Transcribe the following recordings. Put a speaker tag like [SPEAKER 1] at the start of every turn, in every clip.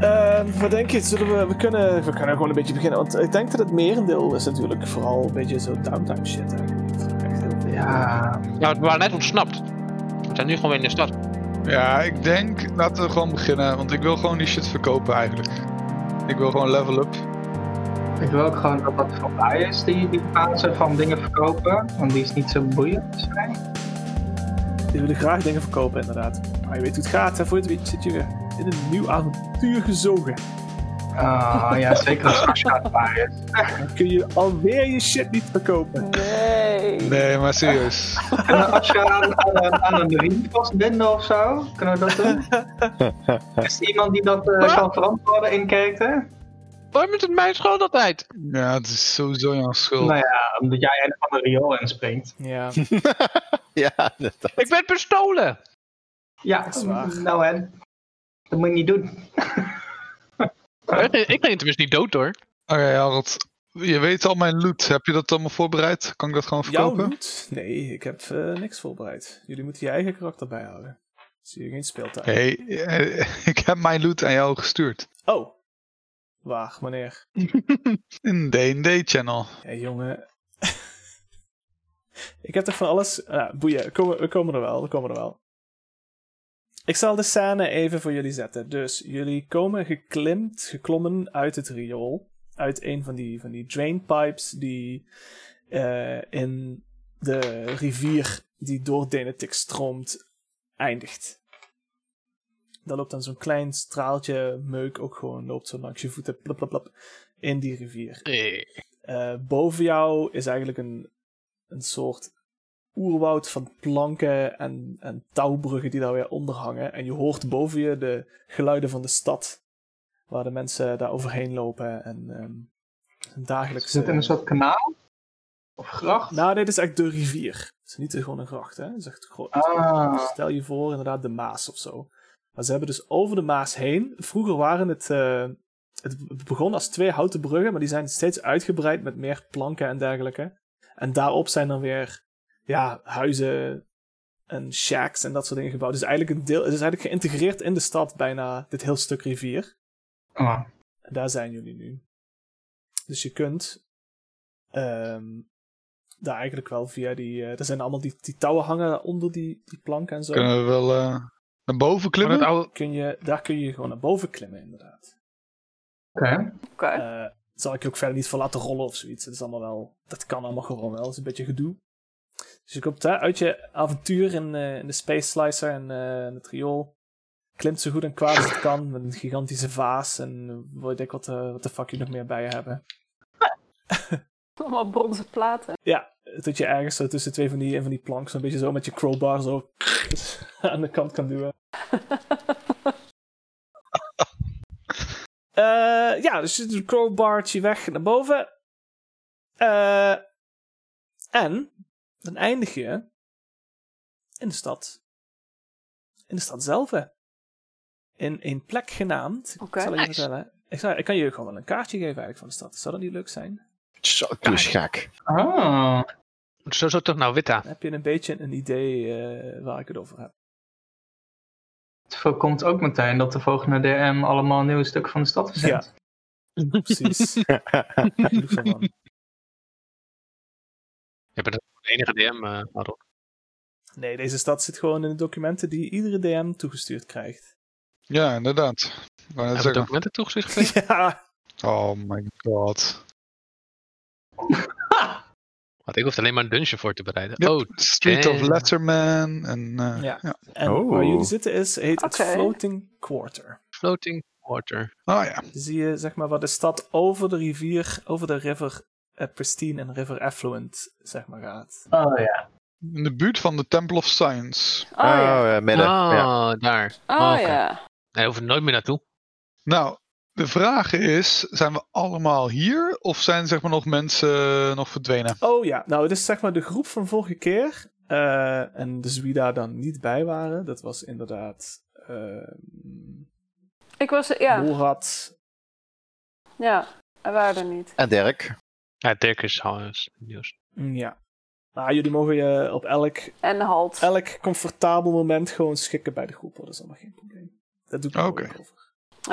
[SPEAKER 1] Eh, wat denk je? Zullen we, we, kunnen, we kunnen gewoon een beetje beginnen. Want ik denk dat het merendeel is natuurlijk vooral een beetje zo downtime shit. Hè. Echt heel veel.
[SPEAKER 2] Ja.
[SPEAKER 3] Ja, we waren net ontsnapt. We zijn nu gewoon weer in de stad.
[SPEAKER 2] ja, ik denk, laten we gewoon beginnen. Want ik wil gewoon die shit verkopen eigenlijk. Ik wil gewoon level up.
[SPEAKER 4] Ik wil ook gewoon dat dat voorbij is, die, die fase van dingen verkopen. Want die is niet zo boeiend volgens mij.
[SPEAKER 1] Die willen graag dingen verkopen, inderdaad. Maar je weet hoe het gaat, hè? Voor je het weet zit je weer in een nieuw avontuur gezogen.
[SPEAKER 4] Ah, ja, zeker als Asha erbij is.
[SPEAKER 1] Dan kun je alweer je shit niet verkopen.
[SPEAKER 5] Nee.
[SPEAKER 2] Nee, maar serieus.
[SPEAKER 4] Kunnen we Asha aan, aan, een- aan een riem vastbinden of zo? Kunnen we dat doen? Is er iemand die dat eh, kan verantwoorden in character?
[SPEAKER 3] Waarom is het mijn schuld altijd?
[SPEAKER 2] Ja, het is sowieso jouw schuld.
[SPEAKER 4] Nou ja, omdat jij een van de riool inspringt.
[SPEAKER 1] Ja.
[SPEAKER 6] Ja, dat-
[SPEAKER 3] Ik ben bestolen.
[SPEAKER 4] Ja,
[SPEAKER 1] Dat is waar.
[SPEAKER 4] nou en? Dat moet je niet doen.
[SPEAKER 3] Ik ging- Ik ging tenminste niet dood hoor.
[SPEAKER 2] Oké, Harold. Je weet al mijn loot. Heb je dat allemaal voorbereid? Kan ik dat gewoon
[SPEAKER 1] Jouw
[SPEAKER 2] verkopen?
[SPEAKER 1] loot? Nee, ik heb eh, niks voorbereid. Jullie moeten je eigen karakter bijhouden. Zie je geen speeltijd.
[SPEAKER 2] Nee, eh, ik heb mijn loot aan jou gestuurd.
[SPEAKER 1] Oh. Waar, meneer?
[SPEAKER 2] In D&D-channel.
[SPEAKER 1] Hé, jongen. ik heb toch van alles... Ja, boeien. We komen, we komen er wel. We komen er wel. Ik zal de scène even voor jullie zetten. Dus jullie komen geklimd, geklommen uit het riool. Uit een van die, van die drainpipes die eh, in de rivier die door Denetik stroomt eindigt. Daar loopt dan zo'n klein straaltje meuk ook gewoon, loopt zo langs je voeten, plop, plop, plop, in die rivier. Eh, boven jou is eigenlijk een, een soort oerwoud van planken en, en touwbruggen die daar weer onder hangen. En je hoort boven je de geluiden van de stad, waar de mensen daar overheen lopen en ehm
[SPEAKER 4] Is
[SPEAKER 1] dagelijks... eh,
[SPEAKER 4] het in een soort kanaal? Of gracht?
[SPEAKER 1] Nou, dit is echt de rivier. Het is niet gewoon een gracht, hè? Het is echt gro-
[SPEAKER 4] Ah.
[SPEAKER 1] Dus Stel je voor inderdaad de Maas of zo. Maar ze hebben dus over de Maas heen. Vroeger waren het. eh, het begon als twee houten bruggen, maar die zijn steeds uitgebreid met meer planken en dergelijke. En daarop zijn dan weer ja, huizen en shacks en dat soort dingen gebouwd. Dus eigenlijk een deel, het is eigenlijk geïntegreerd in de stad bijna, dit heel stuk rivier.
[SPEAKER 4] Ah.
[SPEAKER 1] En daar zijn jullie nu. Dus je kunt ehm, daar eigenlijk wel via die. eh, er zijn allemaal die, die touwen hangen onder die, die plank en zo.
[SPEAKER 2] Kunnen we wel eh, naar boven
[SPEAKER 3] Van het
[SPEAKER 2] klimmen?
[SPEAKER 3] oude...
[SPEAKER 1] Kun je, daar kun je gewoon naar boven klimmen, inderdaad.
[SPEAKER 4] Oké.
[SPEAKER 5] Oké.
[SPEAKER 1] Eh, zal ik je ook verder niet voor laten rollen of zoiets. Dat is allemaal wel. Dat kan allemaal gewoon wel. Dat is een beetje gedoe. Dus je komt daar uit je avontuur in, eh, in de Space Slicer en eh, in het riool. Klimt zo goed en kwaad als het kan. Met een gigantische vaas. En weet ik wat, eh, wat de fuck je nog meer bij je hebben.
[SPEAKER 5] Allemaal bronzen platen.
[SPEAKER 1] Ja, dat je ergens zo tussen twee van die, en van die planks een beetje zo met je crowbar zo aan de kant kan duwen. Eh, ja, dus je doet een crowbartje weg naar boven. Eh, en dan eindig je in de stad. In de stad zelf. hè. In een plek genaamd.
[SPEAKER 5] Oké.
[SPEAKER 1] ik zal het je
[SPEAKER 3] Nice.
[SPEAKER 1] vertellen. Ik, zal, ik kan je gewoon wel een kaartje geven eigenlijk van de stad. Zou dat niet leuk zijn?
[SPEAKER 6] Zo, doe eens gek.
[SPEAKER 4] Ah.
[SPEAKER 3] Zo, zo terug naar Witta.
[SPEAKER 1] Dan heb je een beetje een idee eh, waar ik het over heb.
[SPEAKER 4] Het voorkomt ook meteen dat de volgende DM allemaal nieuwe stukken van de stad verzint.
[SPEAKER 1] Precies. Genoeg daarvan.
[SPEAKER 3] Je bent de enige DM, eh Harold.
[SPEAKER 1] nee, deze stad zit gewoon in de documenten die iedere DM toegestuurd krijgt.
[SPEAKER 2] Ja, inderdaad. Ik wou net
[SPEAKER 3] Hebben we
[SPEAKER 2] zeggen.
[SPEAKER 3] documenten toegezicht gekregen?
[SPEAKER 1] ja.
[SPEAKER 2] Oh my god.
[SPEAKER 3] Want ik hoefde alleen maar een dungeon voor te bereiden.
[SPEAKER 2] Yep.
[SPEAKER 3] Oh,
[SPEAKER 2] Street of
[SPEAKER 3] damn.
[SPEAKER 2] Letterman. En, eh,
[SPEAKER 1] Ja. En
[SPEAKER 6] Oh.
[SPEAKER 1] waar jullie zitten is, heet
[SPEAKER 5] Oké.
[SPEAKER 1] het Floating Quarter.
[SPEAKER 3] floating water.
[SPEAKER 2] Oh ja.
[SPEAKER 1] Zie je, zeg maar, waar de stad over de rivier, over de river eh, Pristine en river Affluent, zeg maar, gaat.
[SPEAKER 4] Oh ja.
[SPEAKER 2] In de buurt van de Temple of Science.
[SPEAKER 5] Oh, ja.
[SPEAKER 6] eh, midden.
[SPEAKER 3] oh,
[SPEAKER 6] Ja.
[SPEAKER 3] daar.
[SPEAKER 5] Oh
[SPEAKER 3] Oké.
[SPEAKER 5] ja.
[SPEAKER 3] Daar hoef ik nooit meer naartoe.
[SPEAKER 2] Nou, de vraag is, zijn we allemaal hier? Of zijn zeg maar nog mensen nog verdwenen?
[SPEAKER 1] Oh ja, nou, het is zeg maar de groep van vorige keer. eh, en dus wie daar dan niet bij waren, dat was inderdaad... eh,
[SPEAKER 5] Ik was, ja.
[SPEAKER 1] Boelrad.
[SPEAKER 5] Ja. We waren er niet.
[SPEAKER 6] En Dirk.
[SPEAKER 3] Ja, Dirk is al is nieuws.
[SPEAKER 1] Mm, Ja. Maar jullie mogen je op elk,
[SPEAKER 5] En halt.
[SPEAKER 1] elk comfortabel moment gewoon schikken bij de groep. hoor. Dat is allemaal geen probleem. Dat doet me
[SPEAKER 2] Oké.
[SPEAKER 1] ook over.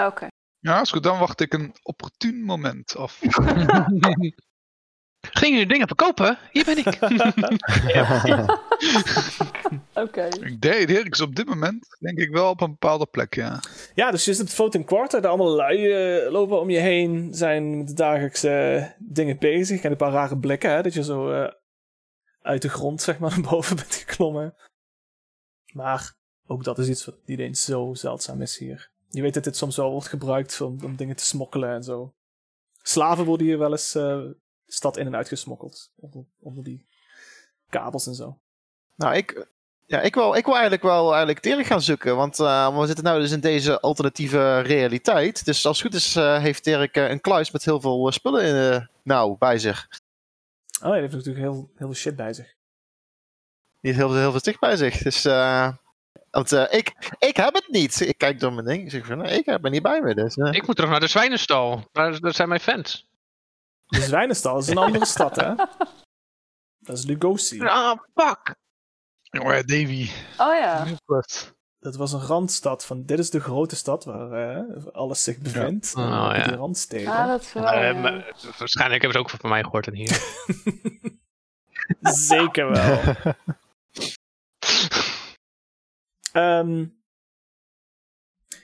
[SPEAKER 5] Oké.
[SPEAKER 2] Ja, is goed. Dan wacht ik een opportun moment af.
[SPEAKER 3] Ging jullie dingen verkopen? Hier ben ik.
[SPEAKER 5] Oké.
[SPEAKER 2] ik deed Dirk is op dit moment denk ik wel op een bepaalde plek, ja.
[SPEAKER 1] Ja, dus je zit op het Fountain Quarter. Daar allemaal lui eh, lopen om je heen. Zijn met de dagelijkse eh, dingen bezig. En een paar rare blikken, hè. Dat je zo eh, uit de grond, zeg maar, naar boven bent geklommen. Maar ook dat is iets wat niet eens zo zeldzaam is hier. Je weet dat dit soms wel wordt gebruikt om, om dingen te smokkelen en zo. Slaven worden hier wel eens eh, stad in en uit gesmokkeld. Onder, onder die kabels en zo.
[SPEAKER 6] Nou, ik, ja, ik, wil, ik wil eigenlijk wel eigenlijk Dirk gaan zoeken. Want eh, we zitten nou dus in deze alternatieve realiteit. Dus als het goed is, eh, heeft Dirk eh, een kluis met heel veel eh, spullen in, eh, nou, bij zich.
[SPEAKER 1] Oh, ja, die heeft natuurlijk heel, heel veel shit bij zich.
[SPEAKER 6] Niet heel, heel veel sticht bij zich. Dus, eh, want eh, ik, ik heb het niet. Ik kijk door mijn ding. Ik zeg van, nou, ik heb er niet bij me. Dus, eh.
[SPEAKER 3] ik moet terug naar de zwijnenstal. Daar, daar zijn mijn fans.
[SPEAKER 1] De Zwijnenstal Dus is een andere stad, hè? Dat is Lugosi.
[SPEAKER 3] Ah, fuck.
[SPEAKER 2] Oh ja, Davy.
[SPEAKER 5] Oh ja.
[SPEAKER 1] Dat was een randstad. Van, dit is de grote stad waar eh, alles zich bevindt. Eh,
[SPEAKER 3] Oh, ja.
[SPEAKER 1] Die randsteden.
[SPEAKER 5] Ah, dat is wel.
[SPEAKER 3] Eh,
[SPEAKER 5] ja.
[SPEAKER 3] maar waarschijnlijk hebben ze ook van mij gehoord en hier.
[SPEAKER 1] Zeker wel. Ehm,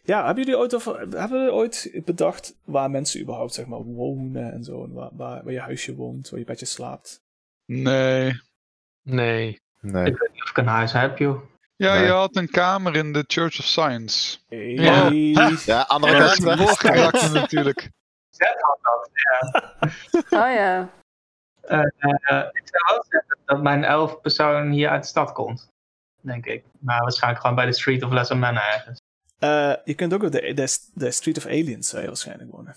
[SPEAKER 1] ja, hebben jullie ooit, over, hebben jullie ooit bedacht waar mensen überhaupt zeg maar, wonen en zo? En waar, waar, waar je huisje woont, waar je bedje slaapt?
[SPEAKER 2] Nee.
[SPEAKER 3] Nee.
[SPEAKER 6] Nee.
[SPEAKER 4] Ik weet niet of ik een huis heb, joh.
[SPEAKER 2] Ja,
[SPEAKER 6] Nee.
[SPEAKER 2] je had een kamer in de Church of Science.
[SPEAKER 1] Hey.
[SPEAKER 3] Ja.
[SPEAKER 6] Ja, andere
[SPEAKER 2] Ja, dat
[SPEAKER 6] kant.
[SPEAKER 2] is doorgeraakt natuurlijk.
[SPEAKER 4] Zet had dat.
[SPEAKER 5] Oh ja.
[SPEAKER 4] Eh, ik zou wel zeggen dat mijn elf persoon hier uit de stad komt. Denk ik. Maar waarschijnlijk gewoon bij de Street of Lesser Men ergens.
[SPEAKER 1] Eh, je kunt ook op de, de, de Street of Aliens zou je waarschijnlijk wonen.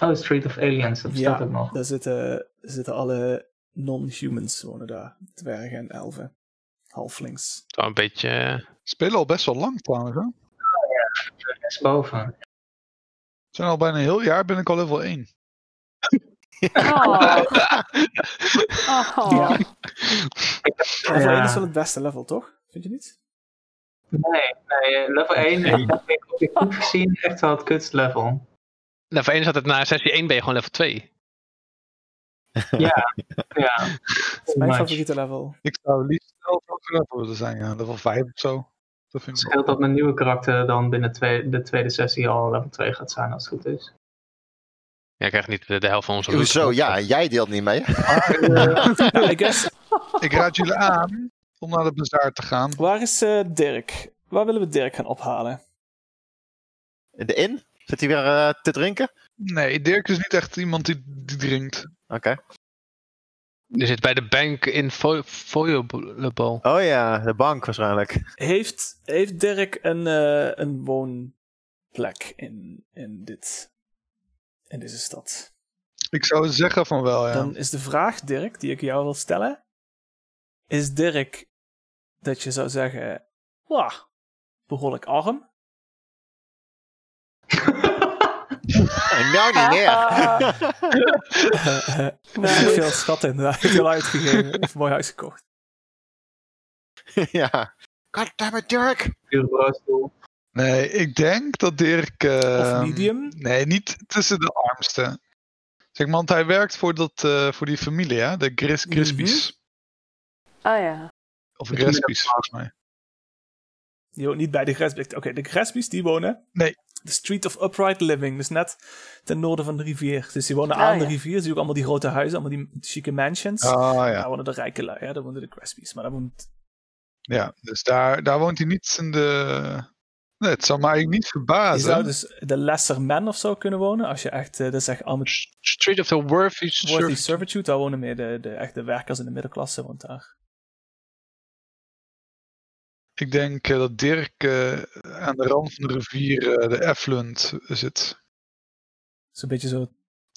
[SPEAKER 4] Oh, Street of Aliens, dat bestaat
[SPEAKER 1] Ja.
[SPEAKER 4] ook nog.
[SPEAKER 1] Daar zitten, zitten alle non-humans wonen daar. Dwergen en elfen. Halflings.
[SPEAKER 3] Wel een beetje... eh,
[SPEAKER 2] Spelen al best wel lang trouwens. Hè?
[SPEAKER 4] Dat is boven.
[SPEAKER 2] Zijn al bijna een heel jaar ben ik al level 1.
[SPEAKER 5] Oh. Oh.
[SPEAKER 1] Ja. Level
[SPEAKER 4] Ja.
[SPEAKER 1] 1 is wel het beste level, toch? Vind je niet?
[SPEAKER 4] Nee, nee, level 1 ik heb ik objectief gezien echt wel het kutst level.
[SPEAKER 3] Level 1 is altijd na sessie 1 ben je gewoon level 2.
[SPEAKER 4] Ja.
[SPEAKER 1] Dat is mijn favoriete level.
[SPEAKER 2] Ik zou liefst wel hoger level willen zijn, ja. level 5 of zo. Dat vind
[SPEAKER 4] Het
[SPEAKER 2] ik wel.
[SPEAKER 4] scheelt dat mijn nieuwe karakter dan binnen twee, de tweede sessie al level 2 gaat zijn, als het goed is.
[SPEAKER 3] Ja, ik krijg niet de, de helft van onze loot.
[SPEAKER 6] Hoezo? Ja, jij deelt niet mee.
[SPEAKER 1] Nou, I guess,
[SPEAKER 2] Ik raad jullie aan om naar de bazaar te gaan.
[SPEAKER 1] waar is eh, Dirk? Waar willen we Dirk gaan ophalen?
[SPEAKER 6] De in? Zit hij weer eh, te drinken?
[SPEAKER 2] Nee, Dirk is niet echt iemand die, die drinkt.
[SPEAKER 6] Oké.
[SPEAKER 3] Je zit bij de bank in Fo- Foyobol.
[SPEAKER 6] Oh ja, de bank waarschijnlijk.
[SPEAKER 1] Heeft, heeft Dirk een, eh, een woonplek in, in, dit, in deze stad?
[SPEAKER 2] Ik zou zeggen van wel, ja.
[SPEAKER 1] Dan is de vraag, Dirk, die ik jou wil stellen. Is Dirk dat je zou zeggen, wauw, behoorlijk arm?
[SPEAKER 6] En nou niet meer.
[SPEAKER 5] Nice.
[SPEAKER 1] veel schat in, daar heeft hij al uitgegeven. Heeft een mooi huis gekocht.
[SPEAKER 6] ja. Goddammit, Dirk.
[SPEAKER 4] Pure broodstoel.
[SPEAKER 2] Nee, ik denk dat Dirk... eh,
[SPEAKER 1] Of medium?
[SPEAKER 2] Nee, niet tussen de armste. Zeg maar, want hij werkt voor, dat, eh, voor die familie, hè. De Gris
[SPEAKER 1] Mhm.
[SPEAKER 2] Crispies.
[SPEAKER 5] Oh ja.
[SPEAKER 2] Of Grespies, volgens mij.
[SPEAKER 1] Die woont niet bij de Gresbies. Oké, de Gresbies die wonen.
[SPEAKER 2] Nee.
[SPEAKER 1] De Street of Upright Living, dus net ten noorden van de rivier. Dus die wonen
[SPEAKER 5] Ah,
[SPEAKER 1] aan de
[SPEAKER 5] ja.
[SPEAKER 1] rivier. Zie je ook allemaal die grote huizen, allemaal die chique mansions.
[SPEAKER 2] Ah ja,
[SPEAKER 1] Daar wonen de rijke lui, hè? daar wonen de Gresbies. Maar daar woont...
[SPEAKER 2] ja. Dus daar, daar woont hij niet in de... Nee, het zou mij eigenlijk
[SPEAKER 1] Je
[SPEAKER 2] niet
[SPEAKER 1] zou
[SPEAKER 2] verbazen.
[SPEAKER 1] dus de Lesser Men of zo kunnen wonen. Als je echt, eh, dat is echt amateur.
[SPEAKER 3] Street of the Worthy
[SPEAKER 1] Worthy
[SPEAKER 3] Surf.
[SPEAKER 1] Servitude, daar wonen meer de, de echte werkers in de middenklasse, want daar.
[SPEAKER 2] Ik denk eh, dat Dirk eh, aan de rand van de rivier eh, de effluent zit.
[SPEAKER 1] Zo'n beetje, zo,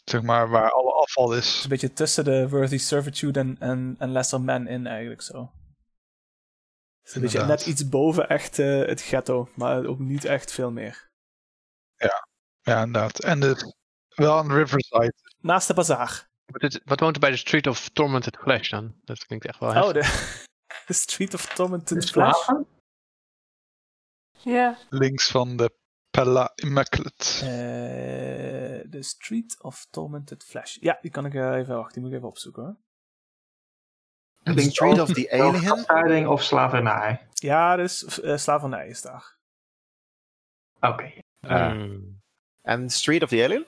[SPEAKER 2] Zeg maar, waar alle afval is.
[SPEAKER 1] zo'n beetje tussen de Worthy Servitude en, en, en Lesser Men in, eigenlijk zo. Zo'n beetje
[SPEAKER 2] Inderdaad.
[SPEAKER 1] net iets boven echt eh, het ghetto, maar ook niet echt veel meer.
[SPEAKER 2] Ja, inderdaad. En de, wel aan de riverside.
[SPEAKER 1] Naast de bazaar.
[SPEAKER 3] Wat, is- wat woont er bij de Street of Tormented Flesh dan? Dat klinkt echt wel
[SPEAKER 1] Oh,
[SPEAKER 3] heftig.
[SPEAKER 1] de, de Street of Tormented
[SPEAKER 4] Dus
[SPEAKER 1] Flash.
[SPEAKER 4] slaven?
[SPEAKER 5] Ja.
[SPEAKER 2] Links van de Pella Immaculate.
[SPEAKER 1] Eh, The Street of Tormented Flesh. Ja, die kan ik eh, even wachten. Die moet ik even opzoeken hoor.
[SPEAKER 4] Dus
[SPEAKER 6] The Street of the
[SPEAKER 4] Of
[SPEAKER 6] Alien.
[SPEAKER 4] afleiding of slavernij.
[SPEAKER 1] Ja, dus eh, slavernij is daar.
[SPEAKER 4] Oké.
[SPEAKER 3] Eh,
[SPEAKER 6] Ah. En Street of the Alien?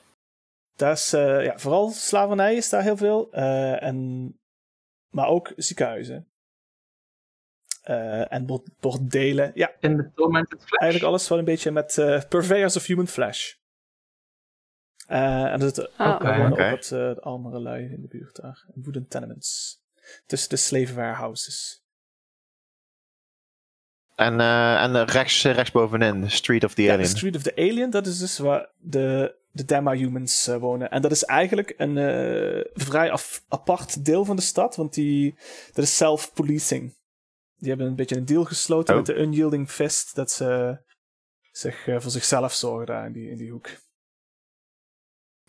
[SPEAKER 1] Daar is, eh, ja, vooral slavernij is daar heel veel. eh, en, maar ook ziekenhuizen. Eh, en bord- bordelen. Ja,
[SPEAKER 4] In de Tormented Flash.
[SPEAKER 1] eigenlijk alles wel een beetje met eh, Purveyors of Human Flesh. Eh, en er zitten
[SPEAKER 5] Oh.
[SPEAKER 1] ook wonen
[SPEAKER 6] oké.
[SPEAKER 1] ook wat eh, armere lui in de buurt daar. Wooden tenements. Tussen de slave warehouses.
[SPEAKER 6] En, eh, en eh, rechts, eh, rechtsbovenin, Street of the
[SPEAKER 1] Ja,
[SPEAKER 6] Alien.
[SPEAKER 1] Street of the Alien, dat is dus waar de, de Dema-humans eh, wonen. En dat is eigenlijk een eh, vrij af- apart deel van de stad, want die, dat is self-policing. Die hebben een beetje een deal gesloten
[SPEAKER 6] Oh.
[SPEAKER 1] met de Unyielding Fist, dat ze zich, eh, voor zichzelf zorgen daar in die, in die hoek.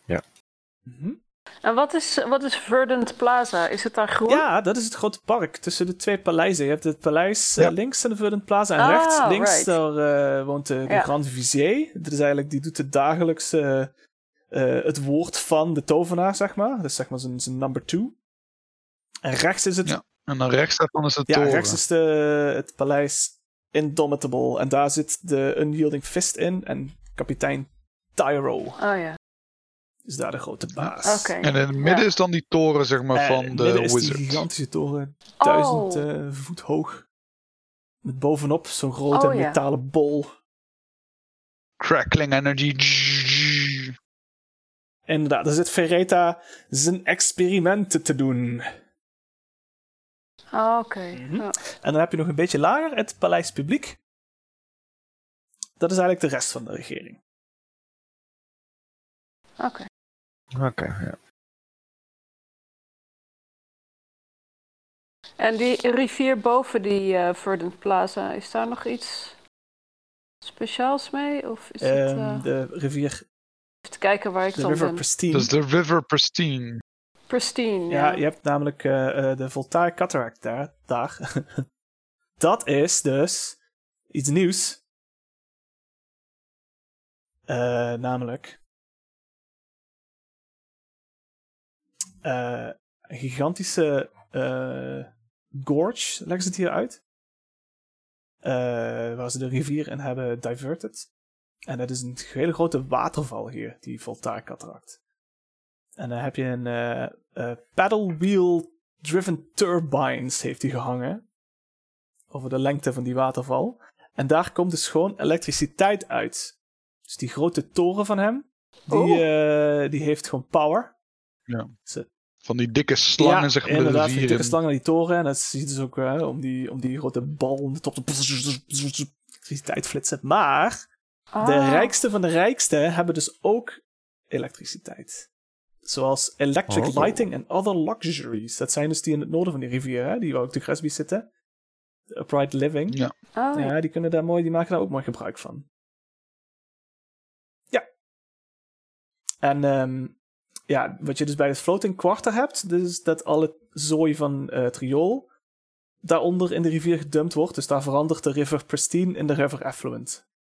[SPEAKER 6] Ja.
[SPEAKER 1] Mhm.
[SPEAKER 5] En wat is, wat is Verdant Plaza? Is het daar groen?
[SPEAKER 1] Ja, dat is het grote park tussen de twee paleizen. Je hebt het paleis eh,
[SPEAKER 2] Ja.
[SPEAKER 1] links en de Verdant Plaza. En
[SPEAKER 5] Ah,
[SPEAKER 1] rechts, links,
[SPEAKER 5] right.
[SPEAKER 1] daar eh, woont de, de
[SPEAKER 5] Ja.
[SPEAKER 1] Grand Vizier. Dat is eigenlijk, die doet de dagelijkse, eh, het woord van de tovenaar, zeg maar. Dat is zeg maar zijn, zijn number two. En rechts is het, ja,
[SPEAKER 2] Ja, En dan rechts daarvan is het toren.
[SPEAKER 1] rechts is de, het paleis Indomitable. En daar zit de Unyielding Fist in. En kapitein Tyro
[SPEAKER 5] Oh ja,
[SPEAKER 1] is daar de grote baas.
[SPEAKER 5] oké.
[SPEAKER 2] En in het midden
[SPEAKER 5] Ja.
[SPEAKER 2] is dan die toren, zeg maar,
[SPEAKER 1] Eh,
[SPEAKER 2] van de
[SPEAKER 1] midden is
[SPEAKER 2] wizard.
[SPEAKER 1] die gigantische toren,
[SPEAKER 5] Oh.
[SPEAKER 1] duizend eh, voet hoog. Met bovenop zo'n grote
[SPEAKER 5] Oh, ja.
[SPEAKER 1] metalen bol.
[SPEAKER 2] Crackling energy.
[SPEAKER 1] Inderdaad, daar zit Vereta zijn experimenten te doen.
[SPEAKER 5] Oh, oké.
[SPEAKER 1] Mhm.
[SPEAKER 5] Ja.
[SPEAKER 1] En dan heb je nog een beetje lager het paleis publiek. Dat is eigenlijk de rest van de regering.
[SPEAKER 5] Oké.
[SPEAKER 6] Oké, ja.
[SPEAKER 5] En die rivier boven die eh Verdant Plaza, is daar nog iets speciaals mee? Of is het...
[SPEAKER 1] Ehm,
[SPEAKER 5] eh,
[SPEAKER 1] de rivier,
[SPEAKER 5] Even kijken waar ik
[SPEAKER 1] de
[SPEAKER 5] dan
[SPEAKER 1] River
[SPEAKER 5] ben.
[SPEAKER 1] Pristine.
[SPEAKER 2] Dus de River Pristine.
[SPEAKER 5] Pristine,
[SPEAKER 1] ja,
[SPEAKER 5] ja.
[SPEAKER 1] je hebt namelijk eh, eh, de Voltaire Cataract daar. daar. dat is dus iets nieuws. Eh, namelijk. eh, een gigantische eh, gorge, leggen ze het hier uit. Eh, waar ze de rivier in hebben diverted. En dat is een hele grote waterval hier, die Voltaire Cataract. En dan heb je een eh, eh, paddle wheel driven turbines heeft hij gehangen. Over de lengte van die waterval. En daar komt dus gewoon elektriciteit uit. Dus die grote toren van hem, die,
[SPEAKER 5] Oh.
[SPEAKER 1] eh, die heeft gewoon power.
[SPEAKER 2] Van die dikke slangen,
[SPEAKER 1] ja,
[SPEAKER 2] zeg maar, de
[SPEAKER 1] inderdaad,
[SPEAKER 2] rivier
[SPEAKER 1] dikke
[SPEAKER 2] in.
[SPEAKER 1] slangen aan die toren. En dat zie je dus ook eh, om, die, om die grote bal om de top te elektriciteit flitsen. Maar
[SPEAKER 5] Ah,
[SPEAKER 1] de rijkste van de rijkste hebben dus ook elektriciteit. Zoals electric
[SPEAKER 6] Oh.
[SPEAKER 1] lighting en other luxuries. Dat zijn dus die in het noorden van die rivier, hè, die waar ook de Cresby zitten. De upright living.
[SPEAKER 2] Ja.
[SPEAKER 5] Oh, ja.
[SPEAKER 1] Ja, die, kunnen daar mooi, die maken daar ook mooi gebruik van. Ja. En ehm, ja, wat je dus bij het floating quarter hebt, dus dat alle zooi van eh het riool daaronder in de rivier gedumpt wordt. Dus daar verandert de river pristine in de river affluent.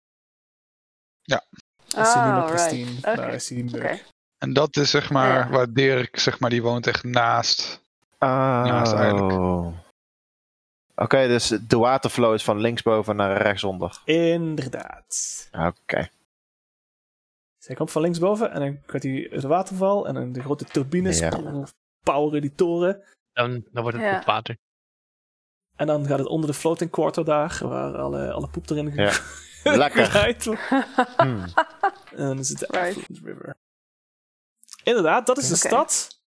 [SPEAKER 1] Dat is die
[SPEAKER 5] Ah,
[SPEAKER 1] nummer
[SPEAKER 5] right.
[SPEAKER 1] Christine.
[SPEAKER 5] Oké.
[SPEAKER 1] Daar is die mug.
[SPEAKER 5] Oké.
[SPEAKER 2] En dat is zeg maar
[SPEAKER 5] Ja.
[SPEAKER 2] waar Dirk, zeg maar, die woont echt naast. Ja, is eigenlijk.
[SPEAKER 6] Oh. Oké, dus de waterflow is van linksboven naar rechtsonder.
[SPEAKER 1] Inderdaad.
[SPEAKER 6] Oké.
[SPEAKER 1] Zij komt van linksboven en dan gaat hij de waterval en dan de grote turbines
[SPEAKER 6] Ja.
[SPEAKER 1] pow- poweren die toren.
[SPEAKER 3] Dan, dan wordt het
[SPEAKER 5] Ja.
[SPEAKER 3] op water.
[SPEAKER 1] En dan gaat het onder de floating quarter daar, waar alle, alle poep erin
[SPEAKER 6] Ja.
[SPEAKER 1] ge-
[SPEAKER 6] Lekker.
[SPEAKER 1] gegooid wordt.
[SPEAKER 6] Hmm.
[SPEAKER 1] En dan is het de
[SPEAKER 5] Right.
[SPEAKER 1] Affluent River. Inderdaad, dat is de
[SPEAKER 5] Oké.
[SPEAKER 1] stad.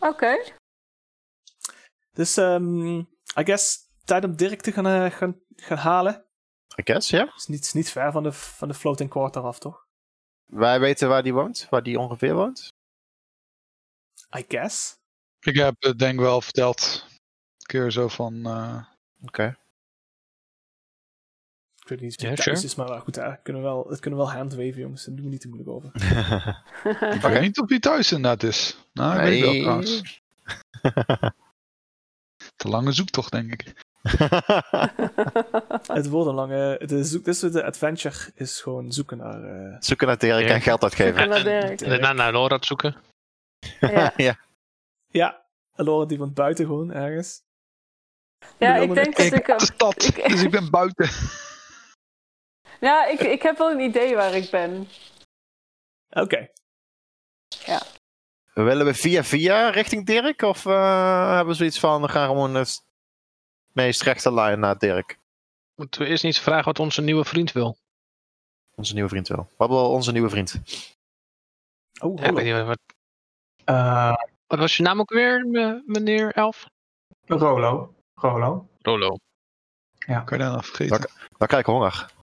[SPEAKER 5] Oké.
[SPEAKER 1] Dus ehm I guess tijd om Dirk te gaan, eh, gaan, gaan halen.
[SPEAKER 6] I guess, ja.
[SPEAKER 1] Is niet, is niet ver van de, van de floating quarter af, toch?
[SPEAKER 6] Wij weten waar die woont, waar die ongeveer woont.
[SPEAKER 1] I guess.
[SPEAKER 2] Ik heb het denk wel verteld. Een keer zo van. eh,
[SPEAKER 1] Ik weet niet of het
[SPEAKER 3] Ja,
[SPEAKER 1] thuis
[SPEAKER 3] sure.
[SPEAKER 1] is, maar eh, goed, daar kunnen we wel, het kunnen we wel handwaven, jongens. Daar doen we niet te moeilijk over.
[SPEAKER 2] Ik weet niet of hij thuis inderdaad is. Nou, ik weet ik wel
[SPEAKER 6] Nee.
[SPEAKER 2] trouwens. Te lange zoektocht, denk ik.
[SPEAKER 1] Het wordt een lange. Het is, zoek- dit is de adventure is gewoon zoeken naar. eh,
[SPEAKER 6] Zoeken naar Dirk en geld uitgeven.
[SPEAKER 5] En naar Dirk.
[SPEAKER 3] En daarna naar Laura te zoeken.
[SPEAKER 5] Ja,
[SPEAKER 1] Ja, Laura die woont buiten gewoon ergens.
[SPEAKER 5] ja
[SPEAKER 1] Bedoel
[SPEAKER 5] ik
[SPEAKER 1] me
[SPEAKER 5] denk dat
[SPEAKER 2] Ik
[SPEAKER 5] ik...
[SPEAKER 2] de
[SPEAKER 5] hem-
[SPEAKER 2] stad,
[SPEAKER 5] ik-
[SPEAKER 2] dus ik ben buiten.
[SPEAKER 5] Ja, ik, ik heb wel een idee waar ik ben.
[SPEAKER 1] Oké.
[SPEAKER 6] Willen we via via richting Dirk? Of eh, hebben we zoiets van, we gaan gewoon het meest rechte lijn naar Dirk.
[SPEAKER 3] Moeten we eerst niet vragen wat onze nieuwe vriend wil?
[SPEAKER 6] Onze nieuwe vriend wel. Wat wil onze nieuwe vriend?
[SPEAKER 1] Oh,
[SPEAKER 3] Ja, ik
[SPEAKER 1] hallo.
[SPEAKER 3] weet niet, wat,
[SPEAKER 4] Eh,
[SPEAKER 3] wat was je naam ook weer, me- meneer Elf?
[SPEAKER 4] Rolo. Rolo.
[SPEAKER 3] Rolo.
[SPEAKER 2] Kan je daarna vergeten?
[SPEAKER 6] Dan krijg ik honger.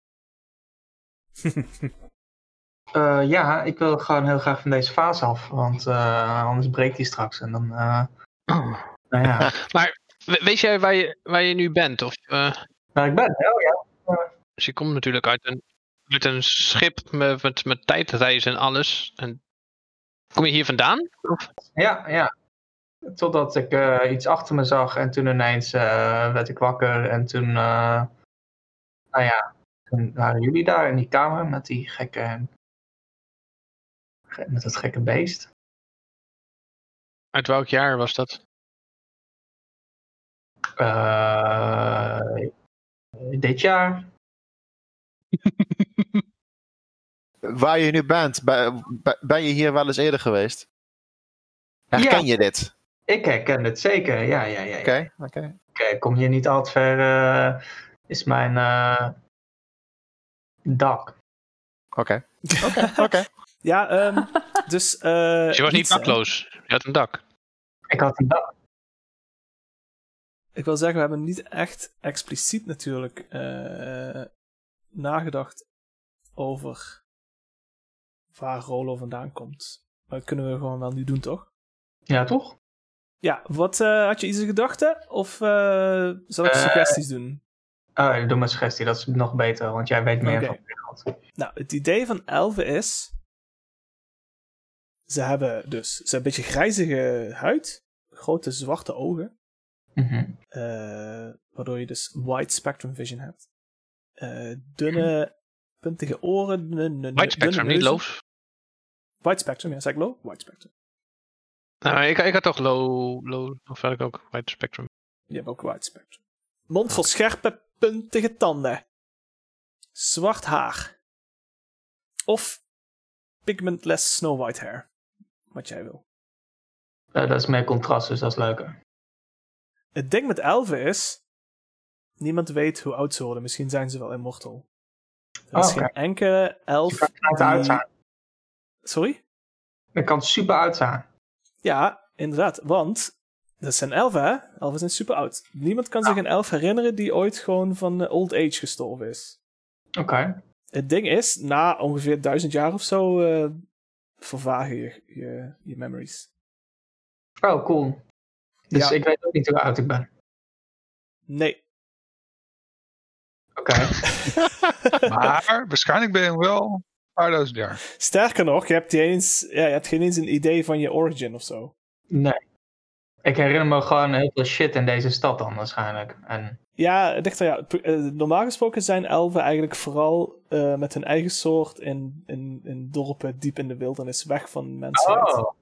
[SPEAKER 4] Eh, ja, ik wil gewoon heel graag van deze fase af, want eh, anders breekt die straks. En dan, eh, nou ja,
[SPEAKER 3] We- weet jij waar je, waar je nu bent? Of, eh,
[SPEAKER 4] waar ik ben. Oh ja,
[SPEAKER 3] dus je komt natuurlijk uit een, uit een schip met, met, met tijdreizen en alles. En, kom je hier vandaan?
[SPEAKER 4] ja, ja. Totdat ik eh, iets achter me zag en toen ineens eh, werd ik wakker. En toen, eh, nou ja, toen waren jullie daar in die kamer met die gekke, met dat gekke beest.
[SPEAKER 3] Uit welk jaar was dat?
[SPEAKER 4] Eh, dit jaar.
[SPEAKER 6] Waar je nu bent, bij- bij- ben je hier wel eens eerder geweest? Herken je dit?
[SPEAKER 4] Ik herken het zeker, ja, ja, ja. ja.
[SPEAKER 6] Oké, oké.
[SPEAKER 4] Oké, ik eh, kom hier niet al te ver. eh, is mijn eh, dak.
[SPEAKER 6] Oké. Oké, oké.
[SPEAKER 1] Ja, ehm, dus. eh
[SPEAKER 3] Dus je was niet
[SPEAKER 1] niets, hè?
[SPEAKER 3] dakloos. Je had een dak.
[SPEAKER 4] Ik had een dak.
[SPEAKER 1] Ik wil zeggen, we hebben niet echt expliciet natuurlijk eh, nagedacht over waar Rolo vandaan komt. Maar dat kunnen we gewoon wel nu doen, toch?
[SPEAKER 4] Ja, toch?
[SPEAKER 1] Ja, wat eh, had je iets in gedachten? Of eh, zal ik
[SPEAKER 4] Eh,
[SPEAKER 1] suggesties doen?
[SPEAKER 4] Oh, doe maar suggestie, dat is nog beter, want jij weet meer
[SPEAKER 1] Oké.
[SPEAKER 4] van de wereld.
[SPEAKER 1] Nou, het idee van elfen is. Ze hebben dus ze hebben een beetje grijzige huid, grote zwarte ogen.
[SPEAKER 4] Mhm.
[SPEAKER 1] Eh, waardoor je dus wide spectrum vision hebt. Eh, dunne, puntige oren. Dunne, dunne-
[SPEAKER 3] White Spectrum,
[SPEAKER 1] dunne
[SPEAKER 3] niet
[SPEAKER 1] neuzen.
[SPEAKER 3] loos.
[SPEAKER 1] Wide spectrum, ja, zei ik low? Wide spectrum.
[SPEAKER 3] Nou, ik, ik had toch low, low, of had ik ook White Spectrum.
[SPEAKER 1] Je hebt ook wide spectrum. Mond vol scherpe, puntige tanden. Zwart haar. Of pigmentless snow white hair. Wat jij wil.
[SPEAKER 4] Eh, dat is meer contrast, dus dat is leuker.
[SPEAKER 1] Het ding met elfen is. Niemand weet hoe oud ze worden. Misschien zijn ze wel immortal. Er is
[SPEAKER 4] Oh, oké.
[SPEAKER 1] geen enkele elf.
[SPEAKER 4] Ik kan het
[SPEAKER 1] die-
[SPEAKER 4] uit zijn.
[SPEAKER 1] Sorry?
[SPEAKER 4] Ik kan super uit zijn.
[SPEAKER 1] Ja, inderdaad. Want dat zijn elfen, hè? Elfen zijn super oud. Niemand kan zich een elf herinneren die ooit gewoon van eh, old age gestorven is.
[SPEAKER 4] Oké.
[SPEAKER 1] Het ding is, na ongeveer duizend jaar of zo eh, vervagen je, je, je memories.
[SPEAKER 4] Oh, cool. Dus
[SPEAKER 1] Ja.
[SPEAKER 4] ik weet ook niet hoe oud ik ben.
[SPEAKER 1] Nee.
[SPEAKER 4] Oké.
[SPEAKER 2] Maar waarschijnlijk ben je wel een paar duizend jaar.
[SPEAKER 1] Sterker nog, je hebt, niet eens, ja, je hebt geen eens een idee van je origin of zo.
[SPEAKER 4] Nee. Ik herinner me gewoon heel veel shit in deze stad dan waarschijnlijk. En
[SPEAKER 1] Ja, dichter, ja. p- eh, normaal gesproken zijn elfen eigenlijk vooral eh, met hun eigen soort in, in, in dorpen diep in de wildernis, weg van mensen.
[SPEAKER 4] Oh.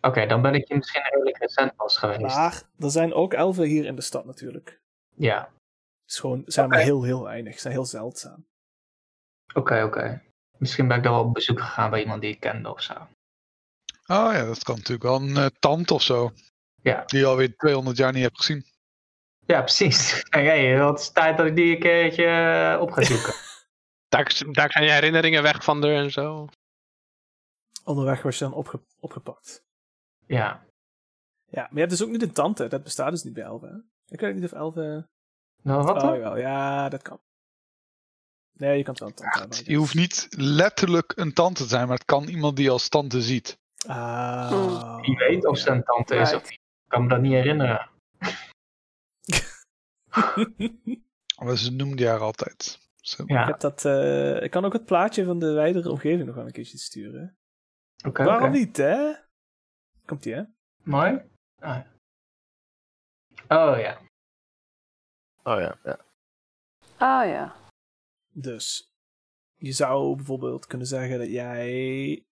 [SPEAKER 4] Oké, dan ben ik je misschien redelijk recent pas geweest.
[SPEAKER 1] Maar er zijn ook elfen hier in de stad natuurlijk.
[SPEAKER 4] Ja.
[SPEAKER 1] Het is gewoon, zijn
[SPEAKER 4] Oké.
[SPEAKER 1] maar heel, heel weinig. Ze zijn heel zeldzaam.
[SPEAKER 4] Oké, oké. Misschien ben ik daar wel op bezoek gegaan bij iemand die ik kende of zo.
[SPEAKER 2] Oh ja, dat kan natuurlijk wel. Een eh, tante of zo.
[SPEAKER 4] Ja.
[SPEAKER 2] Die je alweer 200 jaar niet hebt gezien.
[SPEAKER 4] Ja, precies. Hey, hey, het is tijd dat ik die een keertje eh, op ga zoeken.
[SPEAKER 3] Daar, daar gaan je herinneringen weg van er en zo.
[SPEAKER 1] Onderweg was je dan opge- opgepakt.
[SPEAKER 4] ja.
[SPEAKER 1] Ja, maar je hebt dus ook niet een tante. Dat bestaat dus niet bij elfen. hè? Ik weet niet of elfen...
[SPEAKER 4] Nou, wat
[SPEAKER 1] Oh,
[SPEAKER 4] dan?
[SPEAKER 1] jawel. Ja, dat kan. Nee, je kan het wel een tante hebben. I
[SPEAKER 2] Je hoeft niet letterlijk een tante te zijn, maar het kan iemand die je als tante ziet.
[SPEAKER 1] guess. Ah.
[SPEAKER 4] Wie weet of
[SPEAKER 1] ja.
[SPEAKER 4] ze een tante is of niet. Ik kan me dat niet herinneren.
[SPEAKER 2] Maar Oh, ze noemde haar altijd. Zo.
[SPEAKER 1] Ik,
[SPEAKER 4] Ja,
[SPEAKER 1] heb dat, eh, ik kan ook het plaatje van de wijdere omgeving nog wel een keertje sturen.
[SPEAKER 4] oké.
[SPEAKER 1] Waarom
[SPEAKER 4] oké.
[SPEAKER 1] niet, hè? Komt-ie, hè?
[SPEAKER 4] Mooi. Ah. Oh ja.
[SPEAKER 6] Oh ja, ja.
[SPEAKER 5] Ah ja.
[SPEAKER 1] Dus je zou bijvoorbeeld kunnen zeggen dat jij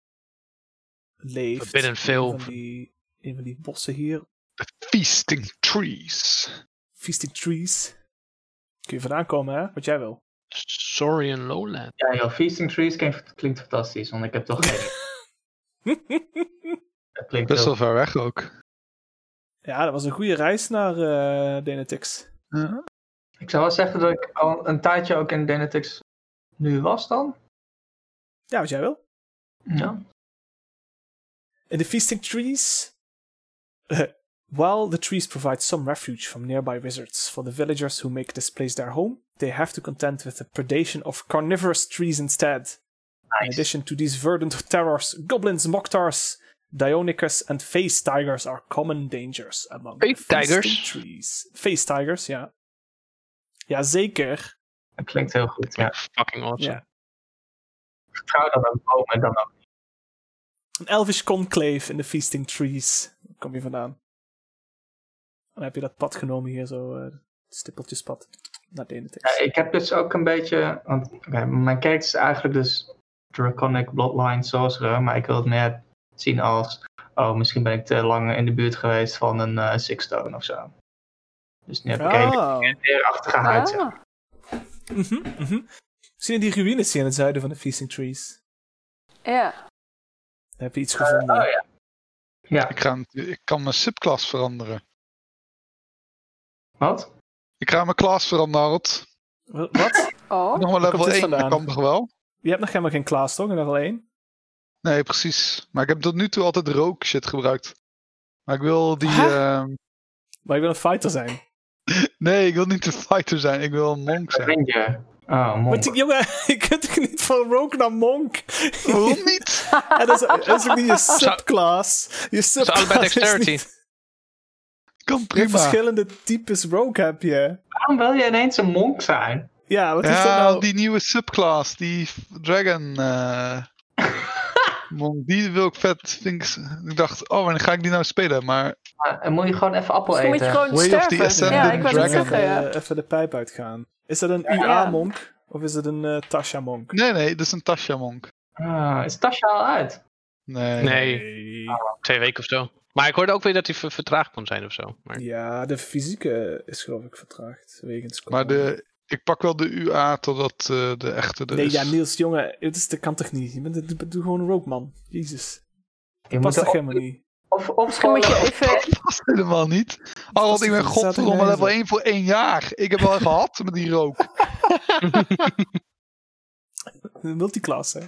[SPEAKER 1] leeft
[SPEAKER 3] Forbidden Phil.
[SPEAKER 1] in van die, een van die bossen hier,
[SPEAKER 2] The Feasting Trees.
[SPEAKER 1] Feasting Trees. Kun je vandaan komen, hè? Wat jij wil.
[SPEAKER 3] Saurian Lowland.
[SPEAKER 4] Ja, joh, Feasting Trees klinkt, klinkt fantastisch, want ik heb toch geen. Het klinkt
[SPEAKER 2] Best
[SPEAKER 4] heel-
[SPEAKER 2] wel ver weg ook.
[SPEAKER 1] ja, dat was een goede reis naar eh Denetix.
[SPEAKER 2] Ja.
[SPEAKER 4] Ik zou wel zeggen dat ik al een tijdje ook in Denetix nu was dan.
[SPEAKER 1] Ja, wat jij wil.
[SPEAKER 4] Ja.
[SPEAKER 1] In the Feasting Trees. Uh, while the trees provide some refuge from nearby wizards for the villagers who make this place their home, they have to contend with the predation of carnivorous trees instead. In
[SPEAKER 4] Nice.
[SPEAKER 1] addition to these verdant terrors, goblins, moctars, Dionicus, and face tigers are common dangers among the
[SPEAKER 3] Face tigers?
[SPEAKER 1] feasting trees. Face tigers, ja. Jazeker.
[SPEAKER 4] Dat klinkt heel goed. Ja.
[SPEAKER 3] Fucking awesome.
[SPEAKER 1] Ja.
[SPEAKER 4] Vertrouw dan ook bomen dan ook.
[SPEAKER 1] Een elvish conclave in de feasting trees. Daar kom je vandaan. Dan heb je dat pad genomen hier, zo eh, het stippeltjespad. Naar de ene tekst.
[SPEAKER 4] Ja, ik heb dus ook een beetje. Want oké, mijn kerk is eigenlijk dus Draconic Bloodline Sorcerer, maar ik wil het meer zien als. Oh, misschien ben ik te lang in de buurt geweest van een eh, Six Stone of zo. Dus nu heb ik even
[SPEAKER 1] Ah.
[SPEAKER 4] meer achtergehaald. ja.
[SPEAKER 5] Ah.
[SPEAKER 1] Mhm, mhm. Zie je die ruïnes hier in het zuiden van de feasting trees?
[SPEAKER 5] Ja.
[SPEAKER 1] Daar heb je iets gevonden.
[SPEAKER 4] Oh ja. Ja,
[SPEAKER 2] Ik, ga, een- ik kan mijn subclass veranderen.
[SPEAKER 4] wat?
[SPEAKER 2] Ik ga mijn class veranderen, Harold.
[SPEAKER 1] Wa- Wat?
[SPEAKER 5] Oh.
[SPEAKER 2] nog maar
[SPEAKER 1] waar
[SPEAKER 2] level
[SPEAKER 1] komt dit
[SPEAKER 2] 1, dat
[SPEAKER 1] vandaan?
[SPEAKER 2] kan toch wel?
[SPEAKER 1] Je hebt nog helemaal geen klaas, toch? In level 1?
[SPEAKER 2] Nee, precies. Maar ik heb tot nu toe altijd rook shit gebruikt. Maar ik wil die.
[SPEAKER 1] Huh?
[SPEAKER 2] ehm,
[SPEAKER 1] Maar ik wil een fighter
[SPEAKER 4] Oh.
[SPEAKER 1] zijn.
[SPEAKER 2] nee, ik wil niet de fighter zijn. Ik wil een monk zijn.
[SPEAKER 4] Ranger. Oh,
[SPEAKER 1] Want
[SPEAKER 4] monk.
[SPEAKER 1] die- jongen, je kunt toch niet van rogue naar monk?
[SPEAKER 2] Waarom niet?
[SPEAKER 1] En dat, is, dat is ook niet je subclass. Je subclass
[SPEAKER 3] allebei
[SPEAKER 1] is
[SPEAKER 3] dexterity.
[SPEAKER 1] niet-
[SPEAKER 2] Kan
[SPEAKER 1] Je hebt
[SPEAKER 2] prima.
[SPEAKER 1] verschillende types rogue heb je.
[SPEAKER 4] Waarom wil je ineens een monk zijn?
[SPEAKER 1] Ja, wat is dat
[SPEAKER 2] Ja,
[SPEAKER 1] nou?
[SPEAKER 2] die nieuwe subclass, die f- dragon. eh, monk, die wil ik vet. Vind ik, ik dacht, oh, wanneer ga ik die nou spelen? Maar
[SPEAKER 4] Maar Ah, dan moet je gewoon even appel
[SPEAKER 5] Dus dan moet je
[SPEAKER 4] eten.
[SPEAKER 5] gewoon
[SPEAKER 2] Way of the
[SPEAKER 5] sterven. Ja, ik
[SPEAKER 2] Ascendant
[SPEAKER 5] wou net
[SPEAKER 2] Dragon.
[SPEAKER 5] zeggen, ja.
[SPEAKER 1] even, eh, even de pijp uitgaan. Is dat een
[SPEAKER 5] Ja.
[SPEAKER 1] UA-monk? Of is het een eh, Tasha-monk?
[SPEAKER 2] nee, nee, dat is een Tasha monk.
[SPEAKER 4] Ah, is Tasha al uit?
[SPEAKER 2] Nee.
[SPEAKER 3] Nee, twee weken of zo. Maar ik hoorde ook weer dat hij ver- vertraagd kon zijn of zo. Maar
[SPEAKER 1] Ja, de fysieke is geloof ik vertraagd. Wegens
[SPEAKER 2] Maar
[SPEAKER 1] corona.
[SPEAKER 2] de, ik pak wel de UA totdat eh, de echte er
[SPEAKER 1] Nee,
[SPEAKER 2] is.
[SPEAKER 1] ja, Niels, jongen, het is, dat kan toch niet? Je bent, doe, doe gewoon een rogue, man. Jezus.
[SPEAKER 4] Je
[SPEAKER 1] Past
[SPEAKER 4] moet
[SPEAKER 1] toch
[SPEAKER 4] er
[SPEAKER 1] helemaal niet?
[SPEAKER 4] of, of
[SPEAKER 5] Misschien moet je
[SPEAKER 4] gewoon-
[SPEAKER 5] even...
[SPEAKER 2] Dat past helemaal niet. Oh, want ik ben
[SPEAKER 1] Dat staat er
[SPEAKER 2] godverdomme
[SPEAKER 1] nergens
[SPEAKER 2] level
[SPEAKER 1] op.
[SPEAKER 2] 1 voor één jaar. Ik heb wel gehad met die rook.
[SPEAKER 1] Een multiclass, hè?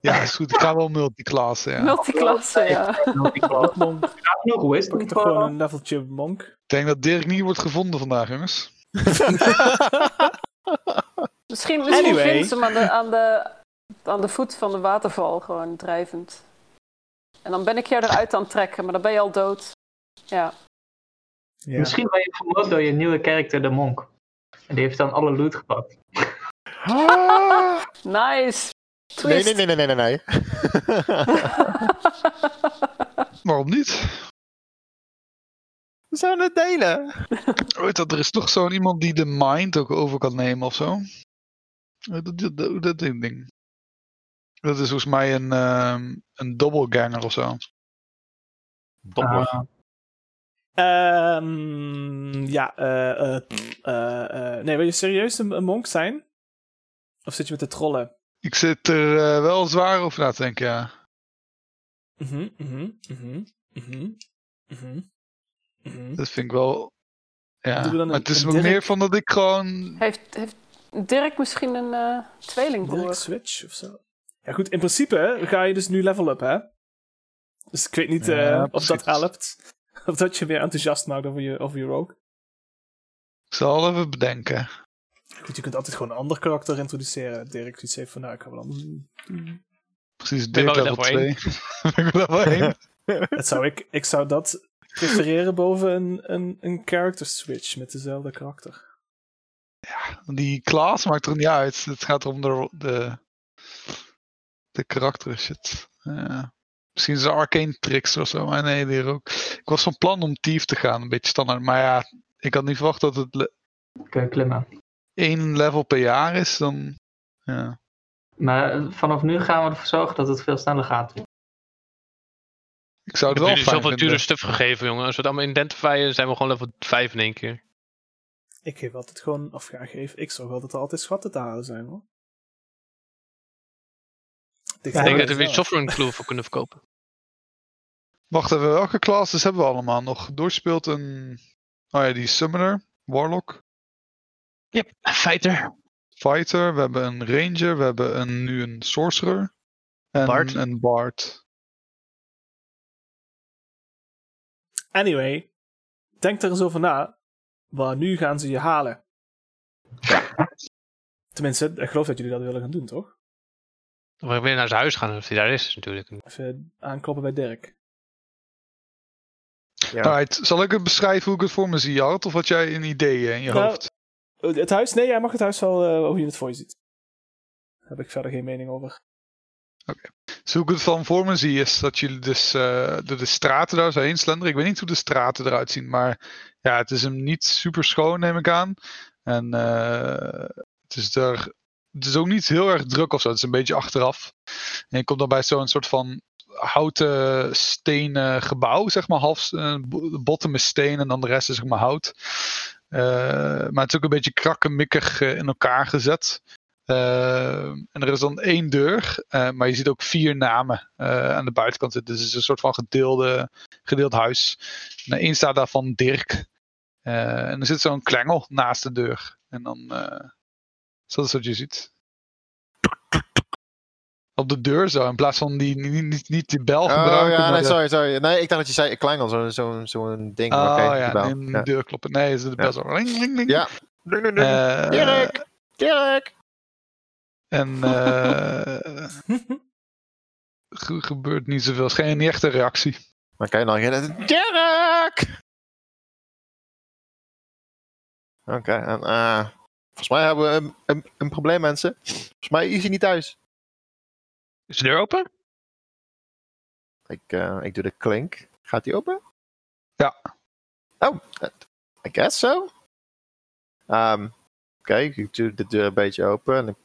[SPEAKER 2] Ja, is goed. Ik ga wel multiclassen, ja.
[SPEAKER 5] Multiklasse, ja.
[SPEAKER 4] Ik
[SPEAKER 1] Monk.
[SPEAKER 4] ga genoeg
[SPEAKER 1] Pak je
[SPEAKER 4] wisdom
[SPEAKER 1] toch gewoon
[SPEAKER 4] voor.
[SPEAKER 1] een leveltje monk?
[SPEAKER 2] Ik denk dat Dirk niet wordt gevonden vandaag, jongens.
[SPEAKER 5] Misschien, misschien
[SPEAKER 1] Anyway.
[SPEAKER 5] vinden ze hem aan de, aan, de, aan de voet van de waterval gewoon drijvend. En dan ben ik jou eruit aan het trekken, maar dan ben je al dood. Ja.
[SPEAKER 1] Ja.
[SPEAKER 4] Misschien ben je vermoord door je nieuwe karakter, de monk. En die heeft dan alle loot gepakt.
[SPEAKER 5] Nice!
[SPEAKER 6] Nee,
[SPEAKER 5] Twist.
[SPEAKER 6] Ah, nee, nee, nee, nee, nee. nee.
[SPEAKER 2] Waarom niet?
[SPEAKER 6] We zouden het delen.
[SPEAKER 2] Weet dat, er is toch zo'n iemand die de mind ook over kan nemen of zo. Dat, dat, dat, dat ding. Dat is volgens mij een, ehm een doppelganger of zo.
[SPEAKER 4] Ah,
[SPEAKER 1] Ehm, ja, eh, eh, pff, eh, eh, nee, wil je serieus een, een monk zijn? Of zit je met de trollen?
[SPEAKER 2] Ik zit er eh, wel zwaar over na te denken, ja.
[SPEAKER 1] Mhm, mhm, mhm, mhm, mhm, mhm.
[SPEAKER 2] Dat vind ik wel... Ja,
[SPEAKER 1] Doen we dan
[SPEAKER 2] maar
[SPEAKER 1] een-
[SPEAKER 2] het is
[SPEAKER 1] een
[SPEAKER 2] ook
[SPEAKER 1] Dirk?
[SPEAKER 2] meer van dat ik gewoon
[SPEAKER 5] Heeft, heeft Dirk misschien een eh, tweelingbroer?
[SPEAKER 1] Direct Switch of zo. Ja, goed, in principe ga je dus nu level up, hè? Dus ik weet niet eh,
[SPEAKER 2] Ja,
[SPEAKER 1] of
[SPEAKER 2] precies.
[SPEAKER 1] dat helpt. Of dat je weer enthousiast maakt over je, over je rogue.
[SPEAKER 2] Ik zal even bedenken.
[SPEAKER 1] Goed, je kunt altijd gewoon een ander karakter introduceren. Dirk iets heeft van, nou, ik ga wel anders doen.
[SPEAKER 2] Mm. Precies,
[SPEAKER 3] ben
[SPEAKER 2] Dirk
[SPEAKER 3] wel
[SPEAKER 2] level
[SPEAKER 3] level
[SPEAKER 2] 2. ik ben level 1.
[SPEAKER 1] Dat zou ik, ik zou dat prefereren boven een, een, een character switch met dezelfde karakter.
[SPEAKER 2] Die Klaas maakt er niet uit. Het gaat om de, de, de karakter shit. Ja. Misschien zijn arcane tricks of zo. Maar nee, die ook. Ik was van plan om Thief te gaan, een beetje standaard. Maar ja, ik had niet verwacht dat het le-
[SPEAKER 4] kunnen klimmen.
[SPEAKER 2] één level per jaar is, dan. Ja.
[SPEAKER 4] Maar eh, vanaf nu gaan we ervoor zorgen dat het veel sneller gaat.
[SPEAKER 2] Ik zou
[SPEAKER 3] hebben
[SPEAKER 2] het wel
[SPEAKER 3] jullie
[SPEAKER 2] fijn
[SPEAKER 3] zoveel dure
[SPEAKER 2] vinden.
[SPEAKER 3] stuff gegeven, jongen. Als we het allemaal identifyen, zijn we gewoon level 5 in één keer.
[SPEAKER 1] Ik geef altijd gewoon, of ga geven, ik zorg wel dat er altijd schatten te halen zijn hoor.
[SPEAKER 4] Ja,
[SPEAKER 3] ik
[SPEAKER 4] maar
[SPEAKER 3] denk
[SPEAKER 4] dat
[SPEAKER 3] dat we weer software clue voor kunnen verkopen.
[SPEAKER 2] Wacht even, welke classes hebben we allemaal nog? Doorspeelt een. Oh ja, die Summoner, Warlock,
[SPEAKER 3] Ja, fighter.
[SPEAKER 2] Fighter, we hebben een Ranger, we hebben een, nu een Sorcerer. En
[SPEAKER 3] Bard.
[SPEAKER 2] een Bard.
[SPEAKER 1] Anyway, denk er eens over na. Waar nu gaan ze je halen? Tenminste, ik geloof dat jullie dat willen gaan doen, toch?
[SPEAKER 3] Dan we weer naar zijn huis gaan of hij daar is, natuurlijk.
[SPEAKER 1] Even aankloppen bij Dirk.
[SPEAKER 6] Ja.
[SPEAKER 2] Alright, zal ik het beschrijven hoe ik het voor me zie, Jart? Of had jij een idee in je
[SPEAKER 1] Nou,
[SPEAKER 2] hoofd?
[SPEAKER 1] Eh, Het huis? Nee, jij mag het huis wel eh, hoe je het voor je ziet. Daar heb ik verder geen mening over.
[SPEAKER 2] Dus hoe ik het van voor me zie is dat jullie dus eh, door de straten daar zo heen slenderen. Ik weet niet hoe de straten eruit zien, maar ja, het is hem niet super schoon, neem ik aan. En eh, het is daar. Het is ook niet heel erg druk of zo. Het is een beetje achteraf. En je komt dan bij zo'n soort van houten stenen gebouw, zeg maar. Half eh, bo- botten met steen en dan de rest is zeg maar hout. Eh, maar het is ook een beetje krakkemikkig eh, in elkaar gezet. Ehm, en er is dan één deur, eh, maar je ziet ook vier namen eh, aan de buitenkant zitten. Dus het is een soort van gedeelde, gedeeld huis. En één staat daarvan Dirk. Eh, en er zit zo'n klengel naast de deur. En dan. eh, dus dat is wat je ziet. Op de deur zo, in plaats van die, niet, niet, niet die bel
[SPEAKER 6] Oh
[SPEAKER 2] gebruiken.
[SPEAKER 6] ja,
[SPEAKER 2] maar
[SPEAKER 6] nee,
[SPEAKER 2] de-
[SPEAKER 6] sorry, sorry. Nee, ik dacht dat je zei klangel, zo'n zo, zo'n ding.
[SPEAKER 2] Oh
[SPEAKER 6] Oké,
[SPEAKER 2] ja,
[SPEAKER 6] dankjewel.
[SPEAKER 2] nee, de deur kloppen. Nee, is de bel
[SPEAKER 6] Ja.
[SPEAKER 2] zo. Ring, ring, ring.
[SPEAKER 6] Ja. Dun, dun, dun.
[SPEAKER 2] Eh,
[SPEAKER 6] Dirk! Dirk!
[SPEAKER 2] En eh, ge- gebeurt niet zoveel. Het is geen niet echte reactie.
[SPEAKER 6] Dan kan je dan geen... Dirk! Oké, en eh, volgens mij hebben we een, een, een probleem, mensen. Volgens mij is hij niet thuis.
[SPEAKER 3] Is de deur open?
[SPEAKER 6] Ik, eh, ik doe de klink. Gaat die open?
[SPEAKER 2] Ja.
[SPEAKER 6] Oh, eh, I guess so. Ehm, Oké, ik doe de deur een beetje open en ik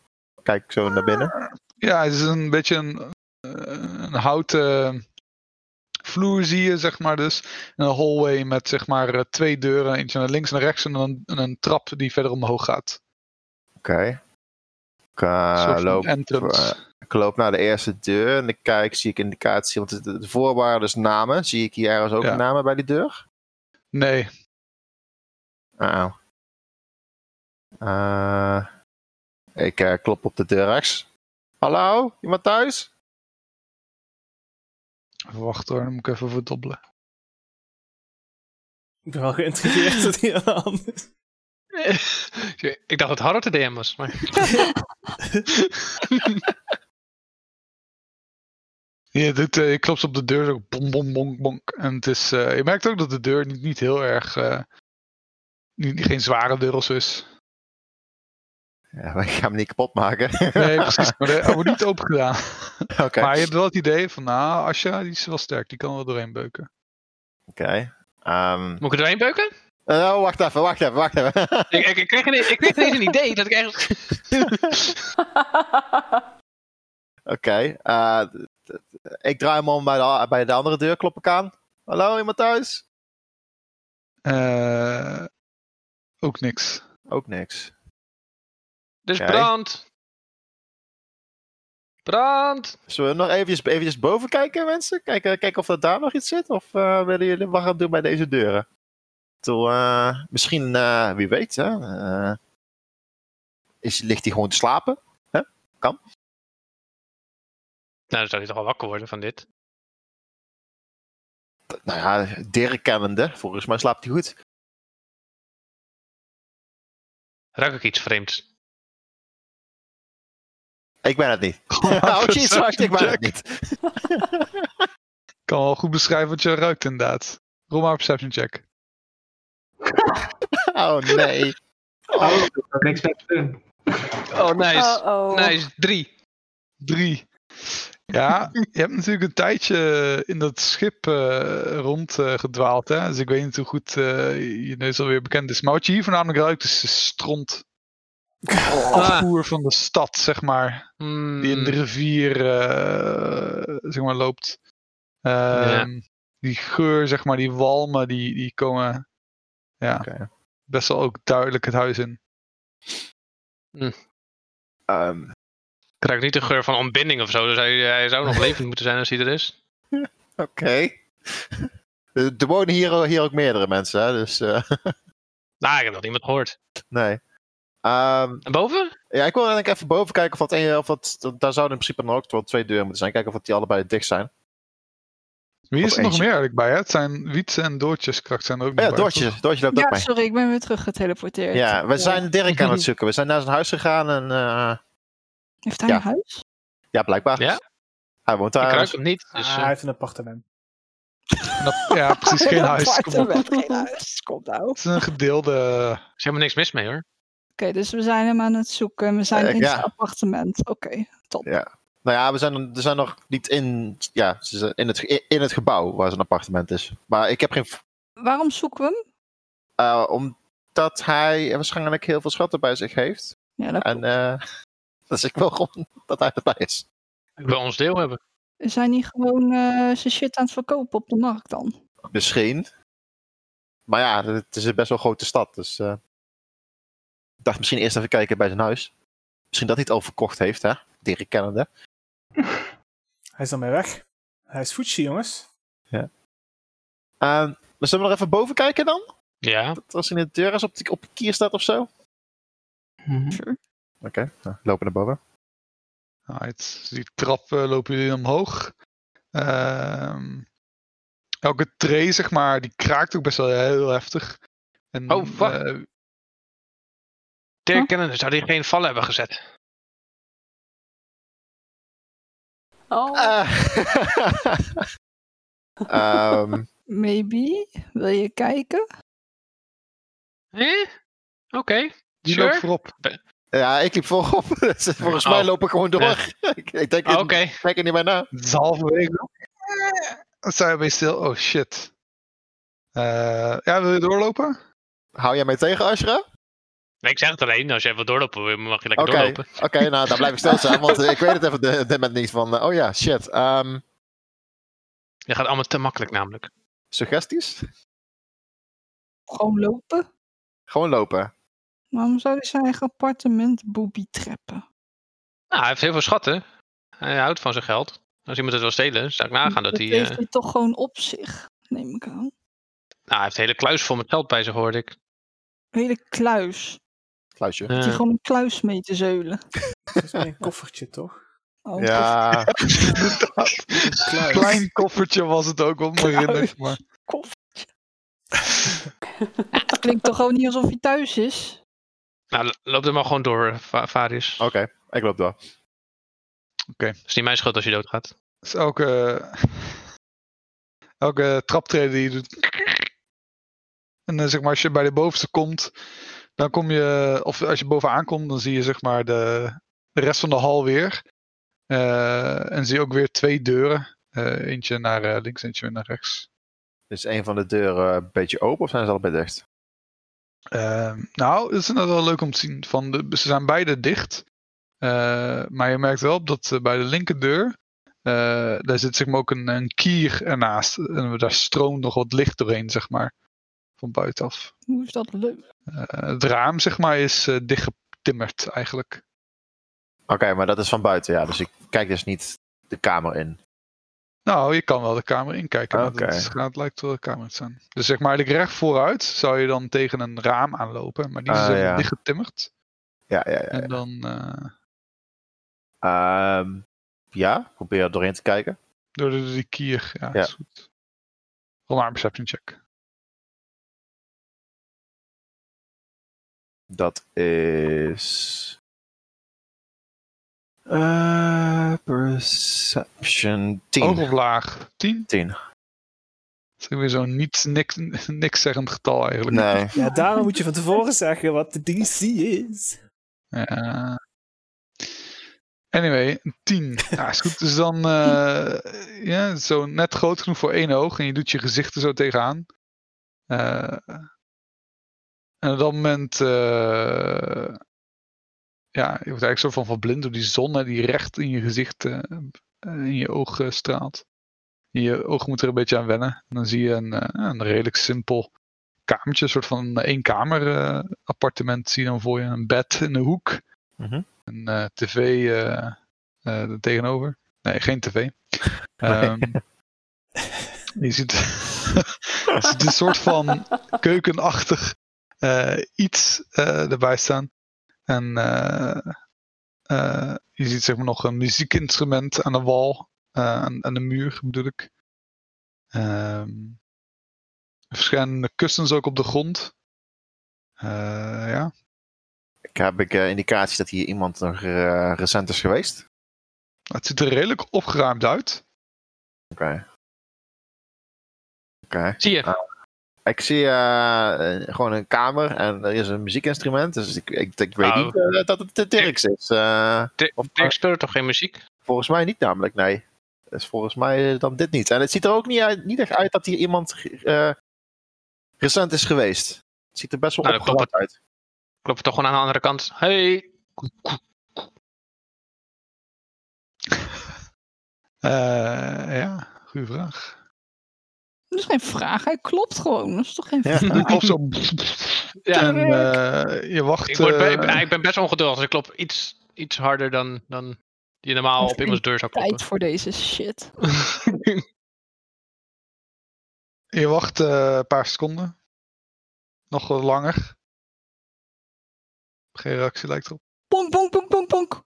[SPEAKER 6] kijk zo naar binnen.
[SPEAKER 2] Ja, het is een beetje een, eh, een houten vloer zie je, zeg maar dus. En een hallway met zeg maar eh, twee deuren. Eentje naar links en naar rechts en een, en een trap die verder omhoog gaat.
[SPEAKER 6] Oké. Ik,
[SPEAKER 2] Een
[SPEAKER 6] eh,
[SPEAKER 2] soort van
[SPEAKER 6] loop,
[SPEAKER 2] entrance.
[SPEAKER 6] eh, ik loop naar de eerste deur en ik kijk, zie ik indicatie, want de- de, de voorwaarden is namen. Zie ik hier ergens ook
[SPEAKER 2] Ja.
[SPEAKER 6] namen bij die deur?
[SPEAKER 2] nee,
[SPEAKER 6] Oh. Eh, ik eh, klop op de deur rechts. Hallo, iemand thuis?
[SPEAKER 2] even wachten hoor, dan moet ik even verdobbelen.
[SPEAKER 1] Ik ben wel geïntrigeerd dat hij aan de hand is.
[SPEAKER 3] ik dacht dat Harold de DM was. Maar...
[SPEAKER 2] Je, doet, eh, je klopt op de deur, zo bonk, bonk, bonk, bonk. En het is, eh, je merkt ook dat de deur niet, niet heel erg... eh, niet, geen zware deur of zo is.
[SPEAKER 6] Ja, maar ik ga hem niet kapot maken.
[SPEAKER 2] Nee, precies. Maar de- hij wordt niet open gedaan.
[SPEAKER 6] Oké.
[SPEAKER 2] Maar je hebt wel het idee van, nou, Asja, die is wel sterk. Die kan er wel doorheen beuken.
[SPEAKER 6] Oké. Ehm,
[SPEAKER 3] Moet ik er doorheen beuken?
[SPEAKER 6] oh, wacht even, wacht even, wacht even.
[SPEAKER 3] Ik, ik, ik kreeg ineens, ik kreeg ineens een idee dat ik eigenlijk...
[SPEAKER 6] Oké. eh, d- d- d- ik draai hem om bij de, bij de andere deur, klop ik aan. Hallo, iemand thuis?
[SPEAKER 2] Eh, ook niks.
[SPEAKER 6] Ook niks.
[SPEAKER 3] Dus
[SPEAKER 6] Oké.
[SPEAKER 3] brand. Brand.
[SPEAKER 6] Zullen we nog eventjes, eventjes boven kijken, mensen? Kijken, kijken of er daar nog iets zit? Of eh, willen jullie wat gaan doen bij deze deuren? Toen, eh, misschien, eh, wie weet, hè? eh, is, ligt hij gewoon te slapen?
[SPEAKER 3] Nou, dan zou je toch wel wakker worden van dit.
[SPEAKER 6] Nou ja, Dirk kennende, volgens mij slaapt hij goed.
[SPEAKER 3] Ruik ik iets vreemds?
[SPEAKER 6] Ik ben het niet. oh jeez, wacht, ik ben het niet.
[SPEAKER 2] Ik kan wel goed beschrijven wat je ruikt inderdaad. Rol maar een perception check.
[SPEAKER 6] Oh nee.
[SPEAKER 4] Oh, ik heb niks meer te doen.
[SPEAKER 3] Oh, nice.
[SPEAKER 5] Uh-oh.
[SPEAKER 3] Nice. Drie.
[SPEAKER 2] Drie. Ja, je hebt natuurlijk een tijdje in dat schip eh, rondgedwaald. hè? Dus ik weet niet hoe goed eh, je neus alweer bekend is. Maar wat je hier voornamelijk ruikt is de stront.
[SPEAKER 6] Ah.
[SPEAKER 2] Afvoer van de stad, zeg maar.
[SPEAKER 3] Hmm.
[SPEAKER 2] Die in de
[SPEAKER 6] Mm.
[SPEAKER 2] rivier eh, zeg maar, loopt. Ehm, Die geur, zeg maar, die walmen, die, die komen ja,
[SPEAKER 6] Oké.
[SPEAKER 2] best wel ook duidelijk het huis in.
[SPEAKER 6] Ehm,
[SPEAKER 3] Ik ruik niet de geur van ontbinding of zo, dus hij, hij zou nog levend moeten zijn als hij er is.
[SPEAKER 6] Oké. Eh, Er wonen hier, hier ook meerdere mensen, hè? dus eh,
[SPEAKER 3] Nou, ik heb nog niemand gehoord.
[SPEAKER 6] nee. Ehm,
[SPEAKER 3] En boven?
[SPEAKER 6] ja, ik wil eigenlijk even boven kijken of dat een, of dat, dat- daar zouden in principe dan ook wel twee deuren moeten zijn. Kijken of dat die allebei dicht zijn. Oh
[SPEAKER 2] Wie
[SPEAKER 6] Of
[SPEAKER 2] is er nog
[SPEAKER 6] eentje.
[SPEAKER 2] meer eigenlijk bij? Hè? Het zijn Wietse en Doortjes straks zijn er ook
[SPEAKER 6] Oh
[SPEAKER 2] nog
[SPEAKER 6] ja,
[SPEAKER 2] bij,
[SPEAKER 6] Doortje,
[SPEAKER 2] toch?
[SPEAKER 6] Doortje loopt ook
[SPEAKER 7] Ja,
[SPEAKER 6] mee.
[SPEAKER 7] sorry, ik ben weer terug geteleporteerd.
[SPEAKER 6] Ja, we zijn Dirk aan het zoeken. We zijn naar zijn huis gegaan en eh,
[SPEAKER 7] Heeft hij
[SPEAKER 6] Ja.
[SPEAKER 7] een huis?
[SPEAKER 6] ja, blijkbaar.
[SPEAKER 3] Ja?
[SPEAKER 6] Hij woont
[SPEAKER 3] Ik
[SPEAKER 6] daar.
[SPEAKER 3] ruik hem niet. Dus,
[SPEAKER 1] Ah,
[SPEAKER 3] eh,
[SPEAKER 1] hij heeft een appartement.
[SPEAKER 2] Nou, Ja, precies. Geen huis. Kom op.
[SPEAKER 7] Appartement, Geen huis, kom nou. Oké,
[SPEAKER 2] Het is een gedeelde.
[SPEAKER 3] Er is helemaal niks mis mee hoor.
[SPEAKER 7] dus we zijn hem aan het zoeken. We zijn
[SPEAKER 6] Eh,
[SPEAKER 7] in
[SPEAKER 6] ja.
[SPEAKER 7] zijn appartement. Oké, top.
[SPEAKER 6] Ja. Nou ja, we zijn, we zijn nog niet in, ja, ze zijn in, het, ge- in het gebouw waar zijn appartement is. Maar ik heb geen. v-
[SPEAKER 7] Waarom zoeken we hem?
[SPEAKER 6] eh, omdat hij waarschijnlijk heel veel schatten bij zich heeft.
[SPEAKER 7] Ja, dat
[SPEAKER 6] En eh dus ik wil gewoon dat hij erbij is.
[SPEAKER 3] Ik wil ons deel hebben.
[SPEAKER 7] Is hij niet gewoon eh, zijn shit aan het verkopen op de markt dan?
[SPEAKER 6] Misschien. Maar ja, het is een best wel grote stad. Dus eh, ik dacht misschien eerst even kijken bij zijn huis. Misschien dat hij het al verkocht heeft, hè? Dirk kennende.
[SPEAKER 1] Hij is dan mee weg. Hij is Fuji, jongens.
[SPEAKER 6] Eh, maar zullen we nog even boven kijken dan?
[SPEAKER 3] Ja.
[SPEAKER 6] Dat als hij in de deur is op, die- op de kier staat of zo? Oké,
[SPEAKER 4] Mhm.
[SPEAKER 7] Sure.
[SPEAKER 6] nou, lopen naar boven.
[SPEAKER 2] Right. Dus die trap eh, lopen jullie omhoog. Ehm, elke tray, zeg maar, die kraakt ook best wel heel heftig. En,
[SPEAKER 3] Oh, wacht.
[SPEAKER 2] eh,
[SPEAKER 3] Dirk kennen, zou die geen vallen hebben gezet?
[SPEAKER 5] Oh,
[SPEAKER 6] Ah. Eh. Ehm,
[SPEAKER 7] Maybe. Wil je kijken?
[SPEAKER 3] Eh? Oké.
[SPEAKER 2] die loopt
[SPEAKER 3] Sure.
[SPEAKER 2] voorop.
[SPEAKER 6] ja, ik liep voorop. Dus volgens
[SPEAKER 3] Oh.
[SPEAKER 6] mij loop ik gewoon door. ik, ik denk,
[SPEAKER 3] Oké.
[SPEAKER 6] ik kijk er niet meer naar.
[SPEAKER 2] Het is halverwege. Eh, Dan sta je bij stil. Oh shit. Eh, ja, wil je doorlopen?
[SPEAKER 6] Hou jij mij tegen, Ashra? Oké,
[SPEAKER 3] Nee, ik zeg het alleen. Als jij wil doorlopen, mag je lekker
[SPEAKER 6] Oké.
[SPEAKER 3] doorlopen.
[SPEAKER 6] nou, daar blijf ik stilstaan. want eh, ik weet het even de- op dit moment niet van... eh, oh ja, shit. Ehm,
[SPEAKER 3] Je gaat allemaal te makkelijk namelijk.
[SPEAKER 6] suggesties?
[SPEAKER 7] Gewoon lopen?
[SPEAKER 6] Gewoon lopen.
[SPEAKER 7] Waarom zou hij zijn eigen appartement booby trappen?
[SPEAKER 3] Nou, hij heeft heel veel schatten. Hij houdt van zijn geld. Als iemand het wil stelen, zou ik nagaan dat hij... eh,
[SPEAKER 7] heeft hij toch gewoon op zich, neem ik aan.
[SPEAKER 3] Nou, hij heeft een hele kluis vol met geld bij zich, hoorde ik. Eh,
[SPEAKER 7] Een hele kluis.
[SPEAKER 6] Kluisje.
[SPEAKER 7] Heeft
[SPEAKER 3] Ja.
[SPEAKER 7] hij gewoon een kluis mee te zeulen?
[SPEAKER 1] Dat is meer een koffertje, toch?
[SPEAKER 7] Oh,
[SPEAKER 6] Ja,
[SPEAKER 1] Kluis.
[SPEAKER 2] Klein koffertje was het ook, wat me herinnert. Maar...
[SPEAKER 7] Het klinkt toch gewoon niet alsof hij thuis is?
[SPEAKER 3] Nou, lo- loop er maar gewoon door, eh, Va- Varius.
[SPEAKER 7] Oh.
[SPEAKER 6] oké. Ik loop door.
[SPEAKER 3] Het is niet mijn schuld als je doodgaat.
[SPEAKER 2] Dus elke, elke traptreden die je doet. En eh, zeg maar, als je bij de bovenste komt, dan kom je, of als je bovenaan komt, dan zie je zeg maar de, de rest van de hal weer. Eh, en zie je ook weer twee deuren. Eh, eentje naar eh, links, eentje weer naar rechts.
[SPEAKER 6] Is een van de deuren een beetje open of zijn ze allebei dicht?
[SPEAKER 2] Ehm, nou, het is inderdaad wel leuk om te zien. Van de, ze zijn beide dicht. Eh, maar je merkt wel op dat eh, bij de linkerdeur. eh, daar zit zeg maar ook een, een kier ernaast. En daar stroomt nog wat licht doorheen, zeg maar. Van buitenaf.
[SPEAKER 7] Hoe is dat leuk?
[SPEAKER 2] Eh, het raam, zeg maar, is eh, dichtgetimmerd eigenlijk.
[SPEAKER 6] Oké, maar dat is van buiten, ja. Dus ik kijk dus niet de kamer in.
[SPEAKER 2] Nou, je kan wel de kamer inkijken. maar
[SPEAKER 6] Oké.
[SPEAKER 2] Dat is- gaat, lijkt wel de kamer te zijn. Dus zeg maar, eigenlijk recht vooruit zou je dan tegen een raam aanlopen. Maar die is
[SPEAKER 6] Ah,
[SPEAKER 2] eh,
[SPEAKER 6] ja.
[SPEAKER 2] dichtgetimmerd.
[SPEAKER 6] Ja, ja, ja.
[SPEAKER 2] En dan eh,
[SPEAKER 6] Ehm, ja, probeer er doorheen te kijken.
[SPEAKER 2] Door de, de kier, ja,
[SPEAKER 6] Ja.
[SPEAKER 2] is goed. Rol maar een perception check.
[SPEAKER 6] Dat is. eh, perception 10.
[SPEAKER 2] Hoog of laag? 10?
[SPEAKER 6] 10.
[SPEAKER 2] Dat is weer zo'n niet, niks, niks zeggend getal eigenlijk.
[SPEAKER 6] Nee.
[SPEAKER 1] Ja, daarom moet je van tevoren zeggen wat de DC is.
[SPEAKER 2] Eh, Anyway, een 10. Ja, is goed. Dus dan eh, ja, zo net groot genoeg voor één oog. En je doet je gezicht er zo tegenaan. Eh, en op dat moment. eh, ja, je wordt eigenlijk zo van verblind door die zon hè, die recht in je gezicht, eh, eh, in je oog eh, straalt. Je oog moet er een beetje aan wennen. En dan zie je een, eh, een redelijk simpel kamertje, een soort van één kamer eh, appartement. Zie je dan voor je een bed in de hoek.
[SPEAKER 6] Mhm.
[SPEAKER 2] Een eh, tv eh, eh, er tegenover. Nee, geen tv. Ehm, je ziet, je ziet een soort van keukenachtig eh, iets eh, erbij staan. En eh, eh, je ziet zeg maar nog een muziekinstrument aan de wal, eh, aan, aan de muur bedoel ik. Ehm, verschillende kussens ook op de grond. Eh, ja.
[SPEAKER 6] Ik heb ik eh, indicaties dat hier iemand nog eh, recent is geweest.
[SPEAKER 2] Het ziet er redelijk opgeruimd uit.
[SPEAKER 6] Oké. Oké.
[SPEAKER 3] Zie je?
[SPEAKER 7] Ah,
[SPEAKER 6] Ik zie eh, eh, gewoon een kamer en er is een muziekinstrument. Dus ik, ik, ik weet
[SPEAKER 3] Oh.
[SPEAKER 6] niet eh, dat het de Dirks is. Eh,
[SPEAKER 3] Di-
[SPEAKER 6] of-
[SPEAKER 3] Dirk speelt toch geen muziek?
[SPEAKER 6] volgens mij niet namelijk, nee. Dus volgens mij eh, dan dit niet. En het ziet er ook niet, uit, niet echt uit dat hier iemand eh, recent is geweest. Het ziet er best wel
[SPEAKER 3] Nou, dat klopt.
[SPEAKER 6] opgeruimd uit.
[SPEAKER 3] Klopt toch gewoon aan de andere kant. Hey.
[SPEAKER 2] Eh, ja, goede vraag.
[SPEAKER 7] Dat is geen vraag, hij klopt gewoon. Dat is toch geen
[SPEAKER 6] Ja.
[SPEAKER 7] vraag?
[SPEAKER 2] Ik klop zo.
[SPEAKER 3] Ja.
[SPEAKER 2] en eh, je wacht.
[SPEAKER 3] Ik, word,
[SPEAKER 2] eh,
[SPEAKER 3] bij- ik ben best ongeduldig. Dus ik klop iets, iets harder dan, dan je normaal op iemands deur zou kloppen.
[SPEAKER 7] Tijd voor deze shit.
[SPEAKER 2] je wacht eh, een paar seconden. Nog wat langer. Geen reactie lijkt erop.
[SPEAKER 7] Ponk, ponk, ponk, ponk, ponk.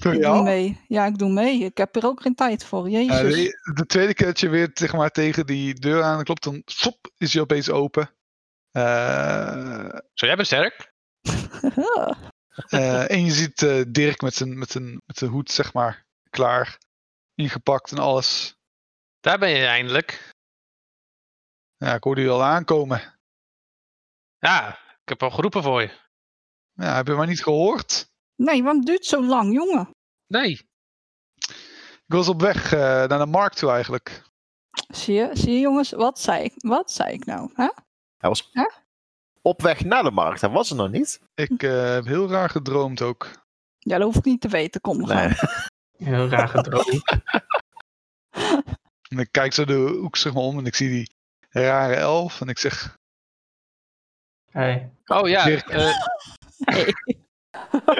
[SPEAKER 2] Door
[SPEAKER 7] Ik
[SPEAKER 2] jou?
[SPEAKER 7] doe mee. Ja, ik doe mee. Ik heb er ook geen tijd voor.
[SPEAKER 2] Ja,
[SPEAKER 7] Jezus.
[SPEAKER 2] de, Eh, de tweede keer dat je weer zeg maar, tegen die deur aan klopt, dan sop, is je opeens open. Eh,
[SPEAKER 3] Zo, jij bent sterk.
[SPEAKER 2] eh, en je ziet eh, Dirk met zijn, met, zijn, met zijn hoed, zeg maar, klaar. Ingepakt en alles.
[SPEAKER 3] Daar ben je eindelijk.
[SPEAKER 2] Ja, ik hoorde je al aankomen.
[SPEAKER 3] Ja, ik heb al geroepen voor je.
[SPEAKER 2] Ja, heb je maar niet gehoord?
[SPEAKER 7] nee, waarom duurt het zo lang, jongen?
[SPEAKER 3] Nee.
[SPEAKER 2] Ik was op weg eh, naar de markt toe eigenlijk.
[SPEAKER 7] Zie je, zie je jongens, wat zei ik, wat zei ik nou? Hè?
[SPEAKER 6] Hij was
[SPEAKER 7] Huh?
[SPEAKER 6] op weg naar de markt. Hij was er nog niet.
[SPEAKER 2] Ik eh, heb heel raar gedroomd ook.
[SPEAKER 7] Ja, dat hoef ik niet te weten. Kom, we gaan.
[SPEAKER 6] Nee.
[SPEAKER 4] Heel raar gedroomd.
[SPEAKER 2] En ik kijk zo de hoek zeg maar, om en ik zie die rare elf. En ik zeg,
[SPEAKER 4] Hey.
[SPEAKER 3] Oh ja,
[SPEAKER 2] Dirk.
[SPEAKER 3] eh,
[SPEAKER 7] Nee.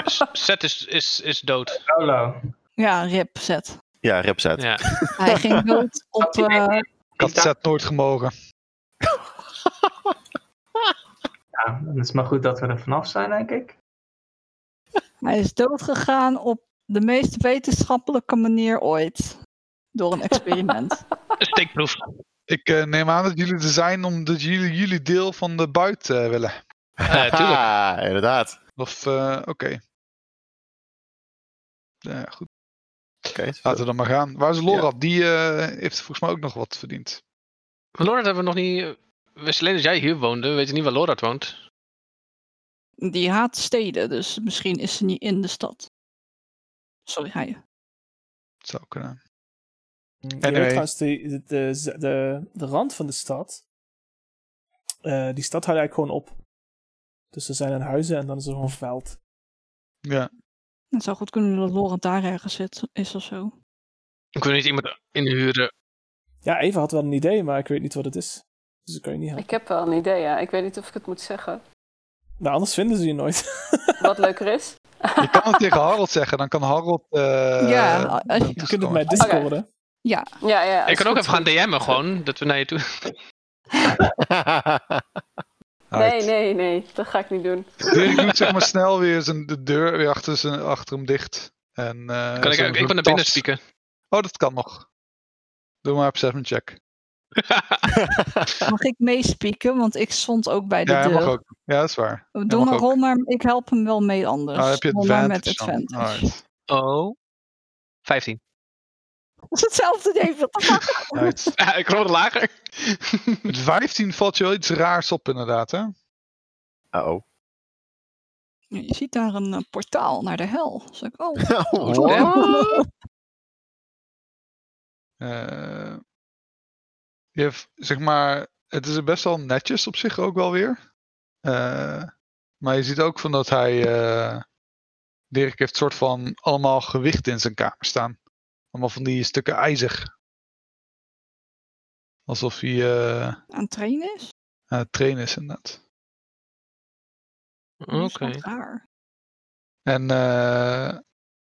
[SPEAKER 3] S- Seth is, is, is dood.
[SPEAKER 4] Solo.
[SPEAKER 7] Ja, rip, zet.
[SPEAKER 6] Ja, ripset.
[SPEAKER 3] Ja.
[SPEAKER 7] Hij ging dood op... eh,
[SPEAKER 2] ik had Zet nooit gemogen.
[SPEAKER 4] Ja, dan is het maar goed dat we er vanaf zijn, denk ik.
[SPEAKER 7] hij is doodgegaan op de meest wetenschappelijke manier ooit. Door een experiment.
[SPEAKER 3] Een steekproef.
[SPEAKER 2] Ik eh, neem aan dat jullie er zijn omdat jullie jullie deel van de buit eh, willen.
[SPEAKER 3] Eh, tuurlijk.
[SPEAKER 6] Ah, inderdaad.
[SPEAKER 2] Of, eh, oké. Ja, goed.
[SPEAKER 6] Oké.
[SPEAKER 2] Laten we dan maar gaan. Waar is Lorab?
[SPEAKER 6] Ja.
[SPEAKER 2] Die eh, heeft volgens mij ook nog wat verdiend.
[SPEAKER 3] Lorad hebben we nog niet. eh, We wisten alleen dat jij hier woonde. We weten niet waar Lorad woont.
[SPEAKER 7] Die haat steden, dus misschien is ze niet in de stad. Sorry, hij.
[SPEAKER 2] Zou kunnen.
[SPEAKER 1] Je weet
[SPEAKER 2] Anyway.
[SPEAKER 1] trouwens, die- de, de, de, de rand van de stad, eh, die stad houdt eigenlijk gewoon op. Dus er zijn dan huizen en dan is er gewoon veld.
[SPEAKER 2] Ja.
[SPEAKER 7] Het zou goed kunnen dat Laura daar ergens zit, is of zo.
[SPEAKER 3] Ik wil niet iemand inhuren.
[SPEAKER 1] Ja, Eva had wel een idee, maar ik weet niet wat het is. Dus dat kan je niet helpen.
[SPEAKER 5] Ik heb wel een idee, ja. Ik weet niet of ik het moet zeggen.
[SPEAKER 1] Nou, anders vinden ze je nooit.
[SPEAKER 5] Wat leuker is.
[SPEAKER 2] Je kan het tegen Harold zeggen. Dan kan Harold... eh,
[SPEAKER 7] Ja, als je-
[SPEAKER 2] naartoe
[SPEAKER 7] Je
[SPEAKER 1] Je kunt het
[SPEAKER 2] stormen.
[SPEAKER 1] mij discorden.
[SPEAKER 5] Ja, ja.
[SPEAKER 3] ik
[SPEAKER 5] is
[SPEAKER 3] kan ook
[SPEAKER 5] goed.
[SPEAKER 3] even gaan DM'en gewoon. Dat we naar je toe.
[SPEAKER 5] Nee, nee, nee. Dat ga ik niet doen.
[SPEAKER 2] Dirk doet zeg maar snel weer zijn, de deur weer achter, zijn, achter hem dicht. En, eh,
[SPEAKER 3] Kan ik,
[SPEAKER 2] zo'n
[SPEAKER 3] ik, ik wil naar
[SPEAKER 2] tas-
[SPEAKER 3] binnen spieken.
[SPEAKER 2] Oh, dat kan nog. Doe maar een perception check.
[SPEAKER 7] Mag ik meespieken? Want ik stond ook bij de
[SPEAKER 2] Ja, hij
[SPEAKER 7] deur.
[SPEAKER 2] mag ook. Ja, dat is waar.
[SPEAKER 7] Doe
[SPEAKER 2] mag
[SPEAKER 7] maar
[SPEAKER 2] ook.
[SPEAKER 7] rol, maar ik help hem wel mee anders.
[SPEAKER 2] Ah, heb je
[SPEAKER 7] Rol maar
[SPEAKER 2] advantage
[SPEAKER 7] met
[SPEAKER 2] dan.
[SPEAKER 7] advantage.
[SPEAKER 2] Alright.
[SPEAKER 3] Oh. 15.
[SPEAKER 7] Dat is hetzelfde, David.
[SPEAKER 2] Alright.
[SPEAKER 3] Ja, ik rol lager.
[SPEAKER 2] Met 15 valt je wel iets raars op inderdaad, hè?
[SPEAKER 6] oh
[SPEAKER 7] Ja, Je ziet daar een eh, portaal naar de hel. Dus ik, oh,
[SPEAKER 6] Oh,
[SPEAKER 2] What? Eh, je hebt, zeg maar, het is best wel netjes op zich ook wel weer. Eh, maar je ziet ook van dat hij, eh Dirk heeft soort van allemaal gewicht in zijn kamer staan. Allemaal van die stukken ijzer. Alsof hij eh, aan
[SPEAKER 7] aan het trainen is?
[SPEAKER 2] het trainen is inderdaad.
[SPEAKER 3] Oké.
[SPEAKER 7] Dat is wat raar.
[SPEAKER 2] En eh,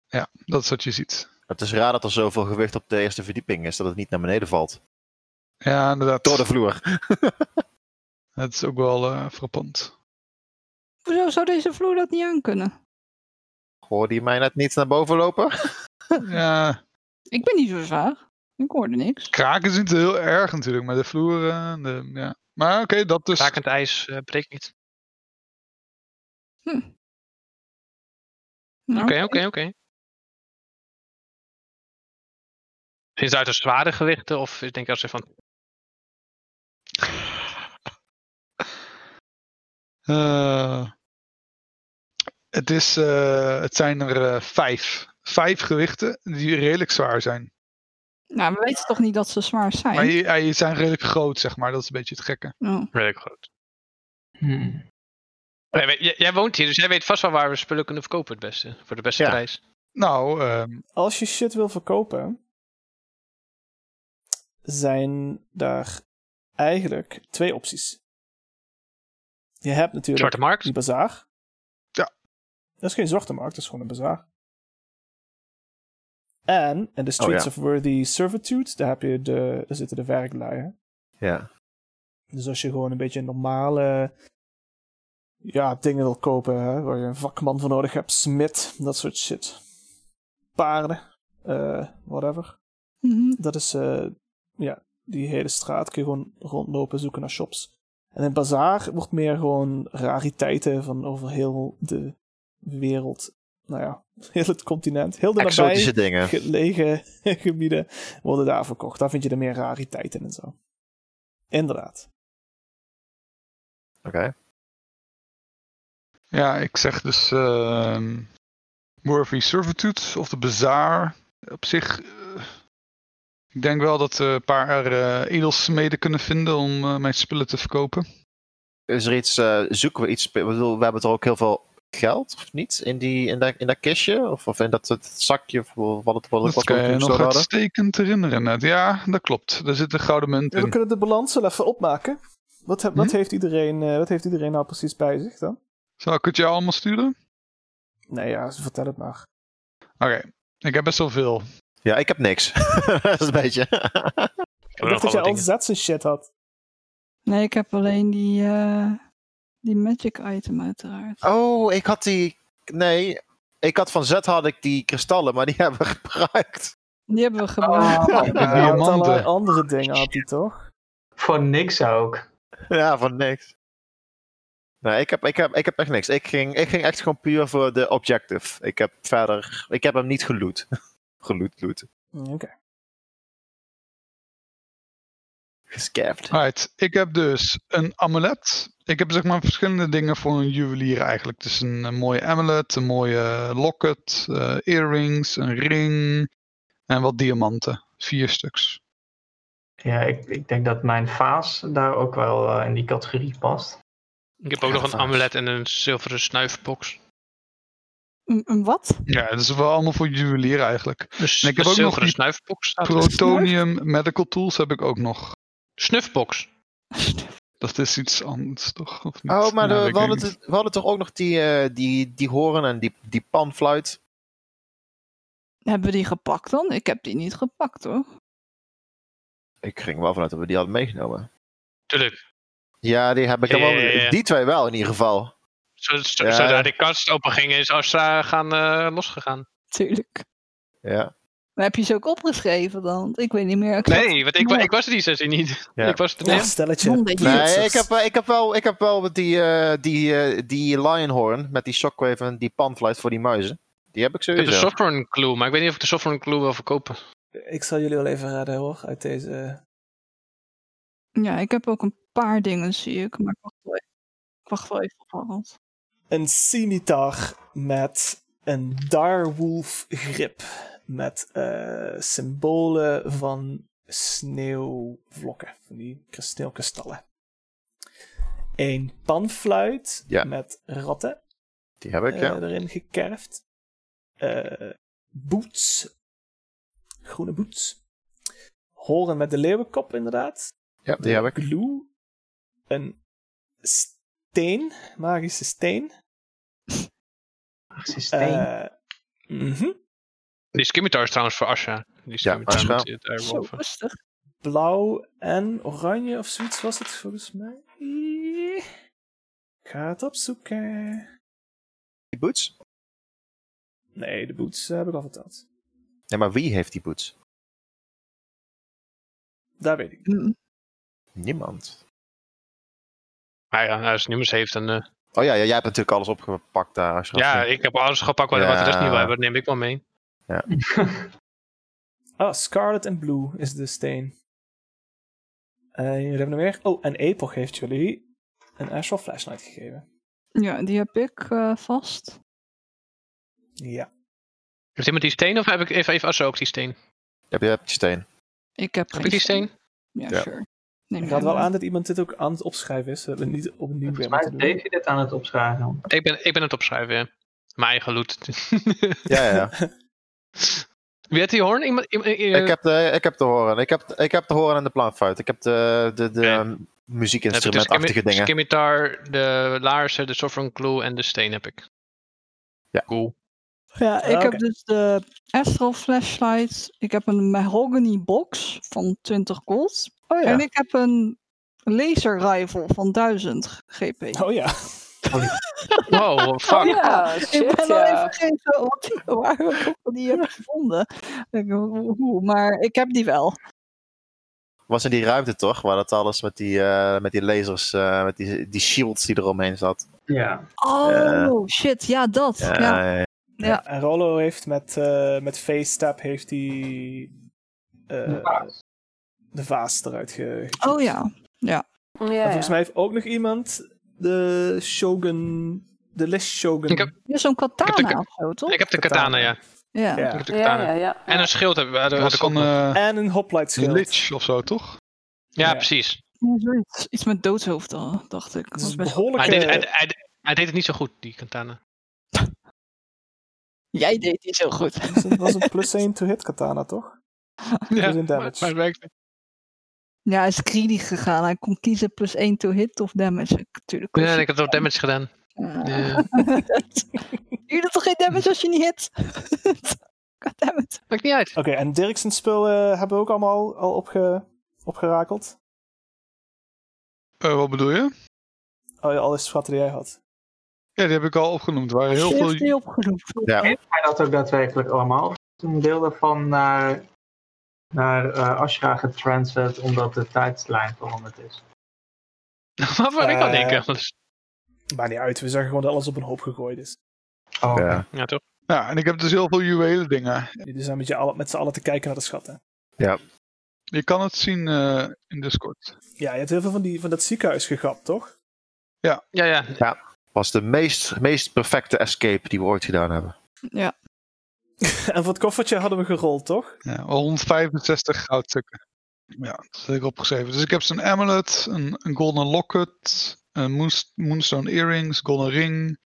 [SPEAKER 2] ja, dat is wat je ziet.
[SPEAKER 6] Het is raar dat er zoveel gewicht op de eerste verdieping is, dat het niet naar beneden valt.
[SPEAKER 2] Ja, inderdaad.
[SPEAKER 6] Door de vloer.
[SPEAKER 2] Het is ook wel eh, frappant.
[SPEAKER 7] Hoezo zou deze vloer dat niet aankunnen?
[SPEAKER 6] Hoorde je mij net niet naar boven lopen?
[SPEAKER 2] Ja,
[SPEAKER 7] Ik ben niet zo zwaar. Ik hoorde niks.
[SPEAKER 2] Kraken is niet heel erg natuurlijk, maar de vloer. eh, de, ja. Maar oké, dat dus.
[SPEAKER 3] Rakend ijs eh, breekt niet.
[SPEAKER 7] Nou,
[SPEAKER 3] Oké, oké, oké. Zijn het uit de zware gewichten of ik denk als ze van.
[SPEAKER 2] eh, het, is, eh, het zijn er eh, vijf. Vijf gewichten die redelijk zwaar zijn.
[SPEAKER 7] Nou, we weten toch niet dat ze zwaar zijn?
[SPEAKER 2] Maar die- eh, die zijn redelijk groot, zeg maar. Dat is een beetje het gekke.
[SPEAKER 7] Oh.
[SPEAKER 3] Redelijk groot.
[SPEAKER 4] Hmm.
[SPEAKER 3] Jij, weet- jij- jij woont hier, dus jij weet vast wel waar we spullen kunnen verkopen het beste. Voor de beste
[SPEAKER 6] Ja.
[SPEAKER 3] prijs.
[SPEAKER 2] Nou, ehm,
[SPEAKER 1] Als je shit wil verkopen, zijn daar eigenlijk twee opties. Je hebt natuurlijk
[SPEAKER 3] Zwarte markt.
[SPEAKER 1] die bazaar.
[SPEAKER 2] Ja.
[SPEAKER 1] Dat is geen zwarte markt, dat is gewoon een bazaar. En in de Streets
[SPEAKER 6] ja.
[SPEAKER 1] of Worthy Servitude, daar, heb je de, daar zitten de werkluien.
[SPEAKER 6] Ja.
[SPEAKER 1] Dus als je gewoon een beetje normale ja, dingen wil kopen, hè, waar je een vakman voor nodig hebt, smid, dat soort shit. Paarden, eh, whatever.
[SPEAKER 7] Mhm.
[SPEAKER 1] Dat is, eh, ja, die hele straat kun je gewoon rondlopen, zoeken naar shops. En een bazaar wordt meer gewoon rariteiten van over heel de wereld. Nou ja, heel het continent. Heel de nabij
[SPEAKER 6] Exotische dingen.
[SPEAKER 1] gelegen gebieden worden daar verkocht. Daar vind je er meer rariteiten en zo. Inderdaad.
[SPEAKER 6] Oké.
[SPEAKER 2] ja, ik zeg dus. ehm Murphy Servitude of de Bazaar. Op zich. eh, ik denk wel dat we een paar eh, edelsmeden kunnen vinden om eh, mijn spullen te verkopen.
[SPEAKER 6] Is er iets, eh, zoeken we iets, ik bedoel, we hebben toch ook heel veel geld, of niet? In, die, in, dat, in dat kistje? Of, of in dat, dat zakje? Of wat het wat,
[SPEAKER 2] Dat
[SPEAKER 6] wat
[SPEAKER 2] kan
[SPEAKER 6] we
[SPEAKER 2] je
[SPEAKER 6] toen
[SPEAKER 2] nog
[SPEAKER 6] gestolen hadden?
[SPEAKER 2] uitstekend herinneren net. Ja, dat klopt. Daar zit een gouden munt
[SPEAKER 1] Ja, we
[SPEAKER 2] in.
[SPEAKER 1] kunnen de balans wel even opmaken. Wat, he- wat,
[SPEAKER 2] Hm?
[SPEAKER 1] heeft iedereen, eh, wat heeft iedereen nou precies bij zich dan?
[SPEAKER 2] Zal ik het jou allemaal sturen?
[SPEAKER 1] Nee, ja, vertel het maar.
[SPEAKER 2] Oké, ik heb best wel veel.
[SPEAKER 6] Ja, ik heb niks. dat is een beetje.
[SPEAKER 1] Ik dacht dat jij al zet zijn shit had.
[SPEAKER 7] Nee, ik heb alleen die, eh, die magic item uiteraard.
[SPEAKER 6] oh, ik had die. Nee, ik had van Z had ik die kristallen, maar die hebben we gebruikt.
[SPEAKER 7] Die hebben we gebruikt.
[SPEAKER 4] Oh,
[SPEAKER 2] Ik heb
[SPEAKER 4] eh,
[SPEAKER 1] Hij had
[SPEAKER 2] diamanten.
[SPEAKER 1] allerlei andere dingen, had hij toch?
[SPEAKER 4] voor niks ook.
[SPEAKER 6] Ja, van niks. Nee, ik heb, ik heb, ik heb echt niks. Ik ging, ik ging echt gewoon puur voor de objective. Ik heb verder. Ik heb hem niet geloot. geloot, loot.
[SPEAKER 1] Hm, Oké.
[SPEAKER 6] Gescapt.
[SPEAKER 2] Right, ik heb dus een amulet. Ik heb zeg maar verschillende dingen voor een juwelier eigenlijk. Dus een, een mooie amulet, een mooie locket, eh, earrings, een ring en wat diamanten. Vier stuks.
[SPEAKER 4] Ja, ik, ik denk dat mijn vaas daar ook wel eh, in die categorie past.
[SPEAKER 3] Ik heb ook
[SPEAKER 6] Ja,
[SPEAKER 3] nog een
[SPEAKER 6] vaas.
[SPEAKER 3] amulet en een zilveren snuifbox.
[SPEAKER 7] Een, een wat?
[SPEAKER 2] Ja, dat is wel allemaal voor juwelier eigenlijk.
[SPEAKER 3] Dus
[SPEAKER 2] En ik heb ook nog
[SPEAKER 3] zilveren
[SPEAKER 2] die
[SPEAKER 3] snuifbox staat er.
[SPEAKER 2] Protonium Medical Tools heb ik ook nog.
[SPEAKER 3] Snufbox.
[SPEAKER 2] Dat is iets anders toch? Of niet?
[SPEAKER 6] Oh, maar
[SPEAKER 2] Ja,
[SPEAKER 6] de-
[SPEAKER 2] ik
[SPEAKER 6] we,
[SPEAKER 2] weet
[SPEAKER 6] hadden
[SPEAKER 2] niet.
[SPEAKER 6] het- we hadden toch ook nog die, eh, die, die horen en die, die panfluit.
[SPEAKER 7] Hebben we die gepakt dan? Ik heb die niet gepakt hoor.
[SPEAKER 6] Ik ging wel vanuit dat we die hadden meegenomen.
[SPEAKER 3] Tuurlijk.
[SPEAKER 6] Ja, die heb ik
[SPEAKER 3] Ja,
[SPEAKER 6] allemaal.
[SPEAKER 3] ja, ja, ja.
[SPEAKER 6] Die twee wel in ieder geval.
[SPEAKER 3] Zo, zo,
[SPEAKER 6] Ja.
[SPEAKER 3] Zodra de kast open ging, is Astra gaan eh, losgegaan.
[SPEAKER 7] Tuurlijk.
[SPEAKER 6] Ja.
[SPEAKER 7] Maar heb je ze ook opgeschreven dan? Want Ik weet niet meer. exact.
[SPEAKER 3] Nee, want ik, wa- ik was die sessie niet.
[SPEAKER 6] Ja.
[SPEAKER 3] Ik was er
[SPEAKER 1] Ja,
[SPEAKER 3] niet.
[SPEAKER 1] stelletje.
[SPEAKER 7] Een beetje.
[SPEAKER 6] Nee, ik heb, eh, ik heb wel, ik heb wel met die, eh, die, eh, die Lionhorn met die Shockwave en die panfluit voor die muizen. Die heb ik
[SPEAKER 3] Ik heb de
[SPEAKER 6] sowieso.
[SPEAKER 3] software clue, maar ik weet niet of ik de software clue wil verkopen.
[SPEAKER 1] Ik zal jullie wel even redden hoor, uit deze...
[SPEAKER 7] Ja, ik heb ook een paar dingen zie ik. Maar ik wacht wel even, ik wacht wel even op Harold.
[SPEAKER 1] een scimitar met een direwolf grip. Met eh, symbolen van sneeuwvlokken, van die kris- sneeuwkristallen. Een panfluit
[SPEAKER 6] Ja.
[SPEAKER 1] met ratten
[SPEAKER 6] Die heb ik,
[SPEAKER 1] eh,
[SPEAKER 6] ja.
[SPEAKER 1] erin gekerfd. Eh, boots. Groene boots. Horen met de leeuwenkop, inderdaad.
[SPEAKER 6] Ja, die heb ik.
[SPEAKER 1] Glue. Een steen. Magische steen.
[SPEAKER 4] Systeem.
[SPEAKER 1] Eh, mhm.
[SPEAKER 3] Die scimitar is trouwens voor Asha. Die scimitar
[SPEAKER 6] Asha.
[SPEAKER 3] met het
[SPEAKER 7] Zo,
[SPEAKER 3] Direwolf.
[SPEAKER 7] rustig.
[SPEAKER 1] Blauw en oranje of zoiets was het volgens mij. Ik ga het opzoeken.
[SPEAKER 6] Die boots?
[SPEAKER 1] Nee, de boots eh, heb ik al verteld.
[SPEAKER 6] Nee, maar wie heeft die boots?
[SPEAKER 1] Daar weet ik. niet.
[SPEAKER 7] Mm.
[SPEAKER 6] Niemand.
[SPEAKER 3] Maar ja, als Niemand heeft, dan... eh,
[SPEAKER 6] Oh ja, ja, jij hebt natuurlijk alles opgepakt daar. Ashraf.
[SPEAKER 3] ja, ik heb alles gepakt wat, wat de rest niet wil hebben. Dat neem ik wel mee.
[SPEAKER 1] Ah, Scarlet en Blue is de steen. Eh jullie hebben nog meer? Oh, en Epoch heeft jullie een Astral Flashlight gegeven.
[SPEAKER 7] Ja, die heb ik eh, vast.
[SPEAKER 1] Ja.
[SPEAKER 3] Heeft iemand die steen of heb ik even, even Asha ook die steen?
[SPEAKER 6] Heb je hebt die steen?
[SPEAKER 7] Ik heb
[SPEAKER 3] Heb ik die steen?
[SPEAKER 7] Ja,
[SPEAKER 6] Ja.
[SPEAKER 7] sure. Neem
[SPEAKER 1] Ik
[SPEAKER 7] jij
[SPEAKER 1] had wel
[SPEAKER 7] maar.
[SPEAKER 1] aan dat iemand dit ook aan het opschrijven is. Dat we het niet opnieuw
[SPEAKER 4] Volgens
[SPEAKER 1] weer
[SPEAKER 4] mij
[SPEAKER 1] moeten
[SPEAKER 4] is
[SPEAKER 1] doen.
[SPEAKER 4] Davy dit aan het opschrijven.
[SPEAKER 3] Ik ben, ik ben het opschrijven, ja. Mijn eigen loot.
[SPEAKER 6] Ja, ja, ja.
[SPEAKER 3] Wie had die hoorn? Iemand, iemand- eh,
[SPEAKER 6] ik, heb de, ik heb de horen. Ik heb, ik heb de horen en de plaatfuit. Ik heb de, de, de
[SPEAKER 3] Oké.
[SPEAKER 6] um,
[SPEAKER 3] heb ik de
[SPEAKER 6] muziekinstrumentachtige
[SPEAKER 3] skimi-
[SPEAKER 6] dingen.
[SPEAKER 3] Scimitar, de laarzen, de sovereign clue en de steen heb ik.
[SPEAKER 6] Ja.
[SPEAKER 3] Cool.
[SPEAKER 7] Ja, ik
[SPEAKER 1] Oké.
[SPEAKER 7] heb dus de Astral Flashlight. Ik heb een Mahogany Box van 20 gold.
[SPEAKER 6] Oh
[SPEAKER 7] En
[SPEAKER 6] ja.
[SPEAKER 7] ik heb een Laser Rifle van 1000 GP.
[SPEAKER 1] Oh ja.
[SPEAKER 3] Wow, fuck.
[SPEAKER 5] Ja,
[SPEAKER 7] ik ben
[SPEAKER 5] shit,
[SPEAKER 7] al
[SPEAKER 5] ja.
[SPEAKER 7] even vergeten wat, waar ik die heb gevonden. Ik, hoe- hoe, maar ik heb die wel.
[SPEAKER 6] Was in die ruimte toch? Waar dat alles met die, eh, met die lasers, eh, met die, die shields die eromheen zat.
[SPEAKER 4] Ja.
[SPEAKER 7] Oh,
[SPEAKER 6] Ja.
[SPEAKER 7] shit. Ja, dat.
[SPEAKER 6] Ja,
[SPEAKER 7] Ja,
[SPEAKER 6] ja.
[SPEAKER 7] Ja.
[SPEAKER 1] En Rollo heeft met, eh met Face Step heeft die, eh, de vaas eruit ge. ge-
[SPEAKER 7] Oh ja.
[SPEAKER 5] Ja,
[SPEAKER 1] En
[SPEAKER 5] ja.
[SPEAKER 1] volgens mij heeft ook nog iemand de Shogun, de Les Shogun.
[SPEAKER 3] Ik heb-
[SPEAKER 7] Ja, zo'n
[SPEAKER 3] Ik heb de-
[SPEAKER 7] katana of zo, toch?
[SPEAKER 3] Ik heb de katana, ja.
[SPEAKER 7] Ja.
[SPEAKER 1] Ja.
[SPEAKER 3] Ik heb de
[SPEAKER 5] ja,
[SPEAKER 3] katana.
[SPEAKER 5] ja, ja.
[SPEAKER 3] En een schild heb, had,
[SPEAKER 2] Dat
[SPEAKER 3] had
[SPEAKER 2] was
[SPEAKER 3] ik ook
[SPEAKER 2] een
[SPEAKER 3] nog.
[SPEAKER 2] eh,
[SPEAKER 1] En een hoplite schild.
[SPEAKER 2] lich of zo, toch?
[SPEAKER 3] Ja,
[SPEAKER 1] ja.
[SPEAKER 3] precies.
[SPEAKER 7] Ja, zoiets. Iets met doodshoofd, al, dacht ik.
[SPEAKER 1] Dat
[SPEAKER 7] Dat
[SPEAKER 1] is
[SPEAKER 7] was
[SPEAKER 1] een
[SPEAKER 7] best-
[SPEAKER 3] Maar
[SPEAKER 1] behoorlijke...
[SPEAKER 3] hij, deed, hij, hij- hij- hij deed het niet zo goed, die katana.
[SPEAKER 7] Jij deed die zo goed.
[SPEAKER 1] Dat was een- Dus was een plus 1 to hit katana, toch?
[SPEAKER 3] Ja,
[SPEAKER 1] een damage.
[SPEAKER 3] maar, maar het werkte.
[SPEAKER 7] Ja, hij is greedy gegaan. Hij kon kiezen plus 1 to hit of damage. Ik- Natuurlijk.
[SPEAKER 3] Ja, en ik heb wel damage gedaan.
[SPEAKER 7] Uh,
[SPEAKER 3] Ja.
[SPEAKER 7] Je doet toch geen damage als je niet hit? Goddammit.
[SPEAKER 3] Maakt niet uit.
[SPEAKER 1] Oké, en Dirksen's spul eh, hebben we ook allemaal al opge, opgerakeld.
[SPEAKER 2] Eh, wat bedoel je?
[SPEAKER 1] Oh Al, alle schatten die jij had.
[SPEAKER 2] Ja, die heb ik al opgenoemd. Er waren heel
[SPEAKER 7] Heeft
[SPEAKER 2] veel
[SPEAKER 7] hij opgeroepen?
[SPEAKER 6] Ja.
[SPEAKER 4] Heeft hij dat ook daadwerkelijk allemaal? Of is een deel daarvan naar, naar eh, Ashra getransit omdat de tijdslijn veranderd is?
[SPEAKER 3] Wat wou ik al
[SPEAKER 1] Eh.
[SPEAKER 3] denken? Dat is-
[SPEAKER 1] Maar niet uit, we zeggen gewoon dat alles op een hoop gegooid dus. is.
[SPEAKER 4] Oh, oké.
[SPEAKER 6] Ja.
[SPEAKER 3] Ja, toch?
[SPEAKER 2] Ja, en ik heb dus heel veel juwelen dingen.
[SPEAKER 1] Jullie zijn met, je alle, met z'n allen te kijken naar de schatten.
[SPEAKER 2] Je kan het zien eh, in Discord.
[SPEAKER 1] Ja, je hebt heel veel van, die, van dat ziekenhuis gegapt, toch?
[SPEAKER 3] Ja, ja.
[SPEAKER 6] Was de meest, meest perfecte escape die we ooit gedaan hebben.
[SPEAKER 7] Ja.
[SPEAKER 1] en voor het koffertje hadden we gerold, toch?
[SPEAKER 2] Ja, 165 goudstukken. Ja, dat heb ik opgeschreven. Dus ik heb zo'n amulet, een, een golden locket, een moons- moonstone earrings, golden ring,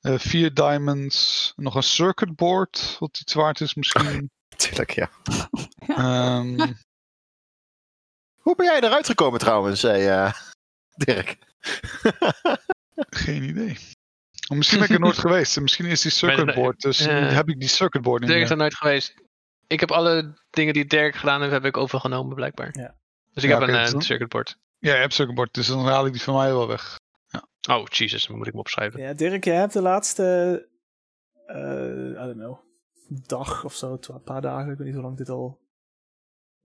[SPEAKER 2] eh, vier diamonds, nog een circuit board, wat iets waard is misschien.
[SPEAKER 6] Tuurlijk, ja.
[SPEAKER 2] Ehm,
[SPEAKER 6] Hoe ben jij eruit gekomen trouwens, zei eh, Dirk?
[SPEAKER 2] geen idee. Maar Misschien ben ik er nooit geweest. en Misschien is die circuit
[SPEAKER 3] Ben-
[SPEAKER 2] board. Dus
[SPEAKER 3] eh,
[SPEAKER 2] heb ik die circuit board niet
[SPEAKER 3] Dirk is
[SPEAKER 2] meer.
[SPEAKER 3] er nooit geweest. Ik heb alle dingen die Dirk gedaan heeft, heb ik overgenomen blijkbaar.
[SPEAKER 1] Ja.
[SPEAKER 3] Dus ik
[SPEAKER 2] Ja,
[SPEAKER 3] heb
[SPEAKER 2] oké,
[SPEAKER 3] een
[SPEAKER 2] dat
[SPEAKER 3] eh,
[SPEAKER 2] is-
[SPEAKER 3] circuitboard.
[SPEAKER 2] Ja, je hebt circuit board, dus dan haal ik die van mij wel weg.
[SPEAKER 3] Oh, Jesus, dan moet ik hem opschrijven.
[SPEAKER 1] Ja, Dirk, jij hebt de laatste... eh, I don't know. Dag of zo, twa- een paar dagen. Ik weet niet hoe lang dit al...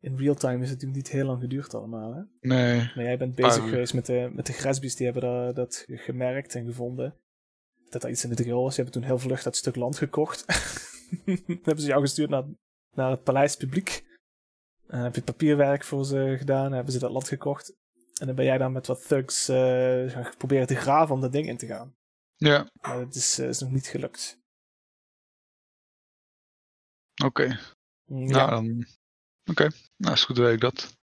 [SPEAKER 1] In real time is het natuurlijk niet heel lang geduurd allemaal, hè?
[SPEAKER 2] Nee.
[SPEAKER 1] Maar jij bent bezig
[SPEAKER 2] Ah.
[SPEAKER 1] geweest met de, met de Gresbies, die hebben daar- dat gemerkt en gevonden. Dat daar iets in de dril was. Ze hebben toen heel vlug dat stuk land gekocht. Dan hebben ze jou gestuurd naar, naar het paleis publiek. En dan heb je het papierwerk voor ze gedaan, dan hebben ze dat land gekocht. En dan ben jij daar met wat thugs eh, gaan proberen te graven om dat ding in te gaan.
[SPEAKER 2] Ja,
[SPEAKER 1] Maar dat is, eh, is nog niet gelukt.
[SPEAKER 2] oké. Nou, dan... Oké, nou is goed, dan weet ik dat.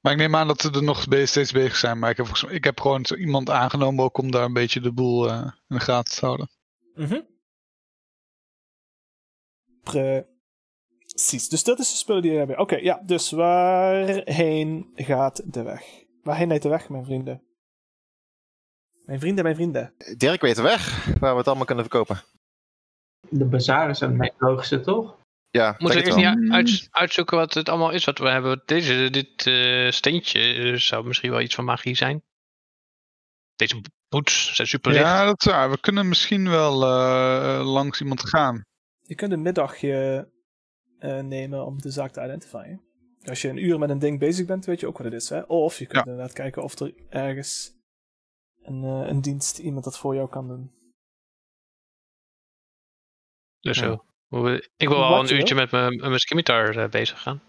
[SPEAKER 2] Maar ik neem aan dat ze er nog be- steeds bezig zijn. Maar ik heb, volgens mij- ik heb gewoon zo iemand aangenomen ook om daar een beetje de boel eh, in de gaten te houden.
[SPEAKER 1] Mhm. Precies. Dus dat is de spullen die we hebben. Oké, ja. Dus waarheen gaat de weg? Waarheen leidt de weg, mijn vrienden? Mijn vrienden, mijn vrienden.
[SPEAKER 6] Dirk weet de weg waar we het allemaal kunnen verkopen.
[SPEAKER 4] De bazaar is het meest logische, toch?
[SPEAKER 6] Ja,
[SPEAKER 3] Moeten we
[SPEAKER 6] denk
[SPEAKER 3] eerst
[SPEAKER 6] het wel.
[SPEAKER 3] niet uit- uitzoeken wat het allemaal is wat we hebben? Deze, dit eh, steentje eh, zou misschien wel iets van magie zijn. Deze boots zijn super licht.
[SPEAKER 2] Ja, dat is waar. We kunnen misschien wel eh, langs iemand gaan.
[SPEAKER 1] Je kunt een middagje eh, nemen om de zaak te identifieren. Als je een uur met een ding bezig bent, weet je ook wat het is. Hè? Of je kunt inderdaad kijken of er ergens een, eh, een dienst iemand dat voor jou kan doen.
[SPEAKER 3] Dus
[SPEAKER 2] Ja.
[SPEAKER 3] zo. Hoe we- Ik wil
[SPEAKER 1] Wat
[SPEAKER 3] al
[SPEAKER 1] je
[SPEAKER 3] een uurtje met mijn, met mijn scimitar eh, bezig gaan.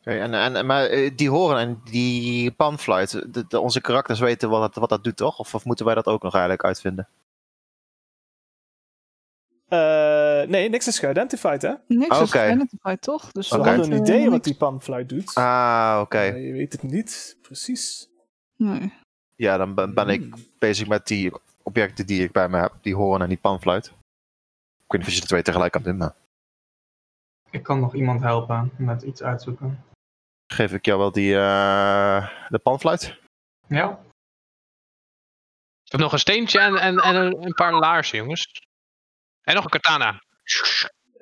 [SPEAKER 6] Oké, en, en, en- maar eh, die horen en die panfluit, de, de- onze karakters weten wat dat, wat dat doet, toch? Of, of moeten wij dat ook nog eigenlijk uitvinden?
[SPEAKER 1] Eh, nee, niks is geidentified, hè?
[SPEAKER 7] Niks is
[SPEAKER 6] Oké.
[SPEAKER 7] geidentified, toch? Dus
[SPEAKER 1] Ze
[SPEAKER 6] Oké.
[SPEAKER 1] hadden
[SPEAKER 7] eh,
[SPEAKER 1] een idee wat
[SPEAKER 7] niks-
[SPEAKER 1] die panfluit doet.
[SPEAKER 6] Ah, oké.
[SPEAKER 1] Maar Eh, je weet het niet, precies.
[SPEAKER 7] Nee.
[SPEAKER 6] Ja, dan ben, ben ik
[SPEAKER 1] Hmm.
[SPEAKER 6] bezig met die objecten die ik bij me heb, die horen en die panfluit. Ik weet niet of je de twee tegelijk kan doen, maar
[SPEAKER 4] Ik kan nog iemand helpen met iets uitzoeken.
[SPEAKER 6] geef ik jou wel die, eh, de panfluit?
[SPEAKER 4] Ja,
[SPEAKER 3] Ik heb nog een steentje en, en, en een, een paar laarzen, jongens. En nog een katana.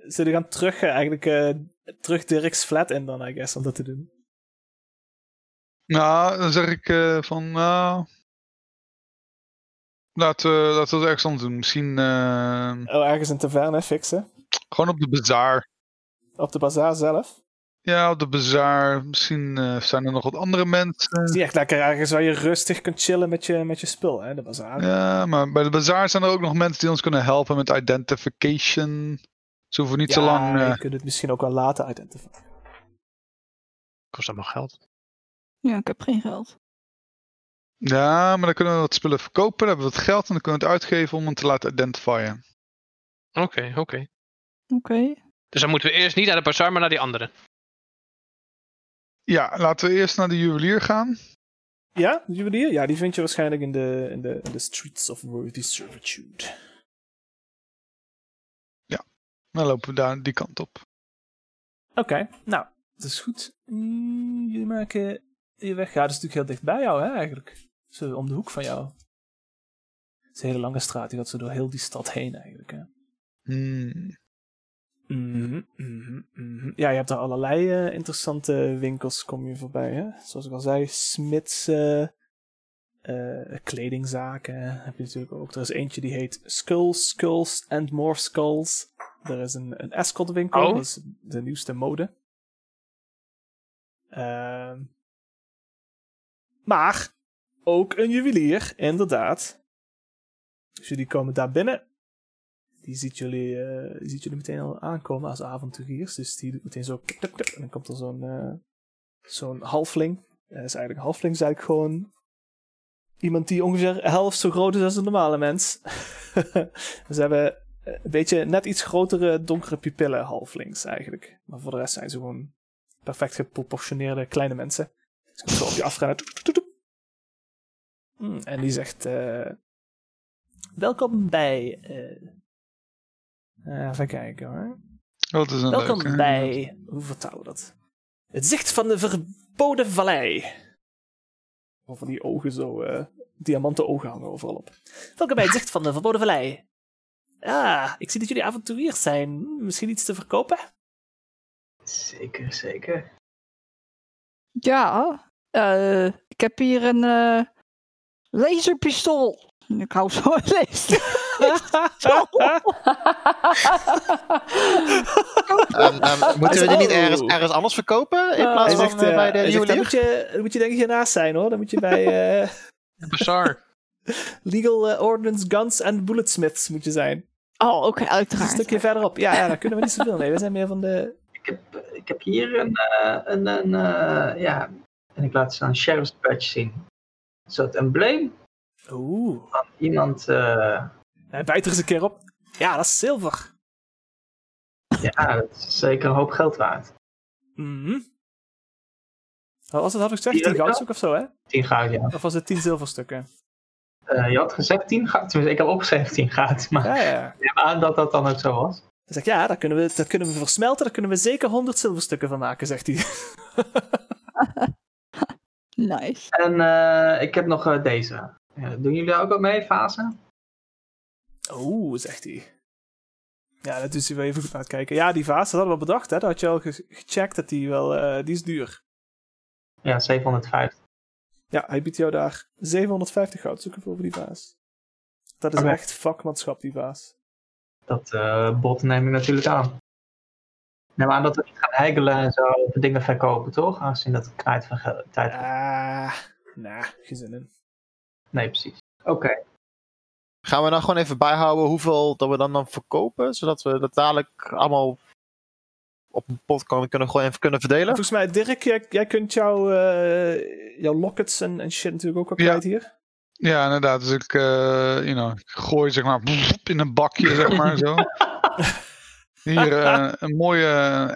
[SPEAKER 1] Ze gaan terug, eh, eigenlijk eh, terug Dirk's flat in dan, I guess, om dat te doen.
[SPEAKER 2] Nou, dan zeg ik eh, van, nou... Laten we, laten we het ergens anders doen. Misschien eh,
[SPEAKER 1] Oh, ergens een taverne fixen.
[SPEAKER 2] gewoon op de bazaar.
[SPEAKER 1] Op de bazaar zelf.
[SPEAKER 2] Ja, op de bazaar. Misschien eh, zijn er nog wat andere mensen.
[SPEAKER 1] Het is niet echt lekker ergens waar je rustig kunt chillen met je, met je spul, hè, de bazaar.
[SPEAKER 2] Ja, maar bij de bazaar zijn er ook nog mensen die ons kunnen helpen met identification. Dus we hoeven niet zo lang. eh,
[SPEAKER 1] je kunt het misschien ook wel later identificeren.
[SPEAKER 3] Kost allemaal geld.
[SPEAKER 7] Ja, ik heb geen geld.
[SPEAKER 2] ja, maar dan kunnen we wat spullen verkopen. Dan hebben we wat geld en dan kunnen we het uitgeven om het te laten identifieren.
[SPEAKER 3] Oké, oké.
[SPEAKER 7] Oké.
[SPEAKER 3] Dus dan moeten we eerst niet naar de bazaar, maar naar die andere.
[SPEAKER 2] Ja, laten we eerst naar de juwelier gaan.
[SPEAKER 1] Ja, de juwelier? Ja, die vind je waarschijnlijk in de, in de, in de streets of worthy servitude.
[SPEAKER 2] Dan lopen we daar die kant op.
[SPEAKER 1] Oké, nou, dat is goed. Mm, jullie maken je weg. Ja, dat is natuurlijk heel dicht bij jou, hè, eigenlijk. Zo om de hoek van jou. Het is een hele lange straat, die gaat zo door heel die stad heen, eigenlijk, hè.
[SPEAKER 2] Hmm.
[SPEAKER 1] Mhm, mhm, mhm. Ja, je hebt daar allerlei eh, interessante winkels kom je voorbij. Hè? Zoals ik al zei, smids, eh, eh, kledingzaken heb je natuurlijk ook. Er is eentje die heet Skulls, Skulls and More Skulls. Er is een, een escort winkel,
[SPEAKER 3] Oh.
[SPEAKER 1] dat is de nieuwste mode. Ehm, maar ook een juwelier, inderdaad. Dus jullie komen daar binnen die ziet jullie, eh, die ziet jullie meteen al aankomen als avonturiers. Dus die doet meteen zo. tuk, tuk, tuk, en dan komt er zo'n eh, zo'n halfling. Eh, is eigenlijk een halfling, is eigenlijk gewoon iemand die ongeveer helft zo groot is als een normale mens. ze hebben eh, een beetje net iets grotere, donkere pupillen halflings eigenlijk. Maar voor de rest zijn ze gewoon perfect geproportioneerde kleine mensen. Dus komt zo op je afgaan. Toet, toet, toet, toet. Mm, En die zegt. eh, Welkom bij eh, eh, even kijken hoor.
[SPEAKER 2] Dat is een
[SPEAKER 1] Welkom
[SPEAKER 2] leuke.
[SPEAKER 1] bij. Hoe vertalen we dat? Het zicht van de verboden vallei. Over die ogen zo. eh, diamanten ogen hangen overal op. Welkom bij het zicht van de verboden vallei. Ah, ik zie dat jullie avonturiers zijn. Misschien iets te verkopen?
[SPEAKER 4] zeker, zeker.
[SPEAKER 7] Ja, eh, ik heb hier een eh, laserpistool. Ik hou zo een laser.
[SPEAKER 6] En, en Ehm, moeten we die niet ergens, ergens anders verkopen in
[SPEAKER 7] Eh,
[SPEAKER 6] plaats
[SPEAKER 7] hij
[SPEAKER 6] van eh, bij de
[SPEAKER 1] Oh. hij zegt, daar moet
[SPEAKER 6] juwelier?
[SPEAKER 1] je, daar moet je denk ik hiernaast zijn hoor. Dan moet je bij eh,
[SPEAKER 3] De bazaar.
[SPEAKER 1] Legal eh, Ordnance Guns and Bulletsmiths moet je zijn.
[SPEAKER 7] Oh,
[SPEAKER 1] Dat
[SPEAKER 7] oké,
[SPEAKER 1] is een
[SPEAKER 7] uiteraard.
[SPEAKER 1] stukje verderop. Ja, ja, daar kunnen we niet zoveel mee. We zijn meer van de
[SPEAKER 4] Ik heb, ik heb hier een, eh, een, een eh, ja, en ik laat ze een sheriff's badge zien. Is dat embleem?
[SPEAKER 1] Oeh.
[SPEAKER 4] Iemand, eh,
[SPEAKER 1] Hij bijt er eens een keer op. Ja, dat is zilver.
[SPEAKER 4] ja, dat is zeker een hoop geld waard.
[SPEAKER 1] Mhm. Wat was het, had ik gezegd?
[SPEAKER 4] Hier
[SPEAKER 1] 10
[SPEAKER 4] heb ik dat.
[SPEAKER 1] goudstukken of zo, hè?
[SPEAKER 4] 10 goud, ja.
[SPEAKER 1] Of was het 10 zilverstukken?
[SPEAKER 4] Eh, je had gezegd 10 goud, tenminste, ik heb opgeschreven 10 goud, maar
[SPEAKER 1] Ja, ja.
[SPEAKER 4] ik neem aan dat dat dan ook zo was.
[SPEAKER 1] Hij zegt, ja, dat kunnen, we, dat kunnen we versmelten. Daar kunnen we zeker 100 zilverstukken van maken, zegt hij.
[SPEAKER 7] Nice.
[SPEAKER 4] En eh, ik heb nog eh, deze. Ja, doen jullie daar ook wat mee, fase?
[SPEAKER 1] Oeh, zegt hij. Ja, dat is hij wel even goed naar het kijken. Ja, die vaas, dat hadden we bedacht, hè. Dat had je al ge- gecheckt, dat die wel... eh, die is duur.
[SPEAKER 4] Ja, 750.
[SPEAKER 1] Ja, hij biedt jou daar 750 goudstukken voor, voor die vaas. Dat is
[SPEAKER 4] Oké.
[SPEAKER 1] echt vakmanschap, die vaas.
[SPEAKER 4] Dat eh, bot neem ik natuurlijk aan. Nee, maar dat we niet gaan hegelen en zo over dingen verkopen, toch? Aangezien dat krijt van geld- tijd.
[SPEAKER 1] Ah, nah, geen zin in.
[SPEAKER 4] Nee, precies. Oké,
[SPEAKER 6] Gaan we dan gewoon even bijhouden hoeveel dat we dan, dan verkopen? Zodat we dat dadelijk allemaal op een pot kan- kunnen, gooien en kunnen verdelen?
[SPEAKER 1] Volgens mij, Dirk, jij, jij kunt jouw, eh, jouw lockets en, en shit natuurlijk ook wel
[SPEAKER 2] Ja.
[SPEAKER 1] kwijt hier.
[SPEAKER 2] Ja, inderdaad. Dus ik, eh, you know, ik gooi zeg maar in een bakje, zeg maar zo. Hier eh, een mooie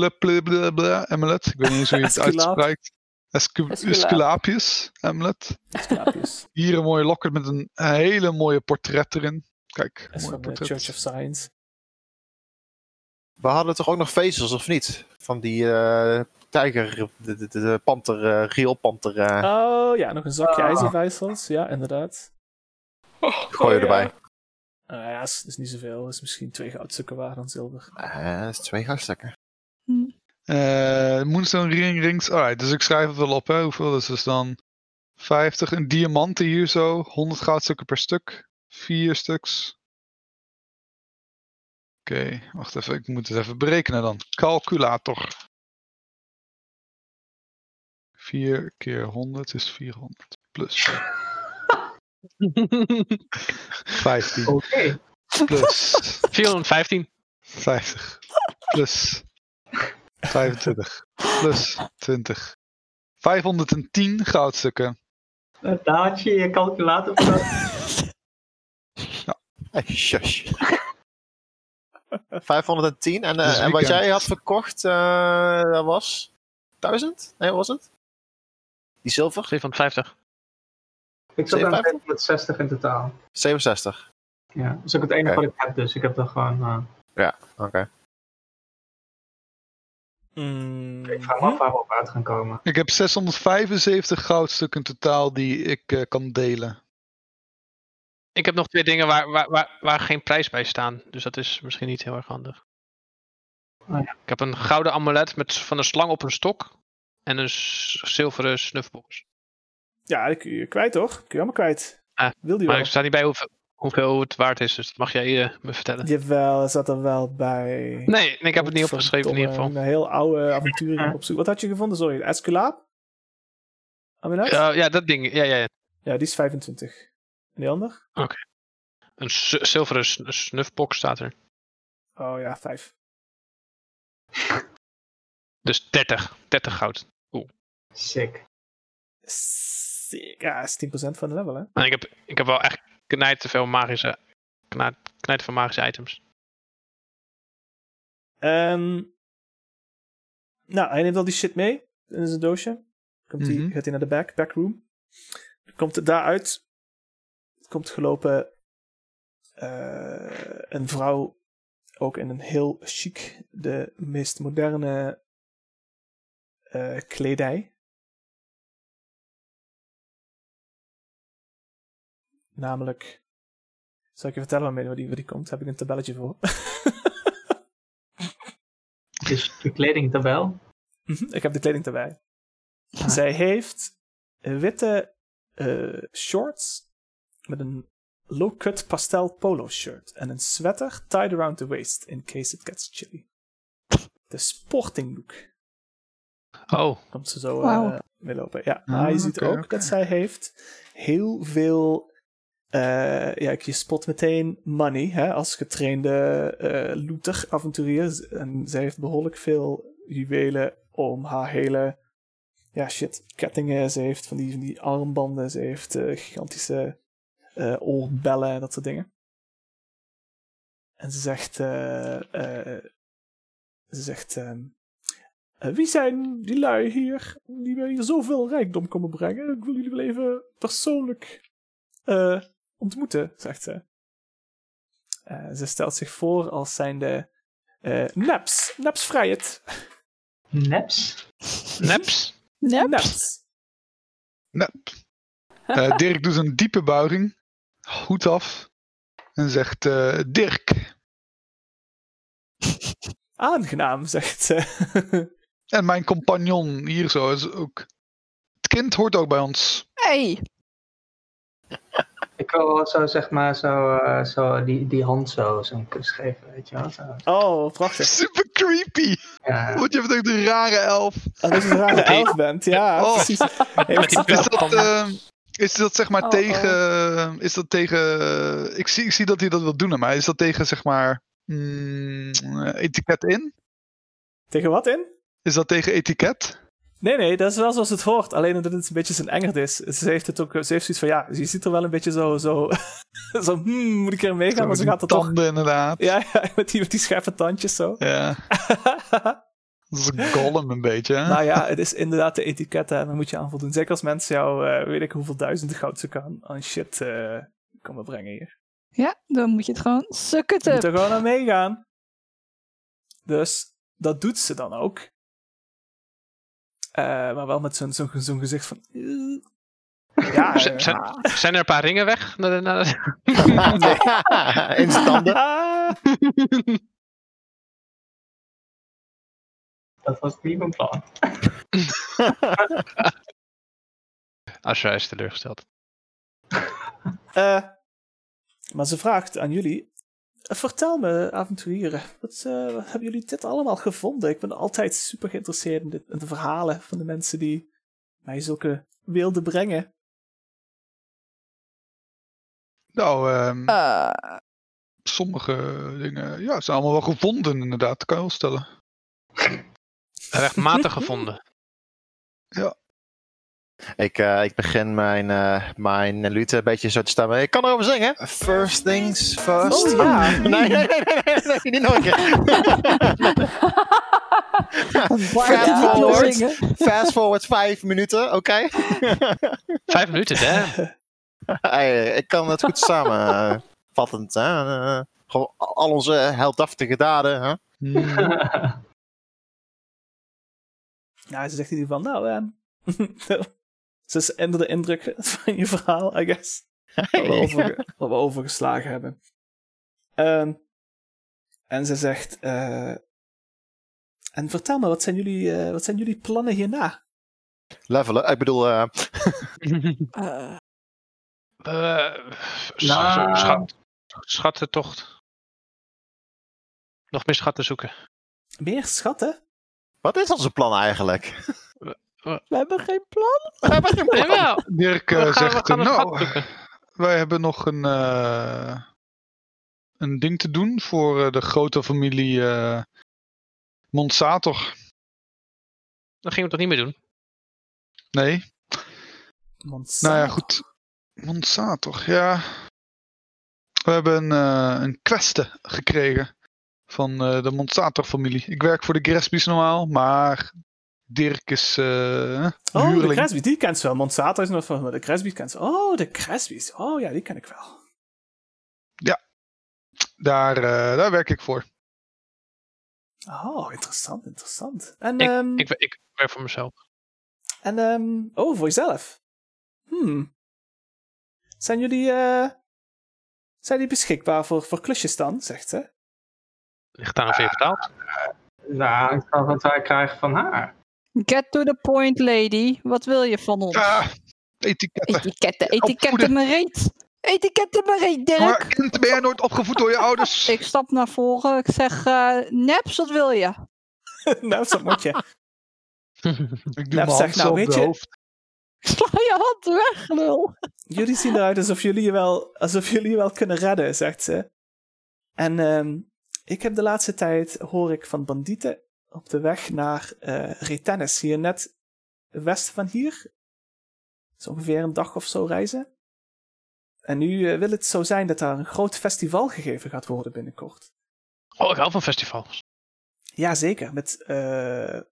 [SPEAKER 2] esculaapjes amulet. Ik weet niet eens hoe je het
[SPEAKER 1] Esculaap.
[SPEAKER 2] uitspreekt. Escu-
[SPEAKER 5] Esculaap.
[SPEAKER 2] Esculaapjes amulet.
[SPEAKER 1] Slaapjes.
[SPEAKER 2] Hier een mooie locket met een hele mooie portret erin. Kijk,
[SPEAKER 1] Dat is
[SPEAKER 2] mooi
[SPEAKER 1] van de
[SPEAKER 2] portret.
[SPEAKER 1] Church of Science.
[SPEAKER 6] We hadden toch ook nog vezels, of niet? Van die eh, tijger, de, de, de- de panter, eh geelpanter eh,
[SPEAKER 1] Oh ja, nog een zakje
[SPEAKER 4] Ah.
[SPEAKER 1] ijzerwijzels. Ja, inderdaad.
[SPEAKER 3] Oh,
[SPEAKER 6] gooien
[SPEAKER 5] ja.
[SPEAKER 6] erbij.
[SPEAKER 1] Ah ja, dat is, is niet zoveel. Dat is misschien twee goudstukken waard dan zilver.
[SPEAKER 6] Eh, dat is twee goudstukken.
[SPEAKER 2] Eh, Moonstone Ring Rings. Alright, dus ik schrijf het wel op. Hè. Hoeveel is dus dan? 50. Een diamanten hier zo. 100 goudstukken per stuk. Vier stuks. Oké, wacht even. Ik moet het even berekenen dan. Calculator. 4 keer 100 is 400. Plus 15.
[SPEAKER 4] oké.
[SPEAKER 2] Plus
[SPEAKER 3] 415.
[SPEAKER 2] 50 plus 25 plus 20. 510 goudstukken.
[SPEAKER 4] Eh, Daar had je je calculator voor nodig.
[SPEAKER 6] Hey, Eh, shush. 510. En, eh,
[SPEAKER 2] Dit is
[SPEAKER 6] en wat
[SPEAKER 2] weekend.
[SPEAKER 6] jij had verkocht, eh, dat was 1000? Nee, wat was het? Die zilver?
[SPEAKER 3] 750.
[SPEAKER 4] Ik zat aan
[SPEAKER 6] 750?
[SPEAKER 4] 760 in totaal.
[SPEAKER 6] 67.
[SPEAKER 4] Ja, dat is ook het enige
[SPEAKER 6] Oké.
[SPEAKER 4] wat ik heb, dus ik heb er gewoon... eh,
[SPEAKER 6] Oké.
[SPEAKER 1] Mm.
[SPEAKER 4] ik vraag me af waar we op uit gaan komen.
[SPEAKER 2] Ik heb 675 goudstukken totaal die ik eh, kan delen.
[SPEAKER 3] Ik heb nog twee dingen waar, waar, waar, waar geen prijs bij staan. Dus dat is misschien niet heel erg handig.
[SPEAKER 4] Oh ja.
[SPEAKER 3] Ik heb een gouden amulet met, van een slang op een stok. En een s- zilveren snufbox.
[SPEAKER 1] Ja, die kun je kwijt hoor. Kun je allemaal kwijt.
[SPEAKER 3] Ah,
[SPEAKER 1] Wil die
[SPEAKER 3] Maar
[SPEAKER 1] wel?
[SPEAKER 3] ik sta niet bij hoeveel, hoeveel het waard is. Dus dat mag jij eh, me vertellen.
[SPEAKER 1] Jawel, zat er wel bij.
[SPEAKER 3] Nee, ik heb het niet opgeschreven in ieder geval.
[SPEAKER 1] Een heel oude avontuur op zoek. Wat had je gevonden, sorry? Een Esculaap? Amulet? Ja.
[SPEAKER 3] Eh, ja, dat ding. Ja, ja, ja.
[SPEAKER 1] die is 25. En die ander?
[SPEAKER 3] Een s- zilveren sn- snufbox staat er.
[SPEAKER 1] Oh ja, 5.
[SPEAKER 3] Dus 30. 30 goud.
[SPEAKER 4] Sick.
[SPEAKER 1] Sick. Ja, dat is 10% van de level, hè?
[SPEAKER 3] En ik heb, ik heb wel echt knijt te veel magische, knijt, knijt van magische items.
[SPEAKER 1] Ehm, nou, hij neemt al die shit mee in zijn doosje. Komt hij,
[SPEAKER 2] Mhm.
[SPEAKER 1] Gaat hij naar de back, backroom. Komt het daaruit. Komt gelopen eh, een vrouw. Ook in een heel chic, de meest moderne eh, kledij. Namelijk. Zal ik je vertellen waarmee waar die, waar die komt? Daar heb ik een tabelletje voor.
[SPEAKER 4] Is je Dus kleding er wel?
[SPEAKER 1] Mhm, Ik heb de kleding erbij.
[SPEAKER 7] Ah.
[SPEAKER 1] Zij heeft witte eh, shorts met een low-cut pastel polo shirt en een sweater tied around the waist in case it gets chilly. De sporting look
[SPEAKER 3] Oh,
[SPEAKER 1] komt ze zo
[SPEAKER 7] Wauw.
[SPEAKER 1] eh mee lopen. Ja,
[SPEAKER 2] Ah,
[SPEAKER 1] maar je ziet
[SPEAKER 2] oké,
[SPEAKER 1] ook
[SPEAKER 2] oké.
[SPEAKER 1] dat zij heeft heel veel... eh, ja, je spot meteen money hè, als getrainde eh looter, avonturier. En zij heeft behoorlijk veel juwelen om haar hele ja, shit, kettingen. Ze heeft van die, van die armbanden. Ze heeft eh, gigantische eh, oorbellen en dat soort dingen. En ze zegt... eh, eh, ze zegt... ehm, eh, wie zijn die lui hier die mij hier zoveel rijkdom komen brengen? Ik wil jullie wel even persoonlijk eh, ontmoeten, zegt ze. Eh, ze stelt zich voor als zijnde eh Naps, Naps Vrijheid.
[SPEAKER 4] Neps?
[SPEAKER 3] Neps?
[SPEAKER 1] Nou.
[SPEAKER 7] Nep.
[SPEAKER 1] Naps.
[SPEAKER 2] Nep. Eh, Dirk doet een diepe buiging. Hoed af. En zegt: eh, Dirk.
[SPEAKER 1] Aangenaam, zegt ze.
[SPEAKER 2] En mijn compagnon hier zo is ook. Het kind hoort ook bij ons.
[SPEAKER 7] Hey,
[SPEAKER 4] Ik wil wel zo, zeg maar, zo, eh, zo die, die hand zo zo'n kus geven, weet je wel. Zo.
[SPEAKER 1] oh, prachtig.
[SPEAKER 2] Super creepy.
[SPEAKER 4] Ja.
[SPEAKER 2] Want je hebt ook de rare elf.
[SPEAKER 1] Als je een rare
[SPEAKER 3] Oké.
[SPEAKER 1] elf bent, ja,
[SPEAKER 2] Oh.
[SPEAKER 1] precies.
[SPEAKER 3] Met
[SPEAKER 1] Heeft
[SPEAKER 3] die
[SPEAKER 2] Is
[SPEAKER 3] punt
[SPEAKER 2] dat,
[SPEAKER 3] van-
[SPEAKER 2] eh, is dat zeg maar
[SPEAKER 5] Oh,
[SPEAKER 2] tegen. eh, Is dat tegen. eh, ik, zie, ik zie dat hij dat wil doen, maar is dat tegen zeg maar. mm, eh, etiket in?
[SPEAKER 1] tegen wat in?
[SPEAKER 2] Is dat tegen etiket?
[SPEAKER 1] Nee, nee, dat is wel zoals het hoort. Alleen omdat het een beetje zijn engerd is. Ze heeft het ook, ze heeft zoiets van, ja, je ziet er wel een beetje zo, zo, zo, hmm, moet ik er mee gaan? Maar ze
[SPEAKER 2] Met die
[SPEAKER 1] gaat er toch,
[SPEAKER 2] tanden inderdaad. Ja.
[SPEAKER 1] ja, ja, met die, met die scheffe tandjes zo.
[SPEAKER 2] Dat is een golem een beetje. Hè?
[SPEAKER 1] nou ja, het is inderdaad de etiketten en daar moet je aan voldoen. Zeker als mensen jou, eh, weet ik hoeveel duizenden goudstukken aan, aan shit eh komen brengen hier.
[SPEAKER 7] ja, dan moet je het gewoon
[SPEAKER 1] Je
[SPEAKER 7] sukken.
[SPEAKER 1] moet er gewoon aan meegaan. Dus dat doet ze dan ook. Eh, maar wel met zo'n zo'n zo'n gezicht van... eh. Ja,
[SPEAKER 3] Z-
[SPEAKER 1] eh,
[SPEAKER 3] zijn, zijn er een paar ringen weg? Na- na- na-
[SPEAKER 6] In standen.
[SPEAKER 1] Ah.
[SPEAKER 4] Dat was niet mijn plan.
[SPEAKER 3] Als Ah, hij is teleurgesteld.
[SPEAKER 1] Eh, maar ze vraagt aan jullie: eh, Vertel me, avonturieren, wat eh, hebben jullie dit allemaal gevonden? Ik ben altijd super geïnteresseerd in, dit, in de verhalen van de mensen die mij zulke wilden brengen.
[SPEAKER 2] Nou, ehm,
[SPEAKER 7] Eh,
[SPEAKER 2] sommige dingen. Ja, zijn allemaal wel gevonden, inderdaad. Dat kan je wel stellen.
[SPEAKER 3] Rechtmatig gevonden.
[SPEAKER 6] Ik, eh, ik begin mijn, eh mijn lute een beetje zo te stemmen. Ik kan erover zingen. First things first.
[SPEAKER 1] Oh ja,
[SPEAKER 6] Nee, nee, nee, nee, nee, nee, niet nog een keer.
[SPEAKER 7] Bart en Nico
[SPEAKER 6] forward.
[SPEAKER 7] zingen.
[SPEAKER 6] Fast forward vijf minuten, oké?
[SPEAKER 3] Vijf minuten, hè?
[SPEAKER 6] Hey, ik kan het goed samenvattend. hè? Eh, gewoon al onze heldhaftige daden. Hè?
[SPEAKER 1] nou, ze zegt in ieder geval: Nou, ehm, ze is onder de indruk van je verhaal, I guess. Wat we, overge- wat we overgeslagen hebben. Ehm, en ze zegt: eh, En vertel me, wat zijn jullie, eh, wat zijn jullie plannen hierna?
[SPEAKER 6] Levelen, ik bedoel, eh,
[SPEAKER 7] Eh,
[SPEAKER 3] Eh, sch-
[SPEAKER 4] Nou.
[SPEAKER 3] schat, schattentocht. Nog meer schatten zoeken.
[SPEAKER 1] Meer schatten?
[SPEAKER 6] wat is onze plan eigenlijk?
[SPEAKER 7] we hebben geen plan.
[SPEAKER 6] We hebben geen plan.
[SPEAKER 3] Jawel.
[SPEAKER 2] Dirk eh,
[SPEAKER 3] We gaan- we
[SPEAKER 2] zegt:
[SPEAKER 3] gaan
[SPEAKER 2] eh,
[SPEAKER 3] een
[SPEAKER 2] Nou,
[SPEAKER 3] gat zoeken."
[SPEAKER 2] wij hebben nog een, eh, een ding te doen voor eh, de grote familie eh, Monsator.
[SPEAKER 3] Dat gingen we toch niet meer doen?
[SPEAKER 2] Nee,
[SPEAKER 1] Monsanto.
[SPEAKER 2] nou ja, goed. Monsator, ja. We hebben een, eh een queste gekregen van eh, de Monsator-familie. Ik werk voor de Gresby's normaal, maar Dirk is eh
[SPEAKER 1] Oh, de
[SPEAKER 2] huurling.
[SPEAKER 1] Cresby, die kent ze wel. Monsanto is nog van, maar de Cresby kent ze. Oh, de Cresby's. Oh ja, die ken ik wel.
[SPEAKER 2] Daar, eh, daar werk ik voor.
[SPEAKER 1] Oh, interessant, interessant. En,
[SPEAKER 3] Ik-
[SPEAKER 1] ehm,
[SPEAKER 3] Ik, ik werk voor mezelf.
[SPEAKER 1] en ehm, oh, voor jezelf. Hmm. Zijn jullie, eh, zijn die beschikbaar voor, voor klusjes dan, zegt ze.
[SPEAKER 3] Ligt aan of je betaalt.
[SPEAKER 4] Nou, ik kan wat wij krijgen van haar.
[SPEAKER 7] Get to the point, lady. Wat wil je van ons?
[SPEAKER 2] Ah, etiketten.
[SPEAKER 7] Etiketten,
[SPEAKER 2] opvoeden.
[SPEAKER 7] etiketten me reet. Etiketten me reet,
[SPEAKER 2] Maar
[SPEAKER 7] Dirk.
[SPEAKER 2] kind ben jij nooit opgevoed door je ouders?
[SPEAKER 7] Ik stap naar voren. Ik zeg, eh, Neps, wat wil je?
[SPEAKER 1] nou, dat moet je.
[SPEAKER 2] Ik
[SPEAKER 1] Ja,
[SPEAKER 2] doe mijn
[SPEAKER 1] zeg nou,
[SPEAKER 2] hand zo op
[SPEAKER 1] weet
[SPEAKER 2] de
[SPEAKER 1] je-
[SPEAKER 2] hoofd.
[SPEAKER 7] Ik sla je hand weg, lul.
[SPEAKER 1] Jullie zien eruit alsof jullie je wel, alsof jullie je wel kunnen redden, zegt ze. En ehm, ik heb de laatste tijd, hoor ik van bandieten op de weg naar eh Retennis, hier net westen van hier. Dat is ongeveer een dag of zo reizen. En nu eh, wil het zo zijn dat daar een groot festival gegeven gaat worden binnenkort.
[SPEAKER 3] Oh, ik hou van festivals.
[SPEAKER 1] Jazeker, met eh, eh,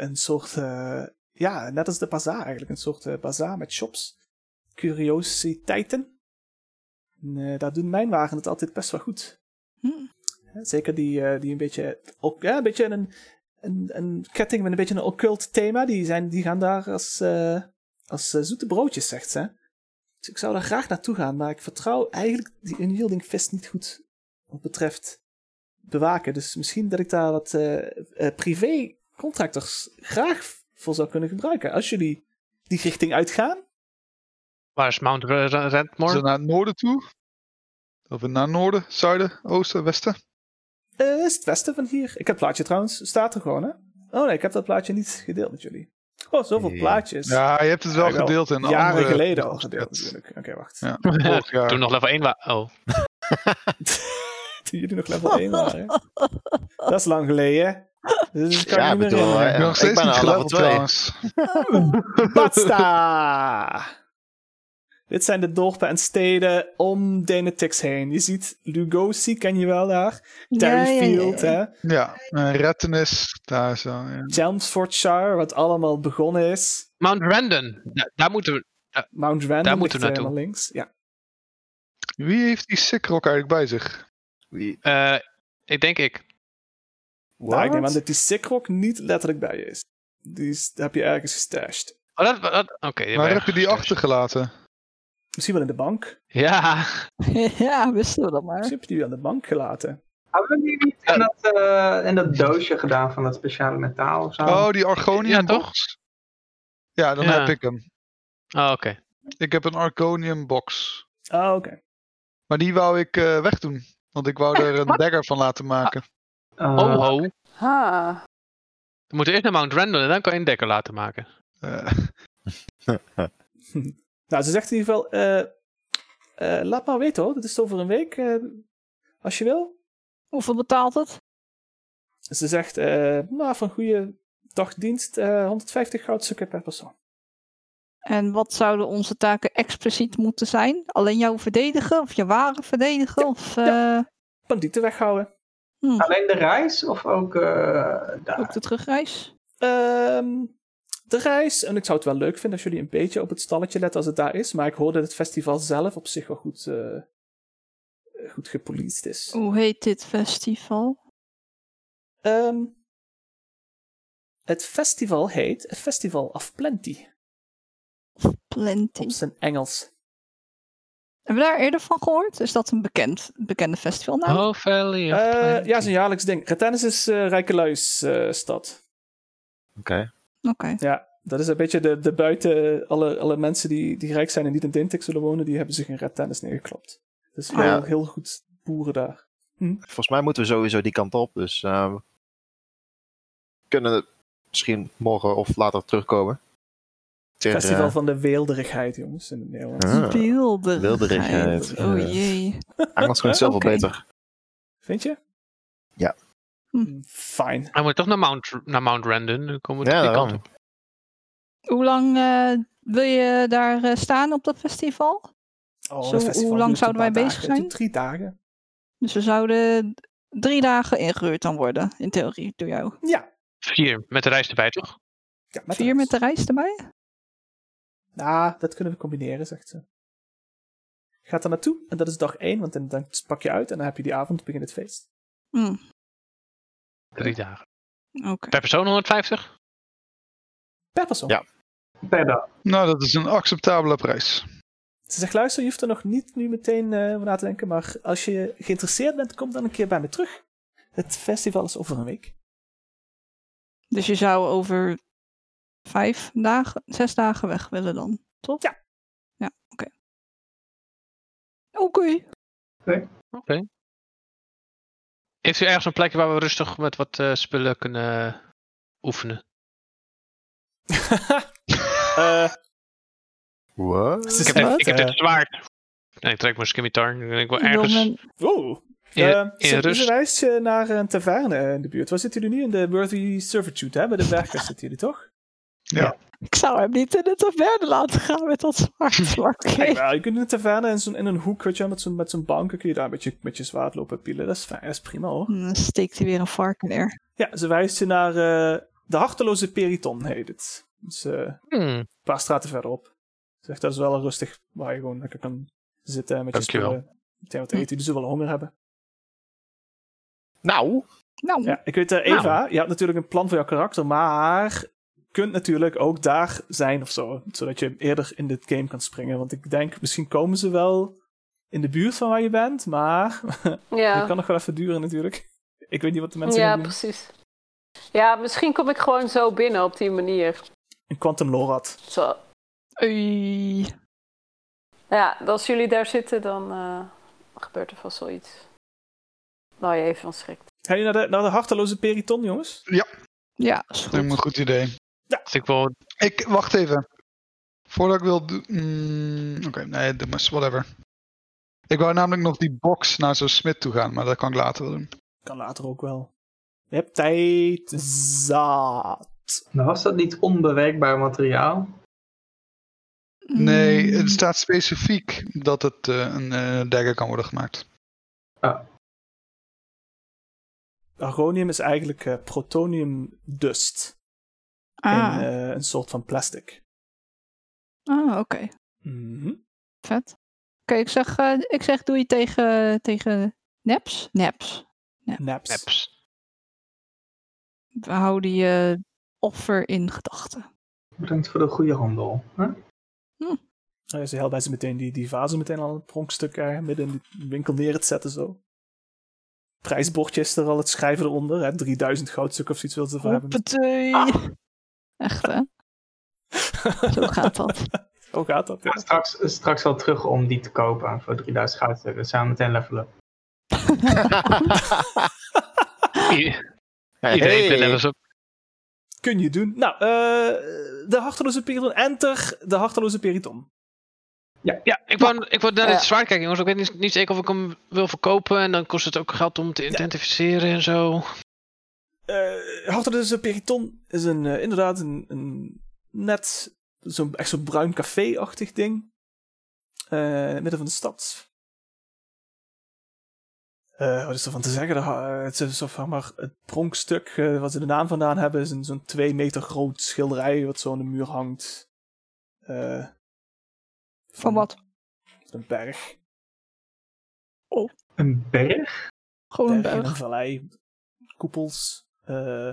[SPEAKER 1] een soort, eh, ja, net als de bazaar eigenlijk, een soort eh, bazaar met shops, curiositeiten. En, eh, daar doen mijn wagen het altijd best wel goed.
[SPEAKER 7] Hm.
[SPEAKER 1] Hè, Zeker die, eh, die een beetje, ook, ja, een beetje een, een, een ketting met een beetje een occult thema, die, zijn, die gaan daar als, eh, als eh, zoete broodjes, zegt ze. Dus ik zou daar graag naartoe gaan, maar ik vertrouw eigenlijk die unyielding vest niet goed wat betreft bewaken. Dus misschien dat ik daar wat eh eh, privé-contractors graag voor zou kunnen gebruiken. Als jullie die richting uitgaan.
[SPEAKER 3] Waar is Mount Ra- Ra-
[SPEAKER 2] Is dat
[SPEAKER 3] Redmore?
[SPEAKER 2] naar het noorden toe? Of naar noorden, zuiden, oosten, westen?
[SPEAKER 1] eh, is het westen van hier? Ik heb het plaatje trouwens. Staat er gewoon, hè? Oh nee, ik heb dat plaatje niet gedeeld met jullie. Oh, zoveel
[SPEAKER 6] Ja.
[SPEAKER 1] plaatjes.
[SPEAKER 2] Ja, je hebt het wel
[SPEAKER 1] Ja, wel
[SPEAKER 2] gedeeld. En
[SPEAKER 1] Jaren
[SPEAKER 2] andere...
[SPEAKER 1] geleden al gedeeld, natuurlijk. Oké, wacht.
[SPEAKER 2] Ja, vorig jaar.
[SPEAKER 3] Toen nog level 1 waren. Oh,
[SPEAKER 1] Toen jullie nog level 1 waren. dat is lang geleden. Dus dat kan
[SPEAKER 6] Ja,
[SPEAKER 1] ik
[SPEAKER 6] ik
[SPEAKER 1] niet
[SPEAKER 6] bedoel,
[SPEAKER 1] meer herinneren.
[SPEAKER 2] Ik ben
[SPEAKER 6] eh,
[SPEAKER 2] nog steeds
[SPEAKER 6] ik ben
[SPEAKER 2] niet
[SPEAKER 6] al level
[SPEAKER 2] geleveld
[SPEAKER 6] 2.
[SPEAKER 2] trouwens.
[SPEAKER 1] Basta! Dit zijn de dorpen en steden om Denetix heen. Je ziet Lugosi, ken je wel daar. Terryfield, hè.
[SPEAKER 2] Ja, eh, Rettenis, daar zo. Ja.
[SPEAKER 1] Chelmsfordshire, wat allemaal begonnen is.
[SPEAKER 3] Mount Randon. Da- daar moeten we.
[SPEAKER 1] Mount Random
[SPEAKER 3] Daar
[SPEAKER 1] ligt
[SPEAKER 3] moeten we naartoe.
[SPEAKER 1] helemaal links. Ja.
[SPEAKER 2] Wie heeft die Sickrock eigenlijk bij zich?
[SPEAKER 6] Wie-
[SPEAKER 3] eh, ik denk ik.
[SPEAKER 1] Nou, ik neem aan
[SPEAKER 6] What?
[SPEAKER 1] dat die Sickrock niet letterlijk bij je is. Die is- heb je ergens gestashed.
[SPEAKER 3] Oh, dat, dat, oké.
[SPEAKER 2] Waar
[SPEAKER 3] maar-
[SPEAKER 2] heb je die achtergelaten?
[SPEAKER 1] Misschien wel in de bank.
[SPEAKER 3] Ja,
[SPEAKER 7] ja, wisten we dat maar.
[SPEAKER 1] Misschien heb je die aan de bank gelaten.
[SPEAKER 4] Hebben die niet in dat, eh, in dat doosje gedaan van dat speciale metaal of zo?
[SPEAKER 2] Oh, die Argonium
[SPEAKER 3] Ja, toch?
[SPEAKER 2] box? Ja, dan
[SPEAKER 3] Ja.
[SPEAKER 2] heb ik hem.
[SPEAKER 3] oh, oké.
[SPEAKER 6] Eh.
[SPEAKER 2] Ik heb een Argonium box.
[SPEAKER 1] Ah, oké.
[SPEAKER 2] Maar die wou ik eh, wegdoen. Want ik wou er een dagger van laten maken.
[SPEAKER 4] Eh,
[SPEAKER 3] Oh, ho.
[SPEAKER 5] Ha.
[SPEAKER 3] We moeten eerst naar Mount Randon en dan kan je een dekker laten maken.
[SPEAKER 2] Eh,
[SPEAKER 1] Nou, ze zegt in ieder geval... eh, eh, laat maar weten hoor, dat is over een week. eh, als je wil.
[SPEAKER 7] Hoeveel betaalt het?
[SPEAKER 1] Ze zegt, eh, nou, van goede dagdienst, eh 150 goudstukken per persoon.
[SPEAKER 7] En wat zouden onze taken expliciet moeten zijn? Alleen jou verdedigen of je waren verdedigen? Of eh,
[SPEAKER 1] Bandieten weghouden.
[SPEAKER 4] Alleen de reis of ook eh,
[SPEAKER 7] Hm, ook
[SPEAKER 4] daar?
[SPEAKER 7] de terugreis?
[SPEAKER 1] Ehm, de reis, en ik zou het wel leuk vinden als jullie een beetje op het stalletje letten als het daar is, maar ik hoor dat het festival zelf op zich wel goed, eh, goed gepoliced is.
[SPEAKER 7] Hoe heet dit festival?
[SPEAKER 1] Ehm, het festival heet het Festival of Plenty,
[SPEAKER 7] Plenty.
[SPEAKER 1] op zijn Engels.
[SPEAKER 7] Hebben we daar eerder van gehoord? Is dat een bekend, bekende festivalnaam?
[SPEAKER 3] Oh, Valley. of
[SPEAKER 1] Eh, ja,
[SPEAKER 3] Plenty.
[SPEAKER 1] het is een jaarlijks ding. Retennis is eh rijke luis eh, stad.
[SPEAKER 6] Oké.
[SPEAKER 7] Oké.
[SPEAKER 1] Ja, dat is een beetje de, de buiten. Alle, alle mensen die, die rijk zijn en niet in Dintik zullen wonen, die hebben zich in Red Tennis neergeklopt. Dus heel,
[SPEAKER 6] Ja.
[SPEAKER 1] heel goed boeren daar.
[SPEAKER 6] Volgens mij moeten we sowieso die kant op. Dus eh, we kunnen misschien morgen of later terugkomen. Ter,
[SPEAKER 1] Festival
[SPEAKER 6] eh,
[SPEAKER 1] van de weelderigheid, jongens, in het Nederlands.
[SPEAKER 6] ah,
[SPEAKER 7] Beelderigheid.
[SPEAKER 6] Beelderigheid,
[SPEAKER 7] Oh
[SPEAKER 6] ja.
[SPEAKER 7] jee.
[SPEAKER 6] Engels klinkt zelf wel
[SPEAKER 7] Oké.
[SPEAKER 6] beter.
[SPEAKER 1] Vind je?
[SPEAKER 6] Ja.
[SPEAKER 1] Hm, Fijn.
[SPEAKER 3] Hij moet toch naar Mount, naar Mount Randon. Dan komen we
[SPEAKER 6] Ja,
[SPEAKER 3] toch die kant
[SPEAKER 6] daarom.
[SPEAKER 3] op.
[SPEAKER 7] Hoe lang eh, wil je daar eh, staan op dat festival?
[SPEAKER 1] Oh,
[SPEAKER 7] Zo,
[SPEAKER 1] dat festival
[SPEAKER 7] hoe lang
[SPEAKER 1] duurt
[SPEAKER 7] zouden
[SPEAKER 1] een
[SPEAKER 7] wij
[SPEAKER 1] paar
[SPEAKER 7] bezig
[SPEAKER 1] dagen. Het duurt
[SPEAKER 7] zijn?
[SPEAKER 1] Drie dagen.
[SPEAKER 7] Dus we zouden drie dagen ingehuurd dan worden, in theorie, door jou.
[SPEAKER 1] Ja.
[SPEAKER 3] Vier, met de reis erbij, toch?
[SPEAKER 1] ja met
[SPEAKER 7] Vier
[SPEAKER 1] reis.
[SPEAKER 7] met de reis erbij?
[SPEAKER 1] Nou, dat kunnen we combineren, zegt ze. Gaat daar naartoe en dat is dag één, want dan, dan pak je uit en dan heb je die avond, begint het feest.
[SPEAKER 7] Hm,
[SPEAKER 3] Drie dagen.
[SPEAKER 7] Oké.
[SPEAKER 3] Per persoon 150?
[SPEAKER 1] Per persoon.
[SPEAKER 6] Ja.
[SPEAKER 4] Per dag.
[SPEAKER 2] nou, dat is een acceptabele prijs.
[SPEAKER 1] Ze zegt, luister, je hoeft er nog niet nu meteen eh, over na te denken, maar als je geïnteresseerd bent, kom dan een keer bij me terug. Het festival is over een week.
[SPEAKER 7] Dus je zou over vijf dagen, zes dagen weg willen dan, toch?
[SPEAKER 1] Ja.
[SPEAKER 7] Ja, oké. Oké.
[SPEAKER 3] Oké. Heeft u ergens een plekje waar we rustig met wat eh, spullen kunnen eh, oefenen?
[SPEAKER 1] Eh,
[SPEAKER 6] What?
[SPEAKER 1] ze
[SPEAKER 3] Ik heb, dit,
[SPEAKER 1] staat,
[SPEAKER 3] ik heb
[SPEAKER 1] eh,
[SPEAKER 3] dit zwaard. Nee, ik trek mijn skimitar. Ik wil
[SPEAKER 7] Ik wil
[SPEAKER 3] ergens...
[SPEAKER 7] mijn-
[SPEAKER 1] wow.
[SPEAKER 3] in-
[SPEAKER 1] Eh,
[SPEAKER 3] in
[SPEAKER 1] ze,
[SPEAKER 3] rust.
[SPEAKER 1] ze wijst eh, je naar een taverne in de buurt. Waar zitten jullie nu? In de Worthy Servitude, hè? Bij de werkers zitten jullie, toch?
[SPEAKER 7] Ik zou hem niet in de taverne laten gaan met dat zwart
[SPEAKER 1] Kijk,
[SPEAKER 7] zwart.
[SPEAKER 1] nou, je kunt in de taverne in zo'n, in een hoek, weet je, wel, met zo'n, met zo'n banken kun je daar met je, met je zwaard lopen pielen. Dat is fijn, dat is prima hoor.
[SPEAKER 7] Dan steekt hij weer een varken neer.
[SPEAKER 1] Ja, ze wijst je naar eh, de harteloze Periton, heet het. Dus eh, een
[SPEAKER 3] Hmm.
[SPEAKER 1] paar straten verderop. Zegt dat is wel een rustig, waar je gewoon lekker kan zitten en met je
[SPEAKER 3] Dankjewel.
[SPEAKER 1] spullen. Meteen wat eten, die zullen wel honger hebben.
[SPEAKER 6] Nou,
[SPEAKER 7] Nou,
[SPEAKER 1] Ja, ik weet, eh, Eva, je hebt natuurlijk een plan voor jouw karakter, maar kunt natuurlijk ook daar zijn of zo. Zodat je eerder in dit game kan springen. Want ik denk, misschien komen ze wel in de buurt van waar je bent, maar
[SPEAKER 5] Ja,
[SPEAKER 1] dat kan nog wel even duren natuurlijk. Ik weet niet wat de mensen
[SPEAKER 5] ja
[SPEAKER 1] gaan doen.
[SPEAKER 5] precies. Ja, misschien kom ik gewoon zo binnen op die manier.
[SPEAKER 1] Een Quantum Lorad.
[SPEAKER 5] Zo.
[SPEAKER 7] oei.
[SPEAKER 5] Ja, als jullie daar zitten, dan eh, gebeurt er vast wel iets. Nou, je even van schrikt.
[SPEAKER 1] Ga je naar de, naar de harteloze Periton, jongens?
[SPEAKER 7] Ja, is
[SPEAKER 2] Lijkt me een
[SPEAKER 7] goed.
[SPEAKER 2] goed idee.
[SPEAKER 3] Dat Dus ik wel.
[SPEAKER 2] Ik, wacht even. Voordat ik wil doen... mm, Oké, nee, doe maar, whatever. Ik wou namelijk nog die box naar zo'n smid toe gaan, maar dat kan ik later wel doen.
[SPEAKER 1] Kan later ook wel. Je hebt tijd zaad.
[SPEAKER 4] Maar was dat niet onbewerkbaar materiaal?
[SPEAKER 2] Nee,
[SPEAKER 7] Mm.
[SPEAKER 2] het staat specifiek dat het eh, een eh, dagger kan worden gemaakt.
[SPEAKER 1] Argonium is eigenlijk eh, protonium dust.
[SPEAKER 7] Ah,
[SPEAKER 1] In eh, een soort van plastic.
[SPEAKER 7] ah oké.
[SPEAKER 1] Mhm.
[SPEAKER 7] Vet. Oké, ik, zeg, eh, ik zeg doei tegen, tegen Neps. Neps.
[SPEAKER 1] Naps.
[SPEAKER 3] Neps.
[SPEAKER 7] We houden je eh, offer in gedachten.
[SPEAKER 4] Bedankt voor de goede handel. Hè?
[SPEAKER 1] Oh ja, ze helpt bij ze meteen die, die vazen meteen al een pronkstuk eh, midden in de winkel neer te zetten zo. Prijsbordje is er al, het schrijven eronder. Hè? 3000 goudstukken of zoiets wil ze ervoor hebben. Ah.
[SPEAKER 7] Hoppatee. Echt hè? Zo gaat dat.
[SPEAKER 1] Hoe gaat dat?
[SPEAKER 4] Ja,
[SPEAKER 1] Ja.
[SPEAKER 4] straks, straks wel terug om die te kopen voor 3000 goudstukken. Samen meteen levelen.
[SPEAKER 3] I- Iedereen
[SPEAKER 6] Hey.
[SPEAKER 3] hey. levels op.
[SPEAKER 1] Kun je doen. Nou, eh, de harteloze periton. Enter de harteloze periton.
[SPEAKER 3] Ja, ik wou, ik wou naar
[SPEAKER 5] Ja.
[SPEAKER 3] het zwaard kijken, jongens. Ik weet niet, niet zeker of ik hem wil verkopen. En dan kost het ook geld om te identificeren en zo.
[SPEAKER 1] Eh harteloze periton is een, eh, inderdaad een, een net, zo'n, echt zo'n bruin café-achtig ding. Eh, in het midden van de stad. Eh, wat is er van te zeggen? De ha- eh, het is zo van maar het pronkstuk eh, wat ze de naam vandaan hebben, is een zo'n twee meter groot schilderij wat zo aan de muur hangt. Eh,
[SPEAKER 7] Van wat?
[SPEAKER 1] Een berg.
[SPEAKER 4] Een berg?
[SPEAKER 7] Gewoon een
[SPEAKER 1] berg in
[SPEAKER 7] berg.
[SPEAKER 1] een vallei, koepels. eh,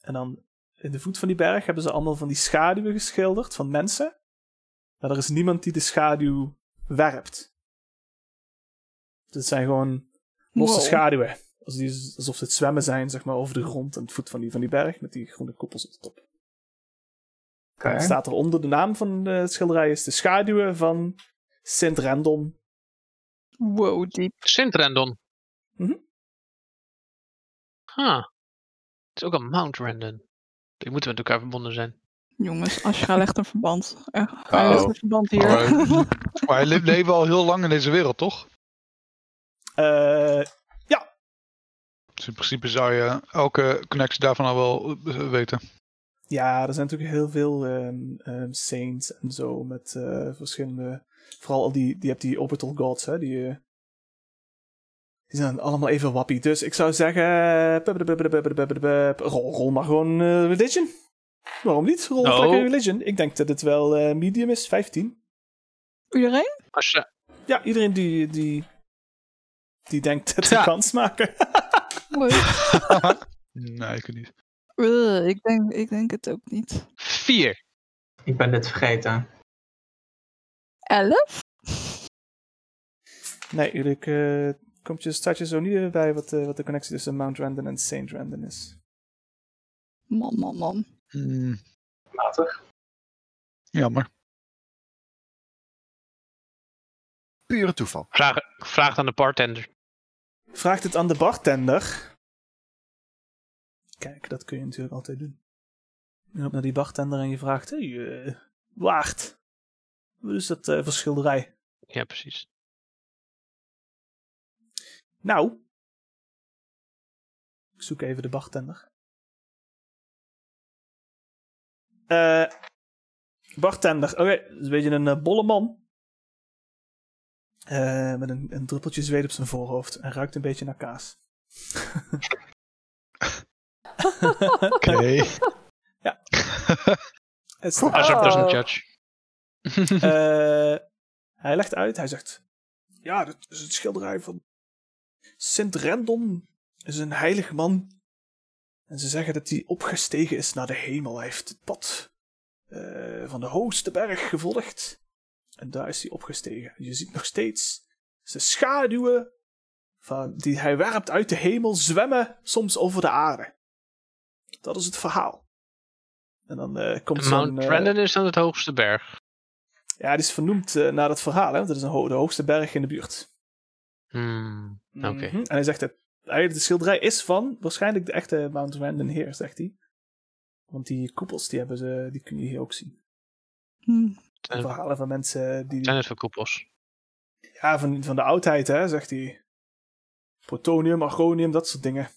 [SPEAKER 1] en dan in de voet van die berg hebben ze allemaal van die schaduwen geschilderd van mensen. Maar er is niemand die de schaduw werpt. Dus het zijn gewoon losse
[SPEAKER 7] Wow.
[SPEAKER 1] schaduwen. Als die- Alsof ze het zwemmen zijn, zeg maar, over de grond en het voet van die, van die berg met die groene koepels op de top.
[SPEAKER 4] Oké.
[SPEAKER 1] Het staat eronder, de naam van de schilderij is de schaduwen van Sint Rendon.
[SPEAKER 7] Wow, diep.
[SPEAKER 3] Sint Rendon.
[SPEAKER 1] Mhm.
[SPEAKER 3] Huh. Het is ook een Mount Rendon. Die moeten met elkaar verbonden zijn.
[SPEAKER 7] Jongens, Ashra legt een verband. Eh, Hij legt een verband hier.
[SPEAKER 2] Oh. Alright. Maar we leven al heel lang in deze wereld, toch?
[SPEAKER 1] Eh,
[SPEAKER 2] Dus in principe zou je elke connectie daarvan al wel eh, weten.
[SPEAKER 1] Ja, er zijn natuurlijk heel veel ehm, ehm, saints en zo met eh, verschillende. Vooral al die, die hebt die orbital gods, hè? Die, eh, die zijn allemaal even wappie. Dus ik zou zeggen. eh, pup, pup, pup, pup, pup, pup, pup, Rol, rol maar gewoon eh, religion. Waarom niet? Rol
[SPEAKER 3] Nou.
[SPEAKER 1] lekker religion. Ik denk dat het wel eh, medium is, 15.
[SPEAKER 7] Iedereen?
[SPEAKER 3] Als je,
[SPEAKER 1] Ja, iedereen die. die, die denkt dat ze
[SPEAKER 3] Ja.
[SPEAKER 1] kans maken.
[SPEAKER 7] Leuk.
[SPEAKER 2] nee, ik weet niet.
[SPEAKER 7] Eh, ik, denk, ik denk het ook niet.
[SPEAKER 3] vier.
[SPEAKER 4] Ik ben dit vergeten.
[SPEAKER 7] Elf?
[SPEAKER 1] nee, jullie. eh, komt je, staat je zo niet bij wat, eh, wat de connectie tussen Mount Randon en Saint Randon is.
[SPEAKER 7] Man, man, man.
[SPEAKER 2] Hmm,
[SPEAKER 4] Matig.
[SPEAKER 2] jammer.
[SPEAKER 6] pure toeval.
[SPEAKER 3] Vraag, vraag het aan de bartender.
[SPEAKER 1] Vraagt het aan de bartender. Kijk, dat kun je natuurlijk altijd doen. Je loopt naar die bartender en je vraagt: Hé, hey, eh, waard. Wat is dat eh voor schilderij?
[SPEAKER 3] Ja, precies.
[SPEAKER 1] Nou. Ik zoek even de bartender. Eh, bartender. Oké, dat is een beetje een eh, bolle man. Eh, met een, een druppeltje zweet op zijn voorhoofd. En ruikt een beetje naar kaas.
[SPEAKER 2] Oké.
[SPEAKER 1] Ja. Het
[SPEAKER 3] I
[SPEAKER 5] Oh.
[SPEAKER 3] doesn't judge.
[SPEAKER 1] Eh, hij legt uit, hij zegt: Ja, dat is het schilderij van. Sint Rendon is een heilig man. En ze zeggen dat hij opgestegen is naar de hemel. Hij heeft het pad eh, van de hoogste berg gevolgd. En daar is hij opgestegen. Je ziet nog steeds zijn schaduwen van, die hij werpt uit de hemel zwemmen soms over de aarde. Dat is het verhaal. En dan eh, komt zo'n...
[SPEAKER 3] Mount
[SPEAKER 1] eh,
[SPEAKER 3] Brandon is dan het hoogste berg.
[SPEAKER 1] ja, het is vernoemd eh, naar dat verhaal, hè? want Dat is een ho- de hoogste berg in de buurt.
[SPEAKER 3] Hmm. Oké.
[SPEAKER 1] Mhm. En hij zegt dat eigenlijk de schilderij is van waarschijnlijk de echte Mount Randon Heer, zegt hij. Want die koepels, die, hebben ze, die kun je hier ook zien.
[SPEAKER 7] Hm.
[SPEAKER 3] Eh.
[SPEAKER 1] Verhalen van mensen die...
[SPEAKER 3] Zijn het voor koepels?
[SPEAKER 1] Ja, van, van de oudheid, hè, zegt hij. Protonium, argonium, dat soort dingen.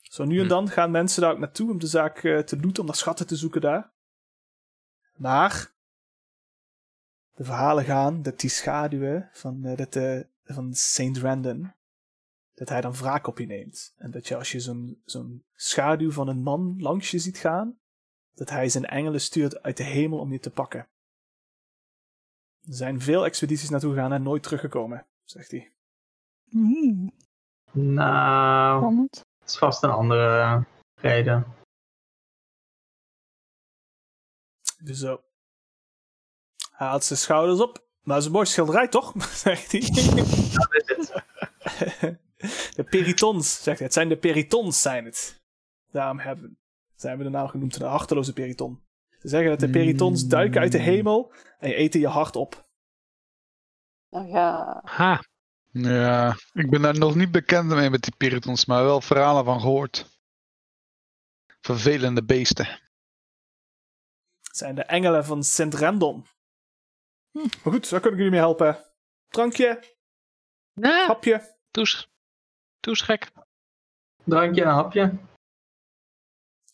[SPEAKER 1] Zo nu en
[SPEAKER 3] Hm.
[SPEAKER 1] dan gaan mensen daar ook naartoe om de zaak eh, te looten, om naar schatten te zoeken daar. Maar de verhalen gaan dat die schaduwen van, eh, dat, eh, van Saint Randon, dat hij dan wraak op je neemt. En dat je als je zo'n zo'n schaduw van een man langs je ziet gaan, dat hij zijn engelen stuurt uit de hemel om je te pakken. Er zijn veel expedities naartoe gegaan en nooit teruggekomen, zegt hij.
[SPEAKER 7] Hm.
[SPEAKER 4] Nou,
[SPEAKER 7] Spannend.
[SPEAKER 4] dat is vast een andere eh, reden.
[SPEAKER 1] Dus zo. Hij haalt zijn schouders op. Maar het is een mooi schilderij, toch? zegt hij.
[SPEAKER 4] Dat is het.
[SPEAKER 1] de peritons, zegt hij. Het zijn de peritons, zijn het. Daarom hebben, zijn we de naam genoemd, de harteloze periton. Ze zeggen dat de peritons
[SPEAKER 4] Mm.
[SPEAKER 1] duiken uit de hemel en eten je hart op.
[SPEAKER 5] Nou ja,
[SPEAKER 3] Ha.
[SPEAKER 2] Ja, ik ben daar nog niet bekend mee met die Pyritons, maar wel verhalen van gehoord. Vervelende beesten.
[SPEAKER 1] Het zijn de engelen van Sint Rendon. Maar goed, daar kan ik jullie mee helpen. Drankje,
[SPEAKER 3] Nou,
[SPEAKER 1] hapje.
[SPEAKER 3] doe eens- doe eens gek.
[SPEAKER 4] Drankje en een hapje.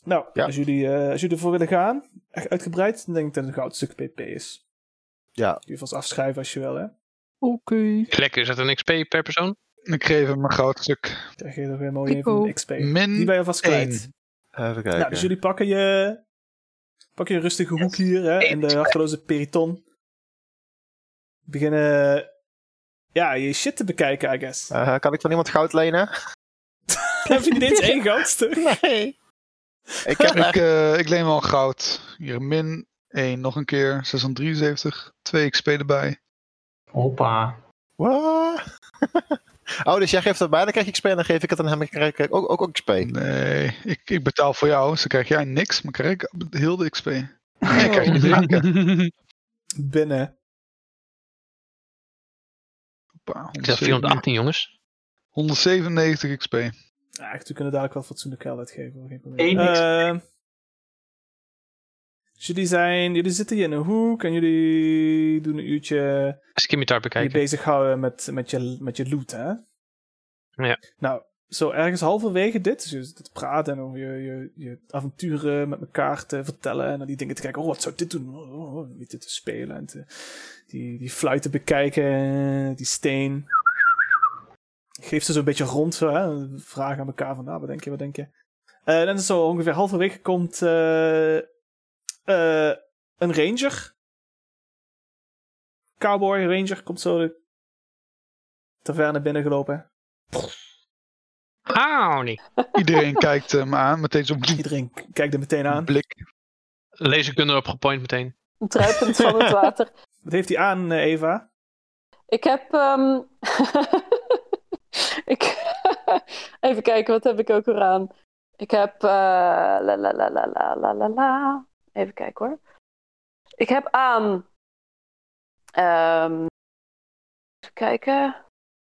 [SPEAKER 1] Nou,
[SPEAKER 6] Ja.
[SPEAKER 1] als, jullie, eh, als jullie ervoor willen gaan, echt uitgebreid, dan denk ik dat het een goud stuk PP is.
[SPEAKER 6] Ja.
[SPEAKER 1] Kun je vast afschrijven als je wil, hè?
[SPEAKER 7] Oké.
[SPEAKER 3] Lekker, is dat een XP per persoon?
[SPEAKER 2] Ik geef hem een goud stuk.
[SPEAKER 1] Krijg je er weer mooi even
[SPEAKER 7] Pico.
[SPEAKER 1] een XP.
[SPEAKER 2] Min
[SPEAKER 1] Die ben je alvast
[SPEAKER 2] één.
[SPEAKER 1] kwijt.
[SPEAKER 6] Even kijken.
[SPEAKER 1] Nou, dus jullie pakken je, pakken je rustige hoek hier hè, in de harteloze periton. Beginnen ja, je shit te bekijken, I guess.
[SPEAKER 6] Eh, kan ik van iemand goud lenen?
[SPEAKER 1] Heb je niet eens één goudstuk?
[SPEAKER 6] Nee. Ik heb
[SPEAKER 2] Ik, eh, ik leen wel goud. Hier, min 1, nog een keer. 673. 2 XP erbij.
[SPEAKER 4] Hoppa.
[SPEAKER 6] Wah. oh, dus jij geeft het mij, dan krijg ik XP en dan geef ik het aan hem en krijg ik ook, ook, ook XP.
[SPEAKER 2] Nee, ik, ik betaal voor jou, dus dan krijg jij niks, maar krijg ik heel de XP. Nee, ik krijg je drinken.
[SPEAKER 1] Binnen.
[SPEAKER 2] Hoppa,
[SPEAKER 3] Het is
[SPEAKER 2] 197
[SPEAKER 3] 418, jongens.
[SPEAKER 2] 197 XP.
[SPEAKER 1] Ja, echt, we kunnen dadelijk wel fatsoenlijk geld uitgeven. hoor, Geen probleem.
[SPEAKER 4] Eén XP.
[SPEAKER 1] Ehm, dus jullie, zijn, jullie zitten hier in een hoek en jullie doen een uurtje
[SPEAKER 3] Skimitar
[SPEAKER 1] je
[SPEAKER 3] bekijken.
[SPEAKER 1] bezighouden met, met, je, met je loot, hè?
[SPEAKER 3] Ja.
[SPEAKER 1] Nou, zo ergens halverwege dit, dus je zit te praten en over je, je, je avonturen met elkaar te vertellen en dan die dingen te kijken, oh, wat zou dit doen? Oh, oh, oh, met dit te spelen en te, die, die fluiten bekijken, die steen. Geeft ze zo'n beetje rond, zo, hè? vragen aan elkaar van, nou, wat denk je, wat denk je? Eh, en dan zo ongeveer halverwege komt eh, eh, een ranger cowboy ranger komt zo de taverne binnengelopen.
[SPEAKER 3] Howdy.
[SPEAKER 2] Iedereen kijkt hem aan, meteen zo'n
[SPEAKER 1] Iedereen k- kijkt er meteen aan.
[SPEAKER 2] blik.
[SPEAKER 3] Laserkunde erop gepoint meteen.
[SPEAKER 5] druipend van het water.
[SPEAKER 1] Wat heeft hij aan, eh, Eva?
[SPEAKER 5] Ik heb. ehm, ik... Even kijken, wat heb ik ook weer aan? Ik heb. eh, La la la la la la la la. Even kijken hoor. Ik heb aan. ehm, Even kijken.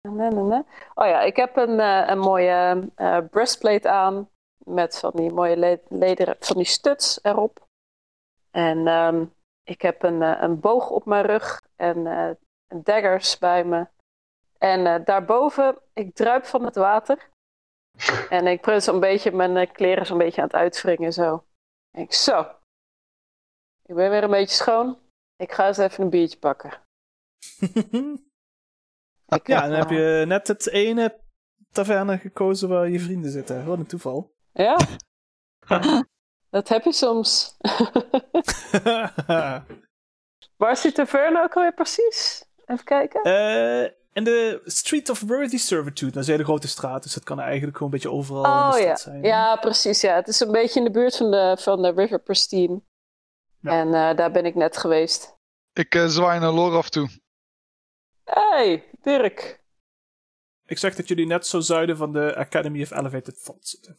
[SPEAKER 5] Na, na, na. Oh ja, ik heb een, eh, een mooie eh, breastplate aan. Met van die mooie le- lederen. van die studs erop. En ehm, ik heb een, eh, een boog op mijn rug. En eh, daggers bij me. En eh, daarboven, ik druip van het water. En ik prins een beetje mijn eh, kleren zo'n beetje aan het uitwringen zo. En ik, zo, Ik ben weer een beetje schoon. Ik ga eens even een biertje pakken. Ik,
[SPEAKER 1] ja, dan
[SPEAKER 5] eh,
[SPEAKER 1] heb je net het ene taverne gekozen waar je vrienden zitten. Wat een toeval.
[SPEAKER 5] Ja. Dat heb je soms. Waar is die taverne ook alweer precies? Even kijken.
[SPEAKER 1] Eh, En de Street of Worthy Servitude, dat is een hele grote straat, dus dat kan eigenlijk gewoon een beetje overal in de
[SPEAKER 5] oh
[SPEAKER 1] stad
[SPEAKER 5] ja.
[SPEAKER 1] zijn.
[SPEAKER 5] Ja, precies. Ja. Het is een beetje in de buurt van de, van de River Pristine.
[SPEAKER 1] Ja.
[SPEAKER 5] En eh, daar ben ik net geweest.
[SPEAKER 2] Ik eh, zwaai naar Lore af toe.
[SPEAKER 5] Hey, Dirk.
[SPEAKER 1] Ik zeg dat jullie net zo zuiden van de Academy of Elevated Thought zitten.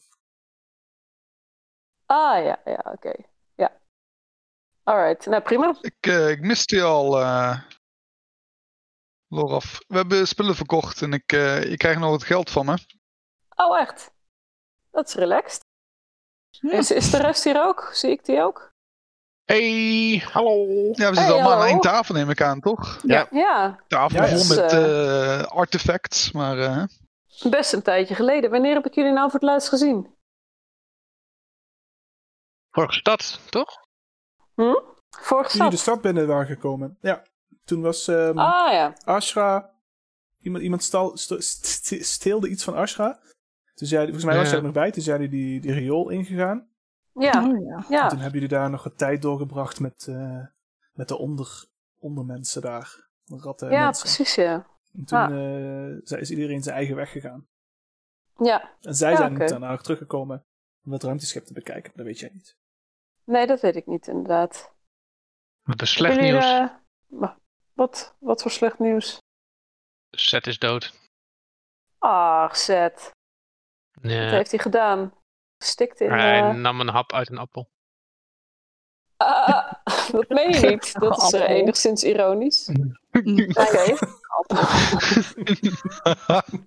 [SPEAKER 5] Ah ja, ja, oké. Ja. Alright, nou prima.
[SPEAKER 2] Ik, eh, ik miste je al, eh Loraf. We hebben spullen verkocht en ik, eh, je krijgt nog wat geld van me.
[SPEAKER 5] Oh, echt? Dat is relaxed. Is, is de rest hier ook? Zie ik die ook?
[SPEAKER 3] Hey,
[SPEAKER 6] Hallo.
[SPEAKER 2] Ja, we zitten
[SPEAKER 5] Hey,
[SPEAKER 2] allemaal aan
[SPEAKER 5] hallo.
[SPEAKER 2] één tafel, neem ik aan, toch?
[SPEAKER 5] Ja,
[SPEAKER 2] Tafel
[SPEAKER 1] Ja,
[SPEAKER 2] vol
[SPEAKER 5] dus,
[SPEAKER 2] met
[SPEAKER 5] eh,
[SPEAKER 2] eh, artefacts, maar eh,
[SPEAKER 5] best een tijdje geleden. Wanneer heb ik jullie nou voor het laatst gezien?
[SPEAKER 3] vorige stad, toch?
[SPEAKER 5] Vorig
[SPEAKER 1] Toen jullie
[SPEAKER 5] stad?
[SPEAKER 1] de stad binnen waren gekomen. Ja, toen was ehm,
[SPEAKER 5] Ah ja.
[SPEAKER 1] Ashra. Iemand, iemand stal, st- st- steelde iets van Ashra. Toen zei, volgens mij was
[SPEAKER 3] Ja.
[SPEAKER 1] jij er nog bij. Toen zijn jullie die, die riool ingegaan.
[SPEAKER 5] Ja,
[SPEAKER 7] Oh, ja.
[SPEAKER 1] En
[SPEAKER 5] ja.
[SPEAKER 1] toen hebben jullie daar nog wat tijd doorgebracht met, eh, met de onder, ondermensen daar. De Ratten en
[SPEAKER 5] Ja,
[SPEAKER 1] mensen.
[SPEAKER 5] precies ja.
[SPEAKER 1] En toen
[SPEAKER 5] Ah.
[SPEAKER 1] eh, zij- is iedereen zijn eigen weg gegaan.
[SPEAKER 5] Ja,
[SPEAKER 1] En zij
[SPEAKER 5] Ja,
[SPEAKER 1] zijn
[SPEAKER 5] oké.
[SPEAKER 1] daarna ook teruggekomen om het ruimteschip te bekijken. Dat weet jij niet.
[SPEAKER 5] nee, dat weet ik niet inderdaad.
[SPEAKER 3] Wat een slecht
[SPEAKER 5] Jullie,
[SPEAKER 3] nieuws.
[SPEAKER 5] eh, wa- wat, wat voor slecht nieuws?
[SPEAKER 3] Zet is dood.
[SPEAKER 5] Ach, Zet. Wat
[SPEAKER 3] Nee.
[SPEAKER 5] heeft hij gedaan? Gestikt in...
[SPEAKER 3] Hij
[SPEAKER 5] eh,
[SPEAKER 3] nam een hap uit een appel.
[SPEAKER 5] ah, dat meen je niet. Dat is eh,
[SPEAKER 7] Appel.
[SPEAKER 5] enigszins ironisch.
[SPEAKER 7] Mm.
[SPEAKER 5] Oké.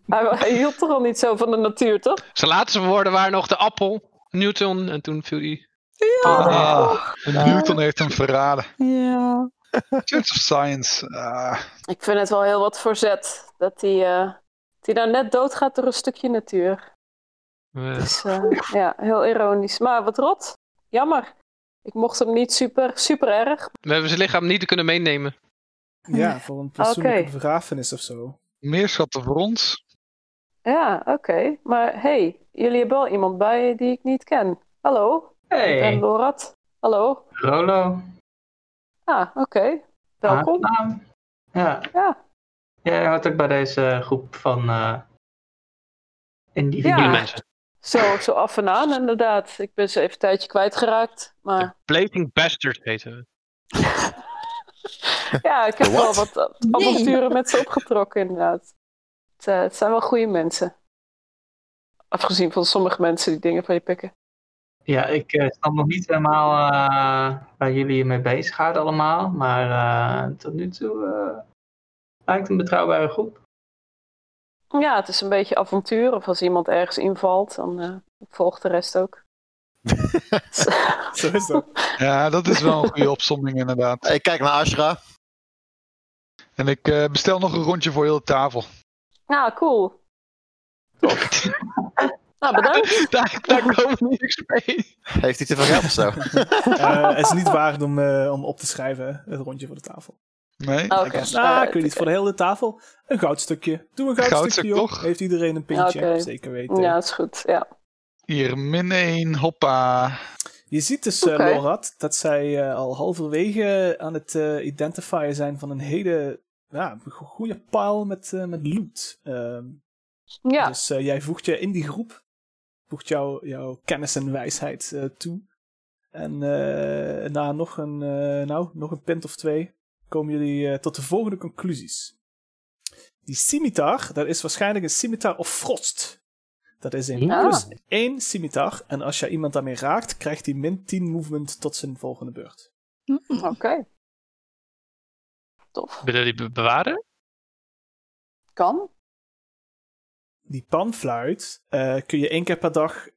[SPEAKER 5] Hij wa- Hij hield toch al niet zo van de natuur, toch?
[SPEAKER 3] Zijn laatste woorden waren nog de appel, Newton, en toen viel hij.
[SPEAKER 2] ah, Newton heeft hem verraden.
[SPEAKER 7] Ja.
[SPEAKER 2] Church of Science. ah.
[SPEAKER 5] Ik vind het wel heel wat verzet dat hij eh, dat hij nou net doodgaat door een stukje natuur.
[SPEAKER 3] eh,
[SPEAKER 5] Dus eh, ja, heel ironisch. Maar wat rot. Jammer. Ik mocht hem niet super, super erg.
[SPEAKER 3] we hebben zijn lichaam niet kunnen meenemen.
[SPEAKER 1] Ja, voor een fatsoenlijke
[SPEAKER 5] Oké.
[SPEAKER 1] begrafenis of zo.
[SPEAKER 2] meer schatten voor ons.
[SPEAKER 5] Ja, oké. Maar hey, jullie hebben wel iemand bij je die ik niet ken. Hallo, ik ben
[SPEAKER 4] Hey,
[SPEAKER 5] Lorat. Hallo.
[SPEAKER 4] Rolo.
[SPEAKER 5] Ah, oké. Welkom.
[SPEAKER 4] Aangenaam. Ja,
[SPEAKER 5] Ja.
[SPEAKER 4] jij hoort ook bij deze groep van eh individuen.
[SPEAKER 3] Goede
[SPEAKER 5] Ja.
[SPEAKER 3] mensen.
[SPEAKER 5] Zo, zo af en aan inderdaad. Ik ben ze even een tijdje kwijtgeraakt. Maar
[SPEAKER 3] Blating bastards heten we.
[SPEAKER 5] Ja, ik heb wel wat eh,
[SPEAKER 7] Nee.
[SPEAKER 5] avonturen met ze opgetrokken, inderdaad. Het, eh, het zijn wel goede mensen. Afgezien van sommige mensen die dingen van je pikken.
[SPEAKER 4] Ja, ik eh, snap nog niet helemaal eh, waar jullie mee bezig houden allemaal. Maar eh, tot nu toe eh, lijkt een betrouwbare groep.
[SPEAKER 5] Ja, het is een beetje avontuur. Of als iemand ergens invalt, dan eh, volgt de rest ook.
[SPEAKER 1] Zo is dat.
[SPEAKER 2] Ja, dat is wel een goede opsomming inderdaad.
[SPEAKER 6] Ik kijk naar Ashra.
[SPEAKER 2] En ik eh, bestel nog een rondje voor heel de tafel.
[SPEAKER 5] nou, cool. Nou, bedankt.
[SPEAKER 3] Daar, daar komen we niks mee.
[SPEAKER 6] Heeft hij te veel geld of zo?
[SPEAKER 1] Eh, het is niet waard om, eh, om op te schrijven, het rondje voor de tafel.
[SPEAKER 2] Nee?
[SPEAKER 5] Oké. Eh,
[SPEAKER 1] Dus, ah, ik weet niet, voor de hele tafel een goudstukje. Doe een goudstukje,
[SPEAKER 2] Goudstuk,
[SPEAKER 1] joh.
[SPEAKER 2] toch?
[SPEAKER 1] Heeft iedereen een pintje,
[SPEAKER 5] Oké.
[SPEAKER 1] zeker weten.
[SPEAKER 5] Ja, dat is goed. Ja.
[SPEAKER 2] Hier, min 1, hoppa.
[SPEAKER 1] Je ziet dus, eh,
[SPEAKER 5] Oké.
[SPEAKER 1] Lorat, dat zij eh, al halverwege aan het eh identifieren zijn van een hele ja, go- goede pile met, eh, met loot. Ehm,
[SPEAKER 5] Ja,
[SPEAKER 1] Dus eh, jij voegt je in die groep, voegt jou, jouw kennis en wijsheid eh, toe. En eh, na nog een, eh, nou, nog een pint of twee komen jullie eh, tot de volgende conclusies. Die scimitar, dat is waarschijnlijk een scimitar of frost. Dat is een
[SPEAKER 5] Ah.
[SPEAKER 1] plus één scimitar. En als jij iemand daarmee raakt, krijgt hij min 10 movement tot zijn volgende beurt.
[SPEAKER 7] Hm.
[SPEAKER 5] oké. Tof.
[SPEAKER 3] Willen jullie be- bewaren?
[SPEAKER 5] Kan.
[SPEAKER 1] Die panfluit eh, kun je één keer per dag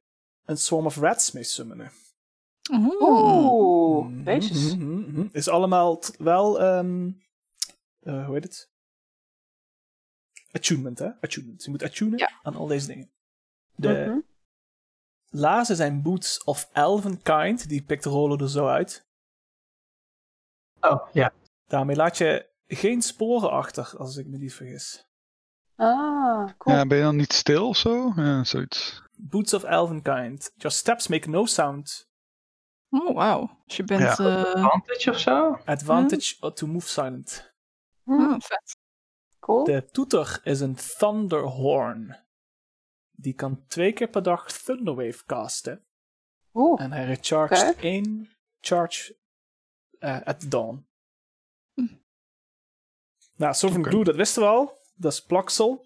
[SPEAKER 1] een Swarm of Rats mee summonen.
[SPEAKER 7] Oeh.
[SPEAKER 5] Oeh,
[SPEAKER 1] Mhm,
[SPEAKER 5] beestjes.
[SPEAKER 1] mhm, mhm. Is allemaal t- wel, ehm, eh, hoe heet het? Attunement, hè? Attunement. Je moet attunen
[SPEAKER 7] Ja.
[SPEAKER 1] aan al deze dingen. De
[SPEAKER 5] Mhm.
[SPEAKER 1] lazen zijn boots of elven kind. Die pikt Rolo er zo uit.
[SPEAKER 4] Oh, ja.
[SPEAKER 1] Daarmee laat je geen sporen achter, als ik me niet vergis.
[SPEAKER 5] Ah, cool.
[SPEAKER 2] Ja, ben je dan niet stil of zo? Ja, zoiets.
[SPEAKER 1] Boots of Elvenkind. Your steps make no sound.
[SPEAKER 7] Oh, wauw. Dus je bent... eh,
[SPEAKER 4] Advantage of zo?
[SPEAKER 1] Advantage
[SPEAKER 5] Mhm.
[SPEAKER 1] to move silent.
[SPEAKER 7] ah, vet.
[SPEAKER 5] Hm, cool.
[SPEAKER 1] De toeter is een thunderhorn. Die kan twee keer per dag Thunderwave casten.
[SPEAKER 5] Oeh,
[SPEAKER 1] En hij recharged
[SPEAKER 5] Oké.
[SPEAKER 1] één charge eh, at dawn.
[SPEAKER 7] Hm.
[SPEAKER 1] Nou, Sovereign
[SPEAKER 2] Oké.
[SPEAKER 1] Glue, dat wisten we al. Dat is plaksel.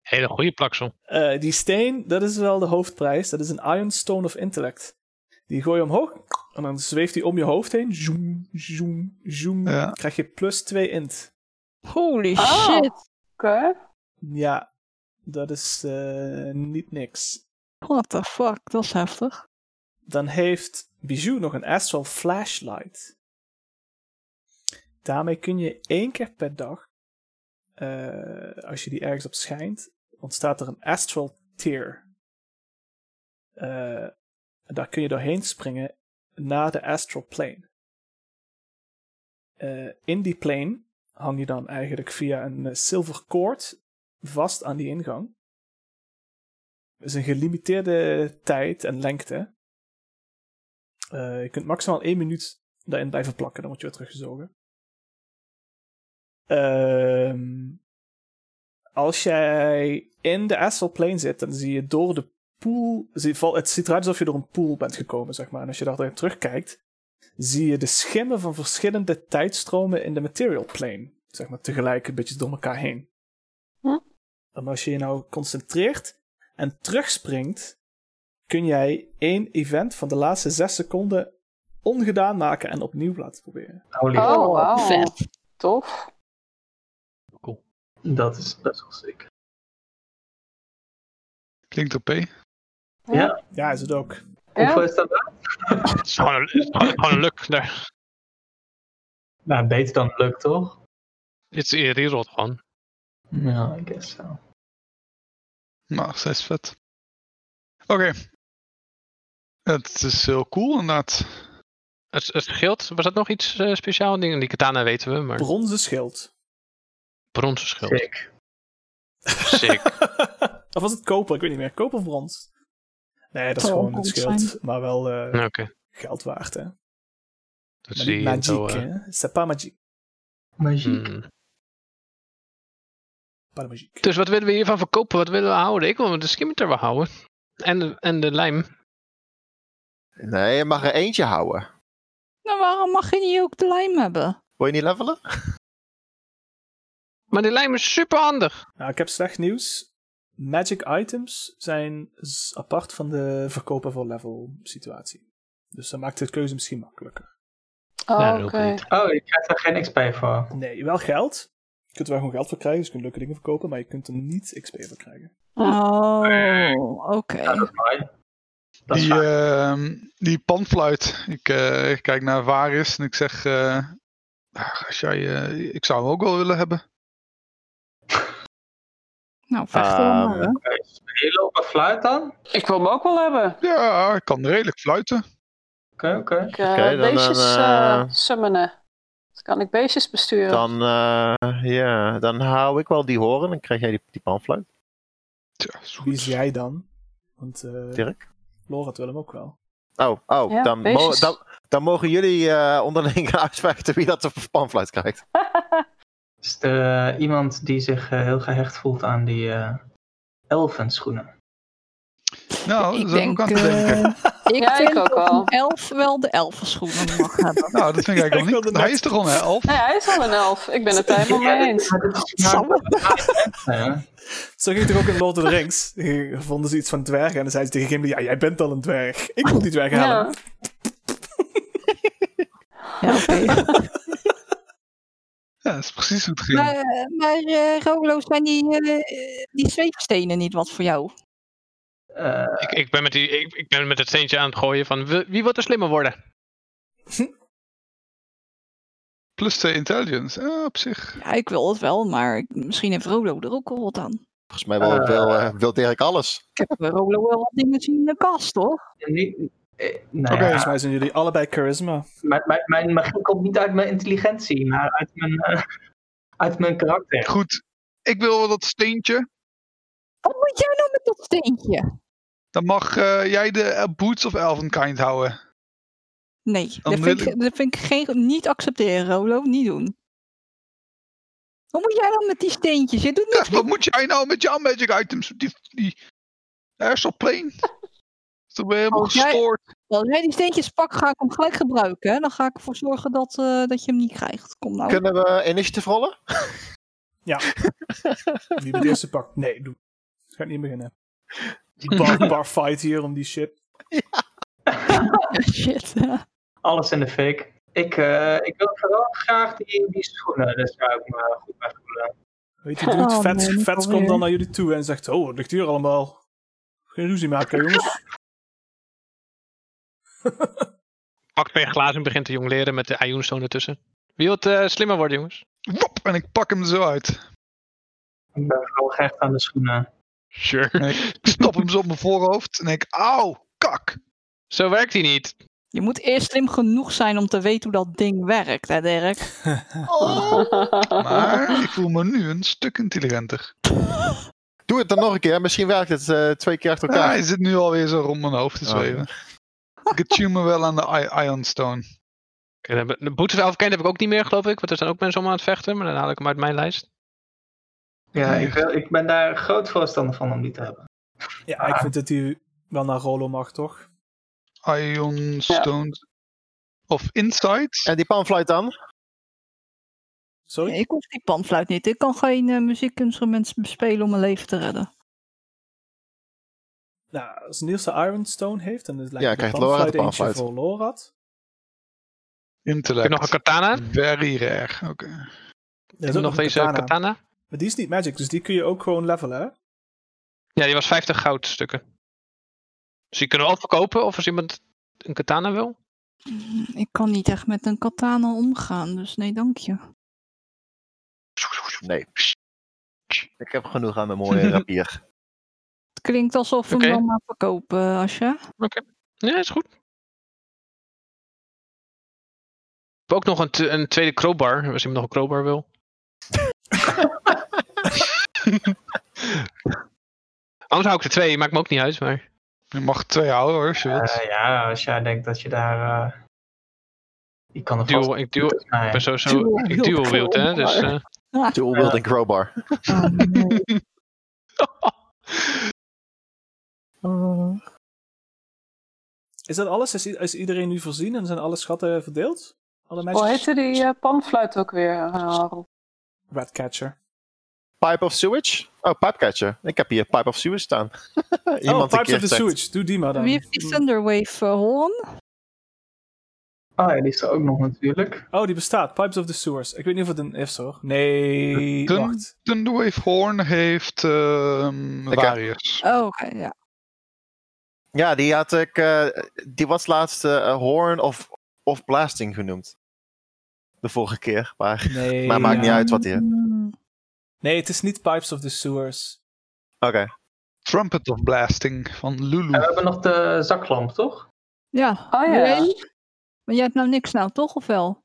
[SPEAKER 3] Hele goede plaksel.
[SPEAKER 1] Eh, die steen, dat is wel de hoofdprijs. Dat is een Iron Stone of Intellect. Die gooi je omhoog en dan zweeft die om je hoofd heen. Zoom, zoom, zoom.
[SPEAKER 2] Ja.
[SPEAKER 1] Krijg je plus 2 int.
[SPEAKER 7] Holy
[SPEAKER 5] Oh.
[SPEAKER 7] shit.
[SPEAKER 5] oké.
[SPEAKER 1] Ja, dat is eh, niet niks.
[SPEAKER 7] What the fuck, dat is heftig.
[SPEAKER 1] Dan heeft Bijou nog een Astral Flashlight. Daarmee kun je één keer per dag, eh, als je die ergens op schijnt, ontstaat er een Astral Tear. Eh, en daar kun je doorheen springen naar de Astral Plane. Eh, in die plane hang je dan eigenlijk via een eh, zilver koord vast aan die ingang. Het is een gelimiteerde tijd en lengte. Eh, je kunt maximaal één minuut daarin blijven plakken, dan word je weer teruggezogen. Ehm, als jij in de astral plane zit, dan zie je door de pool... zie- val- Het ziet eruit alsof je door een pool bent gekomen, zeg maar. En als je daarin terugkijkt, zie je de schimmen van verschillende tijdstromen in de material plane. Zeg maar tegelijk een beetje door elkaar heen.
[SPEAKER 5] Hm.
[SPEAKER 1] En als je je nou concentreert en terugspringt, kun jij één event van de laatste zes seconden ongedaan maken en opnieuw laten proberen.
[SPEAKER 4] Holy
[SPEAKER 5] Oh, wauw.
[SPEAKER 7] Vet.
[SPEAKER 5] Tof.
[SPEAKER 4] Dat is best wel sick.
[SPEAKER 2] Klinkt OP.
[SPEAKER 4] Ja.
[SPEAKER 1] Ja, is het ook.
[SPEAKER 4] Hoeveel is dat?
[SPEAKER 3] Het is gewoon een, het is gewoon- gewoon een luk. Daar.
[SPEAKER 4] Nou, beter dan lukt, toch?
[SPEAKER 3] Het is je rerolt gewoon.
[SPEAKER 4] Ja, I guess so.
[SPEAKER 2] Nou, zij is vet. Oké. Het is heel cool inderdaad.
[SPEAKER 3] Het, het schild, was dat nog iets eh speciaal? Die, die katana weten we, maar
[SPEAKER 1] Bronzen schild.
[SPEAKER 3] bronzen schild.
[SPEAKER 4] Sick.
[SPEAKER 3] Sick.
[SPEAKER 1] of was het koper? Ik weet niet meer. Koper of brons? Nee, dat is
[SPEAKER 7] Zou
[SPEAKER 1] gewoon
[SPEAKER 7] ook
[SPEAKER 1] het
[SPEAKER 7] goed
[SPEAKER 1] schild. Maar wel eh,
[SPEAKER 3] Oké,
[SPEAKER 1] geld waard, hè. Maar
[SPEAKER 3] dat
[SPEAKER 1] niet
[SPEAKER 3] zie je zo.
[SPEAKER 1] magiek,
[SPEAKER 3] eh,
[SPEAKER 1] hè. C'est pas magique.
[SPEAKER 4] Magiek.
[SPEAKER 3] hmm.
[SPEAKER 1] Pas de magique.
[SPEAKER 3] Dus wat willen we hiervan verkopen? Wat willen we houden? Ik wil de skimmeter wel houden. En de, en de lijm.
[SPEAKER 6] Nee, je mag er eentje houden.
[SPEAKER 7] Nou, waarom mag je niet ook de lijm hebben?
[SPEAKER 6] Wil je niet levelen?
[SPEAKER 3] Maar die lijm is super handig.
[SPEAKER 1] Nou, ik heb slecht nieuws. Magic items zijn s- apart van de verkopen voor level situatie. Dus dat maakt de keuze misschien makkelijker.
[SPEAKER 3] Ja,
[SPEAKER 5] Oh,
[SPEAKER 3] dat
[SPEAKER 5] oké.
[SPEAKER 3] wil ik niet.
[SPEAKER 4] Oh, je krijgt er geen XP voor.
[SPEAKER 1] Nee, wel geld. Je kunt er wel gewoon geld voor krijgen, dus je kunt leuke dingen verkopen, maar je kunt er niet XP voor krijgen.
[SPEAKER 7] Oh, oké.
[SPEAKER 4] Ja, dat is fijn. Dat is
[SPEAKER 2] die,
[SPEAKER 4] fijn.
[SPEAKER 2] ehm, die panfluit. Ik eh, ik kijk naar Varis en ik zeg... eh, "Ach, als jij, eh, ik zou hem ook wel willen hebben.
[SPEAKER 7] Nou, vecht er
[SPEAKER 6] Ah,
[SPEAKER 7] dan maar, hè.
[SPEAKER 4] Oké,
[SPEAKER 2] eh,
[SPEAKER 4] Spelen op een fluit dan? Oké,
[SPEAKER 5] Ik wil hem ook wel hebben.
[SPEAKER 2] Ja, ik kan redelijk fluiten.
[SPEAKER 4] oké.
[SPEAKER 5] Ik, eh,
[SPEAKER 6] Oké, dan-
[SPEAKER 5] beestjes
[SPEAKER 6] dan,
[SPEAKER 5] eh,
[SPEAKER 6] eh,
[SPEAKER 5] summonen. Dan kan ik beestjes besturen.
[SPEAKER 6] Dan, eh, ja, dan hou ik wel die horen. Dan krijg jij die, die panfluit,
[SPEAKER 2] Tja, is goed.
[SPEAKER 1] Wie is jij dan? Want eh
[SPEAKER 6] Dirk.
[SPEAKER 1] Lorat wil hem ook wel.
[SPEAKER 6] Oh, oh
[SPEAKER 5] Ja,
[SPEAKER 6] dan, mo-
[SPEAKER 5] beestjes.
[SPEAKER 6] dan, dan mogen jullie eh, onderling gaan uitvechten wie dat de panfluit krijgt.
[SPEAKER 4] Is er eh, iemand die zich eh, heel gehecht voelt aan die eh elfenschoenen?
[SPEAKER 2] Nou,
[SPEAKER 7] ik
[SPEAKER 2] dat is
[SPEAKER 7] denk,
[SPEAKER 2] ook aan te denken.
[SPEAKER 7] eh, ik
[SPEAKER 5] Ja, ik
[SPEAKER 7] denk
[SPEAKER 5] ook
[SPEAKER 7] dat
[SPEAKER 5] wel.
[SPEAKER 7] een elf wel de elfenschoenen mag hebben.
[SPEAKER 2] Nou, dat vind ik eigenlijk
[SPEAKER 1] Ik
[SPEAKER 2] wel
[SPEAKER 1] wilde
[SPEAKER 2] niet.
[SPEAKER 1] net-
[SPEAKER 2] Hij is toch al een elf?
[SPEAKER 5] Nee, hij is al een elf. Ik ben het daar helemaal mee eens.
[SPEAKER 4] Maar dit is nou- Ja.
[SPEAKER 1] Zo ging het toch ook in Lord of the Rings? Eh, Vonden ze iets van dwergen en dan zeiden ze tegen Gimli, ja, jij bent al een dwerg. Ik wil die dwerg
[SPEAKER 5] Ja.
[SPEAKER 1] halen.
[SPEAKER 7] Ja, oké.
[SPEAKER 2] Ja, dat is precies hoe het ging.
[SPEAKER 7] Maar, eh, maar eh, Rolo, zijn die, eh, die zweefstenen niet wat voor jou?
[SPEAKER 4] Eh,
[SPEAKER 3] Ik, ik, ben met die, ik, ik ben met het steentje aan het gooien van wie, wie wil er slimmer worden?
[SPEAKER 2] Plus 2 intelligence. Ja, op zich.
[SPEAKER 7] Ja, ik wil het wel, maar ik- misschien heeft Rolo er ook wel wat aan.
[SPEAKER 6] Volgens mij eh, wil, wil, eh, wil Dirk alles.
[SPEAKER 7] Ik heb bij Rolo wel wat dingen zien in de kast, toch?
[SPEAKER 4] niet, Eh, nou
[SPEAKER 2] Oké.
[SPEAKER 4] ja,
[SPEAKER 1] Volgens mij zijn jullie allebei charisma.
[SPEAKER 4] mijn, mijn, mijn magie komt niet uit mijn intelligentie, maar uit mijn, eh, uit mijn karakter.
[SPEAKER 2] Goed, ik wil wel dat steentje.
[SPEAKER 7] Wat moet jij nou met dat steentje?
[SPEAKER 2] Dan mag eh, jij de eh, Boots of Elvenkind houden.
[SPEAKER 7] Nee,
[SPEAKER 2] Dan
[SPEAKER 7] dat vind,
[SPEAKER 2] wil
[SPEAKER 7] ik, dat vind ik geen, niet accepteren, Rolo. Niet doen. Wat moet jij nou met die steentjes? Je doet
[SPEAKER 2] Ja,
[SPEAKER 7] niks.
[SPEAKER 2] wat moet jij nou met jouw magic items? Die, die Airsoft plane? Is toch weer helemaal
[SPEAKER 7] Als jij-
[SPEAKER 2] gestoord?
[SPEAKER 7] Als jij die steentjes pak, ga ik hem gelijk gebruiken. hè. Dan ga ik ervoor zorgen dat, eh, dat je hem niet krijgt. Kom nou.
[SPEAKER 6] Kunnen we initiative rollen?
[SPEAKER 1] Wie het eerste pakt. Nee, doe. Ik ga niet beginnen. Bar, bar fight hier om die shit.
[SPEAKER 7] Ja, shit.
[SPEAKER 4] Alles in de fik. Ik, eh, ik wil vooral graag die, die schoenen, daar zou ik me goed bij voelen.
[SPEAKER 1] Weet je, dude,
[SPEAKER 7] Oh,
[SPEAKER 1] Vets,
[SPEAKER 7] nee, niet
[SPEAKER 1] Vets komt
[SPEAKER 7] alweer.
[SPEAKER 1] dan naar jullie toe en zegt: Oh, wat ligt hier allemaal? Geen ruzie maken, jongens.
[SPEAKER 3] Pakt weer een glaas en begint te jong leren met de Ionstone ertussen. Wie wilt eh, slimmer worden, jongens?
[SPEAKER 2] Wop, en ik pak hem er zo uit.
[SPEAKER 4] Ik ben vooral gehecht aan de schoenen.
[SPEAKER 3] Sure.
[SPEAKER 2] En ik stop hem zo op mijn voorhoofd en ik, auw, kak.
[SPEAKER 3] Zo werkt hij niet.
[SPEAKER 7] Je moet eerst slim genoeg zijn om te weten hoe dat ding werkt, hè Dirk?
[SPEAKER 2] Maar ik voel me nu een stuk intelligenter.
[SPEAKER 6] Doe het dan nog een keer. Misschien werkt het eh, twee keer achter
[SPEAKER 2] Ja,
[SPEAKER 6] elkaar.
[SPEAKER 2] hij zit nu alweer zo rond mijn hoofd te
[SPEAKER 6] Oh,
[SPEAKER 2] zweven. Ik attune me wel aan de I- Ion Stone.
[SPEAKER 3] Oké, dan hebben- De Boots of Elfkind heb ik ook niet meer, geloof ik. Want er zijn ook mensen om aan het vechten. Maar dan haal ik hem uit mijn lijst.
[SPEAKER 4] Ja, ik, wil, ik ben daar groot voorstander van om die te hebben.
[SPEAKER 1] ja, ik vind dat die wel naar Rolo mag, toch?
[SPEAKER 2] Ion Stone. Of Insights.
[SPEAKER 6] En die panfluit dan?
[SPEAKER 1] Sorry?
[SPEAKER 7] Ik hoef die panfluit niet. Ik kan geen eh, muziekinstrument spelen om mijn leven te redden.
[SPEAKER 1] Nou, als Niels de Ironstone heeft, dan is het
[SPEAKER 6] Ja,
[SPEAKER 1] lijkt me
[SPEAKER 6] krijgt
[SPEAKER 1] de
[SPEAKER 6] Lorat
[SPEAKER 1] panfluit
[SPEAKER 6] de
[SPEAKER 1] eentje
[SPEAKER 6] panfluit.
[SPEAKER 1] voor Lorat.
[SPEAKER 3] Heb
[SPEAKER 2] Intellect.
[SPEAKER 3] je nog een katana?
[SPEAKER 2] Very rare. Oké.
[SPEAKER 1] Er is
[SPEAKER 3] nog,
[SPEAKER 1] ook een
[SPEAKER 3] deze katana.
[SPEAKER 1] Maar die is niet magic, dus die kun je ook gewoon levelen, hè?
[SPEAKER 3] Ja, die was 50 goudstukken. Dus die kunnen we ook verkopen. Of als iemand een katana wil.
[SPEAKER 7] Ik kan niet echt met een katana omgaan, dus nee, dank je.
[SPEAKER 6] Nee. Ik heb genoeg aan mijn mooie rapier.
[SPEAKER 7] Het klinkt alsof we
[SPEAKER 3] Oké.
[SPEAKER 7] hem dan maar verkopen, eh, Asja.
[SPEAKER 3] Ja, is goed. We hebben ook nog een, t- een tweede crowbar. Als iemand nog een crowbar wil. Anders hou ik er twee. Maakt me ook niet uit. Maar
[SPEAKER 2] Je mag twee houden hoor, als je wilt.
[SPEAKER 4] Eh, ja, als jij denkt dat je daar... eh ik kan er vast...
[SPEAKER 3] duo, ik duo, ik ben sowieso
[SPEAKER 7] Dual
[SPEAKER 3] ik
[SPEAKER 7] wield
[SPEAKER 3] dual wield, hè. Dus,
[SPEAKER 7] crowbar.
[SPEAKER 3] eh.
[SPEAKER 6] Dual wielding crowbar.
[SPEAKER 7] Oh, nee.
[SPEAKER 1] Is dat alles? Is, i- is iedereen nu voorzien en zijn alle schatten verdeeld?
[SPEAKER 7] Oh,
[SPEAKER 1] Alle magic?
[SPEAKER 5] Hoe heette die eh, panfluit ook weer, eh, Harold?
[SPEAKER 1] Ratcatcher.
[SPEAKER 6] Pipe of sewage? Oh, pipecatcher. Ik heb hier pipe of sewage staan. Iemand
[SPEAKER 1] Oh,
[SPEAKER 6] een
[SPEAKER 1] Pipes
[SPEAKER 6] keer
[SPEAKER 1] of the
[SPEAKER 6] zegt-
[SPEAKER 1] Sewage. Doe die maar dan. Mm.
[SPEAKER 7] Wie heeft die Thunderwave eh, hoorn?
[SPEAKER 4] Oh ja, die is er ook nog natuurlijk.
[SPEAKER 1] Oh, die bestaat. Pipes of the Sewers. Ik weet niet of het een is, hoor. Nee,
[SPEAKER 2] Dun-
[SPEAKER 1] wacht.
[SPEAKER 2] Thunderwave Horn heeft ehm
[SPEAKER 1] eh,
[SPEAKER 6] Oké.
[SPEAKER 2] Varius.
[SPEAKER 7] Oh, oké, ja.
[SPEAKER 6] Ja, die had ik. eh, die was laatst eh, Horn of, of Blasting genoemd. De vorige keer. Maar,
[SPEAKER 1] Nee,
[SPEAKER 6] maar maakt niet
[SPEAKER 1] ja.
[SPEAKER 6] uit wat die. Oké.
[SPEAKER 7] Mm.
[SPEAKER 1] Nee, het is niet Pipes of the Sewers.
[SPEAKER 2] Trumpet of Blasting van Lulu.
[SPEAKER 1] Eh,
[SPEAKER 4] En we hebben nog de zaklamp, toch?
[SPEAKER 7] Ja.
[SPEAKER 5] Oh ja.
[SPEAKER 7] Nee. Maar jij hebt nou niks nou, toch? Of wel?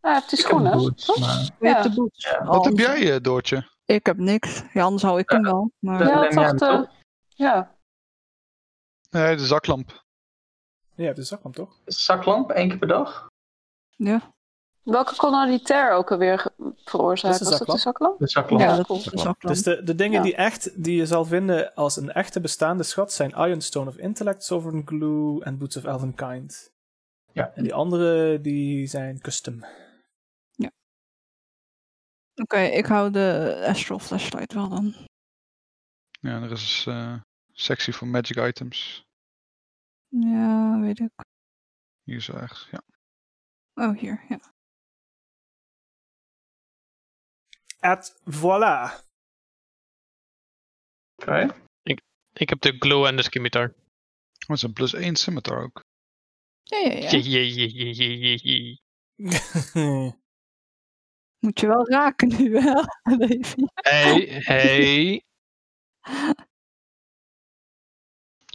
[SPEAKER 5] Hij heeft die
[SPEAKER 4] Ik heb
[SPEAKER 5] schoenen.
[SPEAKER 4] boots,
[SPEAKER 5] toch?
[SPEAKER 4] maar-
[SPEAKER 7] Je hebt
[SPEAKER 5] Ja.
[SPEAKER 7] de boots. Oh,
[SPEAKER 2] Wat heb
[SPEAKER 7] anders-
[SPEAKER 2] jij, eh, Doortje?
[SPEAKER 7] Ik heb niks. Ja, anders hou ik hem wel. Maar...
[SPEAKER 5] Ja,
[SPEAKER 4] Lem
[SPEAKER 5] toch
[SPEAKER 4] Lem,
[SPEAKER 5] de...
[SPEAKER 4] toch?
[SPEAKER 5] Ja.
[SPEAKER 2] Nee, de zaklamp.
[SPEAKER 1] Ja, de zaklamp, toch?
[SPEAKER 4] Zaklamp, één keer per dag.
[SPEAKER 5] Welke kon nou die ter ook alweer ge- veroorzaken?
[SPEAKER 1] Dat is
[SPEAKER 5] Was
[SPEAKER 1] de
[SPEAKER 5] dat de zaklamp?
[SPEAKER 4] De zaklamp.
[SPEAKER 5] Ja.
[SPEAKER 7] dat
[SPEAKER 5] cool.
[SPEAKER 7] is ook wel.
[SPEAKER 1] Dus de, de dingen
[SPEAKER 5] Ja.
[SPEAKER 1] die, echt, die je zal vinden als een echte bestaande schat zijn Ironstone of Intellect, Sovereign Glue en Boots of Elvenkind.
[SPEAKER 4] Ja.
[SPEAKER 1] En die andere, die zijn custom.
[SPEAKER 7] Oké, ik hou de Astral Flashlight wel dan.
[SPEAKER 2] Ja, er is eh, een sectie voor magic items.
[SPEAKER 7] Ja, weet ik.
[SPEAKER 2] Hier zo ergens. Ja.
[SPEAKER 7] Oh, hier. Ja.
[SPEAKER 1] Et voilà!
[SPEAKER 4] Oké.
[SPEAKER 3] ik heb de glow en de scimitar.
[SPEAKER 2] Oh, het is een plus 1 scimitar ook.
[SPEAKER 7] Ja, ja, ja.
[SPEAKER 3] Jee, jee, jee, jee, jee, jee, jee.
[SPEAKER 7] Moet je wel raken nu, hè? Levi?
[SPEAKER 3] Hey, hey.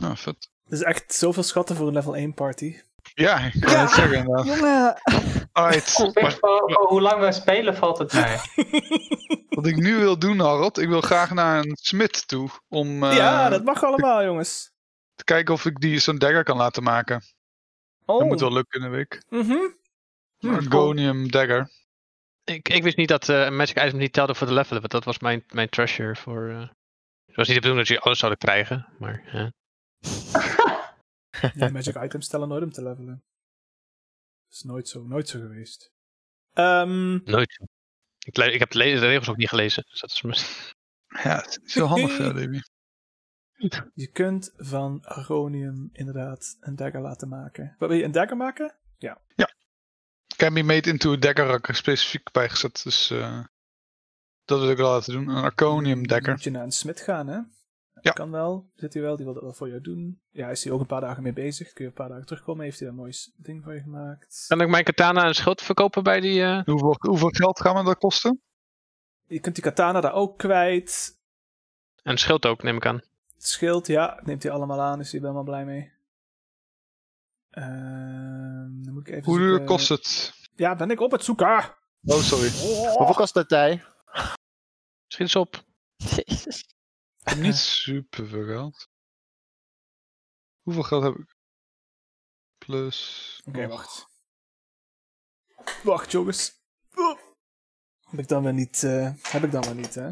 [SPEAKER 2] Ah, vet.
[SPEAKER 1] is echt zoveel schatten voor een level 1 party.
[SPEAKER 2] Ja, ik kan het zeggen. inderdaad.
[SPEAKER 7] Jongen,
[SPEAKER 2] Alright,
[SPEAKER 4] Op zich, voor, voor Oh, hoe lang wij spelen valt het mee.
[SPEAKER 2] wat ik nu wil doen, Harold, ik wil graag naar een smid toe. Om eh,
[SPEAKER 1] ja, dat mag allemaal, jongens.
[SPEAKER 2] te kijken of ik die zo'n dagger kan laten maken.
[SPEAKER 1] Oh.
[SPEAKER 2] Dat moet wel lukken in de week.
[SPEAKER 1] Mhm.
[SPEAKER 2] Een Gonium dagger.
[SPEAKER 3] Ik, ik wist niet dat eh, een magic item niet telde voor de level, want dat was mijn, mijn treasure voor... eh, Het was niet de bedoeling dat je alles zouden krijgen, maar... eh,
[SPEAKER 1] Nee, magic items tellen nooit om te levelen. Dat is nooit zo, nooit zo geweest. Ehm,
[SPEAKER 3] nooit. Ik, le- ik heb de, le- de regels ook niet gelezen, dus dat is mijn...
[SPEAKER 2] Ja, het is heel handig, ja, Davy.
[SPEAKER 1] je kunt van Aronium inderdaad een dagger laten maken. Wat wil je, een dagger maken?
[SPEAKER 2] Can be made into a dagger, had ik er specifiek bijgezet. Dus eh, dat wil ik wel laten doen. Een
[SPEAKER 1] Dan
[SPEAKER 2] Arconium dagger.
[SPEAKER 1] Moet je naar een smid gaan, hè?
[SPEAKER 2] Ja.
[SPEAKER 1] Kan wel. Zit hij wel, die wil dat wel voor jou doen. Ja, hij is hier ook een paar dagen mee bezig. Kun je een paar dagen terugkomen, heeft hij daar een mooi s- ding voor je gemaakt.
[SPEAKER 3] Kan ik mijn katana en schild verkopen bij die... eh,
[SPEAKER 2] Hoeveel, hoeveel geld gaan we dat kosten?
[SPEAKER 1] Je kunt die katana daar ook kwijt.
[SPEAKER 3] En schild ook, neem ik aan.
[SPEAKER 1] Het schild, ja, neemt hij allemaal aan, is hij helemaal blij mee. Ehm, dan moet ik even
[SPEAKER 2] Hoe duur
[SPEAKER 1] zoeken.
[SPEAKER 2] kost het?
[SPEAKER 1] Ja, ben ik op het zoeken. Ah!
[SPEAKER 2] Oh, sorry.
[SPEAKER 6] Hoeveel kost dat tij?
[SPEAKER 3] Schiet eens op.
[SPEAKER 7] jezus.
[SPEAKER 2] Niet super veel geld. Hoeveel geld heb ik? Plus.
[SPEAKER 1] Oké, wacht. Wacht, jongens. Oh. Heb ik dan weer niet, eh, heb ik dan weer niet, hè?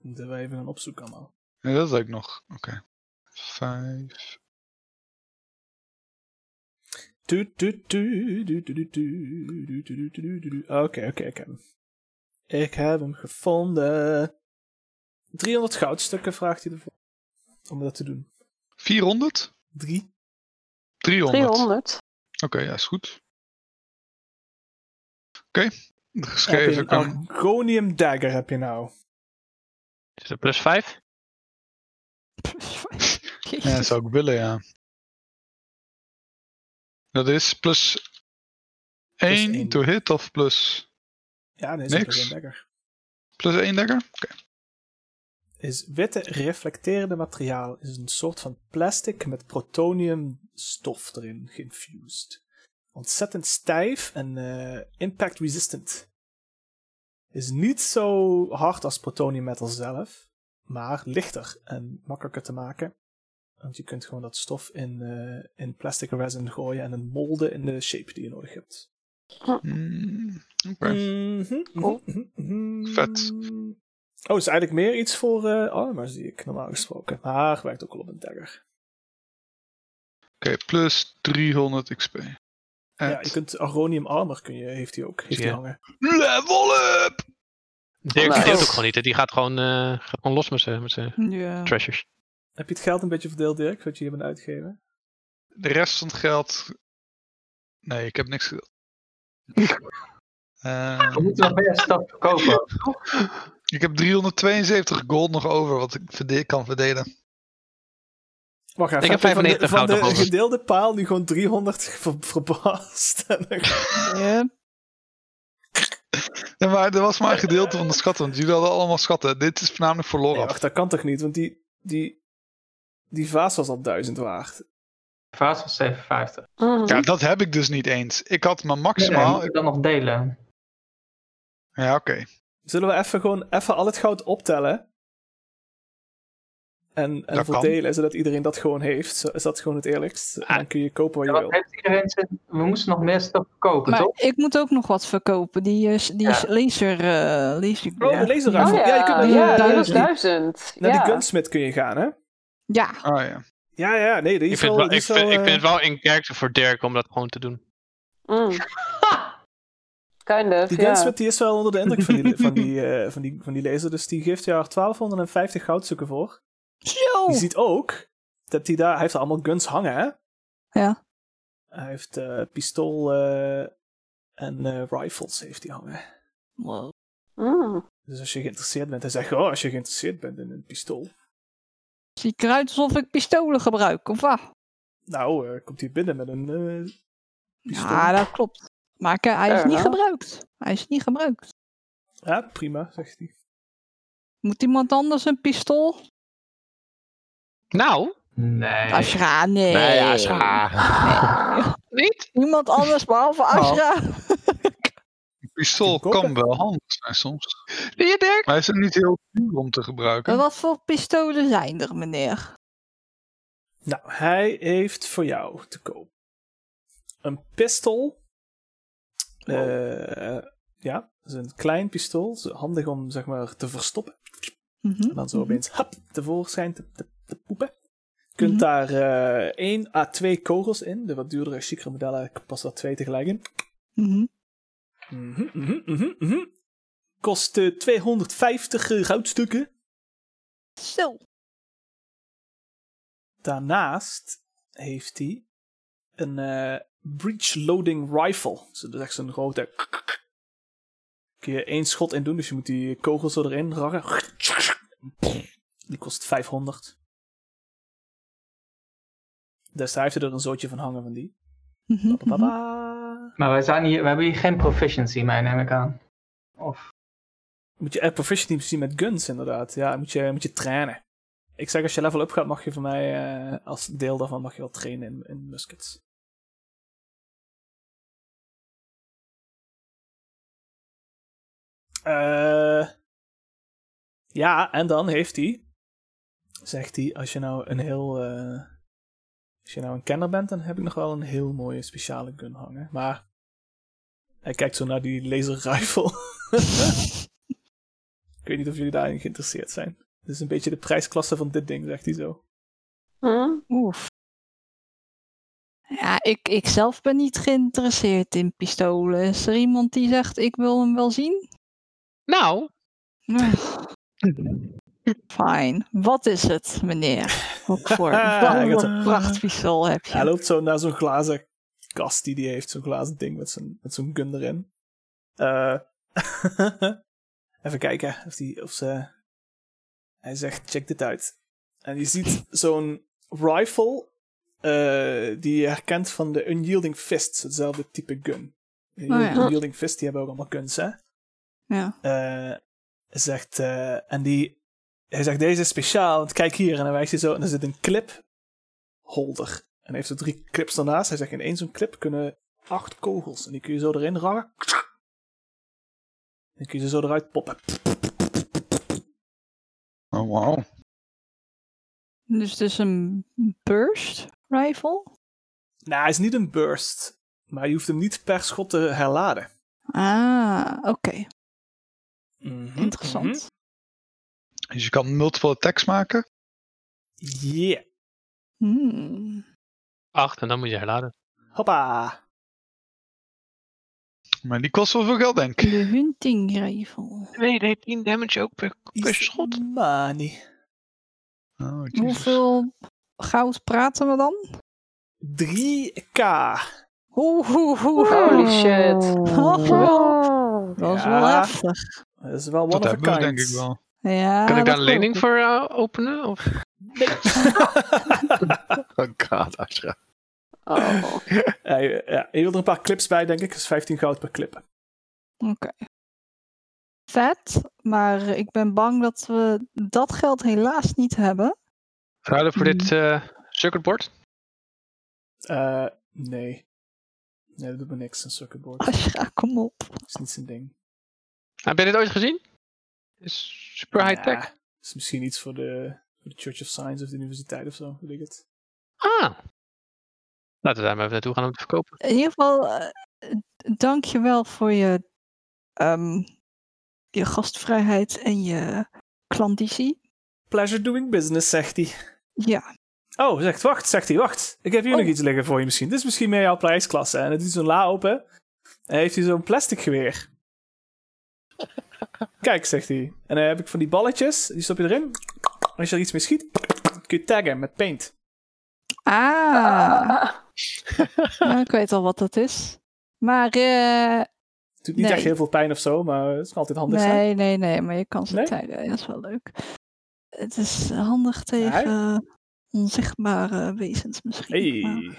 [SPEAKER 1] Moeten we even gaan opzoeken allemaal.
[SPEAKER 2] Nee, dat heb ik nog. Oké. Vijf.
[SPEAKER 1] Tu, tu, tu, du, du, du, du, du, du, du, du, du, du, du. Oké, oké, ik heb hem. Ik heb hem gevonden. 300 goudstukken vraagt hij ervoor. Om dat te doen.
[SPEAKER 2] 400?
[SPEAKER 1] 3.
[SPEAKER 2] 300.
[SPEAKER 5] 300.
[SPEAKER 2] Oké, ja, is goed. Oké.
[SPEAKER 1] Heb je
[SPEAKER 2] Geschreven.
[SPEAKER 1] een
[SPEAKER 2] kan-
[SPEAKER 1] Argonium dagger heb je nou.
[SPEAKER 3] Is het plus 5?
[SPEAKER 2] Ja, dat
[SPEAKER 7] Jezus.
[SPEAKER 2] zou ik willen, ja. Dat is plus 1
[SPEAKER 1] één.
[SPEAKER 2] to hit of plus,
[SPEAKER 1] Ja, nee, dat
[SPEAKER 2] Niks.
[SPEAKER 1] is een dagger.
[SPEAKER 2] plus 1 dagger? Oké.
[SPEAKER 1] is witte reflecterende materiaal. Is een soort van plastic met protoniumstof erin geïnfused. Ontzettend stijf en eh, impact resistant. Is niet zo hard als protonium metal zelf, maar lichter en makkelijker te maken. Want je kunt gewoon dat stof in, eh, in plastic resin gooien en het molden in de shape die je nodig hebt.
[SPEAKER 2] Mm, Oké.
[SPEAKER 1] Mhm,
[SPEAKER 5] Cool.
[SPEAKER 1] mhm, mhm.
[SPEAKER 2] Vet.
[SPEAKER 1] Oh, is eigenlijk meer iets voor eh armors die ik normaal gesproken. Maar werkt ook al op een dagger.
[SPEAKER 2] Oké, plus 300 XP.
[SPEAKER 1] Ja, je kunt Aronium armor kun je, heeft hij ook. Heeft hij
[SPEAKER 3] Ja.
[SPEAKER 1] hangen.
[SPEAKER 2] Level up!
[SPEAKER 3] Die
[SPEAKER 5] Nice.
[SPEAKER 3] deelt ook gewoon niet. hè. Die gaat gewoon, eh, gaat gewoon los met zijn met zijn
[SPEAKER 7] Ja.
[SPEAKER 3] treasures.
[SPEAKER 1] Heb je het geld een beetje verdeeld, Dirk, wat je hier bent uitgegeven?
[SPEAKER 2] De rest van het geld... Nee, ik heb niks gedaan. Eh,
[SPEAKER 4] We moeten nog meer stap verkopen.
[SPEAKER 2] ik heb 372 gold nog over, wat ik verde- kan verdelen.
[SPEAKER 1] Wacht even.
[SPEAKER 3] Ik heb
[SPEAKER 1] je van de-
[SPEAKER 3] 95
[SPEAKER 1] van de,
[SPEAKER 3] goud nog over.
[SPEAKER 1] gedeelde paal nu gewoon 300 ver, verbaasd. En dan-
[SPEAKER 7] Ja.
[SPEAKER 2] Ja, maar er was maar een gedeelte van de schatten, want jullie hadden allemaal schatten. Dit is voornamelijk voor
[SPEAKER 1] Nee,
[SPEAKER 2] Lorab.
[SPEAKER 1] wacht, dat kan toch niet? Want die, die, die vaas was al 1000 waard.
[SPEAKER 4] Vaas was 57.
[SPEAKER 5] Mhm.
[SPEAKER 1] Mm-hmm.
[SPEAKER 2] Ja, dat heb ik dus niet eens. Ik had mijn
[SPEAKER 4] Nee, nee, we
[SPEAKER 2] maximaal.
[SPEAKER 4] moeten dat nog delen.
[SPEAKER 2] Ja, oké.
[SPEAKER 1] Zullen we even gewoon even al het goud optellen? En, en
[SPEAKER 2] Dat kan.
[SPEAKER 1] verdelen, zodat iedereen dat gewoon heeft. Zo- Is dat gewoon het eerlijkst?
[SPEAKER 3] Ah.
[SPEAKER 1] En dan kun je kopen wat
[SPEAKER 4] Ja,
[SPEAKER 1] je
[SPEAKER 4] wat
[SPEAKER 1] wil.
[SPEAKER 4] heeft iedereen zijn... We moesten nog meer stap verkopen,
[SPEAKER 7] Maar
[SPEAKER 4] toch?
[SPEAKER 7] ik moet ook nog wat verkopen. Die, eh, s- die
[SPEAKER 4] Ja.
[SPEAKER 7] s- laser... eh laser
[SPEAKER 1] Oh, de laser rifle.
[SPEAKER 5] Oh
[SPEAKER 1] ja.
[SPEAKER 5] ja,
[SPEAKER 1] je kunt naar,
[SPEAKER 7] die-
[SPEAKER 5] ja, dat
[SPEAKER 7] die-
[SPEAKER 5] was
[SPEAKER 1] die- naar
[SPEAKER 5] 1000.
[SPEAKER 1] die
[SPEAKER 5] ja.
[SPEAKER 1] gunsmith kun je gaan, hè?
[SPEAKER 7] Oh, ja,
[SPEAKER 2] Ah ja.
[SPEAKER 1] Ja, ja, nee, die
[SPEAKER 3] Ik
[SPEAKER 1] is
[SPEAKER 3] vind,
[SPEAKER 1] wel...
[SPEAKER 3] het wel,
[SPEAKER 1] die
[SPEAKER 3] ik,
[SPEAKER 1] is wel,
[SPEAKER 3] vind, ik
[SPEAKER 1] eh,
[SPEAKER 3] vind het wel in kerkte voor Dirk om dat gewoon te doen.
[SPEAKER 5] Mm. Kind of,
[SPEAKER 1] eh, Die
[SPEAKER 5] ja.
[SPEAKER 1] gunsmith die is wel onder de indruk van die, van, die, eh, van, die, van die laser. Dus die geeft jou er 1250 goudstukken voor.
[SPEAKER 7] Zo!
[SPEAKER 1] Je ziet ook dat hij daar... Hij heeft er allemaal guns hangen, hè?
[SPEAKER 7] Ja.
[SPEAKER 1] Hij heeft eh, pistool eh, en eh, rifles heeft hij hangen.
[SPEAKER 7] Wow.
[SPEAKER 5] Mm.
[SPEAKER 1] Dus als je geïnteresseerd bent, hij zegt, oh, als je geïnteresseerd bent in een pistool,
[SPEAKER 7] Ziet eruit alsof ik pistolen gebruik, of wat?
[SPEAKER 1] nou, eh, komt hij binnen met een eh, pistool.
[SPEAKER 7] Ja, dat klopt. Maar ik- hij is
[SPEAKER 5] Fair
[SPEAKER 7] niet
[SPEAKER 5] enough.
[SPEAKER 7] gebruikt. Hij is niet gebruikt.
[SPEAKER 1] Ja, prima, zegt hij.
[SPEAKER 7] Moet iemand anders een pistool?
[SPEAKER 3] Nou,
[SPEAKER 4] Nee.
[SPEAKER 7] Ashra, nee.
[SPEAKER 6] Nee, Ashra.
[SPEAKER 3] Niet?
[SPEAKER 7] Niemand anders behalve Ashra.
[SPEAKER 2] Pistool
[SPEAKER 1] Koppen.
[SPEAKER 2] kan wel handig zijn soms.
[SPEAKER 3] Zie je, Dirk?
[SPEAKER 2] Maar hij is het niet heel duur om te gebruiken.
[SPEAKER 7] Wat voor pistolen zijn er, meneer?
[SPEAKER 1] Nou, hij heeft voor jou te koop een pistool. Eh, ja, dat is een klein pistool. Zo Handig om zeg maar te verstoppen.
[SPEAKER 7] Mhm.
[SPEAKER 1] En dan zo opeens hap, tevoorschijn te, te, te poepen. Je kunt daar eh 1 à 2 kogels in. De wat duurdere, chicere modellen past daar 2 tegelijk in.
[SPEAKER 7] Mhm.
[SPEAKER 1] Mhm, mhm, mhm, mhm. Kost eh, 250 goudstukken.
[SPEAKER 7] Zo.
[SPEAKER 1] Daarnaast heeft hij een eh breech loading rifle. Dus dat is echt zo'n grote. Kun je één schot in doen, dus je moet die kogels zo erin rakken. Die kost 500. Dus daar heeft hij er een zootje van hangen van die.
[SPEAKER 7] Mhm, mhm.
[SPEAKER 1] Baba.
[SPEAKER 4] Maar wij zijn hier, we hebben hier geen proficiency mee, neem ik aan. Of,
[SPEAKER 1] Moet je eh, proficiency zien met guns, inderdaad. Ja, moet je, moet je trainen. Ik zeg, als je level up gaat, mag je van mij, eh, als deel daarvan, mag je wel trainen in, in muskets. Eh, ja, en dan heeft hij, zegt hij, als je nou een heel, eh, als je nou een kenner bent, dan heb ik nog wel een heel mooie speciale gun hangen. Maar hij kijkt zo naar die laser rifle.
[SPEAKER 7] mhm.
[SPEAKER 1] Ik weet niet of jullie daarin geïnteresseerd zijn. Dit is een beetje de prijsklasse van dit ding, zegt hij zo.
[SPEAKER 5] Hm?
[SPEAKER 7] Oef. Ja, ik, ik zelf ben niet geïnteresseerd in pistolen. Is er iemand die zegt, ik wil hem wel zien?
[SPEAKER 3] Nou,
[SPEAKER 7] Fijn. Wat is het, meneer? Ook voor
[SPEAKER 1] Hij gaat
[SPEAKER 7] wat
[SPEAKER 1] zo-
[SPEAKER 7] een prachtpistool heb
[SPEAKER 1] Hij
[SPEAKER 7] je.
[SPEAKER 1] loopt zo naar zo'n glazen kast die hij heeft, zo'n glazen ding met zo'n, met zo'n gun erin. Eh, even kijken of, die, of ze. Hij zegt: check dit uit. En je ziet zo'n rifle, eh, die je herkent van de Unyielding Fist, hetzelfde type gun. De
[SPEAKER 7] Oh ja.
[SPEAKER 1] Unyielding Fist, die hebben ook allemaal guns, hè?
[SPEAKER 7] Ja.
[SPEAKER 1] eh, zegt, eh, en die, hij zegt, deze is speciaal, want kijk hier. En dan wijst hij zo, en er zit een clip holder. En hij heeft er drie clips ernaast. Hij zegt, in één zo'n clip kunnen acht kogels. En die kun je zo erin ragen. Dan kun je ze zo eruit poppen.
[SPEAKER 2] Oh, wauw.
[SPEAKER 7] Dus het is een burst rifle?
[SPEAKER 1] Nou, hij is niet een burst. Maar je hoeft hem niet per schot te herladen.
[SPEAKER 7] Ah, oké.
[SPEAKER 1] Mhm, mhm.
[SPEAKER 7] Interessant.
[SPEAKER 2] Dus je kan multiple attacks maken.
[SPEAKER 1] Yeah.
[SPEAKER 7] Hmm.
[SPEAKER 3] acht en dan moet je herladen.
[SPEAKER 1] Hoppa.
[SPEAKER 2] Maar die kost wel veel geld, denk ik.
[SPEAKER 7] De hunting rifle.
[SPEAKER 3] Nee, nee, 10 damage ook per, per
[SPEAKER 1] Is
[SPEAKER 3] schot.
[SPEAKER 1] Money.
[SPEAKER 2] Oh, jezus.
[SPEAKER 7] Hoeveel goud praten we dan?
[SPEAKER 1] 3k.
[SPEAKER 7] Oeh, oeh, oeh. Oh,
[SPEAKER 5] Holy shit.
[SPEAKER 7] Dat is
[SPEAKER 1] Ja.
[SPEAKER 7] wel heftig.
[SPEAKER 1] Dat is wel one
[SPEAKER 2] Dat
[SPEAKER 1] of a
[SPEAKER 2] hebben we
[SPEAKER 1] kind.
[SPEAKER 2] denk ik wel.
[SPEAKER 7] Ja,
[SPEAKER 3] kan ik daar
[SPEAKER 7] dat
[SPEAKER 3] een
[SPEAKER 7] klopt.
[SPEAKER 3] lening voor eh, openen? Of?
[SPEAKER 6] Oh god, Ashra.
[SPEAKER 5] Oh.
[SPEAKER 1] Ja, je, ja, je wil er een paar clips bij, denk ik. Dat is 15 goud per clip.
[SPEAKER 7] Oké. Vet, maar ik ben bang dat we dat geld helaas niet hebben.
[SPEAKER 3] Ruilen voor dit eh, circuitboard?
[SPEAKER 1] Eh, nee. Nee, dat doet me niks, een circuitboard.
[SPEAKER 7] Ashra, kom op.
[SPEAKER 1] Dat is niet zijn ding.
[SPEAKER 3] Ah, Heb je dit ooit gezien? Is super high tech.
[SPEAKER 1] Ja, is misschien iets voor de, voor de Church of Science of de universiteit of zo, weet ik het.
[SPEAKER 3] Ah. Laten we daar maar even naartoe gaan om te verkopen.
[SPEAKER 7] In ieder geval, eh, dank je wel voor je, ehm, je gastvrijheid en je klandizie.
[SPEAKER 1] Pleasure doing business, zegt hij.
[SPEAKER 7] Ja,
[SPEAKER 1] Oh, zegt, wacht, zegt hij, wacht. Ik heb hier
[SPEAKER 7] Oh.
[SPEAKER 1] nog iets liggen voor je misschien. Dit is misschien meer jouw prijsklasse. En het is zo'n la open. En heeft hij zo'n plastic geweer. Kijk, zegt hij. En dan heb ik van die balletjes, die stop je erin. Als je er iets mee schiet, kun je taggen met paint.
[SPEAKER 7] ah,
[SPEAKER 5] Ah.
[SPEAKER 7] nou, ik weet al wat dat is. Maar, eh,
[SPEAKER 1] Het doet niet
[SPEAKER 7] Nee.
[SPEAKER 1] echt heel veel pijn of zo, maar het kan altijd handig zijn.
[SPEAKER 7] nee, nee, nee, maar je kan ze
[SPEAKER 1] Nee?
[SPEAKER 7] taggen, ja, dat is wel leuk. Het is handig
[SPEAKER 1] Ja, hè?
[SPEAKER 7] tegen onzichtbare wezens misschien. maar-
[SPEAKER 1] Hey.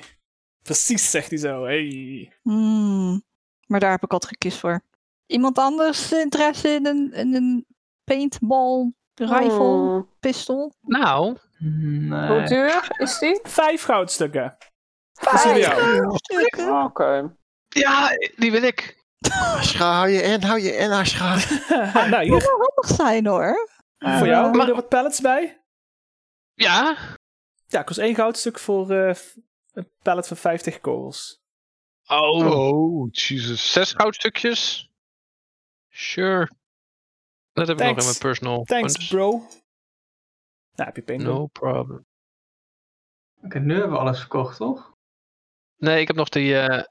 [SPEAKER 1] Precies, zegt hij zo. Hey.
[SPEAKER 7] Hmm, maar daar heb ik altijd gekist voor. Iemand anders interesse in een, in een paintball, rifle,
[SPEAKER 5] Hmm.
[SPEAKER 7] pistool?
[SPEAKER 3] Nou,
[SPEAKER 4] Nee.
[SPEAKER 5] Hoe duur is die?
[SPEAKER 1] Vijf goudstukken.
[SPEAKER 5] Vijf.
[SPEAKER 7] Ah,
[SPEAKER 1] die van jou?
[SPEAKER 5] Oké.
[SPEAKER 3] Ja, die wil ik.
[SPEAKER 6] Ashra, hou je in, hou je in, Ashra.
[SPEAKER 1] nou,
[SPEAKER 7] Dat
[SPEAKER 1] hier.
[SPEAKER 7] wel handig zijn hoor.
[SPEAKER 1] Voor jou. Doe
[SPEAKER 3] maar-
[SPEAKER 1] er wat pallets bij.
[SPEAKER 3] Ja.
[SPEAKER 1] Ja, kost één goudstuk voor eh, f- een pallet van 50 kogels.
[SPEAKER 3] Oh,
[SPEAKER 2] Oh, Jesus.
[SPEAKER 3] zes goudstukjes. Sure. Dat heb ik nog
[SPEAKER 1] Thanks.
[SPEAKER 3] in mijn personal.
[SPEAKER 1] Thanks,
[SPEAKER 3] funds.
[SPEAKER 1] bro. Nou, heb je pingo.
[SPEAKER 3] No problem.
[SPEAKER 4] Oké, nu hebben we alles verkocht, toch?
[SPEAKER 3] Nee, ik heb nog die, eh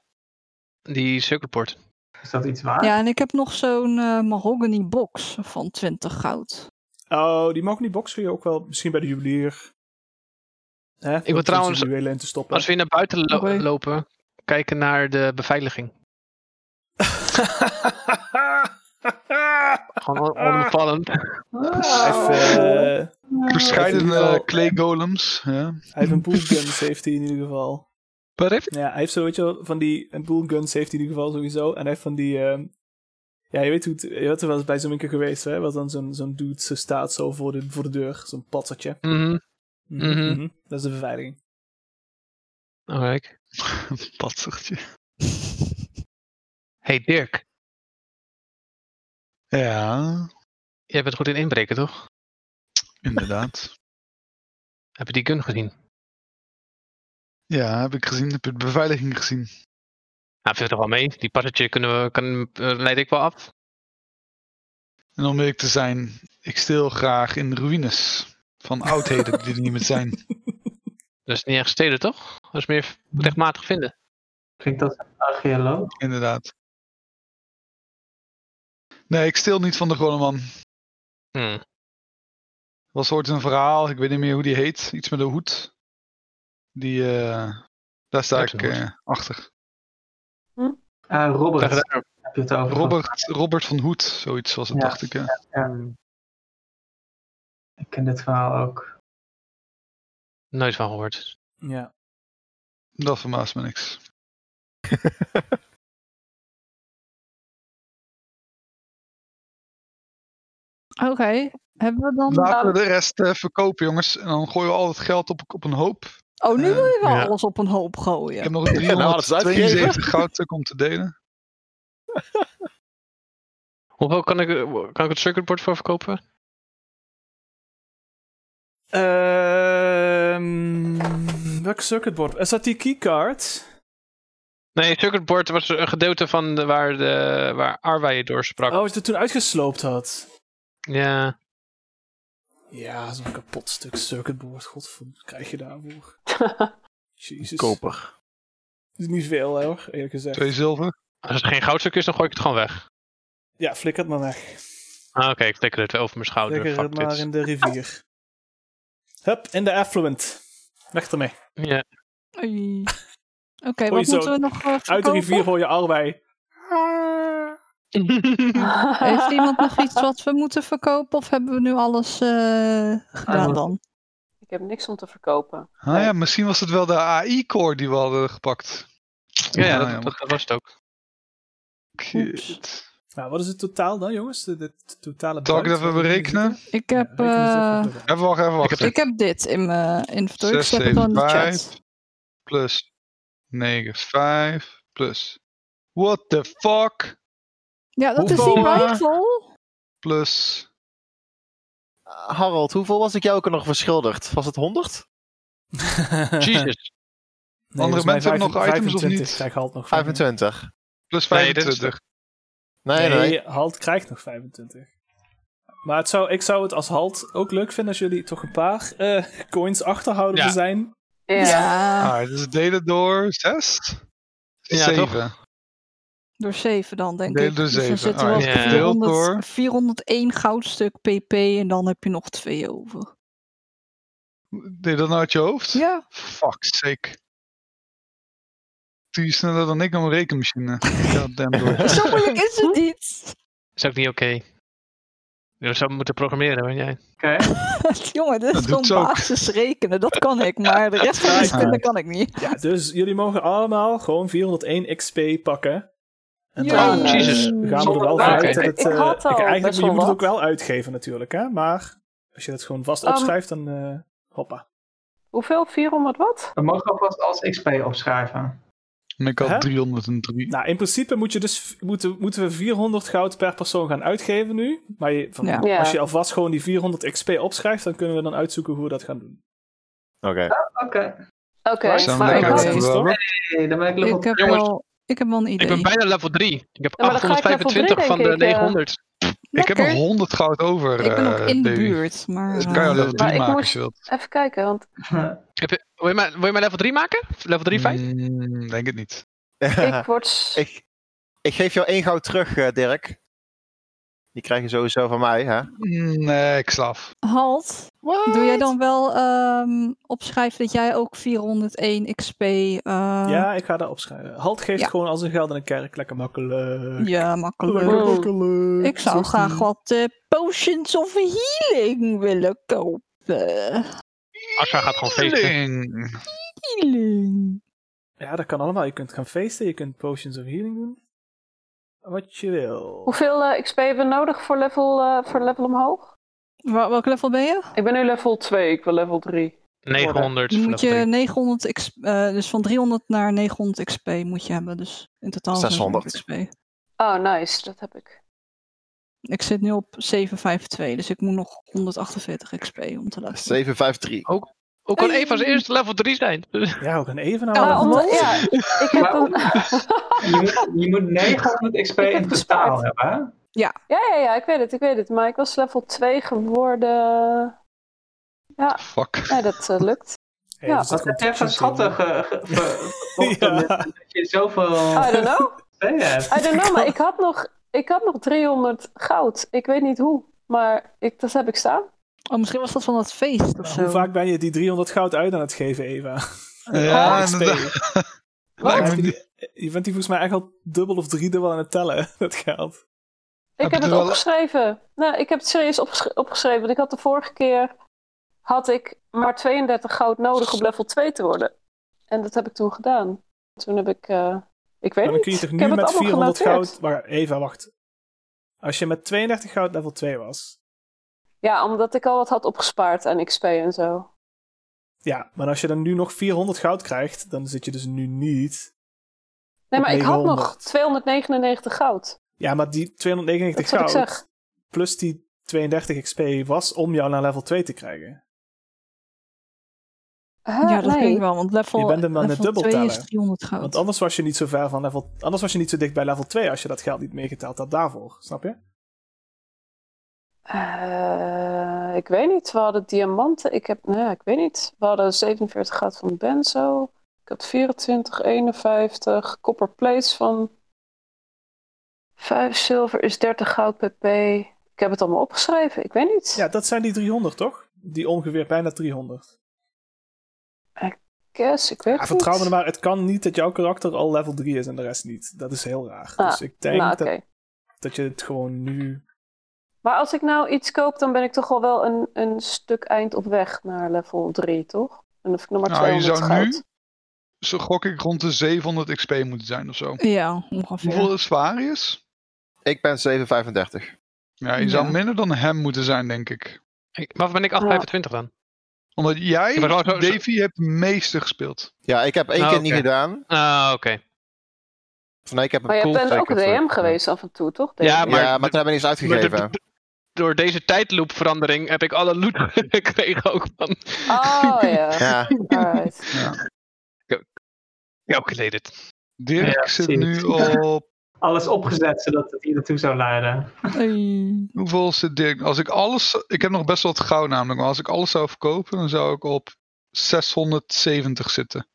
[SPEAKER 3] die circuitport.
[SPEAKER 4] Is dat iets waar?
[SPEAKER 7] Ja, en ik heb nog zo'n eh, mahogany box van 20 goud.
[SPEAKER 1] Oh, die Mogni box kun je ook wel misschien bij de juwelier. Hè? om tussen
[SPEAKER 3] trouwens-
[SPEAKER 1] de juwelen in te stoppen.
[SPEAKER 3] Als we hier naar buiten lo-
[SPEAKER 7] Oké.
[SPEAKER 3] lopen, kijken naar de beveiliging. Gewoon on- onopvallend.
[SPEAKER 1] Hij
[SPEAKER 4] Wow.
[SPEAKER 1] heeft, eh,
[SPEAKER 2] Bescheiden
[SPEAKER 1] Hij heeft
[SPEAKER 2] eh,
[SPEAKER 1] wel-
[SPEAKER 2] clay golems. Ja.
[SPEAKER 1] hij heeft een bullgun safety in ieder geval.
[SPEAKER 2] Wat heeft
[SPEAKER 1] Ja, hij heeft zo, weet je wel, van die... Een bullgun safety in ieder geval sowieso. En hij heeft van die... ehm, ja, je weet hoe het... Je had er wel eens bij zo'n winkel geweest, hè? Wat dan zo'n zo'n dude zo staat zo voor de, voor de deur. Zo'n patsertje.
[SPEAKER 3] Mhm.
[SPEAKER 1] Mhm,
[SPEAKER 3] Mhm.
[SPEAKER 1] mhm. Dat is de beveiliging.
[SPEAKER 3] Alright.
[SPEAKER 2] een patsertje?
[SPEAKER 3] Hey Dirk,
[SPEAKER 2] Ja,
[SPEAKER 3] jij bent goed in inbreken, toch?
[SPEAKER 2] inderdaad.
[SPEAKER 3] Heb je die gun gezien?
[SPEAKER 2] Ja, heb ik gezien. Heb ik de beveiliging gezien.
[SPEAKER 3] Nou, viel er wel mee. Die paddetje kunnen we, kan, eh, leid ik wel af.
[SPEAKER 2] En om eerlijk te zijn, ik steel graag in ruïnes van oudheden die er niet meer zijn.
[SPEAKER 3] Dat is niet echt stelen, toch? Dat is meer rechtmatig vinden.
[SPEAKER 4] Klinkt dat Ah, een archeoloog?
[SPEAKER 2] Inderdaad. Nee, ik steel niet van de gewone man.
[SPEAKER 3] Hmm.
[SPEAKER 2] was ooit een verhaal, ik weet niet meer hoe die heet. Iets met een hoed. Die, eh, daar sta
[SPEAKER 3] Ja,
[SPEAKER 2] ik
[SPEAKER 3] zo'n hoed.
[SPEAKER 2] eh, achter.
[SPEAKER 4] Eh Robert,
[SPEAKER 3] Zeg het daar.
[SPEAKER 4] heb je het over?
[SPEAKER 2] Robert, Robert van Hoed, zoiets was het,
[SPEAKER 4] Ja.
[SPEAKER 2] dacht ik. eh. ja.
[SPEAKER 4] Ja. Ik ken dit verhaal ook.
[SPEAKER 3] Nooit van gehoord.
[SPEAKER 1] Ja.
[SPEAKER 2] Dat verbaast me niks.
[SPEAKER 7] Oké, hebben we dan...
[SPEAKER 2] Laten we de rest eh, verkopen, jongens. En dan gooien we al het geld op, op een hoop.
[SPEAKER 7] Oh,
[SPEAKER 1] Eh,
[SPEAKER 7] nu wil je wel
[SPEAKER 3] Ja.
[SPEAKER 7] alles op een hoop
[SPEAKER 2] Ik
[SPEAKER 7] gooien.
[SPEAKER 2] heb nog
[SPEAKER 6] nou, alles uitgegeven.
[SPEAKER 2] 372 goudstukken om te delen.
[SPEAKER 3] Hoeveel kan ik, kan ik het circuitboard voor verkopen?
[SPEAKER 1] Ehm welk circuitboard? Is dat die keycard?
[SPEAKER 3] Nee, circuitboard was een gedeelte van de, waar, de, waar Arwei door sprak.
[SPEAKER 1] Oh, als je het toen uitgesloopt had.
[SPEAKER 3] Ja.
[SPEAKER 1] Ja, zo'n kapot stuk circuitboard. Godverdomme, wat krijg je daarvoor? Jezus.
[SPEAKER 6] Koper.
[SPEAKER 1] Dat is niet veel, hè, hoor, eerlijk gezegd.
[SPEAKER 2] Twee zilver.
[SPEAKER 3] Als het geen goudstuk is, dan gooi ik het gewoon weg.
[SPEAKER 1] Ja, flikker het maar weg.
[SPEAKER 3] Ah, Oké, ik flikker het wel over mijn schouder.
[SPEAKER 1] Flikker het
[SPEAKER 3] Fuck
[SPEAKER 1] maar
[SPEAKER 3] dit.
[SPEAKER 1] in de rivier. Hup, in de affluent. Weg ermee.
[SPEAKER 3] Ja.
[SPEAKER 7] Oei. Oké,
[SPEAKER 1] je
[SPEAKER 7] wat
[SPEAKER 1] zo
[SPEAKER 7] moeten we nog eh,
[SPEAKER 1] Uit de
[SPEAKER 7] verkopen?
[SPEAKER 1] rivier hoor je allebei.
[SPEAKER 7] Heeft iemand nog iets wat we moeten verkopen? Of hebben we nu alles eh, gedaan
[SPEAKER 4] Ah,
[SPEAKER 7] dan?
[SPEAKER 5] Ik heb niks om te verkopen.
[SPEAKER 2] Ah ja, misschien was het wel de AI-core die we hadden gepakt.
[SPEAKER 3] Ja, ja,
[SPEAKER 2] Ah,
[SPEAKER 3] dat, dat, dat was het ook.
[SPEAKER 2] Kut.
[SPEAKER 1] Nou, wat is het totaal dan, jongens? De, de t- totale
[SPEAKER 2] Zal ik
[SPEAKER 1] buit
[SPEAKER 2] het even
[SPEAKER 1] van de
[SPEAKER 2] berekenen?
[SPEAKER 1] visite?
[SPEAKER 7] Ik
[SPEAKER 1] Ja,
[SPEAKER 7] heb,
[SPEAKER 1] reken
[SPEAKER 7] eh,
[SPEAKER 1] eens even door.
[SPEAKER 2] Even wachten, even wachten.
[SPEAKER 7] ik heb dit in mijn inventory. Ik
[SPEAKER 2] Zes,
[SPEAKER 7] zet het wel in de
[SPEAKER 2] zeven,
[SPEAKER 7] chat.
[SPEAKER 2] plus 9, 5 plus. What the fuck?
[SPEAKER 7] Ja, dat is
[SPEAKER 2] Hoeveel,
[SPEAKER 7] die
[SPEAKER 2] eh,
[SPEAKER 7] rifle.
[SPEAKER 2] Plus.
[SPEAKER 6] Harold, hoeveel was ik jou ook nog verschuldigd? Was het 100?
[SPEAKER 3] Jesus.
[SPEAKER 1] Nee,
[SPEAKER 2] Andere
[SPEAKER 1] volgens mij
[SPEAKER 2] mensen hebben nog
[SPEAKER 1] vijf-
[SPEAKER 2] items of
[SPEAKER 1] 25
[SPEAKER 2] niet?
[SPEAKER 1] krijgt Halt nog van, hè?
[SPEAKER 6] 25.
[SPEAKER 2] Plus
[SPEAKER 3] Nee, dit
[SPEAKER 2] 25.
[SPEAKER 3] is
[SPEAKER 6] Nee, nee.
[SPEAKER 1] Nee, Halt krijgt nog 25. Maar het zou, ik zou het als Halt ook leuk vinden als jullie toch een paar eh, coins achterhouden
[SPEAKER 3] Ja.
[SPEAKER 1] te zijn.
[SPEAKER 5] Ja.
[SPEAKER 7] Ja,
[SPEAKER 2] Ah, dus delen door 6?
[SPEAKER 3] Ja,
[SPEAKER 2] 7.
[SPEAKER 7] door 7 dan, denk
[SPEAKER 2] Deel
[SPEAKER 7] ik.
[SPEAKER 2] door
[SPEAKER 7] Dus dan
[SPEAKER 2] zeven.
[SPEAKER 7] zitten we
[SPEAKER 3] Ah,
[SPEAKER 7] op
[SPEAKER 3] ja.
[SPEAKER 7] 400
[SPEAKER 2] Deel door-
[SPEAKER 7] 401 goudstuk pp. En dan heb je nog 2 over.
[SPEAKER 2] Deed je dat nou uit je hoofd?
[SPEAKER 7] Ja,
[SPEAKER 2] Fuck's sake. Doe je sneller dan ik aan mijn rekenmachine. Goddamn door.
[SPEAKER 7] zo moeilijk is het niet.
[SPEAKER 3] is ook niet oké. Je zou moeten programmeren, weet jij.
[SPEAKER 4] Oké.
[SPEAKER 7] Jongen, dit
[SPEAKER 2] Dat
[SPEAKER 7] is gewoon
[SPEAKER 2] doet ze ook.
[SPEAKER 7] basis rekenen. Dat kan ik, maar de rest van de wiskunde kan ik niet.
[SPEAKER 1] Ja, dus jullie mogen allemaal gewoon 401 XP pakken. En
[SPEAKER 7] Ja.
[SPEAKER 1] dan
[SPEAKER 3] Oh,
[SPEAKER 1] eh,
[SPEAKER 3] Jesus.
[SPEAKER 1] gaan we er wel
[SPEAKER 5] Zonder
[SPEAKER 1] vanuit
[SPEAKER 3] water.
[SPEAKER 1] dat het...
[SPEAKER 5] Ik
[SPEAKER 1] eh,
[SPEAKER 5] had al
[SPEAKER 1] eigenlijk,
[SPEAKER 5] best
[SPEAKER 1] je
[SPEAKER 5] wel
[SPEAKER 1] moet het
[SPEAKER 5] wat.
[SPEAKER 1] ook wel uitgeven natuurlijk, hè. Maar als je dat gewoon vast
[SPEAKER 5] Um,
[SPEAKER 1] opschrijft, dan eh, Hoppa.
[SPEAKER 5] Hoeveel? 400 wat?
[SPEAKER 4] We mogen alvast als XP opschrijven.
[SPEAKER 2] En ik had
[SPEAKER 1] Hè?
[SPEAKER 2] 303.
[SPEAKER 1] Nou, in principe moet je dus, moeten, moeten we 400 goud per persoon gaan uitgeven nu. Maar je, van-
[SPEAKER 7] Ja.
[SPEAKER 5] Ja.
[SPEAKER 1] als je alvast gewoon die 400 XP opschrijft, dan kunnen we dan uitzoeken hoe we dat gaan doen.
[SPEAKER 6] Oké.
[SPEAKER 4] Oké,
[SPEAKER 5] Oké.
[SPEAKER 3] Nou,
[SPEAKER 2] Zijn we
[SPEAKER 5] maar-
[SPEAKER 1] Lijkt
[SPEAKER 2] lekker
[SPEAKER 1] me
[SPEAKER 2] aan
[SPEAKER 1] logisch,
[SPEAKER 2] het
[SPEAKER 1] toch?
[SPEAKER 2] werk?
[SPEAKER 4] Hey, dan ben ik level
[SPEAKER 7] Ik heb,
[SPEAKER 3] Jongens.
[SPEAKER 7] wel, ik heb wel een idee.
[SPEAKER 3] Ik ben bijna level 3. Ik heb
[SPEAKER 5] Ja, maar dan ga ik level
[SPEAKER 3] 825
[SPEAKER 5] drie,
[SPEAKER 3] van de
[SPEAKER 5] denk ik, eh.
[SPEAKER 3] 900.
[SPEAKER 2] Ik heb nog
[SPEAKER 7] Lekker.
[SPEAKER 2] 100 goud over.
[SPEAKER 7] Ik ben ook
[SPEAKER 2] eh,
[SPEAKER 7] in de
[SPEAKER 2] Davy.
[SPEAKER 7] buurt, maar...
[SPEAKER 2] Het
[SPEAKER 7] eh,
[SPEAKER 2] kan je level
[SPEAKER 5] Maar
[SPEAKER 2] 3
[SPEAKER 5] ik
[SPEAKER 2] maken
[SPEAKER 5] moest-
[SPEAKER 2] als je wilt.
[SPEAKER 5] Even kijken, want
[SPEAKER 3] Heb je, wil, je mij, wil je mij level 3 maken? Level 3, 5?
[SPEAKER 2] Mm, denk het niet.
[SPEAKER 5] ik word... s-
[SPEAKER 6] ik, ik geef jou één goud terug, eh, Dirk. Die krijg je sowieso van mij, hè?
[SPEAKER 2] Mm, Nee, ik slaaf.
[SPEAKER 7] Halt, doe jij dan wel ehm, opschrijven dat jij ook 401 XP... eh,
[SPEAKER 1] Ja, ik ga dat opschrijven. Halt geeft
[SPEAKER 7] Ja.
[SPEAKER 1] gewoon al zijn geld aan een kerk. Lekker makkelijk.
[SPEAKER 7] ja, makkelijk.
[SPEAKER 1] Lekker
[SPEAKER 5] Mm.
[SPEAKER 1] makkelijk.
[SPEAKER 7] Ik zou
[SPEAKER 1] Zo is
[SPEAKER 7] graag
[SPEAKER 1] die.
[SPEAKER 7] wat eh, potions of healing willen kopen.
[SPEAKER 3] Asha gaat gewoon feesten.
[SPEAKER 2] Ding.
[SPEAKER 7] Healing.
[SPEAKER 1] Ja, dat kan allemaal. Je kunt gaan feesten, je kunt potions of healing doen. Wat je wil.
[SPEAKER 5] Hoeveel eh, XP hebben we nodig voor level, eh, voor level omhoog?
[SPEAKER 7] Wa- welk level ben je?
[SPEAKER 5] Ik ben nu level 2, ik wil level 3.
[SPEAKER 3] 900
[SPEAKER 7] Dan
[SPEAKER 3] van Mm,
[SPEAKER 7] moet
[SPEAKER 3] level
[SPEAKER 7] je
[SPEAKER 3] 3.
[SPEAKER 7] 900 XP, eh, dus van 300 naar 900 XP moet je hebben. Dus in totaal
[SPEAKER 6] 600.
[SPEAKER 7] 600 XP.
[SPEAKER 5] Oh, nice, dat heb ik.
[SPEAKER 7] Ik zit nu op 752, dus ik moet nog 148 XP om te laten.
[SPEAKER 6] 753.
[SPEAKER 3] Hoe kan Eva als eerste level 3 zijn?
[SPEAKER 1] Ja, ook een even
[SPEAKER 7] Oh,
[SPEAKER 5] Maar
[SPEAKER 1] nou.
[SPEAKER 7] wat
[SPEAKER 5] omdat-
[SPEAKER 7] leuk.
[SPEAKER 5] ja, ik heb
[SPEAKER 4] Maar-
[SPEAKER 5] een...
[SPEAKER 4] Je moet, je moet 900 XP
[SPEAKER 5] Ik heb
[SPEAKER 4] in totaal
[SPEAKER 5] gespaard.
[SPEAKER 4] hebben. hè?
[SPEAKER 5] ja, ja, ja, ik weet het, ik weet het. Maar ik was level 2 geworden.
[SPEAKER 2] Fuck.
[SPEAKER 5] Nee, dat eh, lukt.
[SPEAKER 1] Hey, dus er
[SPEAKER 5] Ja.
[SPEAKER 1] zit
[SPEAKER 4] Wat
[SPEAKER 1] gewoon
[SPEAKER 4] heb jij
[SPEAKER 1] toetsen
[SPEAKER 4] van
[SPEAKER 1] in.
[SPEAKER 4] schatten ge- eh, ge- ge-
[SPEAKER 1] Ja.
[SPEAKER 4] gevochten met- dat je zoveel
[SPEAKER 5] I don't know.
[SPEAKER 4] XP hebt?
[SPEAKER 5] I don't know, maar ik had nog, ik had nog 300 goud. Ik weet niet hoe, maar ik, dat heb ik staan.
[SPEAKER 7] Oh, misschien was dat van dat feest of
[SPEAKER 1] Nou,
[SPEAKER 7] zo.
[SPEAKER 1] Hoe vaak ben je die 300 goud uit aan het geven, Eva?
[SPEAKER 2] Ja,
[SPEAKER 1] XP.
[SPEAKER 2] inderdaad.
[SPEAKER 1] Ja,
[SPEAKER 2] Lijkt
[SPEAKER 1] heb
[SPEAKER 2] me
[SPEAKER 1] Je
[SPEAKER 2] niet.
[SPEAKER 1] die- je bent die volgens mij echt al dubbel of driedubbel aan het tellen, dat geld.
[SPEAKER 5] Ik
[SPEAKER 2] Heb je
[SPEAKER 5] heb het
[SPEAKER 2] er wel-
[SPEAKER 5] opgeschreven. Nou, ik heb het serieus opgesch- opgeschreven. Want ik had de vorige keer had ik maar 32 goud nodig om level 2 te worden. En dat heb ik toen gedaan. Toen heb ik. eh, ik weet
[SPEAKER 1] Maar dan
[SPEAKER 5] niet.
[SPEAKER 1] kun je toch
[SPEAKER 5] ik
[SPEAKER 1] nu
[SPEAKER 5] heb het
[SPEAKER 1] met
[SPEAKER 5] allemaal
[SPEAKER 1] 400
[SPEAKER 5] genoteerd.
[SPEAKER 1] goud... Maar Eva, wacht. Als je met 32 goud level 2 was...
[SPEAKER 5] Ja, omdat ik al wat had opgespaard aan XP en zo.
[SPEAKER 1] Ja, maar als je dan nu nog 400 goud krijgt, dan zit je dus nu niet...
[SPEAKER 5] Nee,
[SPEAKER 1] Op
[SPEAKER 5] maar ik had
[SPEAKER 1] 900.
[SPEAKER 5] nog 299 goud.
[SPEAKER 1] Ja, maar die
[SPEAKER 5] Dat
[SPEAKER 1] 299
[SPEAKER 5] is wat ik
[SPEAKER 1] goud
[SPEAKER 5] zeg.
[SPEAKER 1] plus die 32 XP was om jou naar level 2 te krijgen.
[SPEAKER 5] Huh,
[SPEAKER 7] ja, dat
[SPEAKER 5] nee.
[SPEAKER 7] denk ik wel, want level,
[SPEAKER 1] Je bent hem aan het
[SPEAKER 7] level
[SPEAKER 1] dubbel
[SPEAKER 7] 2 is
[SPEAKER 1] tellen.
[SPEAKER 7] 300 goud.
[SPEAKER 1] Want anders was je niet zo ver van level... Anders was je niet zo dicht bij level 2 als je dat geld niet meegeteld had daarvoor. Snap je?
[SPEAKER 5] Eh, ik weet niet. We hadden diamanten. Ik heb, nou, ja, ik weet niet. We hadden 47 goud van Benzo. Ik had 24, 51. Copper plates van 5 zilver is 30 goud pp. Ik heb het allemaal opgeschreven. Ik weet niet.
[SPEAKER 1] Ja, dat zijn die 300, toch? Die ongeveer bijna 300.
[SPEAKER 5] Guess, ik weet
[SPEAKER 1] Ja,
[SPEAKER 5] het
[SPEAKER 1] vertrouw
[SPEAKER 5] niet.
[SPEAKER 1] me maar, het kan niet dat jouw karakter al level 3 is en de rest niet. Dat is heel raar.
[SPEAKER 5] Ah,
[SPEAKER 1] dus ik denk
[SPEAKER 5] nou, oké.
[SPEAKER 1] dat, dat je het gewoon nu...
[SPEAKER 5] Maar als ik nou iets koop, dan ben ik toch al wel een, een stuk eind op weg naar level 3, toch? En of ik nog maar
[SPEAKER 2] Nou, je
[SPEAKER 5] 200
[SPEAKER 2] zou
[SPEAKER 5] goud.
[SPEAKER 2] nu, zo gok ik, rond de 700 XP moeten zijn of zo.
[SPEAKER 7] Ja, ongeveer.
[SPEAKER 2] Hoeveel is Varius?
[SPEAKER 6] Ik ben 735.
[SPEAKER 2] Ja, je zou
[SPEAKER 7] Ja.
[SPEAKER 2] minder dan hem moeten zijn, denk ik.
[SPEAKER 3] Ik- Waarvan ben ik 825 dan?
[SPEAKER 2] Omdat jij,
[SPEAKER 3] Ja, maar zo- zo-
[SPEAKER 2] Davy, hebt het meeste gespeeld.
[SPEAKER 6] Ja, ik heb één
[SPEAKER 3] Ah,
[SPEAKER 6] keer
[SPEAKER 3] oké.
[SPEAKER 6] niet gedaan.
[SPEAKER 3] Ah, oké.
[SPEAKER 6] Of nee, ik heb een
[SPEAKER 5] Maar je
[SPEAKER 6] cool
[SPEAKER 5] bent ook
[SPEAKER 6] zeker
[SPEAKER 5] DM
[SPEAKER 6] voor-
[SPEAKER 5] geweest af en toe, toch?
[SPEAKER 3] Ja,
[SPEAKER 6] Ja, maar,
[SPEAKER 3] Maar-
[SPEAKER 6] toen hebben we niks
[SPEAKER 3] Maar de-
[SPEAKER 6] uitgegeven.
[SPEAKER 3] de- door deze tijdloopverandering heb ik alle loot gekregen ook van.
[SPEAKER 5] Oh ja,
[SPEAKER 6] ja.
[SPEAKER 5] alright.
[SPEAKER 3] Ja, ook geleden.
[SPEAKER 2] Dirk
[SPEAKER 4] Ja,
[SPEAKER 2] zit
[SPEAKER 4] precies.
[SPEAKER 2] nu op...
[SPEAKER 4] Alles opgezet zodat het hier naartoe zou leiden.
[SPEAKER 7] Hey.
[SPEAKER 2] Hoeveel zit Dirk? Als ik alles... Ik heb nog best wel wat goud namelijk. Maar als ik alles zou verkopen, dan zou ik op 670 zitten.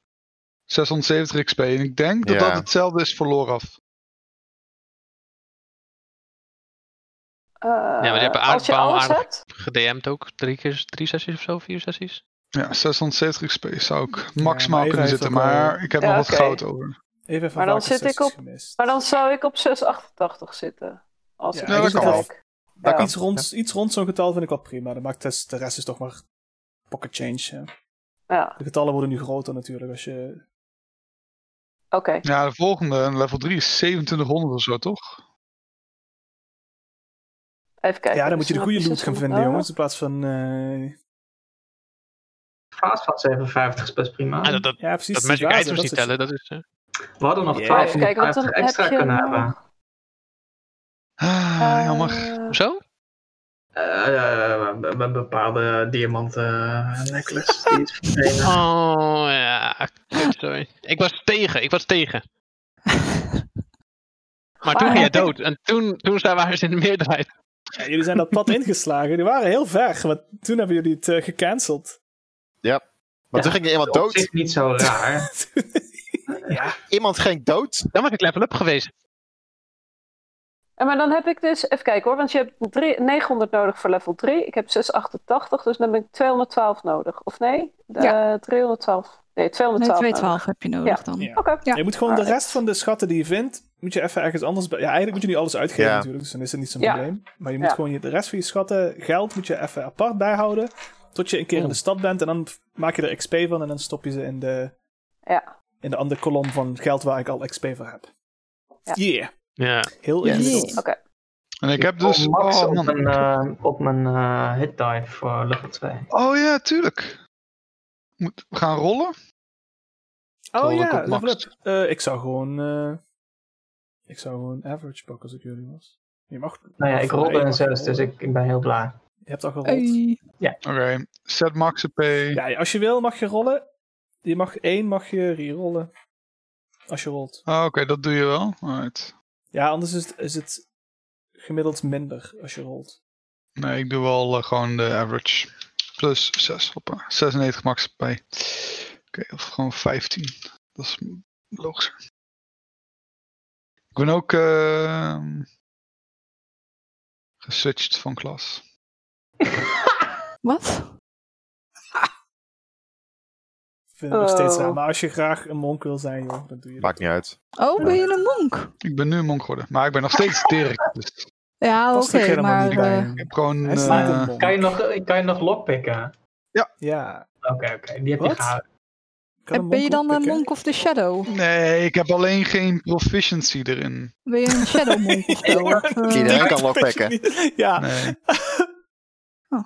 [SPEAKER 2] 670 XP. En ik denk dat
[SPEAKER 6] Ja.
[SPEAKER 2] dat hetzelfde is voor Loraf.
[SPEAKER 5] Eh,
[SPEAKER 3] maar je hebt een
[SPEAKER 5] als je
[SPEAKER 3] aardbouw
[SPEAKER 5] alles
[SPEAKER 3] aardig-
[SPEAKER 5] hebt,
[SPEAKER 3] GDM'd ook. Drie keer, drie sessies of zo, vier sessies.
[SPEAKER 2] Ja, 670 XP zou ik maximaal
[SPEAKER 1] maar
[SPEAKER 2] kunnen
[SPEAKER 1] even
[SPEAKER 2] zitten.
[SPEAKER 1] even, eh,
[SPEAKER 2] Maar ik heb
[SPEAKER 5] Ja,
[SPEAKER 2] nog wat
[SPEAKER 5] oké.
[SPEAKER 2] goud over.
[SPEAKER 1] Even van
[SPEAKER 5] Maar dan
[SPEAKER 1] welke
[SPEAKER 5] zit ik
[SPEAKER 1] sessies
[SPEAKER 5] op-
[SPEAKER 1] gemist.
[SPEAKER 5] maar dan zou ik op 688 zitten. Als
[SPEAKER 1] Ja,
[SPEAKER 5] ik
[SPEAKER 2] dat
[SPEAKER 5] goed
[SPEAKER 2] kan wel.
[SPEAKER 5] kijk.
[SPEAKER 6] Dat
[SPEAKER 5] Ja.
[SPEAKER 6] kan.
[SPEAKER 1] Iets rond, iets rond zo'n getal vind ik wel prima. Dat maakt dus, de rest is toch maar pocket change. hè.
[SPEAKER 5] Ja,
[SPEAKER 1] De getallen worden nu groter natuurlijk. Als je...
[SPEAKER 5] oké.
[SPEAKER 2] Ja, de volgende, level 3, is 2700 of zo, toch?
[SPEAKER 5] Even kijken.
[SPEAKER 1] Ja, dan moet
[SPEAKER 5] Dus
[SPEAKER 1] je de goede
[SPEAKER 5] heb
[SPEAKER 1] loot gaan
[SPEAKER 5] 600
[SPEAKER 1] vinden,
[SPEAKER 5] nodig.
[SPEAKER 1] jongens. In plaats van... eh,
[SPEAKER 4] vaas van 57 is best prima.
[SPEAKER 3] Ah, dat, dat,
[SPEAKER 1] Ja, precies.
[SPEAKER 3] dat
[SPEAKER 1] die
[SPEAKER 3] magic
[SPEAKER 1] vazen,
[SPEAKER 3] items
[SPEAKER 1] dat
[SPEAKER 3] niet
[SPEAKER 1] soort-
[SPEAKER 3] tellen, dat is... eh,
[SPEAKER 4] We hadden nog
[SPEAKER 1] Ja.
[SPEAKER 4] 1250
[SPEAKER 5] Kijk, want dan
[SPEAKER 4] extra
[SPEAKER 5] heb je
[SPEAKER 4] kunnen
[SPEAKER 5] nog-
[SPEAKER 4] hebben.
[SPEAKER 2] Ah, jammer.
[SPEAKER 5] Eh,
[SPEAKER 3] Zo?
[SPEAKER 4] Eh, eh, een bepaalde diamanten necklace die is verdwenen.
[SPEAKER 3] Oh, ja. kut, Sorry. Ik was tegen, ik was tegen. Maar toen
[SPEAKER 5] Ah,
[SPEAKER 3] ging jij
[SPEAKER 5] ja, kijk.
[SPEAKER 3] dood. En toen, toen zijn we in de meerderheid.
[SPEAKER 1] Ja, jullie zijn dat pad ingeslagen. Jullie waren heel ver, want toen hebben jullie het eh, gecanceld.
[SPEAKER 6] Maar
[SPEAKER 5] Ja.
[SPEAKER 6] toen ging er iemand
[SPEAKER 4] Op
[SPEAKER 6] dood.
[SPEAKER 4] zich niet zo raar.
[SPEAKER 6] Iemand ging dood.
[SPEAKER 3] Dan was ik level up geweest.
[SPEAKER 5] En maar dan heb ik dus, even kijken hoor, want je hebt drie- 900 nodig voor level 3. Ik heb 688, dus dan heb ik 212 nodig. Of nee?
[SPEAKER 7] Ja.
[SPEAKER 5] Eh, 312. Nee, 212.
[SPEAKER 7] Nee,
[SPEAKER 5] nodig.
[SPEAKER 7] 212 heb je nodig
[SPEAKER 5] Ja.
[SPEAKER 7] dan.
[SPEAKER 1] Ja.
[SPEAKER 5] Oké.
[SPEAKER 7] Ja.
[SPEAKER 1] Je moet gewoon de
[SPEAKER 5] Alright.
[SPEAKER 1] rest van de schatten die je vindt, moet je even ergens anders... bij- Ja, eigenlijk moet je niet alles uitgeven
[SPEAKER 6] Ja.
[SPEAKER 1] natuurlijk, dus dan is het niet zo'n
[SPEAKER 5] Ja.
[SPEAKER 1] probleem. Maar je moet
[SPEAKER 5] Ja.
[SPEAKER 1] gewoon je, de rest van je schatten, geld, moet je even apart bijhouden. Tot je een keer in
[SPEAKER 4] Oh.
[SPEAKER 1] de stad bent en dan maak je er XP van en dan stop je ze in de,
[SPEAKER 5] Ja.
[SPEAKER 1] in de andere kolom van geld waar ik al XP voor heb.
[SPEAKER 5] Ja.
[SPEAKER 1] Yeah,
[SPEAKER 3] Ja.
[SPEAKER 1] heel
[SPEAKER 7] Yes.
[SPEAKER 1] ingewikkeld.
[SPEAKER 7] Yes.
[SPEAKER 2] En ik heb dus.
[SPEAKER 4] Oh, Max
[SPEAKER 2] Oh,
[SPEAKER 4] op
[SPEAKER 2] man.
[SPEAKER 4] mijn, eh, op mijn eh, hit dive voor level 2.
[SPEAKER 2] Oh ja, tuurlijk. Moet we gaan rollen?
[SPEAKER 1] Oh
[SPEAKER 2] Rollen
[SPEAKER 1] ja,
[SPEAKER 2] op max.
[SPEAKER 1] level up. Eh, ik zou gewoon... eh, ik zou gewoon average pakken als ik jullie was. Je mag...
[SPEAKER 4] Nou ja, ik
[SPEAKER 1] voor
[SPEAKER 4] rolde
[SPEAKER 1] één
[SPEAKER 4] een
[SPEAKER 1] mag je
[SPEAKER 4] 6, dus
[SPEAKER 1] rollen.
[SPEAKER 4] ik, ik ben heel blij.
[SPEAKER 1] Je hebt al gerold.
[SPEAKER 7] Hey.
[SPEAKER 2] Oké, set max AP.
[SPEAKER 1] Ja, als je wil mag je rollen. Je mag één mag je rerollen. Als je rolt.
[SPEAKER 2] Ah, Oké, dat doe je wel. Alright.
[SPEAKER 1] Ja, anders is het, is het gemiddeld minder als je rolt.
[SPEAKER 2] Nee, ik doe wel eh, gewoon de average. Plus 6, hoppa. 96 max AP. Oké, of gewoon 15. Dat is logischer. Ik ben ook ehm geswitcht van klas.
[SPEAKER 7] Wat?
[SPEAKER 1] Ik vind het nog steeds
[SPEAKER 5] Oh.
[SPEAKER 1] raar. Maar als je graag een monk wil zijn, joh, dan doe je dat.
[SPEAKER 6] Maakt niet uit.
[SPEAKER 7] Oh, ben je een monk?
[SPEAKER 2] Ik ben nu een monk geworden, maar ik ben nog steeds Dirk. Dus
[SPEAKER 7] Ja,
[SPEAKER 1] Past
[SPEAKER 7] oké,
[SPEAKER 1] ook helemaal
[SPEAKER 7] maar...
[SPEAKER 1] niet
[SPEAKER 7] eh,
[SPEAKER 1] bij
[SPEAKER 2] ik
[SPEAKER 1] hem.
[SPEAKER 2] heb gewoon.
[SPEAKER 1] Hij is
[SPEAKER 2] eh,
[SPEAKER 1] niet een monk.
[SPEAKER 4] Kan je nog, kan je nog lockpicken?
[SPEAKER 1] Ja.
[SPEAKER 4] Oké, oké. Die heb je
[SPEAKER 1] Wat?
[SPEAKER 4] gehouden.
[SPEAKER 1] Kan een
[SPEAKER 7] ben je
[SPEAKER 1] monk
[SPEAKER 7] dan een
[SPEAKER 1] oppikken?
[SPEAKER 7] monk of the shadow?
[SPEAKER 2] Nee, ik heb alleen geen proficiency erin.
[SPEAKER 7] Ben je een shadow monk of zo? Of, eh,
[SPEAKER 6] Iedereen
[SPEAKER 1] Ik
[SPEAKER 6] kan wel
[SPEAKER 1] weet
[SPEAKER 6] pakken.
[SPEAKER 1] het niet. Ja.
[SPEAKER 2] Nee.
[SPEAKER 7] Oh.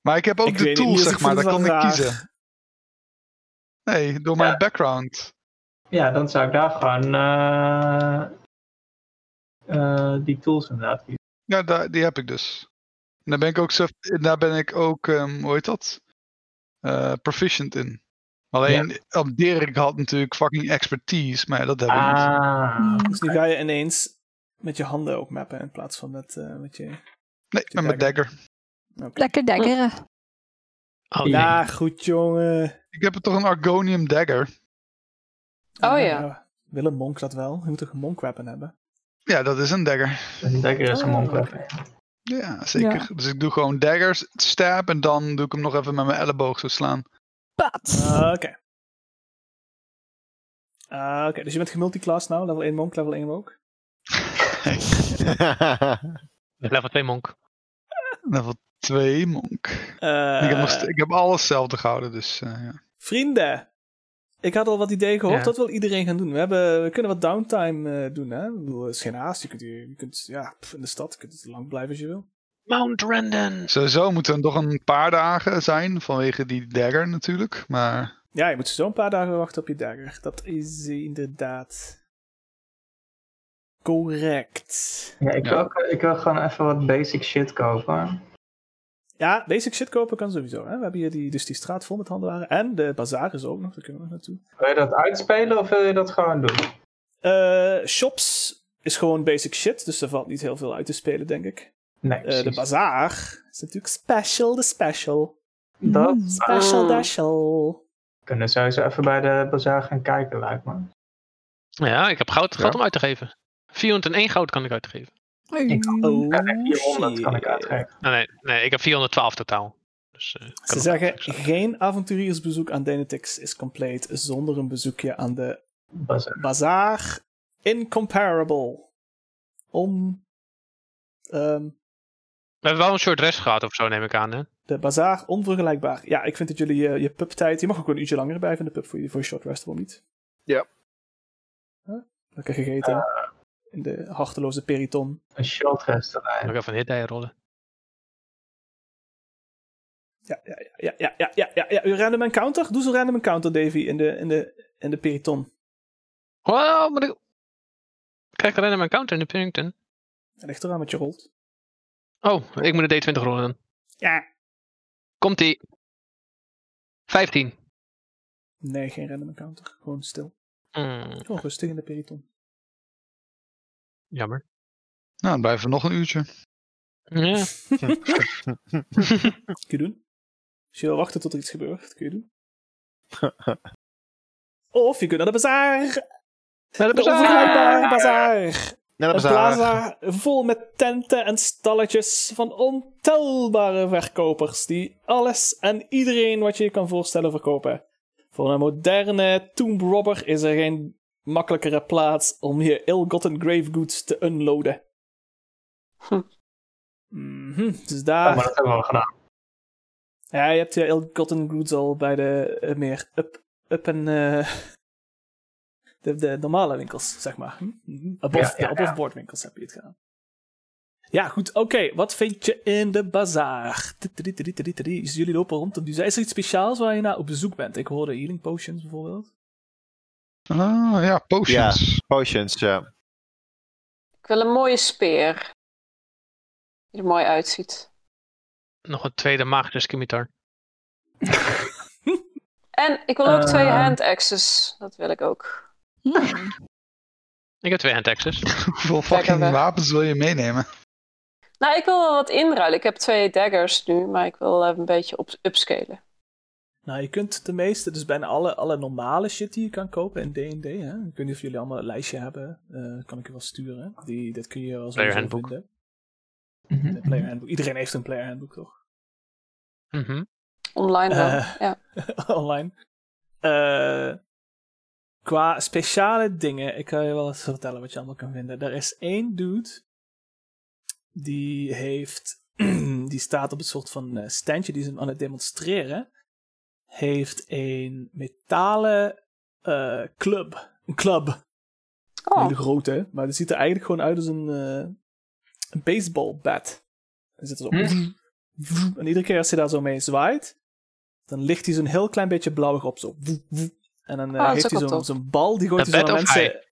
[SPEAKER 2] Maar ik heb ook
[SPEAKER 1] Ik
[SPEAKER 2] de
[SPEAKER 1] weet
[SPEAKER 2] tool,
[SPEAKER 1] niet,
[SPEAKER 2] zeg
[SPEAKER 1] ik
[SPEAKER 2] maar.
[SPEAKER 1] vond
[SPEAKER 2] Daar
[SPEAKER 1] het
[SPEAKER 2] kan
[SPEAKER 1] wel
[SPEAKER 2] ik
[SPEAKER 1] raar.
[SPEAKER 2] kiezen. Nee, door mijn
[SPEAKER 4] Ja.
[SPEAKER 2] background.
[SPEAKER 4] Ja, dan zou ik daar gewoon eh, eh, die tools inderdaad kiezen.
[SPEAKER 2] Ja, daar, die heb ik dus. En daar ben ik ook, suf- daar ben ik ook ehm, hoe heet dat? Eh, proficient in. Alleen, op Dirk had natuurlijk fucking expertise, maar dat heb ik niet.
[SPEAKER 4] Ah,
[SPEAKER 7] hmm.
[SPEAKER 1] Dus nu ga je ineens met je handen ook mappen in plaats van met, eh, met je...
[SPEAKER 2] Nee, met mijn dagger.
[SPEAKER 1] Oké.
[SPEAKER 7] Lekker
[SPEAKER 1] Ah,
[SPEAKER 7] dekker.
[SPEAKER 3] Oh, nee.
[SPEAKER 1] Ja, goed jongen.
[SPEAKER 2] Ik heb toch een Argonium dagger?
[SPEAKER 5] Oh ja.
[SPEAKER 1] Wil een monk dat wel? Je moet toch een monk weapon hebben?
[SPEAKER 2] Ja, dat is een dagger.
[SPEAKER 4] een dagger is een
[SPEAKER 5] Oh.
[SPEAKER 4] monk.
[SPEAKER 2] Ja, zeker. Dus ik doe gewoon daggers, stab en dan doe ik hem nog even met mijn elleboog zo slaan.
[SPEAKER 7] Pat.
[SPEAKER 1] Ah, Oké. Ah, Oké, dus je bent gemulticlass nou, level 1 monk, level 1 monk.
[SPEAKER 6] Nou,
[SPEAKER 3] Level 2 monk.
[SPEAKER 2] Level 2 monk.
[SPEAKER 1] Eh,
[SPEAKER 2] ik, heb nog st- ik heb alles hetzelfde gehouden, dus eh, ja.
[SPEAKER 1] Vrienden! Ik had al wat ideeën gehoord,
[SPEAKER 3] Ja.
[SPEAKER 1] dat wil iedereen gaan doen. We, hebben, we kunnen wat downtime eh, doen, hè? Ik bedoel, het is geen haast, je kunt, hier- je kunt ja, pff, in de stad, je kunt lang blijven als je wil.
[SPEAKER 3] Mount Randon.
[SPEAKER 2] Sowieso moeten er nog een paar dagen zijn vanwege die dagger natuurlijk. Maar
[SPEAKER 1] Ja, je moet zo een paar dagen wachten op je dagger. Dat is inderdaad correct.
[SPEAKER 4] Ja, ik,
[SPEAKER 2] Ja.
[SPEAKER 4] Wil, ook- eh, ik wil gewoon even wat basic shit kopen.
[SPEAKER 1] Ja, basic shit kopen kan sowieso. Hè? We hebben hier die, dus die straat vol met handelaren. En de bazaar is ook nog, daar kunnen we nog naartoe.
[SPEAKER 4] Wil je dat uitspelen of wil je dat gewoon doen?
[SPEAKER 1] Eh, shops is gewoon basic shit, dus er valt niet heel veel uit te spelen, denk ik.
[SPEAKER 4] Nee,
[SPEAKER 1] Eh,
[SPEAKER 4] precies.
[SPEAKER 1] de bazaar is natuurlijk special, de special.
[SPEAKER 4] Dat
[SPEAKER 7] Hmm.
[SPEAKER 1] Special,
[SPEAKER 4] Oh.
[SPEAKER 5] Mm.
[SPEAKER 1] special.
[SPEAKER 4] we kunnen sowieso even bij de bazaar gaan kijken, lijkt me.
[SPEAKER 3] Ja, ik heb goud, geld om uit te geven. 401 goud kan ik uitgeven.
[SPEAKER 4] Ik-
[SPEAKER 1] Oh,
[SPEAKER 4] Ja, nee, 400 kan ik
[SPEAKER 1] shit.
[SPEAKER 4] uitgeven.
[SPEAKER 3] Nee, Ah, nee, nee, ik heb 412 totaal. Dus, eh, kan
[SPEAKER 1] Ze
[SPEAKER 3] nog
[SPEAKER 1] zeggen,
[SPEAKER 3] uitgeven.
[SPEAKER 1] geen avonturiersbezoek aan Dynatix is compleet zonder een bezoekje aan de
[SPEAKER 4] Bazaar.
[SPEAKER 1] bazaar. Incomparable. On... ehm,
[SPEAKER 3] We hebben wel een short rest gehad of zo, neem ik aan. Hè?
[SPEAKER 1] de bazaar onvergelijkbaar. Ja, ik vind dat jullie eh, je pubtijd... Je mag ook een uurtje langer blijven in de pub voor je, voor je short rest, waarom niet?
[SPEAKER 6] Ja.
[SPEAKER 1] Huh? Lekker gegeten. in de harteloze periton. Ah.
[SPEAKER 4] Een short rest erbij.
[SPEAKER 3] Nog even een hit die rollen.
[SPEAKER 1] Ja, ja, ja, ja, ja, ja, ja, ja. Uw Random encounter? Doe zo'n random encounter, Davy, in de, in de, in de periton.
[SPEAKER 3] Wow, maar ik... ik krijg alleen mijn counter in de Pennington.
[SPEAKER 1] Dat ligt eraan wat je rolt.
[SPEAKER 3] Oh, ik moet een D20 rollen dan.
[SPEAKER 1] Ja.
[SPEAKER 3] Komt ie. 15.
[SPEAKER 1] Nee, geen random encounter. Gewoon stil.
[SPEAKER 3] Mm,
[SPEAKER 1] Gewoon rustig in de periton.
[SPEAKER 3] jammer.
[SPEAKER 2] Nou, dan blijven we nog een uurtje.
[SPEAKER 3] Ja.
[SPEAKER 1] Kun je doen. Als je wil wachten tot er iets gebeurt, kun je doen. Of je kunt naar de bazaar.
[SPEAKER 3] Maar
[SPEAKER 1] De
[SPEAKER 3] dat is
[SPEAKER 1] onvergelijkbare bazaar.
[SPEAKER 6] Naar de
[SPEAKER 1] Een
[SPEAKER 6] bazaar.
[SPEAKER 1] plaza vol met tenten en stalletjes van ontelbare verkopers die alles en iedereen wat je je kan voorstellen verkopen. Voor een moderne Tomb Robber is er geen makkelijkere plaats om je ill-gotten grave goods te unloaden.
[SPEAKER 5] Hm.
[SPEAKER 1] Mhm, dus
[SPEAKER 4] Ja, Oh, maar
[SPEAKER 1] daar...
[SPEAKER 4] dat hebben we al gedaan.
[SPEAKER 1] Ja, je hebt eh, je ill-gotten goods al bij de eh, meer up, up en... eh, de, de normale winkels, zeg maar. Mhm. Above,
[SPEAKER 4] Ja, ja,
[SPEAKER 1] de
[SPEAKER 4] ja.
[SPEAKER 1] above board winkels heb je het gedaan. Ja, goed. Oké, wat vind je in de bazaar? Tididi, tididi, tididi. Dus Jullie lopen rond. Dus is er iets speciaals waar je naar op bezoek bent? Ik hoorde healing potions bijvoorbeeld.
[SPEAKER 2] Ah, ja, potions.
[SPEAKER 6] Potions, ja.
[SPEAKER 5] Ik wil een mooie speer. Die er mooi uitziet.
[SPEAKER 3] Nog een tweede magische scimitar.
[SPEAKER 5] En ik wil ook
[SPEAKER 4] Eh.
[SPEAKER 5] twee hand axes. Dat wil ik ook.
[SPEAKER 7] Hmm.
[SPEAKER 3] Ik heb twee hand axes.
[SPEAKER 2] Hoeveel
[SPEAKER 5] Lekker
[SPEAKER 2] fucking
[SPEAKER 5] weg.
[SPEAKER 2] wapens wil je meenemen?
[SPEAKER 5] Nou, ik wil wel wat inruilen. Ik heb twee daggers nu, maar ik wil eh, een beetje op upscalen.
[SPEAKER 1] Nou, je kunt de meeste, dus bijna alle, alle normale shit die je kan kopen in D&D. Hè? Ik weet niet of jullie allemaal een lijstje hebben. Eh, kan ik je wel sturen. Die, dat kun je wel zo
[SPEAKER 3] Player handbook.
[SPEAKER 1] vinden. De player handbook. Iedereen heeft een player handbook, toch?
[SPEAKER 3] Mhm.
[SPEAKER 5] Online wel.
[SPEAKER 1] Eh.
[SPEAKER 5] Ja.
[SPEAKER 1] online. Eh, qua speciale dingen, ik kan je wel eens vertellen wat je allemaal kan vinden. Er is één dude die heeft, die staat op een soort van eh, standje, die is hem aan het demonstreren. Heeft een metalen eh, club. Een club. Een
[SPEAKER 5] Oh,
[SPEAKER 1] hele grote, maar die ziet er eigenlijk gewoon uit als een, eh een baseball bat. Hij zit er zo.
[SPEAKER 4] Hm.
[SPEAKER 1] vroom,
[SPEAKER 5] Mm.
[SPEAKER 1] En iedere keer als hij daar zo mee zwaait, dan ligt hij zo'n heel klein beetje blauwig op. Zo. Vroom, vroom. En dan eh,
[SPEAKER 5] Ah, dat is
[SPEAKER 1] heeft hij
[SPEAKER 5] ook wel
[SPEAKER 1] zo'n
[SPEAKER 5] tof.
[SPEAKER 1] zo'n bal, die gooit
[SPEAKER 3] De
[SPEAKER 1] hij zo
[SPEAKER 3] bat
[SPEAKER 1] naar
[SPEAKER 3] of
[SPEAKER 1] mensen.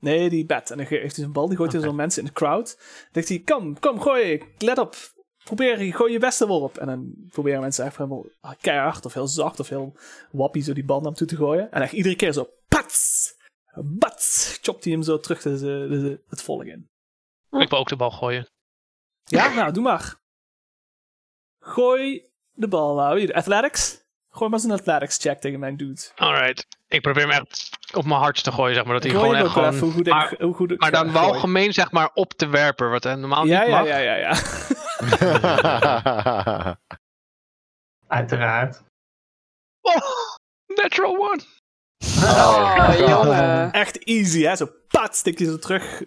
[SPEAKER 1] Nee, die bat. En dan ge- heeft hij zo'n bal, die gooit hij
[SPEAKER 3] Oké.
[SPEAKER 1] zo naar mensen in de crowd. Dan zegt hij, kom, kom, gooi, let op. Probeer, gooi je beste wel op. En dan proberen mensen echt helemaal keihard of heel zacht of heel wappie zo die bal naar hem toe te gooien. En echt iedere keer zo, pats, bats, chopt hij hem zo terug de, de, de- het volk in.
[SPEAKER 3] Ik wil ook de bal gooien.
[SPEAKER 1] Ja, nou, doe maar. Gooi de bal, nou. je- Athletics? Gooi maar eens een athletics check tegen mijn dude.
[SPEAKER 3] Alright. Ik probeer hem echt op mijn hart te gooien, zeg maar. Dat hij
[SPEAKER 1] Gooi
[SPEAKER 3] gewoon
[SPEAKER 1] hem
[SPEAKER 3] echt
[SPEAKER 1] ook wel
[SPEAKER 3] gewoon...
[SPEAKER 1] even hoe goed ik-
[SPEAKER 3] maar,
[SPEAKER 1] hoe goed ik
[SPEAKER 3] maar
[SPEAKER 1] ga
[SPEAKER 3] dan wel
[SPEAKER 1] gooien.
[SPEAKER 3] gemeen, zeg maar, op de werper. Wat hij normaal
[SPEAKER 1] Ja,
[SPEAKER 3] niet
[SPEAKER 1] ja,
[SPEAKER 3] mag.
[SPEAKER 1] ja, ja, ja.
[SPEAKER 4] Uiteraard.
[SPEAKER 3] Oh, natural one.
[SPEAKER 5] oh jongen.
[SPEAKER 1] Echt easy, hè? Zo pat, stik je zo terug.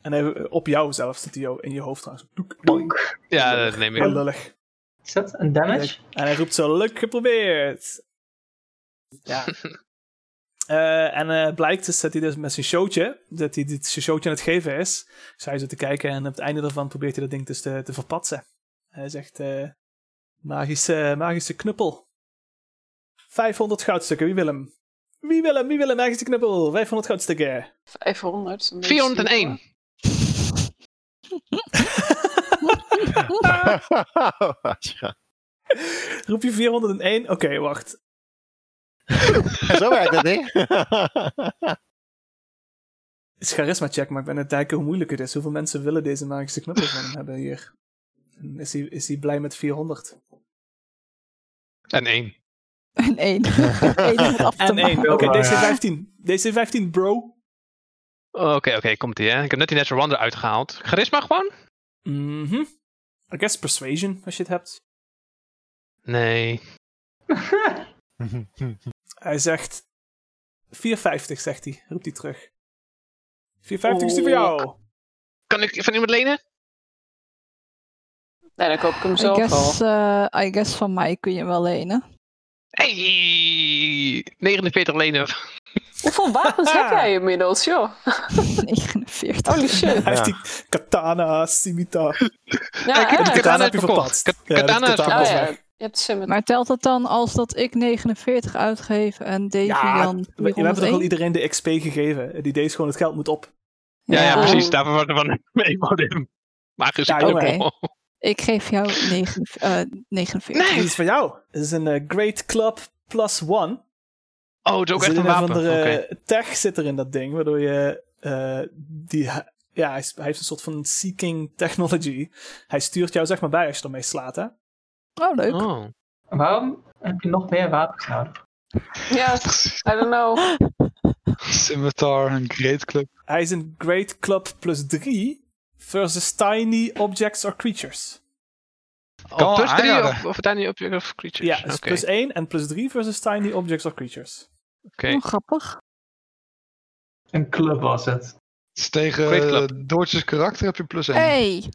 [SPEAKER 1] En hij- op jou zelf zit hij jou in je hoofd trouwens. Doek, doek.
[SPEAKER 3] Ja, dat neem ik.
[SPEAKER 1] Heel lullig.
[SPEAKER 4] Is dat een damage?
[SPEAKER 1] En hij roept zo, leuk geprobeerd. Ja. Eh, en eh, blijkt dus dat hij dus met zijn showtje, dat hij dit zijn showtje aan het geven is. Dus hij zit te kijken en op het einde daarvan probeert hij dat ding dus te, te verpatsen. Hij zegt, eh, magische, magische knuppel. 500 goudstukken, wie wil hem? Wie wil hem, wie wil hem, magische knuppel? 500 goudstukken.
[SPEAKER 5] 500. is een beetje
[SPEAKER 3] 401.
[SPEAKER 1] Roep je 401? Oké, wacht.
[SPEAKER 6] Zo werkt dat niet.
[SPEAKER 1] Het is charisma check, maar ik ben aan het kijken hoe moeilijk het is. Hoeveel mensen willen deze magische knuppel van hem hebben hier? En Is hij, is hij blij met 400?
[SPEAKER 3] En 1.
[SPEAKER 7] En één. Eén met af te
[SPEAKER 1] En
[SPEAKER 7] maken.
[SPEAKER 1] 1. Oké,
[SPEAKER 4] maar, ja.
[SPEAKER 1] DC15. DC15, bro.
[SPEAKER 3] Oké, Oh, oké, komt ie, hè. Ik heb net die natural one eruit gehaald. Charisma gewoon?
[SPEAKER 1] Mhm. I guess persuasion, als je het hebt.
[SPEAKER 3] Nee.
[SPEAKER 1] Hij zegt... 450, zegt hij. Roept hij terug. 450 is die voor jou.
[SPEAKER 3] Oh. Kan ik van iemand lenen?
[SPEAKER 5] Nee, dan koop ik hem
[SPEAKER 7] I
[SPEAKER 5] zelf al.
[SPEAKER 7] guess, eh, I guess van mij kun je hem wel lenen.
[SPEAKER 3] Hey! 49 lenen.
[SPEAKER 5] Hoeveel wapens heb jij inmiddels, joh?
[SPEAKER 7] 49.
[SPEAKER 5] Holy shit.
[SPEAKER 1] Hij heeft die katana, scimitar.
[SPEAKER 5] Ja,
[SPEAKER 3] Ik heb
[SPEAKER 5] echt.
[SPEAKER 3] de katana
[SPEAKER 1] heb je
[SPEAKER 3] verkocht.
[SPEAKER 1] verpatst.
[SPEAKER 3] Kat-
[SPEAKER 1] Ja, de
[SPEAKER 3] katana is
[SPEAKER 1] katana
[SPEAKER 5] Oh
[SPEAKER 1] is
[SPEAKER 5] ja,
[SPEAKER 1] weg.
[SPEAKER 5] Je hebt Summit.
[SPEAKER 7] Maar telt het dan als dat ik 49 uitgeef en Davy
[SPEAKER 1] Ja,
[SPEAKER 7] dan
[SPEAKER 1] We, we hebben toch al
[SPEAKER 7] 401?
[SPEAKER 1] iedereen de XP gegeven. Die deze gewoon het geld moet op.
[SPEAKER 3] Ja, ja,
[SPEAKER 5] Ja.
[SPEAKER 3] precies. Daarvoor waren we van mee, modem. Magische
[SPEAKER 1] Ja,
[SPEAKER 3] koppel.
[SPEAKER 7] Ik geef jou 9, eh, 49.
[SPEAKER 1] Dit is van Dus jou. Dit is een eh, Great Club Plus One.
[SPEAKER 3] Oh, het is ook
[SPEAKER 1] Er zit
[SPEAKER 3] echt een wapen.
[SPEAKER 1] andere eh,
[SPEAKER 3] Oké.
[SPEAKER 1] tech zit er in dat ding, waardoor je eh, die, ja, hij, is- hij heeft een soort van seeking technology. Hij stuurt jou zeg maar bij als je ermee slaat, hè?
[SPEAKER 7] Oh, leuk.
[SPEAKER 3] Oh.
[SPEAKER 4] Waarom heb je nog meer wapens nodig?
[SPEAKER 5] Ja, I don't know.
[SPEAKER 2] Scimitar, een great club.
[SPEAKER 1] Hij is een Great Club plus 3 versus tiny objects or creatures.
[SPEAKER 2] Kan
[SPEAKER 3] Oh,
[SPEAKER 2] wel
[SPEAKER 3] plus 3
[SPEAKER 2] aanraden.
[SPEAKER 3] of, of tiny object of creatures.
[SPEAKER 1] Ja, dus
[SPEAKER 3] Oké.
[SPEAKER 1] plus 1 en plus 3 versus tiny objects or creatures.
[SPEAKER 3] oké.
[SPEAKER 7] Oh, grappig.
[SPEAKER 4] Een club was het.
[SPEAKER 2] Het is tegen
[SPEAKER 3] Great
[SPEAKER 2] eh,
[SPEAKER 3] club.
[SPEAKER 2] Doortjes karakter heb je plus 1.
[SPEAKER 7] Hey,